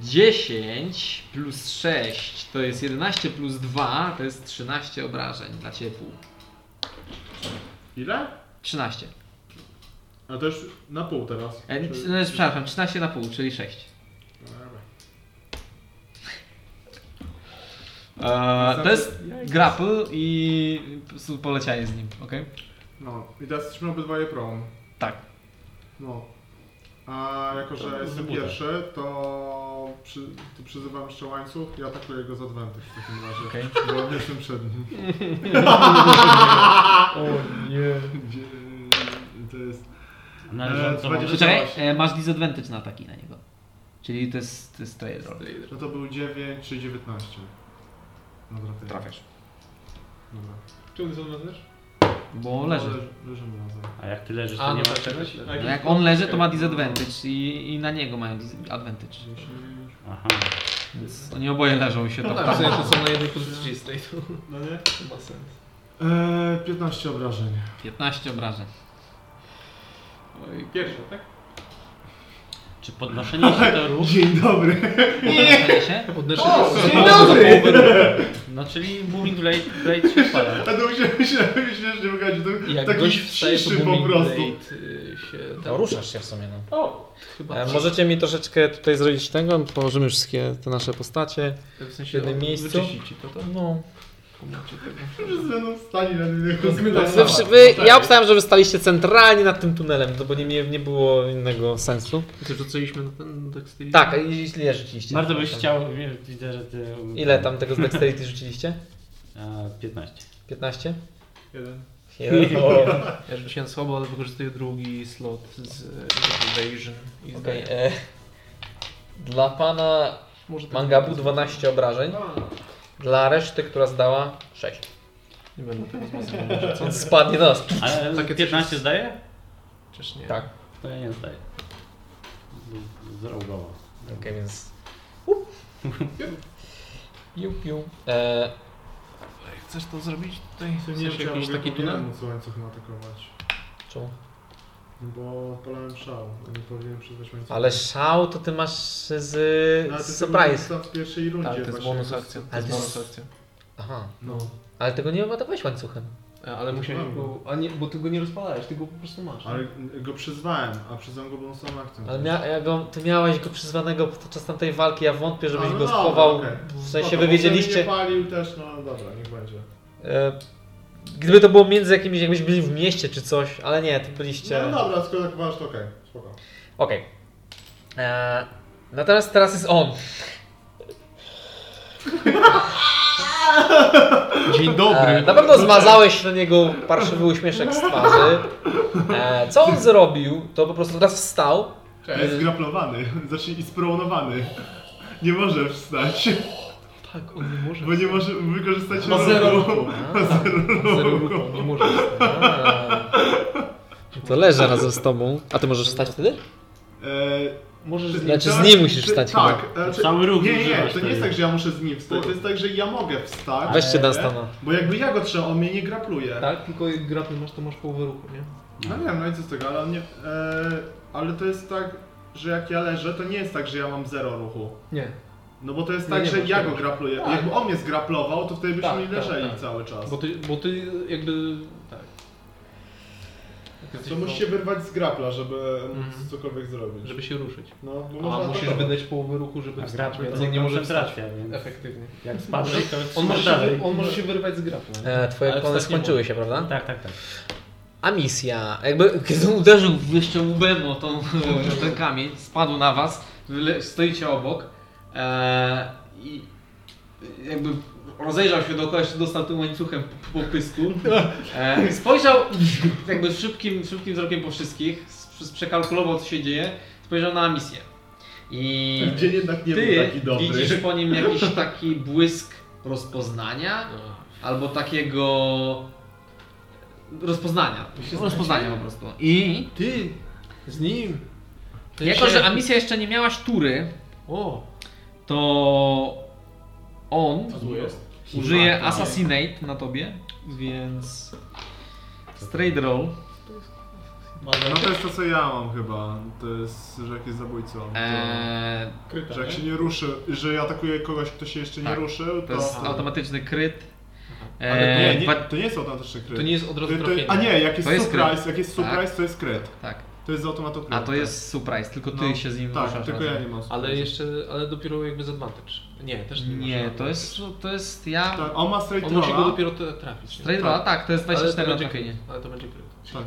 Speaker 9: 10 plus 6 to jest 11 plus 2 to jest 13 obrażeń dla ciepłu.
Speaker 4: Ile?
Speaker 9: 13.
Speaker 4: A to już na pół teraz.
Speaker 9: E,
Speaker 4: Czy-
Speaker 9: no, przepraszam, 13 na pół, czyli 6. E, to jest grapple i po prostu polecianie z nim, ok?
Speaker 4: No, i teraz jesteśmy obydwoje prom.
Speaker 9: Tak.
Speaker 4: No. A jako, że jestem
Speaker 6: wybuda.
Speaker 4: pierwszy, to, przy, to przyzywam jeszcze łańcuch i atakuję go z adwenty w takim razie.
Speaker 9: Okej.
Speaker 4: Bo jestem przed nim.
Speaker 6: O nie.
Speaker 4: Gdzie- To jest...
Speaker 3: Eee,
Speaker 6: Należąco mam...
Speaker 4: Będzie-
Speaker 9: Czekaj, e, masz disadvantage na ataki na niego. Czyli to jest, to jest to jest.
Speaker 4: No to był 9 czy 19. Dobra, ty.
Speaker 9: Trafiasz.
Speaker 4: Dobra.
Speaker 8: Czemu ty zadmazujesz?
Speaker 9: Bo leży.
Speaker 4: No, leż- leżymy razem.
Speaker 6: A jak ty leżysz,
Speaker 3: A,
Speaker 6: to nie
Speaker 3: no
Speaker 6: masz
Speaker 3: tak,
Speaker 6: czegoś?
Speaker 3: tak,
Speaker 9: No jak on leży, to ma disadvantage i, i na niego mają disadvantage.
Speaker 6: Aha.
Speaker 9: Więc oni oboje leżą i się
Speaker 3: No
Speaker 9: tam.
Speaker 3: tak, w sumie to są na jednej pozycji czystej, to
Speaker 4: No nie?
Speaker 3: ma sens.
Speaker 4: Eee, 15 obrażeń.
Speaker 9: 15 obrażeń. Oj,
Speaker 8: Pierwsze, tak?
Speaker 6: Czy podnoszenie się to ruch?
Speaker 4: Dzień dobry.
Speaker 9: podnoszenie się?
Speaker 3: Podnoszę się.
Speaker 8: Dzień dobry!
Speaker 6: No czyli Booming Blade, Blade się
Speaker 4: A
Speaker 6: odpala.
Speaker 4: to musiałem się śmiesznie wygadać.
Speaker 3: I Jak
Speaker 4: To taki
Speaker 3: gość wstaje, to
Speaker 4: ciszy po
Speaker 3: booming
Speaker 4: prostu.
Speaker 3: blade y, się...
Speaker 1: No, ruszasz się w sumie, no.
Speaker 3: O! Chyba
Speaker 1: E, możecie mi troszeczkę tutaj zrobić tego, położymy wszystkie te nasze postacie.
Speaker 3: w
Speaker 1: w
Speaker 3: sensie
Speaker 1: jednym miejscu?
Speaker 3: Wyczyścić ci to, to
Speaker 1: No.
Speaker 3: pomóżcie tego.
Speaker 4: Wszyscy będą no, stali na mnie.
Speaker 3: tak.
Speaker 4: No
Speaker 1: Zawsze wy,
Speaker 4: tak.
Speaker 1: ja obstałem, że wy staliście centralnie nad tym tunelem, no bo nie, nie, nie było innego sensu.
Speaker 3: Ty rzuciliśmy na ten dexterity?
Speaker 1: Tak, a i ile rzuciliście?
Speaker 6: Bardzo byś chciał, wie- widzę, że ty...
Speaker 1: Ile tam tego z dexterity rzuciliście?
Speaker 6: E, 15.
Speaker 1: 15?
Speaker 4: Jeden.
Speaker 1: Jeden. O,
Speaker 3: Ja rzuciłem słabo, ale wykorzystuję drugi slot z e, evasion. I
Speaker 1: Okej.
Speaker 3: zdaję.
Speaker 1: e, Dla pana
Speaker 3: Może tak
Speaker 1: Mangabu 12 obrażeń, dla reszty, która zdała 6.
Speaker 3: Nie będę tego wzmacniał.
Speaker 1: On spadnie na nas.
Speaker 6: Ale
Speaker 3: Takie coś
Speaker 6: 15
Speaker 3: jest.
Speaker 6: zdaje?
Speaker 3: Przecież nie.
Speaker 1: Tak,
Speaker 6: To ja nie zdaję. Zrobiło.
Speaker 1: okej, więc... Up. Piu, piu. E,
Speaker 3: Chcesz to zrobić tutaj?
Speaker 4: Nie
Speaker 3: Chcesz
Speaker 4: wiem,
Speaker 3: jakiś
Speaker 4: czy ja
Speaker 3: taki
Speaker 4: taki
Speaker 3: tunel?
Speaker 4: móc łańcuchem atakować.
Speaker 1: czemu?
Speaker 4: No Bo odpalałem szał. Nie powinienem przyznać łańcucha.
Speaker 1: Ale szał to ty masz z,
Speaker 4: No, ale
Speaker 1: z
Speaker 4: to jest
Speaker 1: surprise. Tak,
Speaker 4: tam w pierwszej rundzie
Speaker 3: Ale Tak, to jest
Speaker 4: właśnie.
Speaker 3: bonus akcja. To
Speaker 1: Ale
Speaker 3: jest
Speaker 1: to jest-
Speaker 3: bonus akcja.
Speaker 1: Aha,
Speaker 4: No.
Speaker 1: ale tego nie atakowałeś łańcuchem.
Speaker 3: E, Ale musiałeś go... A nie, bo ty go nie rozpalałeś, ty go po prostu masz.
Speaker 4: Ale go przyzwałem, a przyzwałem go bonusową akcją.
Speaker 1: Ale mia, ja go, ty miałeś go przyzwanego podczas tamtej walki, ja wątpię, żebyś
Speaker 4: A,
Speaker 1: go
Speaker 4: no dobra,
Speaker 1: schował.
Speaker 4: okej.
Speaker 1: W
Speaker 4: No
Speaker 1: sensie wy
Speaker 4: to może
Speaker 1: wiedzieliście,
Speaker 4: Nie palił też, no dobra, niech będzie.
Speaker 1: e, gdyby to było między jakimiś, jakbyś byli w mieście czy coś, ale nie, to byliście...
Speaker 4: No dobra, skoro tak masz, to okej, spoko.
Speaker 1: Okej. E, Natomiast teraz jest on.
Speaker 3: Dzień
Speaker 1: E, na pewno zmazałeś na niego parszywy uśmieszek z twarzy. E, co on zrobił, to po prostu teraz wstał.
Speaker 6: E,
Speaker 4: Jest graplowany, znaczy i spronowany. Nie może wstać,
Speaker 3: Tak, on nie może.
Speaker 4: bo nie może wykorzystać
Speaker 8: Ma zero
Speaker 4: ruchu. Ma
Speaker 3: Zero
Speaker 4: zero
Speaker 3: ruchu,
Speaker 4: ruchu.
Speaker 3: on nie może.
Speaker 1: A. To leży razem z tobą. A ty możesz wstać wtedy?
Speaker 4: E,
Speaker 3: Możesz
Speaker 4: Czy-
Speaker 3: z
Speaker 1: Znaczy,
Speaker 4: tak,
Speaker 1: z nim musisz
Speaker 4: czy-
Speaker 1: wstać
Speaker 4: Tak. e, czy-
Speaker 6: Cały ruch
Speaker 4: Nie, nie,
Speaker 6: używasz
Speaker 4: to nie jest
Speaker 6: wtedy.
Speaker 4: tak, że ja muszę z nim wstać, to jest tak, że ja mogę wstać.
Speaker 1: Weźcie
Speaker 4: ale-
Speaker 1: Dunstana.
Speaker 4: Bo jakby ja go trzeba, on mnie nie grapluje.
Speaker 3: Tak, tylko jak grapple masz, to masz połowę ruchu, nie?
Speaker 4: No wiem, no i co z tego, ale on nie... E, ale to jest tak, że jak ja leżę, to nie jest tak, że ja mam zero ruchu.
Speaker 3: Nie.
Speaker 4: No bo to jest
Speaker 3: Nie,
Speaker 4: tak,
Speaker 3: nie,
Speaker 4: że
Speaker 3: bo
Speaker 4: ja
Speaker 3: to-
Speaker 4: go grapluję.
Speaker 3: tak.
Speaker 4: Jakby on mnie zgraplował, to wtedy byśmy
Speaker 3: Tak, tak,
Speaker 4: leżeli
Speaker 3: tak.
Speaker 4: cały czas.
Speaker 3: Bo ty, bo ty jakby... Tak. Jak jesteś
Speaker 4: To
Speaker 3: po-
Speaker 4: musisz się wyrwać z grapla, żeby móc
Speaker 3: Mhm.
Speaker 4: cokolwiek zrobić.
Speaker 3: Żeby się ruszyć.
Speaker 4: No, bo
Speaker 3: A
Speaker 4: można
Speaker 3: musisz
Speaker 4: atakować.
Speaker 3: wydać połowę ruchu, żeby
Speaker 6: A
Speaker 3: wstać,
Speaker 6: grapple
Speaker 3: więc
Speaker 6: to
Speaker 3: on nie może wstać.
Speaker 6: koncentracja, więc
Speaker 3: Efektywnie.
Speaker 6: jak spadłeś, to
Speaker 3: On może, się,
Speaker 6: dalej.
Speaker 3: wy- on może się wyrwać z grapla. nie?
Speaker 1: E, twoje
Speaker 3: Ale
Speaker 1: plany
Speaker 3: wstać nie
Speaker 1: skończyły się, prawda?
Speaker 6: Tak, tak, tak.
Speaker 1: A misja. Jakby kiedy uderzył w
Speaker 9: Jeszcze łbem o tą, ten kamień, spadł na was, wy le- stoicie obok. E, I
Speaker 20: jakby rozejrzał się dookoła, jeszcze dostał tym łańcuchem po, po pysku. E, spojrzał jakby szybkim, szybkim wzrokiem po wszystkich, s- przekalkulował co się dzieje, spojrzał na misję. I
Speaker 4: Dzień jednak nie był
Speaker 1: Ty
Speaker 4: taki dobry.
Speaker 1: widzisz po nim jakiś taki błysk rozpoznania albo takiego rozpoznania. tak Rozpoznania po prostu. I
Speaker 3: Ty! Z nim! To
Speaker 1: jako, że Amicia jeszcze nie miałaś tury,
Speaker 3: O!
Speaker 1: to on
Speaker 3: jest.
Speaker 1: użyje Assassinate na tobie, więc straight roll.
Speaker 4: No to jest to, co ja mam chyba. To jest, że jak jest zabójcą. To...
Speaker 1: Eee,
Speaker 8: Kryta,
Speaker 4: Że jak
Speaker 3: tak.
Speaker 4: się
Speaker 8: nie?
Speaker 4: nie ruszy, że atakuje kogoś, kto się jeszcze nie
Speaker 1: Tak.
Speaker 4: ruszył, to...
Speaker 1: to jest automatyczny kryt.
Speaker 4: Ale
Speaker 1: Eee,
Speaker 4: nie, nie,
Speaker 1: dwa-
Speaker 4: to nie jest automatyczny kryt.
Speaker 3: To nie jest od razu
Speaker 4: Ty- ty-
Speaker 3: trafienie.
Speaker 4: Y, A nie, jak jest,
Speaker 1: To jest
Speaker 4: surprise,
Speaker 1: kryt.
Speaker 4: jak jest
Speaker 1: Tak.
Speaker 4: surprise, to jest kryt.
Speaker 1: tak.
Speaker 4: To jest automatyczny kryt.
Speaker 1: A to jest surprise, tylko ty
Speaker 4: No,
Speaker 1: się z nim
Speaker 4: Tak,
Speaker 1: ruszasz
Speaker 4: tylko
Speaker 1: razem.
Speaker 4: ja nie mam
Speaker 3: Ale
Speaker 4: surprise.
Speaker 3: jeszcze, ale dopiero jakby z advantage. Nie, też nie
Speaker 1: Nie,
Speaker 3: masz
Speaker 1: to jest, to jest ja...
Speaker 4: Tak, on ma straight
Speaker 3: On musi go
Speaker 4: rolla.
Speaker 3: dopiero te- trafić. nie?
Speaker 1: Straight roll, tak, to jest
Speaker 3: Ale to
Speaker 1: 24 na
Speaker 3: będzie-
Speaker 1: trafienie.
Speaker 3: Ale to będzie kryt.
Speaker 4: Tak.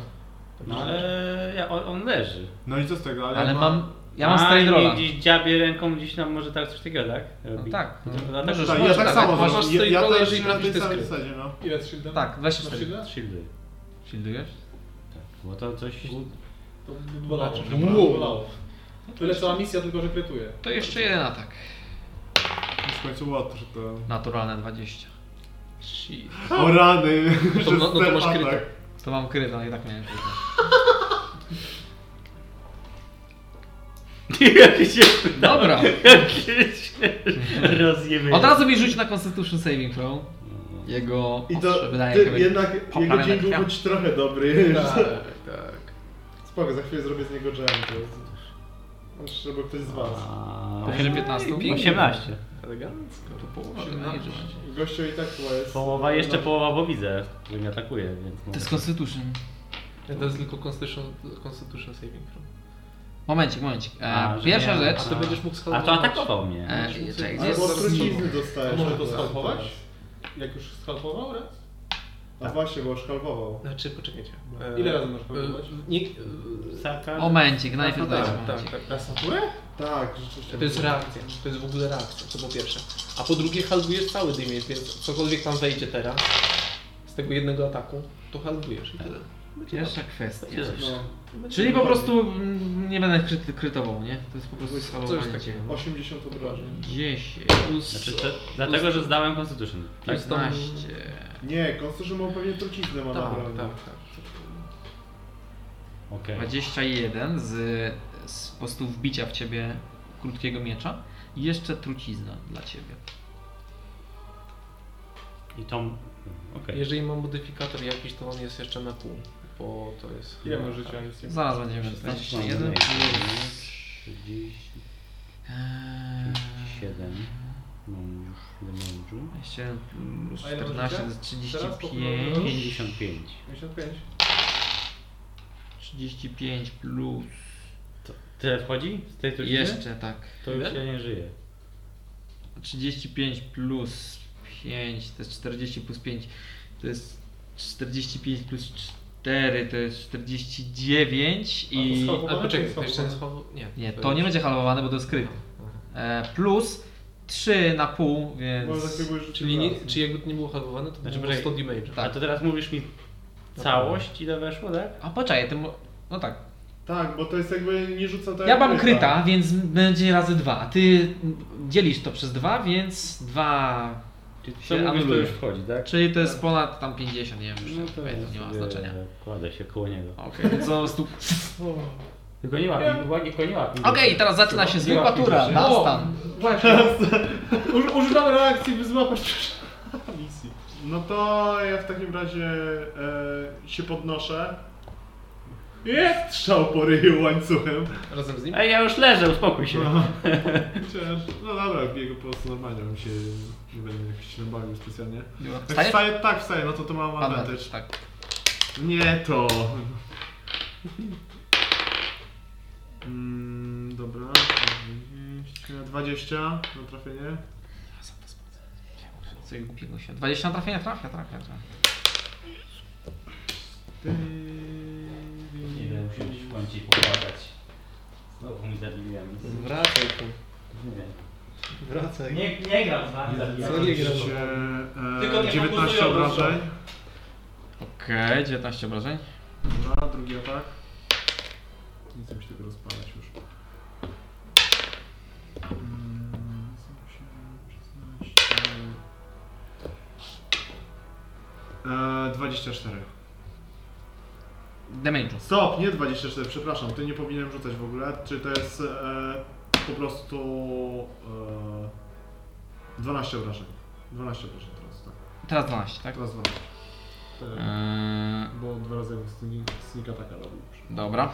Speaker 6: No ale ja, on, on leży.
Speaker 4: No i co z tego, ale,
Speaker 1: Ale
Speaker 4: on ma-
Speaker 1: mam, ja mam
Speaker 6: A,
Speaker 1: straight
Speaker 6: i
Speaker 1: rolla.
Speaker 6: Gdzieś dziabie ręką, gdzieś tam może tak coś takiego, tak?
Speaker 1: No
Speaker 6: Robi.
Speaker 1: tak, no.
Speaker 6: Dlatego
Speaker 1: Możesz,
Speaker 4: Tak, ja
Speaker 1: możesz,
Speaker 4: tak
Speaker 1: tak,
Speaker 4: samo
Speaker 1: tak,
Speaker 4: zrobię.
Speaker 3: masz
Speaker 4: Ja-
Speaker 3: straight
Speaker 4: Ja
Speaker 3: rolla,
Speaker 4: też
Speaker 3: jeżeli
Speaker 4: na tej
Speaker 3: trafisz, to
Speaker 4: samej
Speaker 3: jest kryt.
Speaker 4: zasadzie, no.
Speaker 8: Ile z shieldem?
Speaker 1: Tak,
Speaker 8: Masz
Speaker 1: 24.
Speaker 8: shielda?
Speaker 6: Shieldy.
Speaker 1: Shieldujesz?
Speaker 6: Tak. Bo to coś...
Speaker 8: To bolało.
Speaker 3: Bolało.
Speaker 8: Chyba.
Speaker 3: Wow.
Speaker 8: Bolało. Tyle cała misja, tylko że krytuje.
Speaker 1: To jeszcze jeden atak.
Speaker 4: W końcu water to...
Speaker 1: Naturalne 20.
Speaker 3: Shit.
Speaker 4: O rany!
Speaker 3: Tak. To- no- no to masz
Speaker 4: Atak.
Speaker 3: kryta.
Speaker 1: To mam kryta, i tak miałem kryta.
Speaker 6: Jakieś
Speaker 1: Dobra, Mhm.
Speaker 6: Jakieś rozjemy.
Speaker 1: od razu mi rzuć na Constitution Saving Throw. Jego
Speaker 4: I
Speaker 1: ostrze
Speaker 4: to
Speaker 1: wydaje
Speaker 4: ty,
Speaker 1: jakby...
Speaker 4: jednak
Speaker 1: poprawę
Speaker 4: jego dzień był
Speaker 1: krwią.
Speaker 4: choć trochę dobry.
Speaker 3: Tak, tak.
Speaker 4: Spoko, za chwilę zrobię z niego dżem. to jest- Aż Żeby ktoś z was.
Speaker 6: no
Speaker 1: Poziom 15.
Speaker 6: 18.
Speaker 3: Elegancko.
Speaker 21: To połowa.
Speaker 1: No,
Speaker 4: Gościu i tak chyba jest.
Speaker 3: No.
Speaker 6: Połowa, jeszcze połowa, bo widzę, że mnie atakuje, więc...
Speaker 1: To jest
Speaker 6: mogę-
Speaker 1: Constitution.
Speaker 3: Ja to jest tylko constitution, constitution saving throw.
Speaker 1: Momencik, momencik. E,
Speaker 6: A, że
Speaker 1: pierwsza
Speaker 6: nie,
Speaker 1: rzecz...
Speaker 3: A ty będziesz mógł
Speaker 6: A
Speaker 3: schować.
Speaker 6: to atakował mnie.
Speaker 1: E, czekaj, gdzie
Speaker 4: Ale
Speaker 1: jest...
Speaker 4: bo trucizny
Speaker 8: A
Speaker 4: dostajesz.
Speaker 8: może to
Speaker 4: akurat
Speaker 8: skalpować?
Speaker 4: teraz.
Speaker 8: Jak już skalpował raz?
Speaker 4: A właśnie, bo szkalpował.
Speaker 3: Znaczy, poczekajcie.
Speaker 8: No. Ile
Speaker 3: E,
Speaker 8: razy możesz próbować?
Speaker 3: e, Nie, e,
Speaker 6: Saka.
Speaker 1: Momencik, najpierw
Speaker 3: tak,
Speaker 1: dajcie
Speaker 3: tak,
Speaker 1: momencik.
Speaker 3: tak.
Speaker 8: Na saturę?
Speaker 4: Tak, rzeczywiście.
Speaker 3: To jest reakcja, to jest w ogóle reakcja, to po pierwsze. A po drugie halbujesz cały damage, więc cokolwiek tam wejdzie teraz, z tego jednego ataku, to halbujesz i tyle.
Speaker 1: Pierwsza kwestia.
Speaker 4: No,
Speaker 1: Czyli po prostu mm, nie będę kry- krytował, nie? To jest po prostu skalowanie.
Speaker 3: takiego.
Speaker 4: 80 obrażeń.
Speaker 1: 10,
Speaker 6: Znaczy, to, dlatego, że zdałem Constitution. Tak?
Speaker 1: 15.
Speaker 4: Nie, konstrurzy ma pewnie truciznę ma
Speaker 3: Tak,
Speaker 4: naprawdę.
Speaker 3: tak, tak.
Speaker 6: Okej.
Speaker 1: 21 z, z po prostu wbicia w ciebie krótkiego miecza i jeszcze trucizna dla ciebie.
Speaker 6: I Tom... Okej.
Speaker 3: Jeżeli mam modyfikator jakiś, to on jest jeszcze na pół, bo to jest...
Speaker 8: Ile masz życia? Nic nie ma.
Speaker 1: Zaraz będziemy
Speaker 6: Znaczy,
Speaker 1: 21.
Speaker 6: 37.
Speaker 1: Eee,
Speaker 6: Mam już demonżu.
Speaker 1: 21 plus
Speaker 8: A ile
Speaker 1: 14 to
Speaker 8: masz
Speaker 1: jest
Speaker 8: Teraz po
Speaker 1: 35.
Speaker 6: 55.
Speaker 8: 55.
Speaker 1: 35 plus.
Speaker 6: Tyle wchodzi? Z tej trucizny?
Speaker 1: Jeszcze tak.
Speaker 6: To już ja nie żyję.
Speaker 1: 35 plus 5 to jest 40 plus 5 to jest 45 plus 4 to jest 49 i.
Speaker 8: A to
Speaker 3: Ale poczekaj,
Speaker 8: Czy
Speaker 3: to jeszcze nie
Speaker 8: są-
Speaker 3: schował... Nie,
Speaker 1: Nie, to nie będzie halowane, bo to jest kryt. E, plus 3 na pół,
Speaker 4: Może tak
Speaker 1: więc.
Speaker 4: jakby rzucił
Speaker 3: Czyli,
Speaker 4: raz.
Speaker 3: nie, czy jakby to nie było halowane, to by
Speaker 6: Znaczy,
Speaker 3: było 100
Speaker 6: poczekaj.
Speaker 3: damage.
Speaker 1: Tak.
Speaker 6: A to teraz mówisz mi całość ile weszło, tak?
Speaker 1: A poczekaj, tym. No tak.
Speaker 4: Tak, bo to jest jakby nie rzuca tak
Speaker 1: Ja
Speaker 4: jak
Speaker 1: mam kryta, więc będzie razy 2. A ty dzielisz to przez 2, więc 2.
Speaker 6: Czyli
Speaker 1: Się
Speaker 6: co mówisz, to
Speaker 1: anuluje.
Speaker 6: już wchodzi, tak?
Speaker 1: Czyli to jest ponad tam 50, nie wiem, już
Speaker 6: No
Speaker 1: tak
Speaker 6: to
Speaker 1: powiem,
Speaker 6: ja
Speaker 1: nie ma
Speaker 6: sobie
Speaker 1: znaczenia.
Speaker 6: Kładę się koło niego.
Speaker 1: Okej, więc po prostu.
Speaker 6: Tylko nie łapi, uwagi, tylko nie łapi.
Speaker 1: Okej, teraz zaczyna się zwykła
Speaker 6: Łapie
Speaker 1: tura.
Speaker 6: rzeczy.
Speaker 1: Dastan.
Speaker 8: Uż- Używam reakcji, by złapać przeszkodę.
Speaker 4: misji. No to ja w takim razie e, się podnoszę. Jest strzał po ryju łańcuchem.
Speaker 3: Razem z nim?
Speaker 6: Ej, ja już leżę, uspokój się.
Speaker 4: Chociaż, no dobra, biegł po prostu normalnie, bym się nie będę jakoś się bawił specjalnie. Jak
Speaker 1: Wstajesz?
Speaker 4: wstaję, tak wstaję, no to to mam advantage.
Speaker 1: Tak.
Speaker 4: Nie to. Mm, dobra. 20 na trafienie.
Speaker 1: Coś głupiego się. 20 trafienia, trafia, trafia, trafia.
Speaker 4: Ty-
Speaker 6: Nie wiem, musimy się w końcu połapać. Znowu mi zabiłem.
Speaker 3: Wracaj tu.
Speaker 6: Nie wiem.
Speaker 3: Wracaj.
Speaker 6: Nie, nie gram z wami.
Speaker 3: Co nie gra?
Speaker 4: Tylko
Speaker 22: Tylko nie
Speaker 4: 19
Speaker 22: fokusują, proszę.
Speaker 4: e, obrażeń.
Speaker 1: Okej, 19 obrażeń.
Speaker 4: Dobra, drugi atak. Nie chcę mi się tego rozpalać już. Mm, 16. Eee, 24.
Speaker 1: Damage'u.
Speaker 4: Stop, nie 24, przepraszam, ty nie powinienem rzucać w ogóle. Czy to jest e, po prostu e, 12 obrażeń? 12 obrażeń teraz, tak.
Speaker 1: Teraz 12, tak?
Speaker 4: Teraz 12. E,
Speaker 1: Eee,
Speaker 4: bo dwa razy sneak, sneak ataka robił.
Speaker 1: Dobra.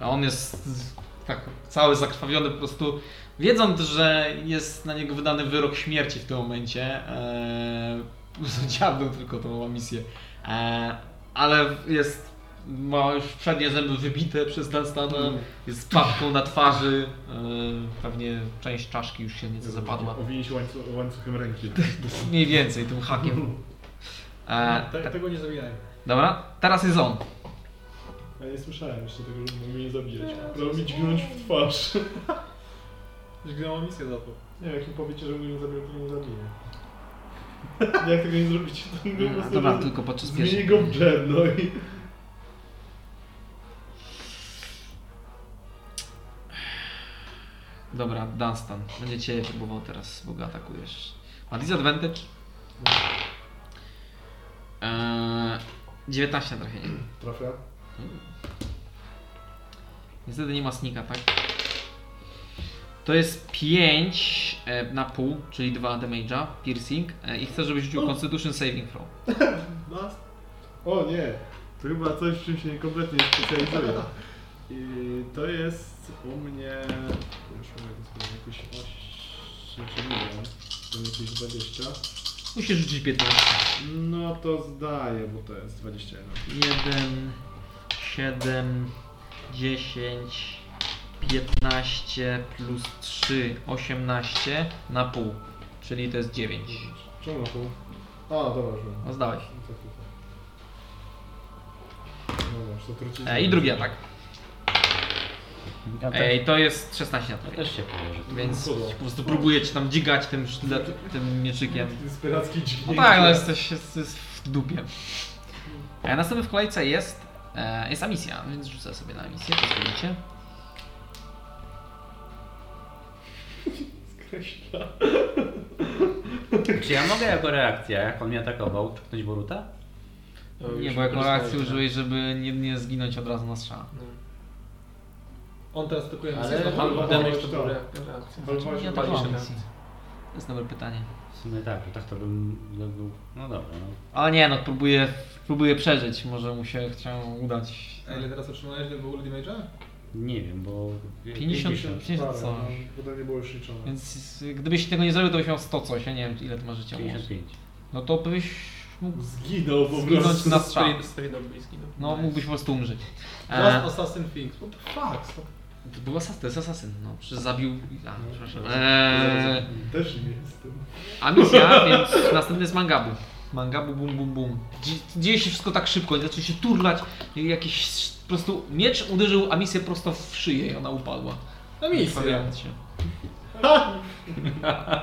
Speaker 1: A on jest z- tak cały zakrwawiony po prostu, wiedząc, że jest na niego wydany wyrok śmierci w tym momencie, eee, po prostu dziabnął tylko tą misję, eee, ale jest, ma już przednie zęby wybite przez ten stan, e, jest z papką na twarzy, eee, pewnie część czaszki już się nieco zapadła,
Speaker 4: Owinien się łańcu- łańcuchem ręki.
Speaker 1: mniej więcej tym hakiem. Eee,
Speaker 8: Te- Tego nie zabijaj.
Speaker 1: dobra, teraz jest on.
Speaker 4: Ja nie słyszałem jeszcze tego, że mógł mnie zabijać. Próbował mi dźgnąć w twarz.
Speaker 8: Zginęła misję za to.
Speaker 4: Nie, jak mi powiecie, że mnie nie zabiją, to nie zabiję. jak tego nie zrobicie, to mnie po prostu
Speaker 1: Dobra,
Speaker 4: roz-
Speaker 1: tylko podczas
Speaker 4: zmienię
Speaker 1: pierwszej.
Speaker 4: go w dżem, no i...
Speaker 1: Dobra, Dunstan. Będzie Ciebie próbował teraz, bo go atakujesz. Ma disadvantage. Eee, 19 na trafienie.
Speaker 4: Trafia?
Speaker 1: Niestety nie ma snika, tak? To jest 5 e, na pół, czyli 2 damage'a, piercing. E, I chcę, żebyś rzucił Constitution Saving Throw.
Speaker 4: O nie, to chyba coś, w czym się kompletnie nie specjalizuję. I to jest u mnie... Już mówię, to jest jakieś 8 czy nie wiem, to jest jakieś 20.
Speaker 1: Musisz rzucić 15.
Speaker 4: No to zdaję, bo to jest 21.
Speaker 1: 1, 7, 10, 15 plus 3, 18 na pół, czyli to jest 9.
Speaker 4: Czemu na pół? A, dobra, już wiem.
Speaker 1: No zdałeś.
Speaker 4: Co tutaj? No Dobra, już to trucizna.
Speaker 1: E, I drugi atak.
Speaker 6: Ja też,
Speaker 1: Ej, to jest 16 na
Speaker 6: ja
Speaker 1: trafienie.
Speaker 6: też się położę.
Speaker 1: Więc po prostu próbuję cię tam dzigać tym, sztylet- tym mieczykiem.
Speaker 4: Desperacki dźgnięcie.
Speaker 1: No tak, no jesteś, jest, jest w dupie. E, następny w kolejce jest, e, jest Amisja, więc rzucę sobie na Amisję, pozwolicie.
Speaker 6: Czy ja mogę jako reakcja, jak on mnie atakował, czuknąć Boruta?
Speaker 1: Nie, bo jako
Speaker 6: tak.
Speaker 1: reakcję użyłeś, żeby nie, nie zginąć od razu na strzał.
Speaker 8: On teraz atakuje misję.
Speaker 3: Ale
Speaker 8: znowu.
Speaker 3: albo damage to
Speaker 4: to.
Speaker 3: była reakcja.
Speaker 4: Walowałeś
Speaker 1: Znaczy, Nie
Speaker 4: o
Speaker 1: atakowałem
Speaker 3: się
Speaker 1: misji. To jest dobre pytanie.
Speaker 6: W sumie tak, bo tak to bym bym był... No dobra, no.
Speaker 1: Ale nie, no próbuję, próbuję przeżyć, może mu się chciało udać.
Speaker 8: A ile teraz otrzymałeś w ogóle damage'a?
Speaker 6: Nie wiem, bo...
Speaker 1: 50, 50
Speaker 4: parę,
Speaker 1: co?
Speaker 4: no, bo to nie było już liczone.
Speaker 1: Więc y, gdybyś tego nie zrobił, to byś miał 100 coś, ja nie wiem ile ty masz życia.
Speaker 6: 55.
Speaker 1: No to byś mógł
Speaker 4: Zginął po
Speaker 1: zginąć
Speaker 4: prostu.
Speaker 1: na strzał.
Speaker 3: Strydom bliski, no.
Speaker 1: No mógłbyś po prostu umrzeć.
Speaker 8: Last
Speaker 1: E,
Speaker 8: Assassin Fix. What the fuck? Stop.
Speaker 1: to był asasyn, to jest asasyn, no. Przecież zabił... A, przepraszam. E,
Speaker 4: Też nie jestem.
Speaker 1: A misja, więc następny jest mangabu. Mangabu bum bum bum. Dzie- Dzieje się wszystko tak szybko, i zaczyna się turlać, i jakiś sz- po prostu miecz uderzył Amisję prosto w szyję i ona upadła.
Speaker 8: Na misję.
Speaker 1: Krwawiąc się.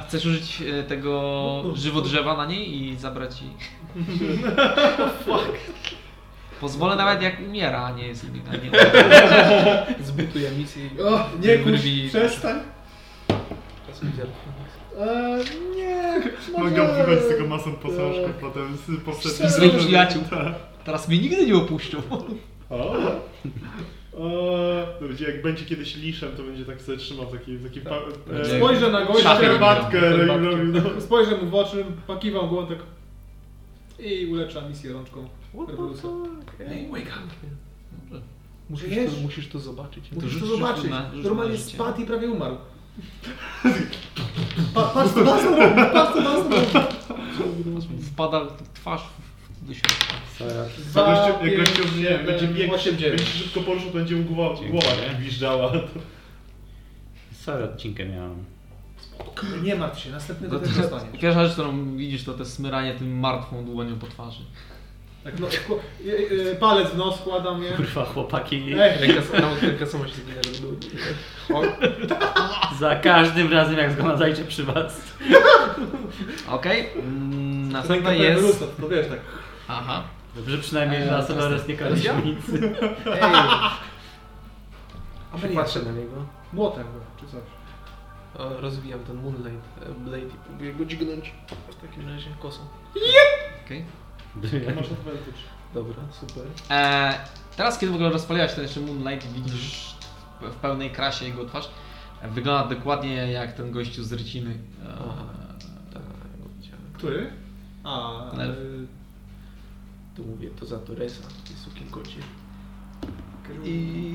Speaker 1: Chcesz użyć e, tego żywodrzewa na niej i zabrać jej? Pozwolę nawet jak umiera, a nie jest a nie
Speaker 3: Zbytuję misji.
Speaker 4: O, nie kurz,
Speaker 3: Wyrwij-
Speaker 4: przestań.
Speaker 3: Czasem ziarnko.
Speaker 4: Eee, nie,
Speaker 22: Mogę
Speaker 4: wychodzić
Speaker 22: wychodzić z tego masą posążków potem z
Speaker 1: I
Speaker 22: poprzednim.
Speaker 1: swoich przyjaciół. Teraz mnie nigdy nie opuszczą.
Speaker 4: O, to będzie, jak będzie kiedyś liszem, to będzie tak sobie trzymał taki, taki pa,
Speaker 1: Będzie-
Speaker 4: e,
Speaker 8: Spojrzę na gościa,
Speaker 1: Szafy
Speaker 4: herbatkę
Speaker 1: robił,
Speaker 4: robił, robił, no.
Speaker 8: spojrzę mu w oczy, pakiwał głową tak i uleczę misję rączką. Rewolucja.
Speaker 3: Ej, wake up.
Speaker 8: Wiesz?
Speaker 3: Musisz to, musisz to zobaczyć.
Speaker 8: Musisz to
Speaker 1: rzuć- rzuć
Speaker 8: zobaczyć.
Speaker 1: na- rzuć na
Speaker 8: Normalnie
Speaker 1: życie.
Speaker 8: spadł i prawie umarł. Pa, patrz co nas robi, patrz co nas robi.
Speaker 1: Wpada twarz do środka.
Speaker 4: Gościu,
Speaker 8: Dwa,
Speaker 4: jak gościu
Speaker 8: pięć,
Speaker 4: nie, będzie
Speaker 8: siedem,
Speaker 4: biegł,
Speaker 8: osiem, dziewięć.
Speaker 4: będzie szybko poruszył, to będzie mu głowa,
Speaker 6: Dziękuję.
Speaker 4: głowa tak gwiżdżała.
Speaker 6: Sorry, odcinkę miałem.
Speaker 8: Nie martw się, następnego
Speaker 1: No
Speaker 8: też
Speaker 1: to,
Speaker 8: dostaniesz.
Speaker 1: pierwsza rzecz, którą widzisz, to te smyranie tym martwą dłonią po twarzy.
Speaker 8: Tak, no, wkła- y, y, palec w nos wkładam, nie?
Speaker 6: Kurwa, chłopaki.
Speaker 8: Ej,
Speaker 3: Ręka, sama- ręka sama się zgina, żeby było.
Speaker 6: Za każdym razem, jak zgromadzajcie przy was.
Speaker 1: Okej, mm,
Speaker 8: ręka
Speaker 1: następna
Speaker 8: pełna
Speaker 1: jest...
Speaker 8: lustro, to wiesz tak.
Speaker 1: Aha.
Speaker 6: Dobrze, przynajmniej na Solares nie każe nic.
Speaker 3: A się patrzę na niego.
Speaker 8: Młotem go, czy coś.
Speaker 3: E, Rozwijam ten Moonlight e, Blade i próbuję go dźgnąć. W takim razie kosą.
Speaker 1: okej.
Speaker 8: Masz advantage.
Speaker 3: Dobra, super.
Speaker 1: E, teraz, kiedy w ogóle rozpaliłaś ten jeszcze Moonlight, widzisz w- w pełnej krasie jego twarz. Wygląda dokładnie jak ten gościu z Ryciny. E,
Speaker 3: Aha. Tak,
Speaker 8: Który? A,
Speaker 1: Elf.
Speaker 8: y,
Speaker 3: to mówię to za Torresa i sukinkocie. I...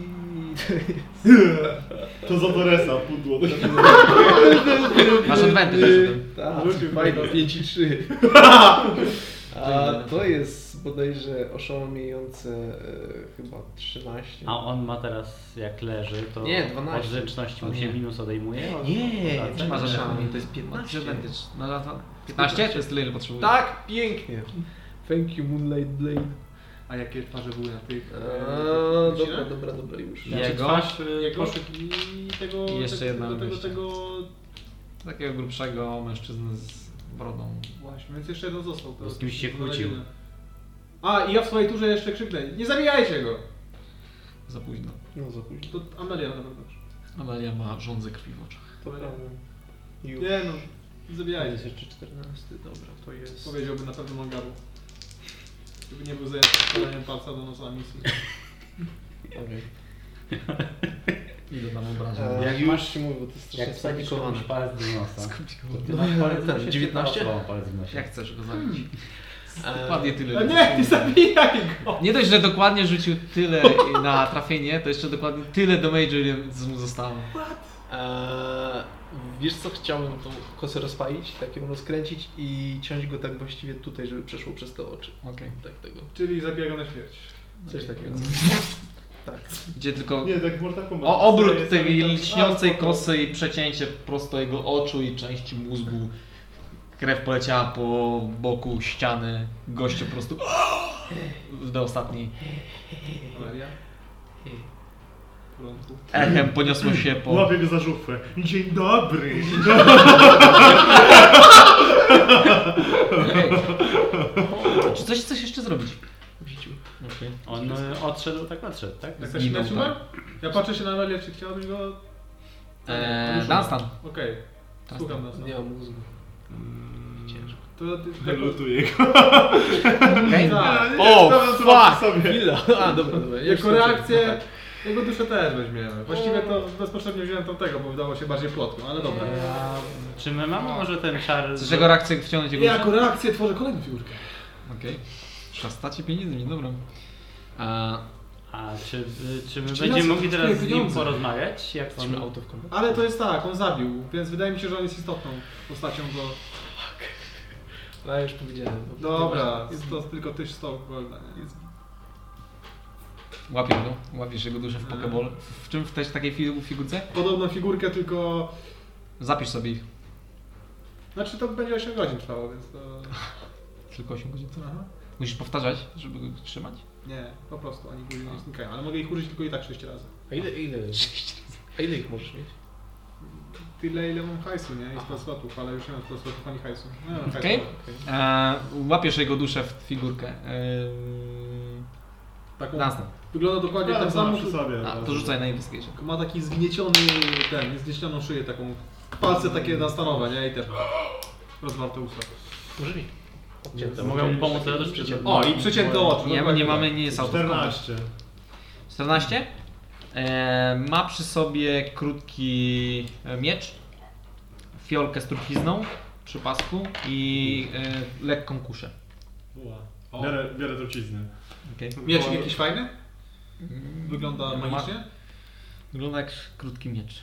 Speaker 4: To za Torresa, pudło.
Speaker 1: E, masz advantage przy tym.
Speaker 3: Tak, fajno, 5 i 3. A to jest bodajże oszałamiające e, chyba 13.
Speaker 6: A on ma teraz, jak leży, to
Speaker 3: Nie, 12.
Speaker 6: od zręczności mu
Speaker 1: O,
Speaker 6: się
Speaker 1: nie.
Speaker 6: minus odejmuje.
Speaker 3: Nie,
Speaker 6: A,
Speaker 3: nie ma
Speaker 1: masz
Speaker 3: żadnego.
Speaker 6: tak?
Speaker 1: żadnego.
Speaker 3: To jest
Speaker 1: Masz
Speaker 3: 15.
Speaker 1: advantage. No, na- na- 15? To jest tyle, ile potrzebujesz.
Speaker 3: Tak, pięknie. Thank you, Moonlight Blade.
Speaker 8: a jakie twarze były na tych...
Speaker 3: Eee, dobra,
Speaker 8: wycinach?
Speaker 3: dobra, dobra, już.
Speaker 6: Znaczy
Speaker 1: Jego?
Speaker 6: Twarz, y,
Speaker 8: Jego
Speaker 6: poszuk-
Speaker 8: koszyk i tego...
Speaker 1: I jeszcze
Speaker 8: tego,
Speaker 1: jedna
Speaker 8: tego, tego,
Speaker 1: gościa.
Speaker 8: tego...
Speaker 1: Takiego grubszego mężczyznę z brodą.
Speaker 8: Właśnie, więc jeszcze jeden został. to-
Speaker 6: Bo z kimś się
Speaker 8: to
Speaker 6: kłócił.
Speaker 8: na godzinę. A, i ja w swojej turze jeszcze krzyknę, nie zabijajcie go!
Speaker 1: Za późno.
Speaker 3: No za późno.
Speaker 8: To Amelia na pewno.
Speaker 1: Amelia ma rządzę krwi w oczach.
Speaker 3: To prawda. Już.
Speaker 8: Nie no, nie
Speaker 3: To
Speaker 8: zabijajcie.
Speaker 3: jest jeszcze 14, dobra, to jest...
Speaker 8: Powiedziałby na pewno Mangabu. Gdyby nie był zajęty wkładaniem palca do nosa misji.
Speaker 3: Okej.
Speaker 1: Ile tam obrażeń?
Speaker 3: Eee,
Speaker 6: Jak
Speaker 3: już
Speaker 6: masz-
Speaker 3: ci mówię, bo to jest
Speaker 6: Jak
Speaker 3: strasznie
Speaker 6: wsadzi komuś
Speaker 3: skomplikowane.
Speaker 6: palec do nosa.
Speaker 3: No,
Speaker 6: Masz
Speaker 3: ja
Speaker 6: palec w
Speaker 3: ten,
Speaker 6: nosie,
Speaker 3: 19?
Speaker 6: czy to palec w nosie?
Speaker 1: Jak chcesz go zabić?
Speaker 3: Eee,
Speaker 1: Dokładnie tyle.
Speaker 8: A nie, nie zabijaj go!
Speaker 1: Nie dość, że dokładnie rzucił tyle na trafienie, to jeszcze dokładnie tyle do Major, ile mu zostało.
Speaker 3: Eee, wiesz co, chciałbym tą kosę rozpalić, tak ją rozkręcić i ciąć go tak właściwie tutaj, żeby przeszło przez te oczy.
Speaker 1: Okej.
Speaker 3: Tak tego.
Speaker 8: Czyli zabija go na śmierć.
Speaker 3: Coś takiego. Tak.
Speaker 1: Gdzie tylko
Speaker 4: Nie, tak w Mortal Kombat.
Speaker 1: o obrót
Speaker 4: Jest
Speaker 1: tej
Speaker 4: tam-
Speaker 1: lśniącej
Speaker 4: A, spoko.
Speaker 1: kosy i przecięcie prosto jego oczu i części mózgu. Krew poleciała po boku ściany. Gościu po prostu do ostatniej.
Speaker 8: Amelia? W porządku.
Speaker 1: Echem poniosło się po...
Speaker 4: Łapię go za żuchwę. Dzień dobry.
Speaker 1: Okej. Czy coś, coś jeszcze zrobić?
Speaker 3: W życiu.
Speaker 6: On y, odszedł, tak odszedł, tak?
Speaker 8: Jak ta
Speaker 1: Zginął,
Speaker 8: śmierć umarł? Ja patrzę się na Amelię, czy chciałbyś go...
Speaker 1: Eee, Dunstan.
Speaker 8: Okej, słucham nas.
Speaker 3: Nie mam mózgu. Ciężko.
Speaker 8: To ty... tak-
Speaker 4: Lutuję go.
Speaker 1: Okej.
Speaker 8: Tak,
Speaker 4: O, fuck! Sobie.
Speaker 3: Chwila! A, dobra, dobra.
Speaker 8: jako reakcję... Jego duszę też weźmiemy. Właściwie to bezpośrednio wziąłem tamtego, bo wydało się bardziej płotką, ale dobra.
Speaker 6: A, Czy my mamy może ten czar...
Speaker 1: Z czego reakcję wciągnąć jego
Speaker 8: Ja jako reakcję tworzę kolejną figurkę.
Speaker 1: Okej. Szastacie pieniędzmi, dobra.
Speaker 6: A czy, y, czy my
Speaker 8: Czy
Speaker 6: będziemy
Speaker 8: nas-
Speaker 6: mogli teraz z nim
Speaker 8: pieniądze?
Speaker 6: porozmawiać? Jak
Speaker 3: Jesteśmy
Speaker 6: on...
Speaker 3: out of combat.
Speaker 8: Ale to jest tak, on zabił, więc wydaje mi się, że on jest istotną postacią, bo...
Speaker 3: A, już powiedziałem.
Speaker 8: Dobra, to tylko tyś stał golda, nie?
Speaker 1: Łapię go, łapiesz jego duszę w pokeball. W czym w też takiej fi- figurce?
Speaker 8: Podobną figurkę, tylko...
Speaker 1: Zapisz sobie ich.
Speaker 8: Znaczy to będzie 8 godzin trwało, więc to...
Speaker 1: Tylko 8 godzin.
Speaker 8: Aha.
Speaker 1: Musisz powtarzać, żeby go trzymać.
Speaker 8: Nie, po prostu oni później nie znikają, ale mogę ich użyć tylko i tak 6 razy.
Speaker 3: A ile, ile, a ile ich możesz mieć?
Speaker 8: Tyle ile mam hajsu, nie? I 100 slotów, ale już nie mam 100 slotów ani hajsu. Nie mam hajsu.
Speaker 1: Okej. Eee, łapiesz jego duszę w figurkę. Eee,
Speaker 8: Taką,
Speaker 1: Dunstan.
Speaker 8: wygląda dokładnie tak samo.
Speaker 4: przy sobie.
Speaker 1: A, to rzucaj na investigation.
Speaker 8: tylko Ma taki zgnieciony, ten, zgniecioną szyję taką. Palce takie nastanowe, nie? I też rozwarte usta.
Speaker 3: Może nie.
Speaker 6: Nie, to mogę mu pomóc, ale też przeciętny.
Speaker 8: O, i przecięte oczy.
Speaker 1: Nie,
Speaker 8: dokładnie
Speaker 1: nie
Speaker 8: tak.
Speaker 1: mamy, nie jest auto.
Speaker 4: 14.
Speaker 1: 14. E, ma przy sobie krótki e, miecz, fiolkę z trucizną przy pasku i e, lekką kuszę.
Speaker 8: O.
Speaker 4: Biorę, biorę truciznę.
Speaker 8: Miecz jakiś fajny? Wygląda
Speaker 1: Mm. Ma-
Speaker 8: magicznie?
Speaker 1: Wygląda jak krótki miecz.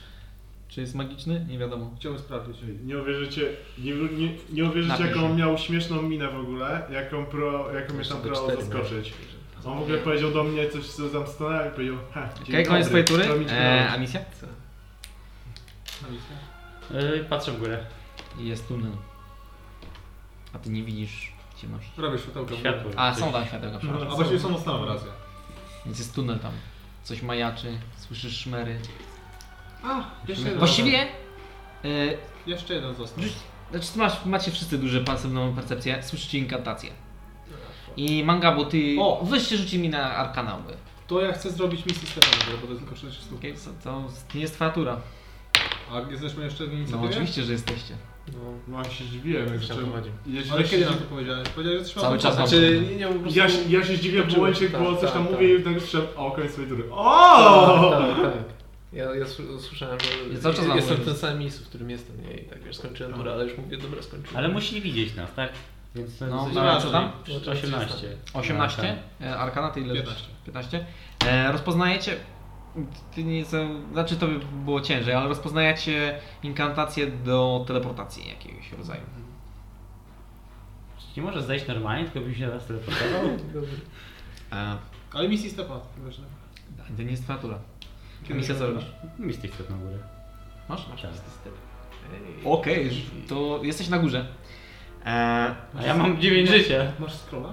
Speaker 1: Czy jest magiczny? Nie wiadomo.
Speaker 8: Chciałbym sprawdzić.
Speaker 4: Nie uwierzycie, nie, nie, nie uwierzycie
Speaker 1: Napisz.
Speaker 4: jaką miał śmieszną minę w ogóle, jaką, pro, jaką mnie tam
Speaker 3: Sobie
Speaker 4: próbował
Speaker 3: cztery
Speaker 4: zaskoczyć. On w ogóle powiedział do mnie coś, co tam stanęło i powiedział, he, dzień
Speaker 1: Okej, koniec
Speaker 4: dobry,
Speaker 1: twojej tury.
Speaker 4: to mi się
Speaker 1: E,
Speaker 4: należy.
Speaker 1: a misja?
Speaker 8: Na misję.
Speaker 6: Y, Patrzę w górę.
Speaker 1: Jest tunel. A ty nie widzisz ciemności.
Speaker 8: Robię światełka. w górę.
Speaker 6: Światło.
Speaker 1: A,
Speaker 6: coś.
Speaker 1: są tam światełka,
Speaker 8: A
Speaker 1: przepraszam.
Speaker 8: właściwie są następne racja.
Speaker 1: Więc jest tunel tam. Coś majaczy, słyszysz szmery.
Speaker 8: A, jeszcze jeden.
Speaker 1: Właściwie... e,
Speaker 8: Jeszcze jeden został.
Speaker 1: Rzuć- Znaczy ty masz, macie wszyscy duże pasywną percepcję, słyszycie inkantację. I manga, bo ty.
Speaker 8: O!
Speaker 1: O! Wyście rzuci mi na arkanały.
Speaker 8: To ja chcę zrobić misję Stefana, bo to jest tylko 60 stóp.
Speaker 1: Okay, to, to nie jest twoja tura.
Speaker 8: A jesteśmy jeszcze w
Speaker 1: No
Speaker 8: inicjatywie?
Speaker 1: oczywiście, że jesteście.
Speaker 3: No,
Speaker 4: No ja się zdziwiłem, jak
Speaker 3: Chciałem
Speaker 4: zacząłem...
Speaker 3: prowadzić.
Speaker 4: Ja się,
Speaker 8: Ale
Speaker 4: ja się,
Speaker 8: kiedy nam to powiedziałeś? Powiedziałeś, że trzeba...
Speaker 1: Cały czas mam.
Speaker 3: Znaczy, nie, nie, po prostu...
Speaker 4: ja, się, ja się zdziwiłem w
Speaker 3: Zobaczymy.
Speaker 4: momencie,
Speaker 3: Tak,
Speaker 4: bo coś
Speaker 3: tak,
Speaker 4: tam
Speaker 3: tak.
Speaker 4: mówię i tak szep... O, koniec swojej tury.
Speaker 3: O!
Speaker 4: O!
Speaker 3: Tak, tak. Ja, ja s- słyszałem, że
Speaker 1: Ja cały czas mam
Speaker 3: jestem w
Speaker 1: mówię.
Speaker 3: tym samym miejscu, w którym jestem. Nie, i tak wiesz, skończyłem turę, ale już mówię, dobra, skończyłem.
Speaker 6: Ale musi widzieć nas, tak? Więc
Speaker 1: No,
Speaker 6: coś-
Speaker 1: dobra, co tam?
Speaker 6: 18. No, tak.
Speaker 1: 18? E, Arkana ty ile?
Speaker 8: 15.
Speaker 1: 15? E, rozpoznajecie. Ty nie, za- znaczy to by było ciężej, ale rozpoznajecie inkantację do teleportacji jakiegoś rodzaju.
Speaker 6: Czy nie może zejść normalnie, tylko byś się teraz teleportował?
Speaker 3: Dobra.
Speaker 1: E,
Speaker 8: Ale misji Stefana. wiesz, no.
Speaker 1: to nie jest twoja tura. Misja co robisz?
Speaker 6: Mistyk wszedł na górę.
Speaker 1: Masz? Masz.
Speaker 6: Tak.
Speaker 1: Okej, ż- to jesteś na górze. E,
Speaker 6: A ja mam 9 życia.
Speaker 8: Masz scrolla?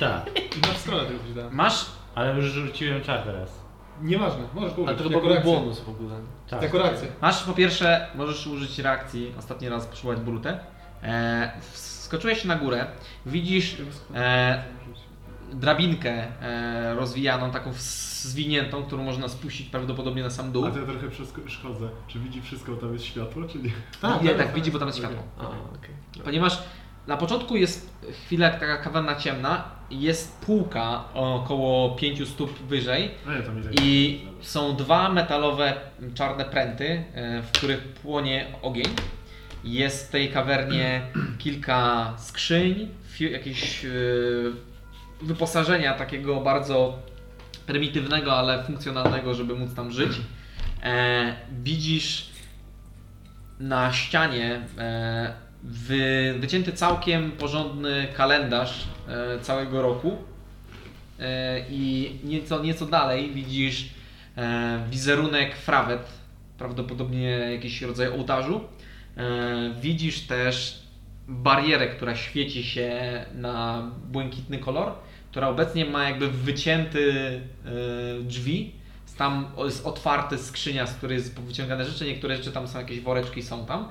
Speaker 6: Tak,
Speaker 8: I masz scrolla tylko ci dałem.
Speaker 1: masz
Speaker 6: ale już rzuciłem czar teraz.
Speaker 8: Nieważne, możesz go
Speaker 3: A
Speaker 8: użyć.
Speaker 3: to chyba
Speaker 8: jako
Speaker 3: był
Speaker 8: reakcję.
Speaker 3: bonus w ogóle.
Speaker 6: Tak.
Speaker 8: Jako reakcję.
Speaker 1: Masz po pierwsze, możesz użyć reakcji, ostatni raz przywołać brutę. E, skoczyłeś na górę, widzisz e, drabinkę e, rozwijaną, taką s- zwiniętą, którą można spuścić prawdopodobnie na sam dół.
Speaker 4: A to ja trochę wszystko- szkodzę. Czy widzi wszystko, bo tam jest światło, czy nie?
Speaker 8: Tak,
Speaker 1: nie,
Speaker 8: tak,
Speaker 1: tak,
Speaker 8: tak.
Speaker 1: widzi, bo tam jest światło.
Speaker 3: A, okej. Okay.
Speaker 1: Ponieważ na początku jest chwila taka kawerna ciemna, jest półka około 5 stóp wyżej,
Speaker 4: A ja tam idę.
Speaker 1: I są dwa metalowe m, czarne pręty, e, w których płonie ogień. Jest w tej kawernie kilka skrzyń, fi- jakieś e, wyposażenia takiego bardzo prymitywnego, ale funkcjonalnego, żeby móc tam żyć. E, widzisz na ścianie e, wy, wycięty całkiem porządny kalendarz e, całego roku. E, I nieco, nieco dalej widzisz e, wizerunek frawet, prawdopodobnie jakiś rodzaj ołtarzu. E, Widzisz też barierę, która świeci się na błękitny kolor, która obecnie ma jakby wycięty e, drzwi. Jest Tam o- jest otwarty skrzynia, z której jest wyciągane rzeczy. Niektóre rzeczy tam są, jakieś woreczki są tam.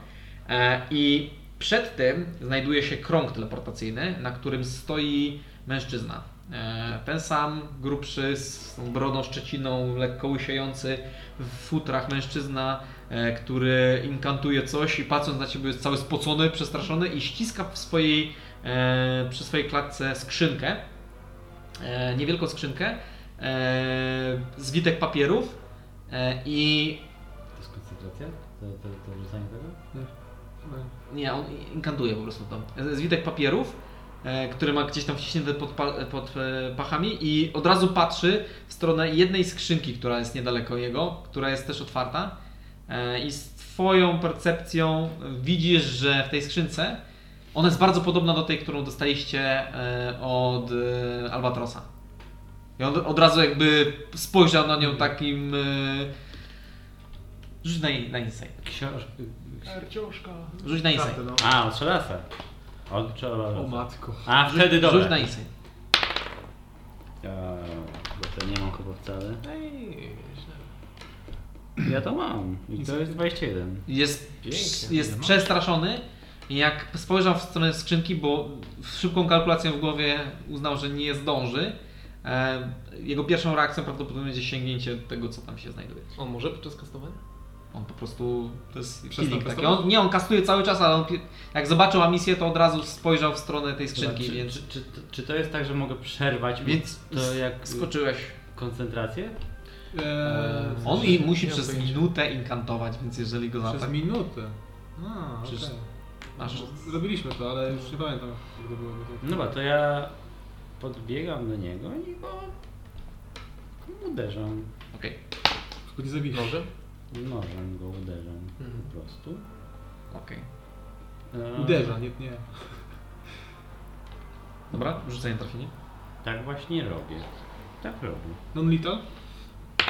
Speaker 1: E, I przed tym znajduje się krąg teleportacyjny, na którym stoi mężczyzna. E, Ten sam, grubszy, z tą brodą szczeciną, lekko łysiejący, w futrach mężczyzna, e, który inkantuje coś i patrząc na ciebie jest cały spocony, przestraszony i ściska w swojej, e, przy swojej klatce skrzynkę, e, niewielką skrzynkę, e, zwitek papierów e, i
Speaker 6: To jest koncentracja? To, to, to rzucanie tego?
Speaker 1: Nie, on inkantuje po prostu tam. Zwitek papierów, e, który ma gdzieś tam wciśnięte pod, pa, pod e, pachami i od razu patrzy w stronę jednej skrzynki, która jest niedaleko jego, która jest też otwarta. E, I z twoją percepcją widzisz, że w tej skrzynce ona jest bardzo podobna do tej, którą dostaliście e, od e, Albatrosa. I on od razu jakby spojrzał na nią takim... e, Rzuć na, na insight.
Speaker 6: Książ...
Speaker 1: Rzuć na insight.
Speaker 4: Kartę, no.
Speaker 6: A, od szalasa. Od
Speaker 4: O
Speaker 6: szalasa.
Speaker 4: matko.
Speaker 6: A,
Speaker 1: Rzuć-
Speaker 6: wtedy dobra.
Speaker 1: Rzuć na insight.
Speaker 6: A, Bo to nie mam chyba wcale.
Speaker 3: No
Speaker 6: Ja to mam. I to jest 21.
Speaker 1: Jest,
Speaker 3: Pięknie.
Speaker 1: jest
Speaker 6: No.
Speaker 1: przestraszony. i Jak spojrzał w stronę skrzynki, bo w szybką kalkulacją w głowie uznał, że nie zdąży. e, Jego pierwszą reakcją prawdopodobnie będzie sięgnięcie tego, co tam się znajduje.
Speaker 3: On może podczas kastowania?
Speaker 1: On po prostu. To jest
Speaker 4: Przestał
Speaker 1: killing taki.
Speaker 4: testować?
Speaker 1: On, nie, on kastuje cały czas, ale on, pie- jak zobaczył misję, to od razu spojrzał w stronę tej skrzynki,
Speaker 6: Czy,
Speaker 1: więc,
Speaker 6: czy, czy, czy to jest tak, że mogę przerwać mu
Speaker 1: więc
Speaker 6: to jak
Speaker 1: skoczyłeś.
Speaker 6: koncentrację?
Speaker 8: Eee,
Speaker 1: On i musi
Speaker 3: nie mam
Speaker 1: przez
Speaker 3: pojęcia.
Speaker 1: minutę inkantować, więc jeżeli go
Speaker 8: Przez
Speaker 6: tak-
Speaker 8: no.
Speaker 1: zaatakują.
Speaker 8: minutę. A, okej.
Speaker 1: Przecież- Masz
Speaker 8: Robiliśmy to, ale już nie pamiętam, jak to było.
Speaker 6: No dobra, to ja podbiegam do niego i go uderzam.
Speaker 1: Okej.
Speaker 8: Tylko nie zabijesz.
Speaker 3: Może?
Speaker 6: Nożem go uderzam
Speaker 3: Mhm.
Speaker 6: po prostu.
Speaker 1: okej.
Speaker 6: E,
Speaker 8: Uderza, nie, nie.
Speaker 1: Dobra, rzucenie trafienie.
Speaker 6: Tak właśnie robię. Tak robię.
Speaker 8: Non-lethal?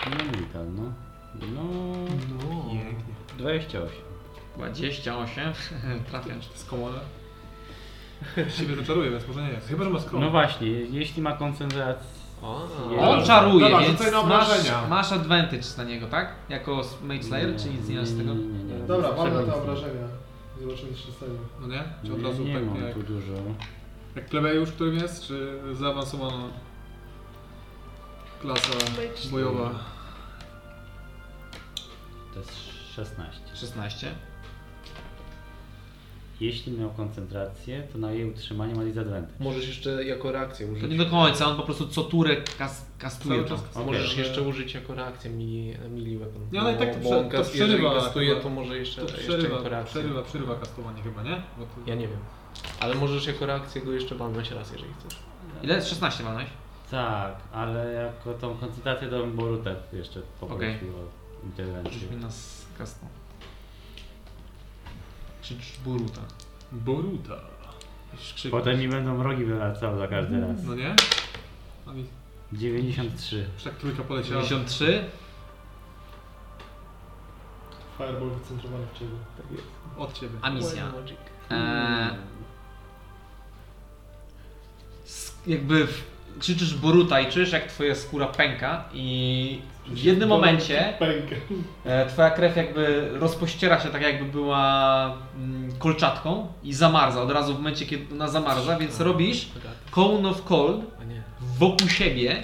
Speaker 6: No i tak, no. No.
Speaker 3: No.
Speaker 6: 28.
Speaker 1: 28. Trafiasz.
Speaker 8: To jest komora. Siebie zaczaruję, więc może nie jest. Chyba, że ma skrom.
Speaker 6: No właśnie, jeśli ma koncentrację.
Speaker 3: A,
Speaker 1: No, On
Speaker 6: Dobra,
Speaker 1: czaruje,
Speaker 23: dobra,
Speaker 1: więc
Speaker 23: rzucaj na
Speaker 1: masz,
Speaker 23: obrażenia.
Speaker 1: masz advantage na niego, tak? Jako Mage Slayer, czy nic nie masz z tego?
Speaker 6: Nie, nie, nie.
Speaker 23: Dobra, mam
Speaker 6: Tego
Speaker 23: na
Speaker 6: nic
Speaker 23: te
Speaker 6: nie.
Speaker 23: obrażenia. Zobaczymy, co się stanie.
Speaker 8: No nie? Czy od razu
Speaker 6: Nie, nie
Speaker 8: tak
Speaker 6: mam
Speaker 8: jak,
Speaker 6: tu dużo.
Speaker 8: jak plebejusz, którym jest, czy zaawansowana klasa bojowa?
Speaker 6: To jest 16.
Speaker 1: 16.
Speaker 6: Jeśli miał koncentrację, to na jej utrzymanie ma disadvantage.
Speaker 3: Możesz jeszcze jako reakcję
Speaker 1: To
Speaker 3: użyć.
Speaker 1: nie do końca, on po prostu co turę kas, kastuje
Speaker 23: Cały
Speaker 1: to.
Speaker 23: czas
Speaker 6: Okej.
Speaker 3: Możesz jeszcze użyć jako reakcję mini, mini weapon.
Speaker 8: Nie, ale i tak to
Speaker 3: Bo
Speaker 8: prze-
Speaker 3: on
Speaker 8: to
Speaker 3: kas- jeżeli
Speaker 8: przerywa
Speaker 3: kastuje,
Speaker 8: chyba.
Speaker 3: to może jeszcze,
Speaker 8: To
Speaker 3: jeszcze jako
Speaker 8: przerywa,
Speaker 3: reakcję.
Speaker 8: przerywa, przerywa kastowanie chyba, nie? Bo to...
Speaker 3: Ja nie wiem. Ale możesz jako reakcję go jeszcze walnąć raz, jeżeli chcesz.
Speaker 1: Ile? no 16 walnąłeś?
Speaker 6: Tak, ale jako tą koncentrację do wyboru tak jeszcze poprosił
Speaker 1: Okej.
Speaker 6: o interwencję.
Speaker 1: Rzuć mi na z kastą. Krzycz Boruta.
Speaker 23: Boruta.
Speaker 8: Krzyk.
Speaker 6: Potem mi będą rogi wyracały za każdy raz.
Speaker 8: No nie? A mi
Speaker 6: 93.
Speaker 8: już tak trójka poleciała.
Speaker 1: 93.
Speaker 23: Fireball wycentrowany w ciebie.
Speaker 8: Od ciebie.
Speaker 1: A misja.
Speaker 3: Wild Tak Magic.
Speaker 1: Eee, s- jakby w, krzyczysz Boruta i czujesz jak twoja skóra pęka i w jednym momencie
Speaker 23: Pękę.
Speaker 1: E, Twoja krew jakby rozpościera się tak jakby była mm, kolczatką i zamarza od razu w momencie kiedy ona zamarza, więc
Speaker 6: Tak.
Speaker 1: robisz
Speaker 3: Bogaty.
Speaker 1: cone of cold
Speaker 3: Tak, A nie.
Speaker 1: wokół siebie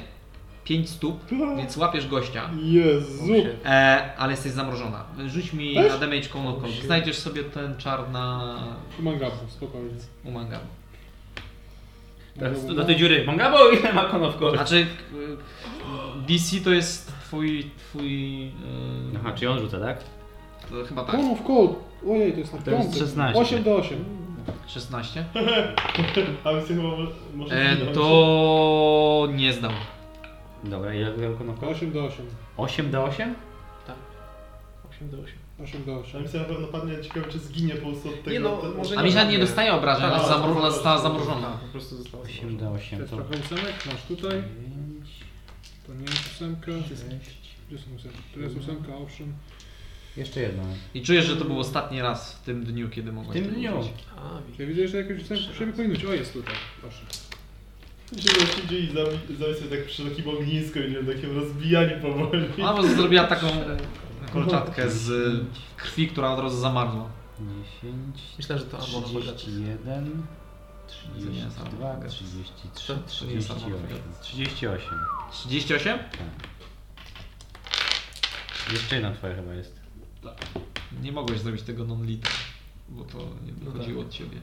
Speaker 1: 5 stóp, więc łapiesz gościa,
Speaker 23: Jezu.
Speaker 3: Zup.
Speaker 1: e, ale jesteś zamrożona. Rzuć mi na damage cone of cold. Znajdziesz sobie ten czar na
Speaker 23: Mangabu, spokojnie.
Speaker 1: umangam.
Speaker 6: Teraz do tej dziury. Mangabo ile ma konowko?
Speaker 1: Znaczy e, DC to jest twój, twój e,
Speaker 6: Aha, czy on rzuca, tak?
Speaker 1: to chyba tak,
Speaker 23: Call of Cold. Ojej, to jest na
Speaker 6: To jest
Speaker 23: piątek.
Speaker 6: 16.
Speaker 23: 8 do 8.
Speaker 1: 16.
Speaker 23: A więc chyba mo- może...
Speaker 1: E,
Speaker 23: zginąć.
Speaker 1: to nie zdał.
Speaker 6: Dobra, ile miał konowko?
Speaker 23: 8 do 8.
Speaker 6: 8 do 8?
Speaker 3: 8 do 8.
Speaker 23: 8 do 8. A więc na pewno padnie, ciekawe czy zginie po prostu od tego.
Speaker 3: no,
Speaker 23: to-
Speaker 3: może
Speaker 1: A Misia nie
Speaker 3: Nie.
Speaker 1: dostaje obrażeń,
Speaker 23: Tak,
Speaker 1: ona
Speaker 23: tak,
Speaker 1: zamru-
Speaker 23: tak,
Speaker 1: ona
Speaker 23: tak.
Speaker 1: została zamrożona.
Speaker 3: Po prostu zostało.
Speaker 6: 8 do 8
Speaker 23: Też
Speaker 6: to...
Speaker 23: trochę ósemek, masz tutaj.
Speaker 6: 5,
Speaker 23: To nie jest ósemka.
Speaker 6: 6...
Speaker 23: Gdzie są ósemki? Tu jest ósemka, owszem.
Speaker 6: Jeszcze jedno.
Speaker 1: I czujesz, że to był ostatni raz w tym dniu, kiedy
Speaker 6: W
Speaker 1: mogłaś
Speaker 6: tym
Speaker 1: to
Speaker 6: dniu.
Speaker 1: użyć.
Speaker 3: A, widzę.
Speaker 23: Ja widzę, że jakąś ósemkę trzeba powinnoć. O, jest tutaj. Proszę.
Speaker 4: Gdzie się dzieje i zawi- zawisł tak przy takim ognisku i nie wiem, takim rozbijaniu powoli.
Speaker 1: Ona po prostu zrobiła taką kolczatkę z y, krwi, która od razu zamarzła.
Speaker 6: 10,
Speaker 3: Myślę, że to Amon Bogaty.
Speaker 6: 31,
Speaker 1: nie jest
Speaker 6: 32,
Speaker 1: Amon.
Speaker 6: 33,
Speaker 1: To nie jest Amon.
Speaker 6: 38. 38.
Speaker 1: 38?
Speaker 6: Tak. Jeszcze jedna twoja chyba jest.
Speaker 1: Nie mogłeś zrobić tego non-lit, bo to nie wychodziło od ciebie.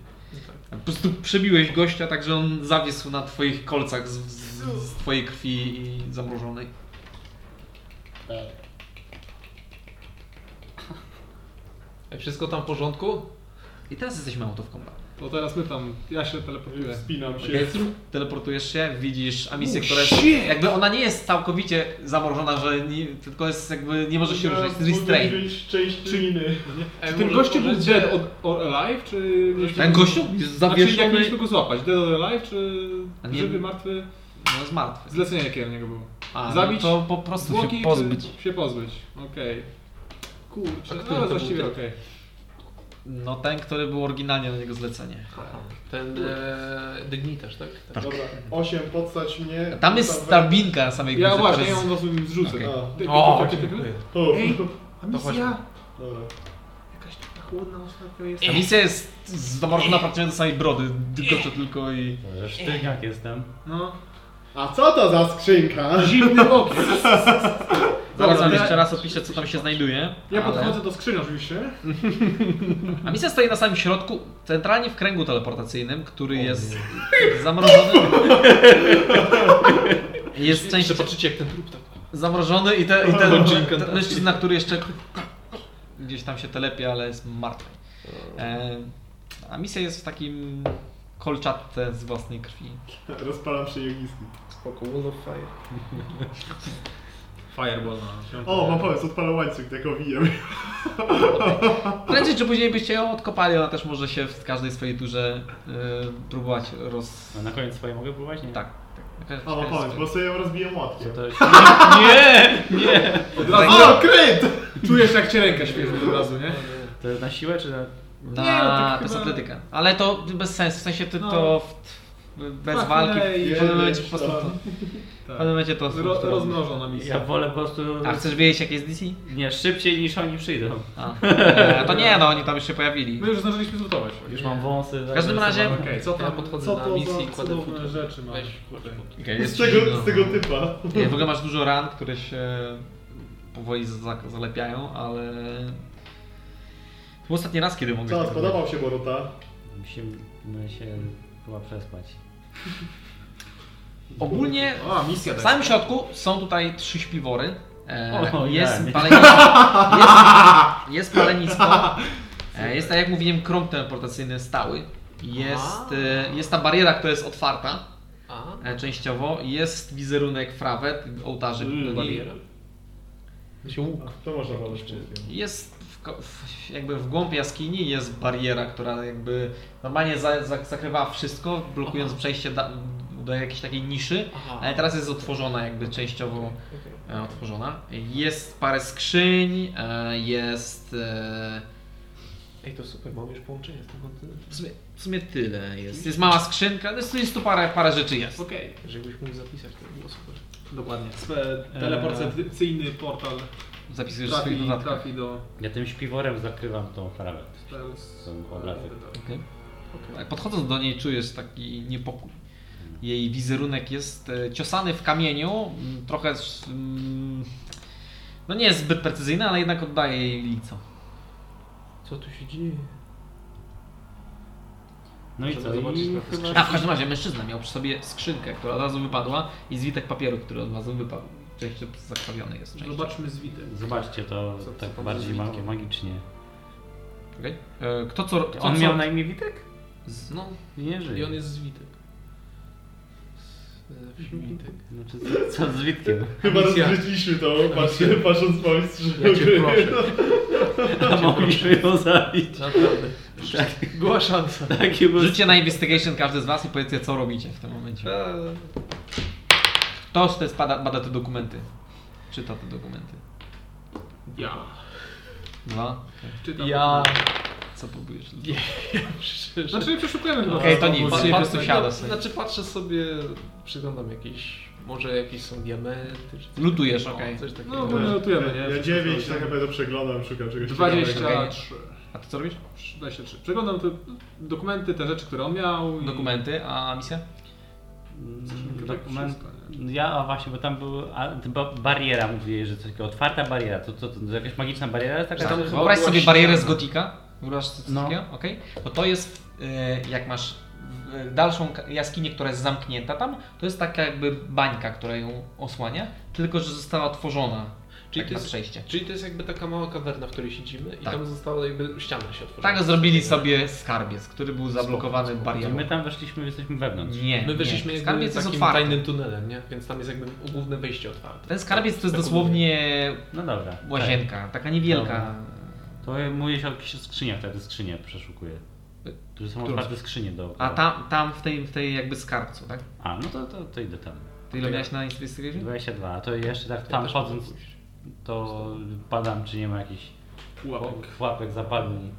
Speaker 1: Po prostu przebiłeś gościa tak, że on zawiesł na twoich kolcach z, z, z twojej krwi i zamrożonej. E,
Speaker 3: Ej, Wszystko tam w porządku?
Speaker 1: I teraz jesteśmy out of combat.
Speaker 8: To teraz my tam, ja się teleportuję.
Speaker 4: Wspinam się.
Speaker 1: Okej, teleportujesz się, widzisz Amisję, która jest. Jakby ona nie jest całkowicie zamrożona, że nie, tylko jest jakby nie może się ruszać, jest restrained.
Speaker 4: Szczęśliny.
Speaker 8: Czy ten gościu był dead od, or alive, czy...
Speaker 1: Ten gościu jest
Speaker 8: Znaczy, jak
Speaker 1: zawieszony.
Speaker 8: mieliśmy go złapać? Dead or alive, czy...
Speaker 1: A nie-
Speaker 8: Żywy, martwy?
Speaker 1: No jest martwy.
Speaker 8: Zlecenie jakie na niego było?
Speaker 1: A,
Speaker 8: Zabić,
Speaker 1: no to po prostu
Speaker 8: Zwłoki,
Speaker 1: się pozbyć.
Speaker 8: Czy się pozbyć, okej. Kurczę,
Speaker 3: A który
Speaker 8: no ale
Speaker 3: to był
Speaker 8: właściwie
Speaker 3: ten?
Speaker 8: okej.
Speaker 1: No ten, który był oryginalnie na niego zlecenie.
Speaker 3: Ten e, dygnitarz, tak? tak.
Speaker 4: Dobra, 8 podstać mnie.
Speaker 1: Tam jest tabinka na samej górze.
Speaker 8: Ja właśnie, ja
Speaker 1: teraz-
Speaker 8: ją rozumiem, zrzucę.
Speaker 1: Okej.
Speaker 8: Okay.
Speaker 4: O,
Speaker 8: Ty,
Speaker 3: O,
Speaker 8: ty, ty, ty, ty, ty.
Speaker 3: dziękuję.
Speaker 4: O,
Speaker 8: Ej, A
Speaker 3: To chodźmy.
Speaker 8: misja?
Speaker 4: Dobra.
Speaker 8: Jakaś taka chłodna ostatnio jest.
Speaker 1: Ta misja jest zamrożona praktycznie do samej brody. Gocze tylko i.
Speaker 6: Że Sztywniak jestem.
Speaker 8: No.
Speaker 4: A co to za skrzynka?
Speaker 8: Zimny ogień.
Speaker 1: Zaraz wam
Speaker 8: Dobra,
Speaker 1: jeszcze raz opiszę, co tam się znajduje.
Speaker 8: Ja
Speaker 1: ale-
Speaker 8: podchodzę do skrzyni oczywiście.
Speaker 1: A misja stoi na samym środku, centralnie w kręgu teleportacyjnym, który jest zamrożony. Jest część
Speaker 3: Jeszcze patrzycie jak ten trup tak.
Speaker 1: zamrożony i, te, i ten,
Speaker 3: Rodzinka
Speaker 1: ten
Speaker 3: trafi.
Speaker 1: mężczyzna, który jeszcze gdzieś tam się telepie, ale jest martwy. E, a misja jest w takim kolczatce z własnej krwi.
Speaker 4: Rozpalam się ognisku.
Speaker 3: Spoko, wall of fire.
Speaker 8: Fireball
Speaker 4: O, mam pomysł, odpalam łańcuch, tak owijam.
Speaker 1: Prędzej czy później byście ją odkopali, ona też może się w każdej swojej turze e, próbować roz...
Speaker 6: A na koniec swoje mogę próbować? Nie.
Speaker 1: Tak. tak.
Speaker 4: O, mam pomysł, bo sobie ją rozbiję łatwiej.
Speaker 6: Co to jest?
Speaker 1: Nie! Nie!
Speaker 8: Od razu,
Speaker 1: tak.
Speaker 4: O, kryt!
Speaker 8: czujesz jak cię ręka świeży od razu, nie?
Speaker 6: To na siłę czy na...
Speaker 1: Na
Speaker 8: Nie, no tak
Speaker 1: to jest
Speaker 8: chyba-
Speaker 1: atletykę. Ale to bez sensu, w sensie ty
Speaker 8: No.
Speaker 1: to w, w, bez
Speaker 8: Tak,
Speaker 1: walki
Speaker 8: nie,
Speaker 1: w
Speaker 8: i-
Speaker 1: pewnym momencie po prostu
Speaker 8: tak.
Speaker 1: to, w
Speaker 8: Tak.
Speaker 1: pewnym momencie to po
Speaker 8: Ro,
Speaker 1: prostu
Speaker 8: rozmnożą na misję.
Speaker 6: Ja wolę po prostu.
Speaker 1: A chcesz wiedzieć jakie jest DC?
Speaker 6: Nie, szybciej niż oni przyjdą.
Speaker 1: A. E, to nie, no oni tam już się pojawili.
Speaker 8: My już zdążyliśmy zlutować.
Speaker 6: Już mam wąsy.
Speaker 1: W każdym razie-
Speaker 6: zarysowałem.
Speaker 3: Okej, co to? Ja podchodzę
Speaker 8: Co
Speaker 3: na
Speaker 8: to
Speaker 3: misję
Speaker 8: za
Speaker 3: i kładę No.
Speaker 8: cudowne
Speaker 3: futro.
Speaker 8: rzeczy mamy?
Speaker 3: Weź, kładę futro.
Speaker 1: Okay,
Speaker 4: Z tego, z tego typa.
Speaker 1: W ogóle masz dużo ran, które się powoli za- zalepiają, ale... To był ostatni raz, kiedy mogłeś...
Speaker 4: Co,
Speaker 1: tak robić.
Speaker 4: spodobał się Boruta.
Speaker 6: Musimy się chyba przespać.
Speaker 1: Ogólnie
Speaker 3: A, misja
Speaker 1: w
Speaker 3: tak.
Speaker 1: samym środku są tutaj trzy śpiwory. E,
Speaker 6: O,
Speaker 1: jest,
Speaker 6: ja.
Speaker 1: paleni- jest, jest palenisko. E, jest, tak jak mówiłem, krąg teleportacyjny stały. Jest, e, jest ta bariera, która jest otwarta
Speaker 3: A,
Speaker 1: e, częściowo. Jest wizerunek frawet, ołtarzyk.
Speaker 4: Mm,
Speaker 1: I
Speaker 3: bariera.
Speaker 4: To można walić.
Speaker 1: jest w, ko- w, jakby w głąb jaskini jest bariera, która jakby normalnie za, za, zakrywała wszystko, blokując przejście da, do jakiejś takiej niszy.
Speaker 3: Aha.
Speaker 1: Ale teraz jest otworzona, jakby częściowo e, otworzona. Jest parę skrzyń, e, jest. e,
Speaker 3: Ej, to super, mam już połączenie z tym kontynentem.
Speaker 1: W sumie, w sumie tyle jest. Jest mała skrzynka, jest, jest tu parę, parę rzeczy jest.
Speaker 3: Okej, jeżeli byś mógł zapisać, to by było super.
Speaker 8: Dokładnie. Swe- Teleportacyjny portal
Speaker 1: Zapisujesz swój
Speaker 8: trafi,
Speaker 1: dodatek.
Speaker 8: trafi do...
Speaker 6: Ja tym śpiworem zakrywam tą frawę.
Speaker 8: teraz-
Speaker 6: Są obrazy.
Speaker 1: Tak, Podchodząc do niej czujesz taki niepokój. Jej wizerunek jest e, ciosany w kamieniu, m, trochę. z- m, No nie jest zbyt precyzyjny, ale jednak oddaje jej lico.
Speaker 3: Co tu się dzieje?
Speaker 6: No i
Speaker 3: Możemy
Speaker 6: co?
Speaker 3: zobaczyć
Speaker 6: I
Speaker 3: na te
Speaker 6: chyba...
Speaker 1: A w każdym razie mężczyzna miał przy sobie skrzynkę, która od razu wypadła i zwitek papieru, który od razu wypadł. Część zakrwawiony jest. Część.
Speaker 8: Zobaczmy z witem.
Speaker 6: Zobaczcie to
Speaker 3: Co- co
Speaker 6: tak
Speaker 3: tam
Speaker 6: bardziej
Speaker 3: ze
Speaker 6: ma-
Speaker 3: Witkiem?
Speaker 6: magicznie.
Speaker 1: Okej. E, Kto co... Kto,
Speaker 6: On
Speaker 1: co,
Speaker 6: miał na imię Witek?
Speaker 1: z-
Speaker 3: No,
Speaker 6: Nie
Speaker 3: i on
Speaker 6: żyje.
Speaker 3: jest zwitek. Z-
Speaker 8: Mhm.
Speaker 3: e, Witek.
Speaker 6: Znaczy, co- co z Witkiem?
Speaker 4: Chyba
Speaker 3: Misja.
Speaker 4: rozgryźliśmy to, patrzę, patrząc po mistrzu.
Speaker 3: Ja cię proszę.
Speaker 6: A mogliśmy ją zabić.
Speaker 3: Naprawdę. Była szansa.
Speaker 6: Taki był
Speaker 1: Rzućcie na investigation każdy z was i powiedzcie co robicie w tym momencie.
Speaker 3: Eee,
Speaker 1: Toż też bada, bada te dokumenty. Czyta te dokumenty.
Speaker 8: Ja.
Speaker 1: Dwa.
Speaker 8: Czytam.
Speaker 3: Ja.
Speaker 1: Co próbujesz?
Speaker 8: Znaczy przeszukujemy chyba.
Speaker 1: Okej, to
Speaker 8: wszystko.
Speaker 1: nic.
Speaker 3: Pat-
Speaker 1: Czyli po
Speaker 3: patrzę-
Speaker 1: prostu siada
Speaker 3: no,
Speaker 1: sobie.
Speaker 3: Znaczy patrzę sobie, przyglądam jakieś, może jakieś są diamenty czy coś
Speaker 1: Lutujesz,
Speaker 3: takiego.
Speaker 1: okej.
Speaker 3: Coś takiego.
Speaker 8: No, bo nie lutujemy, nie?
Speaker 4: Ja 9 tak naprawdę przeglądam, szukam czegoś ciekawego.
Speaker 8: 23.
Speaker 1: A ty co robisz?
Speaker 8: 23. Przeglądam te dokumenty, te rzeczy, które on miał. i-
Speaker 1: Dokumenty, a misja?
Speaker 6: Mm,
Speaker 8: tak
Speaker 6: dokument.
Speaker 8: wszystko,
Speaker 6: Ja, a właśnie, bo tam był, a, ty ba- bariera, mówię, że coś takiego, otwarta bariera, to co, to, to jakaś magiczna bariera jest taka?
Speaker 3: Tak.
Speaker 6: Tam-
Speaker 3: chyba
Speaker 1: Wyobraź
Speaker 3: była
Speaker 1: sobie barierę z
Speaker 3: ściana.
Speaker 1: gotika. Wyobraź sobie
Speaker 6: No.
Speaker 1: no. okej? Bo to jest, e, jak masz e, dalszą ka- jaskinię, która jest zamknięta tam, to jest taka jakby bańka, która ją osłania, tylko że została otworzona
Speaker 3: Czyli
Speaker 1: Czyli tak
Speaker 3: to
Speaker 1: na
Speaker 3: jest-
Speaker 1: przejście.
Speaker 3: Czyli to jest jakby taka mała kawerna, w której siedzimy i
Speaker 1: Tak.
Speaker 3: tam została jakby ściana się otworzyła.
Speaker 1: Tak zrobili sobie skarbiec, który był zablokowany
Speaker 3: spoko.
Speaker 6: To
Speaker 1: barierą.
Speaker 6: my tam weszliśmy, jesteśmy wewnątrz.
Speaker 1: Nie,
Speaker 3: My wyszliśmy
Speaker 1: nie.
Speaker 3: jakby
Speaker 1: Skarbiec jest
Speaker 3: takim
Speaker 1: otwarty.
Speaker 3: tajnym tunelem, nie? Więc tam jest jakby główne wejście otwarte.
Speaker 1: Ten skarbiec to jest
Speaker 3: Tak
Speaker 1: dosłownie
Speaker 6: No dobra.
Speaker 1: łazienka, taka niewielka.
Speaker 6: Tak. To mówisz o jakichś skrzyniach, tak, te skrzynie przeszukuję. Tu są otwarte skrzynie do.
Speaker 1: A tam, tam w, tej, w tej jakby skarbcu, tak?
Speaker 6: A, no to, to, to idę tam.
Speaker 1: Ty
Speaker 3: Tak.
Speaker 1: ile miałeś na investigation?
Speaker 6: 22, a to jeszcze tak
Speaker 3: Ja
Speaker 6: tam
Speaker 3: też
Speaker 6: chodząc,
Speaker 3: mogę pójść.
Speaker 6: to badam, czy nie ma jakichś
Speaker 8: Pułapek.
Speaker 6: pułapek zapadni.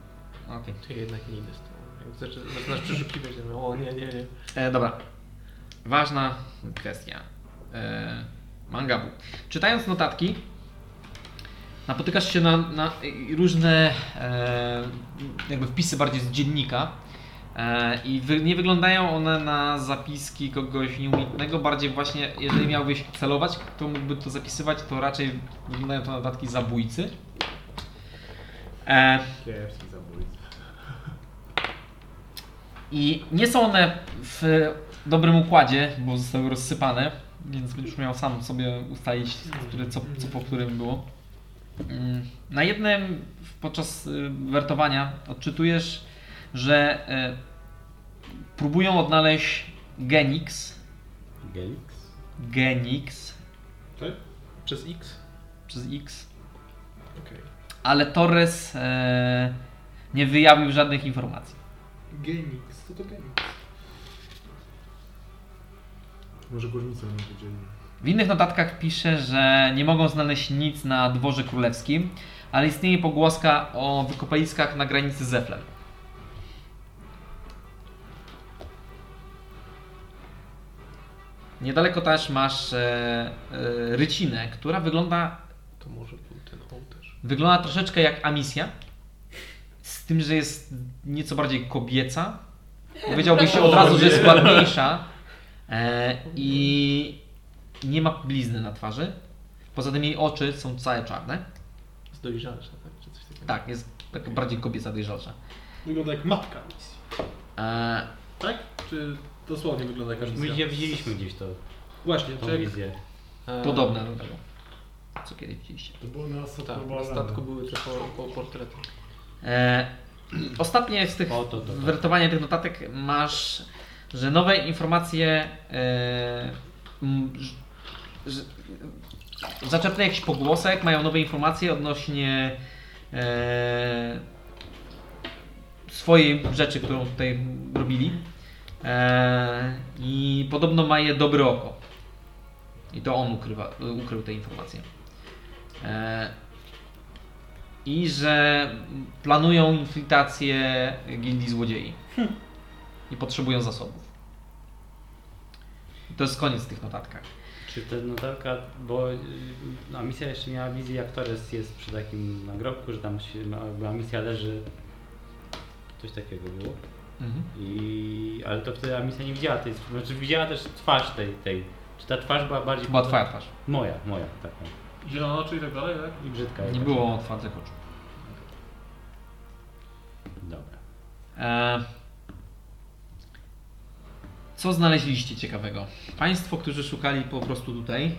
Speaker 1: Okej.
Speaker 3: Ty jednak nie idę z tą. Jak zaczynasz- zaczynasz przeszukiwać, to mówię, o nie, nie, nie.
Speaker 1: E, dobra. Ważna kwestia. E, mangabu. Czytając notatki, napotykasz się na, na różne e, jakby wpisy bardziej z dziennika. E, I wy, nie wyglądają one na zapiski kogoś nieumitnego, bardziej właśnie, jeżeli miałbyś celować, kto mógłby to zapisywać, to raczej wyglądają to notatki zabójcy. E,
Speaker 4: Kiepski zabójca.
Speaker 1: I nie są one w dobrym układzie, bo zostały rozsypane, więc będziesz miał sam sobie ustalić, które, co, co po którym było. Mm, Na jednym podczas y, wertowania odczytujesz, że e, próbują odnaleźć Genix,
Speaker 6: Gelix?
Speaker 1: Genix
Speaker 3: Przez X?
Speaker 1: przez X,
Speaker 3: Okej.
Speaker 1: ale Torres e, nie wyjawił żadnych informacji.
Speaker 3: Genix, co to Genix?
Speaker 4: Może górnicę nie wiedzieli.
Speaker 1: W innych notatkach pisze, że nie mogą znaleźć nic na dworze królewskim, ale istnieje pogłoska o wykopaliskach na granicy z Eflem. Niedaleko też masz e, e, rycinę, która wygląda
Speaker 3: To może był ten ołtarz.
Speaker 1: Wygląda troszeczkę jak Amisja, z tym, że jest nieco bardziej kobieca. Powiedziałbyś od razu, że jest ładniejsza e, i nie ma blizny na twarzy. Poza tym jej oczy są całe czarne.
Speaker 3: Jest dojrzalsza, tak? Czy coś takiego?
Speaker 1: Tak, jest taka bardziej kobieca, dojrzalsza.
Speaker 8: Wygląda jak matka misji.
Speaker 1: E,
Speaker 8: Tak? Czy dosłownie wygląda jak
Speaker 6: My
Speaker 8: misja?
Speaker 6: je widzieliśmy gdzieś to,
Speaker 8: Właśnie,
Speaker 6: tą
Speaker 8: czy
Speaker 6: wizję.
Speaker 3: Eee,
Speaker 1: Tak, podobne do tego, co kiedyś widzieliście.
Speaker 24: To było na ostatnim
Speaker 3: Tak, na statku były te po, po portrety.
Speaker 1: E, ostatnie z tych
Speaker 6: O, to, to, to.
Speaker 1: wertowania tych notatek masz, że nowe informacje e, m, ż- że, zaczepny jakiś pogłosek, mają nowe informacje odnośnie e, swojej rzeczy, którą tutaj robili. E, I podobno ma je dobre oko. I to on ukrywa, ukrył te informacje. E, i że planują infiltrację gildii złodziei. I potrzebują zasobów. I to jest koniec w tych notatkach.
Speaker 6: Czy ta notatka, bo y, no, misja jeszcze miała wizję, jak Torres jest przy takim nagrobku, że tam się, ma- była misja leży. Coś takiego było.
Speaker 1: Mhm.
Speaker 6: I, ale to wtedy Amicia nie widziała tej, znaczy widziała też twarz tej, tej. Czy ta twarz była bardziej...
Speaker 1: Była twoja twarz.
Speaker 6: Moja, moja, tak.
Speaker 24: Zielone oczy i tak dalej, tak?
Speaker 6: I brzydka.
Speaker 1: Nie
Speaker 6: jakaś.
Speaker 1: było otwartych oczu.
Speaker 6: Dobra.
Speaker 1: E, co znaleźliście ciekawego? Państwo, którzy szukali po prostu tutaj,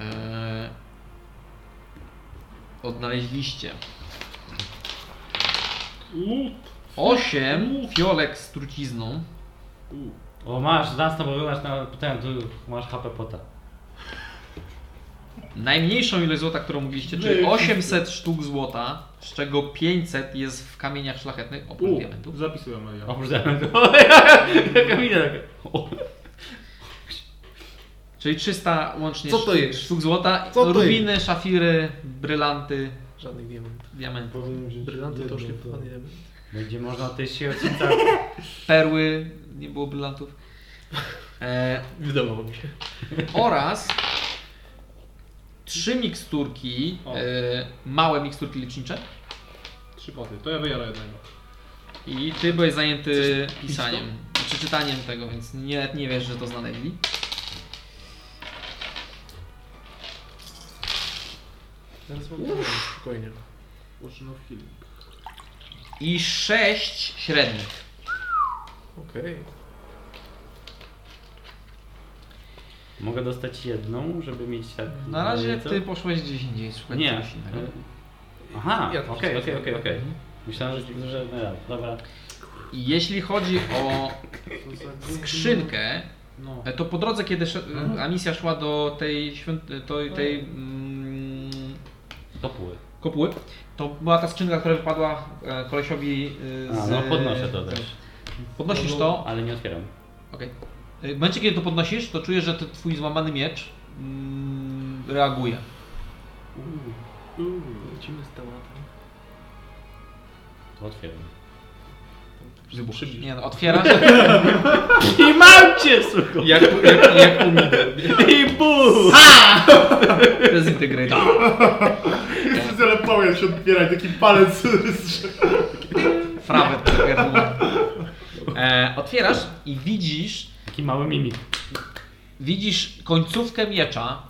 Speaker 1: e, odnaleźliście
Speaker 8: Lut.
Speaker 1: osiem fiolek z trucizną.
Speaker 6: O, masz, zasnął, bo wymasz na ten, tu masz HP pota.
Speaker 1: Najmniejszą ilość złota, którą mogliście, czyli 800 sztuk złota, z czego 500 jest w kamieniach szlachetnych oprócz diamentów.
Speaker 24: Zapisuję Maria.
Speaker 6: Oprócz tego, jaka mina taka. O,
Speaker 1: Czyli 300 łącznie
Speaker 3: Co to jest?
Speaker 1: sztuk złota.
Speaker 3: Co to
Speaker 1: Rubiny, szafiry, brylanty,
Speaker 3: Żadnych diamentów.
Speaker 1: diamenty,
Speaker 24: Powinienem wziąć
Speaker 3: Brylanty to
Speaker 24: jedno,
Speaker 3: szlifowany diament.
Speaker 6: Będzie można tej się odcinać.
Speaker 1: perły, nie było brylantów. E,
Speaker 3: Wydawało mi się.
Speaker 1: oraz trzy miksturki,
Speaker 8: O.
Speaker 1: e, małe miksturki lecznicze.
Speaker 8: Trzy poty, to ja wyjarę jednego.
Speaker 1: I ty byłeś zajęty pisaniem, czy czytaniem tego, więc nie, nie wiesz, że to znaleźli.
Speaker 3: Zaraz mam problem, spokojnie.
Speaker 24: Ocean of Healing.
Speaker 1: I sześć średnich.
Speaker 3: Okej.
Speaker 6: Mogę dostać jedną, żeby mieć tak...
Speaker 1: Na razie
Speaker 6: co?
Speaker 1: ty poszłeś gdzieś indziej szukać
Speaker 6: Nie.
Speaker 1: czegoś innego.
Speaker 6: Aha,
Speaker 3: Ja to
Speaker 6: okej,
Speaker 3: wszystko
Speaker 6: okej, okej, okej.
Speaker 1: Mhm.
Speaker 6: Myślałem, że... że no, dobra.
Speaker 1: I jeśli chodzi o
Speaker 24: To za-
Speaker 1: skrzynkę,
Speaker 8: No.
Speaker 1: to po drodze, kiedy sz-
Speaker 6: Mhm.
Speaker 1: Amisja szła do tej, świąt- to, tej mm,
Speaker 6: To pły.
Speaker 1: kopuły, to była ta skrzynka, która wypadła e, kolesiowi e,
Speaker 6: A,
Speaker 1: z...
Speaker 6: no podnoszę to też.
Speaker 1: Podnosisz to,
Speaker 6: Ale nie otwieram.
Speaker 1: okej. E, W momencie, kiedy to podnosisz, to czujesz, że to twój złamany miecz mm, reaguje.
Speaker 3: Lecimy z tematem.
Speaker 6: To otwieram.
Speaker 1: Wybuch. Nie no, otwierasz.
Speaker 6: I mam cię, suko!
Speaker 3: Jak, jak, jak umidor.
Speaker 6: I bum!
Speaker 1: Dezintegrator.
Speaker 4: Wszyscy lepołem się odbierać, taki palec z
Speaker 1: Frawę triggerнулa. e, Otwierasz i widzisz,
Speaker 6: Taki mały mimik.
Speaker 1: widzisz końcówkę miecza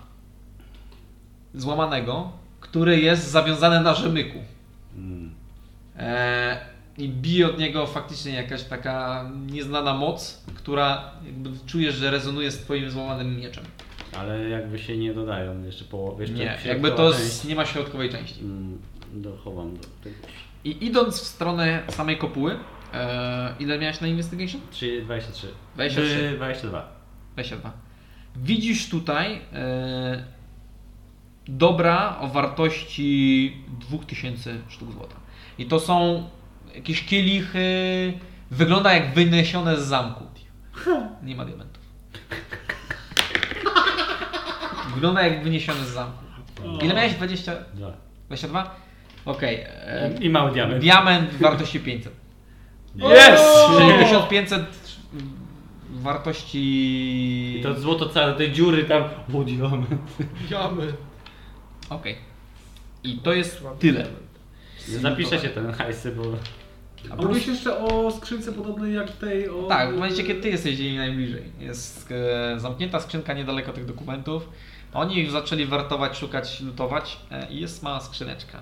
Speaker 1: złamanego, który jest zawiązany na rzemyku.
Speaker 6: Mm.
Speaker 1: E, I bije od niego faktycznie jakaś taka nieznana moc, która jakby czujesz, że rezonuje z twoim złamanym mieczem.
Speaker 6: Ale jakby się nie dodają jeszcze połowy. Jeszcze
Speaker 1: Nie,
Speaker 6: środkowa
Speaker 1: jakby to
Speaker 6: część.
Speaker 1: z, nie ma środkowej części.
Speaker 6: Mm, dochowam do tej.
Speaker 1: I idąc w stronę samej kopuły, e, ile miałeś na investigation?
Speaker 6: 3, 23.
Speaker 1: 23.
Speaker 6: Czy 22.
Speaker 1: 22. Widzisz tutaj e, dobra o wartości 2000 sztuk złota. I to są jakieś kielichy, wygląda jak wyniesione z zamku. Nie ma diamentów. Wygląda jak wyniesione z zamku. Ile miałeś? 20,
Speaker 6: Dwa.
Speaker 1: 22? Okej. e,
Speaker 6: I mały diament.
Speaker 1: Diament wartości 500.
Speaker 6: Yes!
Speaker 1: 6500 wartości...
Speaker 6: I to złoto całe, tej dziury tam, o diament.
Speaker 25: Jamy.
Speaker 1: Okej. I to jest tyle.
Speaker 6: Zapiszę się ten hajsy, bo...
Speaker 1: A
Speaker 25: A
Speaker 1: plus
Speaker 25: mówisz jeszcze o skrzynce podobnej jak tej o...
Speaker 1: Tak, w momencie kiedy ty jesteś jej najbliżej. Jest e, zamknięta skrzynka niedaleko tych dokumentów. Oni już zaczęli wartować, szukać, lutować e, i jest mała skrzyneczka.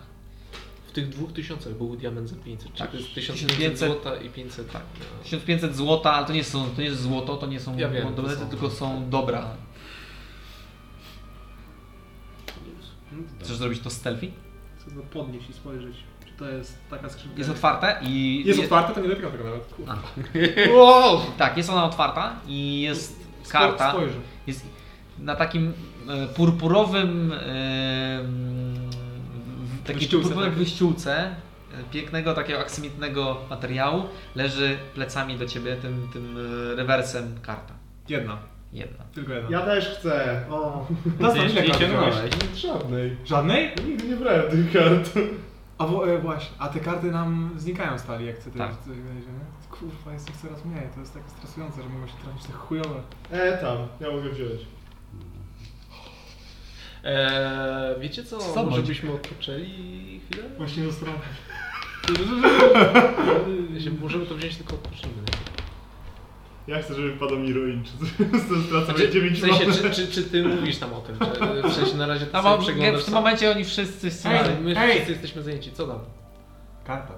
Speaker 3: W tych dwóch tysiącach był diament za 500,
Speaker 1: Tak,
Speaker 3: tak, to jest
Speaker 1: 1500
Speaker 3: 1500 złota i 500.
Speaker 1: Tak.
Speaker 3: e,
Speaker 1: 1500 złota, ale to nie, są, to nie jest złoto, to nie są
Speaker 3: Ja wiem, to
Speaker 1: monety,
Speaker 3: są-
Speaker 1: tylko są dobra. Chcesz zrobić to z selfie?
Speaker 25: Chcę to podnieść i spojrzeć, czy to jest taka skrzynka.
Speaker 1: Jest otwarte i...
Speaker 8: Jest otwarte, to nie dotykam tego nawet.
Speaker 1: A. Tak, jest ona otwarta i jest
Speaker 25: Spo-
Speaker 1: karta.
Speaker 25: Spojrzę.
Speaker 1: Jest na takim e, purpurowym e, w takiej
Speaker 3: Wyściółce,
Speaker 1: purpurowej
Speaker 3: tak?
Speaker 1: wyściółce e, pięknego takiego aksymitnego materiału leży plecami do ciebie tym, tym e, rewersem karta.
Speaker 8: Jedna,
Speaker 1: Jedna.
Speaker 8: tylko jedna.
Speaker 4: Ja też chcę. O.
Speaker 6: Ty jeszcze nie ciągnąłeś.
Speaker 4: Żadnej.
Speaker 8: Żadnej?
Speaker 4: Nigdy nie brałem tych kart.
Speaker 8: A wo, e, właśnie, a te karty nam znikają stali, jak chce
Speaker 1: Tak.
Speaker 8: tak. coś wejdzie, nie? Kurwa, jest ich coraz mniej, to jest takie stresujące, że mogą się trafić te chujowe.
Speaker 4: E, tam. Ja mogę wziąć.
Speaker 3: E, wiecie co,
Speaker 1: Co
Speaker 3: może
Speaker 1: bądź?
Speaker 3: byśmy odpoczęli chwilę?
Speaker 8: Właśnie dostałem.
Speaker 3: Jeśli Możemy to wziąć tylko odpoczynamy.
Speaker 4: Ja chcę, żeby padał mi ruin, czy coś. Stracę
Speaker 3: Znaczy,
Speaker 4: 9
Speaker 3: w sensie, czy, czy, czy ty mówisz tam o tym? Czy, w sensie na razie ty
Speaker 1: No,
Speaker 3: sobie
Speaker 1: bo
Speaker 3: przeglądasz
Speaker 1: w tym
Speaker 3: sam?
Speaker 1: momencie oni wszyscy są.
Speaker 3: Ale my
Speaker 8: Ej!
Speaker 3: wszyscy jesteśmy zajęci, co tam?
Speaker 8: Karta.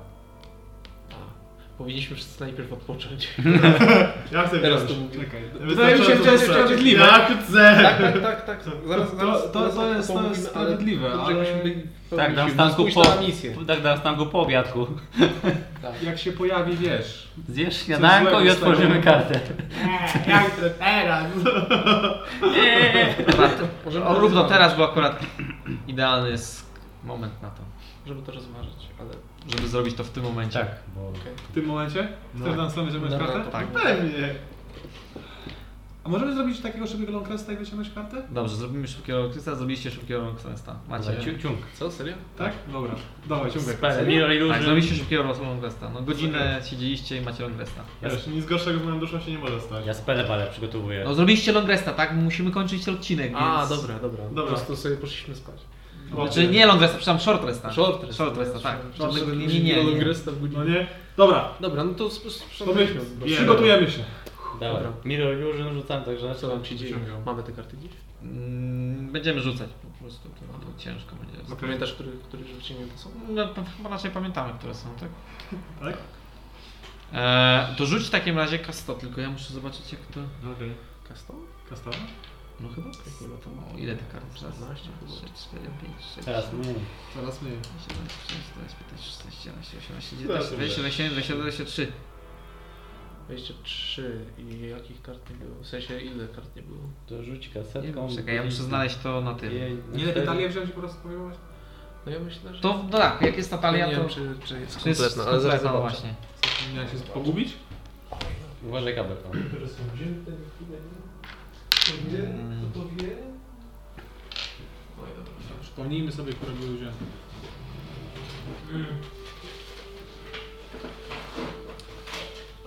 Speaker 3: A, powinniśmy wszyscy najpierw odpocząć.
Speaker 4: Ja chcę
Speaker 3: Teraz
Speaker 4: wziąć.
Speaker 3: to mówię.
Speaker 8: Czekaj.
Speaker 4: Wydaje mi się, że to jest
Speaker 8: sprawiedliwe.
Speaker 4: Ja chcę.
Speaker 3: Tak, tak, tak, tak. Zaraz,
Speaker 8: To-
Speaker 3: zaraz,
Speaker 8: to- to
Speaker 3: zaraz
Speaker 8: jest- to
Speaker 3: pomówimy,
Speaker 8: jest
Speaker 3: ale
Speaker 8: sprawiedliwe,
Speaker 3: dobrze,
Speaker 8: ale-
Speaker 3: Jakbyśmy byli
Speaker 6: Tak, dam
Speaker 3: pełni
Speaker 6: stanku
Speaker 3: sił. Spójrz
Speaker 6: po...
Speaker 3: na misję.
Speaker 6: Tak, dam stanku po obiadku.
Speaker 3: Tak.
Speaker 8: Jak się pojawi, wiesz.
Speaker 6: Zjesz śniadanko
Speaker 8: złego
Speaker 6: i
Speaker 8: z tego.
Speaker 6: otworzymy kartę.
Speaker 4: Ja chcę teraz.
Speaker 3: Możemy
Speaker 1: O, równo
Speaker 3: to rozważyć.
Speaker 1: teraz był akurat idealny jest moment na to,
Speaker 3: Możemy to rozważyć, ale...
Speaker 1: żeby zrobić to w tym momencie.
Speaker 6: Tak, bo...
Speaker 8: W tym momencie? Chcesz nam sobie wyciągnąć
Speaker 3: Dobra,
Speaker 8: kartę?
Speaker 3: to-
Speaker 1: tak.
Speaker 4: Pewnie.
Speaker 8: A możemy zrobić takiego szybkiego longcresta i wyciągnąć kartę?
Speaker 1: Dobrze, zrobimy szybkiego Rockfesta, zrobiliście szybkiego Rockfesta. Macie.
Speaker 6: Ciu- Ciung.
Speaker 3: Co, serio?
Speaker 8: Tak? Dobra. Dawaj, ciągle.
Speaker 6: Spell, Mirror
Speaker 1: Tak,
Speaker 6: Illusion.
Speaker 1: zrobiliście szybkiego Rockfesta. No godzinę siedzieliście i macie Rockfesta.
Speaker 4: Wiesz, nic gorszego z moją duszą się nie może stać.
Speaker 6: Ja spele ale przygotowuję.
Speaker 1: No zrobiliście longresta, tak? Musimy kończyć odcinek, więc...
Speaker 3: A, dobra, dobra.
Speaker 4: Dobra.
Speaker 3: Po prostu sobie poszliśmy spać.
Speaker 1: Znaczy nie longresta, przepraszam, shortresta.
Speaker 3: Short rest.
Speaker 1: Short resta, tak.
Speaker 3: Short rest.
Speaker 1: Żadnego- Nie, nie, nie.
Speaker 3: Long
Speaker 1: nie.
Speaker 3: resta w
Speaker 8: No
Speaker 3: godzinie.
Speaker 8: nie? Dobra,
Speaker 3: Dobra, no to sp- sp-
Speaker 8: to my
Speaker 3: sprzątaliśmy.
Speaker 8: przygotujemy się.
Speaker 6: Dobra. Mirror Illusion rzucam, także...
Speaker 3: No, Co nam się dzieje? Mamy te karty gdzieś?
Speaker 1: Mm, Będziemy rzucać po prostu, to, to ciężko
Speaker 3: No
Speaker 1: będzie.
Speaker 3: pamiętasz, które, które rzucimy to są?
Speaker 1: No, to chyba raczej pamiętamy, które są, tak?
Speaker 8: Tak?
Speaker 1: E, to rzuć w takim razie kasto, tylko ja muszę zobaczyć jak to...
Speaker 8: Okej.
Speaker 3: Kasto?
Speaker 8: Kastawa?
Speaker 1: No chyba
Speaker 3: Jak nie ma to
Speaker 1: O, ile tych kart? Raz,
Speaker 3: 14
Speaker 1: dwa,
Speaker 3: chyba.
Speaker 1: trzy, cztery, pięć, sześć,
Speaker 6: Teraz,
Speaker 1: siedem,
Speaker 6: mm.
Speaker 8: Zaraz my.
Speaker 1: osiem, dziewięć, dziesięć, dwanaście, piętnaście, szesnaście, siedemnaście, osiemnaście,
Speaker 4: Teraz
Speaker 1: dziewiętnaście, dwadzieścia, dwadzieścia jeden, dwadzieścia dwa, dwadzieścia trzy.
Speaker 3: 23 i jakich kart nie było? W sensie ile kart nie było?
Speaker 6: To rzuć
Speaker 1: Nie
Speaker 6: kasetką.
Speaker 1: wiem, Czekaj, ja muszę znaleźć to na tym.
Speaker 8: Nie lepiej talię wziąć i po prostu powiadomość?
Speaker 3: No ja myślę, że...
Speaker 1: To w- no tak, jak jest
Speaker 3: ja
Speaker 1: Natalia,
Speaker 3: nie
Speaker 1: to.
Speaker 3: wiem, czy, czy jest
Speaker 1: to jest
Speaker 3: kompletna, ale zaraz
Speaker 1: kompletna, no
Speaker 3: zobaczę.
Speaker 1: właśnie.
Speaker 8: Miałem się pogubić?
Speaker 6: Uważaj kabel.
Speaker 1: Mm.
Speaker 3: Oj, dobra.
Speaker 8: Przypomnijmy sobie, które były wzięte.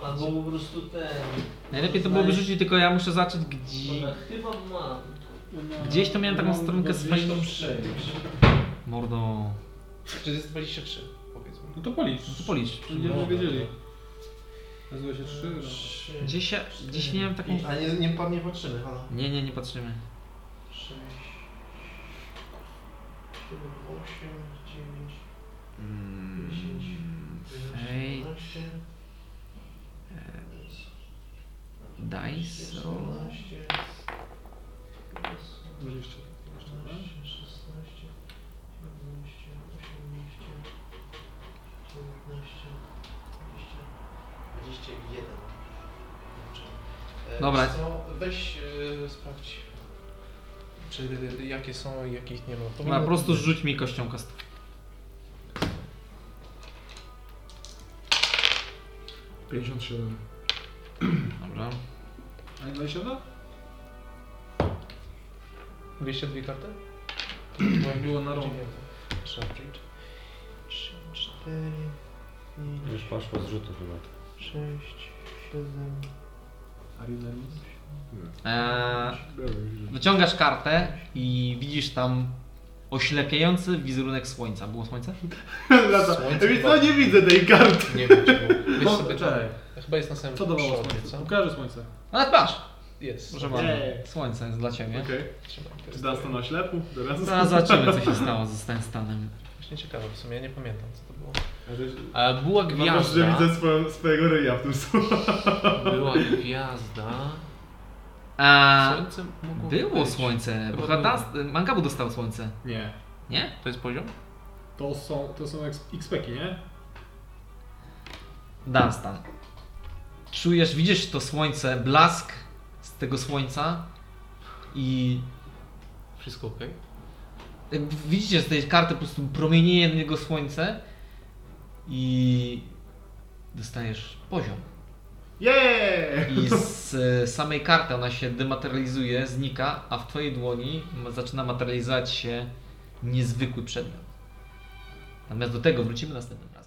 Speaker 26: Albo po prostu ten.
Speaker 1: Najlepiej to byłoby rzucić, tylko ja muszę zacząć gdzie.
Speaker 26: Dobra, chyba mam.
Speaker 1: Gdzieś to miałem taką stronkę z
Speaker 26: Gdzieś to
Speaker 1: fajną.
Speaker 26: przejść.
Speaker 1: Mordo.
Speaker 3: Czy jest 23, powiedzmy.
Speaker 8: No to policz.
Speaker 1: No to policz.
Speaker 8: Będziemy wiedzieli. Nazywa się trzy. no.
Speaker 1: Gdzieś, ja, gdzieś miałem taką.
Speaker 26: A nie, nie, nie patrzymy, halo.
Speaker 1: Nie, nie, nie patrzymy.
Speaker 26: 6, 7, 8, 9,
Speaker 1: Mm.
Speaker 26: 10, 11,
Speaker 1: e, Dice.
Speaker 26: 14,
Speaker 1: roll.
Speaker 26: 15,
Speaker 8: 20.
Speaker 26: 16, 17, 18, 19, 20, 21.
Speaker 3: E,
Speaker 1: Dobra.
Speaker 3: wiesz Co? Weź e, sprawdź. Czy jakie są i jakich nie ma.
Speaker 1: Dobra, po prostu rzuć mi kością kast. Dobra.
Speaker 8: A nie 27?
Speaker 3: 202 karty? Bo jak było na
Speaker 8: rondzie.
Speaker 3: Trzeba przyjść.
Speaker 26: 3, 4, 5,
Speaker 6: Już poszło z rzutu chyba.
Speaker 26: 6, 7,
Speaker 27: Are you nervous?
Speaker 1: Eee, wyciągasz kartę i widzisz tam oślepiający wizerunek słońca. Było słońce?
Speaker 4: Lata.
Speaker 3: Słońce
Speaker 4: Więc
Speaker 3: chyba-
Speaker 4: no nie widzę tej karty.
Speaker 3: Nie wiem, czy było. Wiesz
Speaker 27: Bo-
Speaker 3: sobie, to,
Speaker 27: No, czekaj.
Speaker 3: chyba jest na samym
Speaker 27: Co dawało
Speaker 3: przodzie,
Speaker 27: słońce?
Speaker 3: co?
Speaker 27: Pokażę słońce.
Speaker 1: Ale masz!
Speaker 3: Jest.
Speaker 1: Proszę bardzo. Słońce jest dla ciebie.
Speaker 4: Okej.
Speaker 3: Trzymaj, to
Speaker 4: Czy
Speaker 3: jest
Speaker 4: Dunstan na ślepu? Teraz?
Speaker 1: Zaraz zobaczymy, co się stało z tym stanem.
Speaker 3: właśnie ciekawe, w sumie ja nie pamiętam co to było.
Speaker 28: A
Speaker 1: E,
Speaker 28: była
Speaker 4: Mam wrażenie, że
Speaker 28: gwiazda.
Speaker 4: widzę swoją, swojego ryja w tym słowie.
Speaker 3: Była gwiazda.
Speaker 1: A
Speaker 3: Słońce mogło
Speaker 1: E, było
Speaker 3: być.
Speaker 1: słońce, bo
Speaker 3: Chyba
Speaker 1: chyba
Speaker 3: było.
Speaker 1: Dunstan- Mangabu dostał słońce,
Speaker 4: Nie.
Speaker 1: nie?
Speaker 28: To jest poziom?
Speaker 8: To są, to są eks- XP-ki, nie?
Speaker 1: Dunstan. Czujesz, widzisz to słońce, blask z tego słońca i
Speaker 3: Wszystko okej?
Speaker 1: jakby widzicie z tej karty po prostu promienieje jego słońce i dostajesz poziom.
Speaker 4: Jeee!
Speaker 1: I z e, samej karty ona się dematerializuje, znika, a w twojej dłoni ma- zaczyna materializować się niezwykły przedmiot. Natomiast do tego wrócimy następnym razem.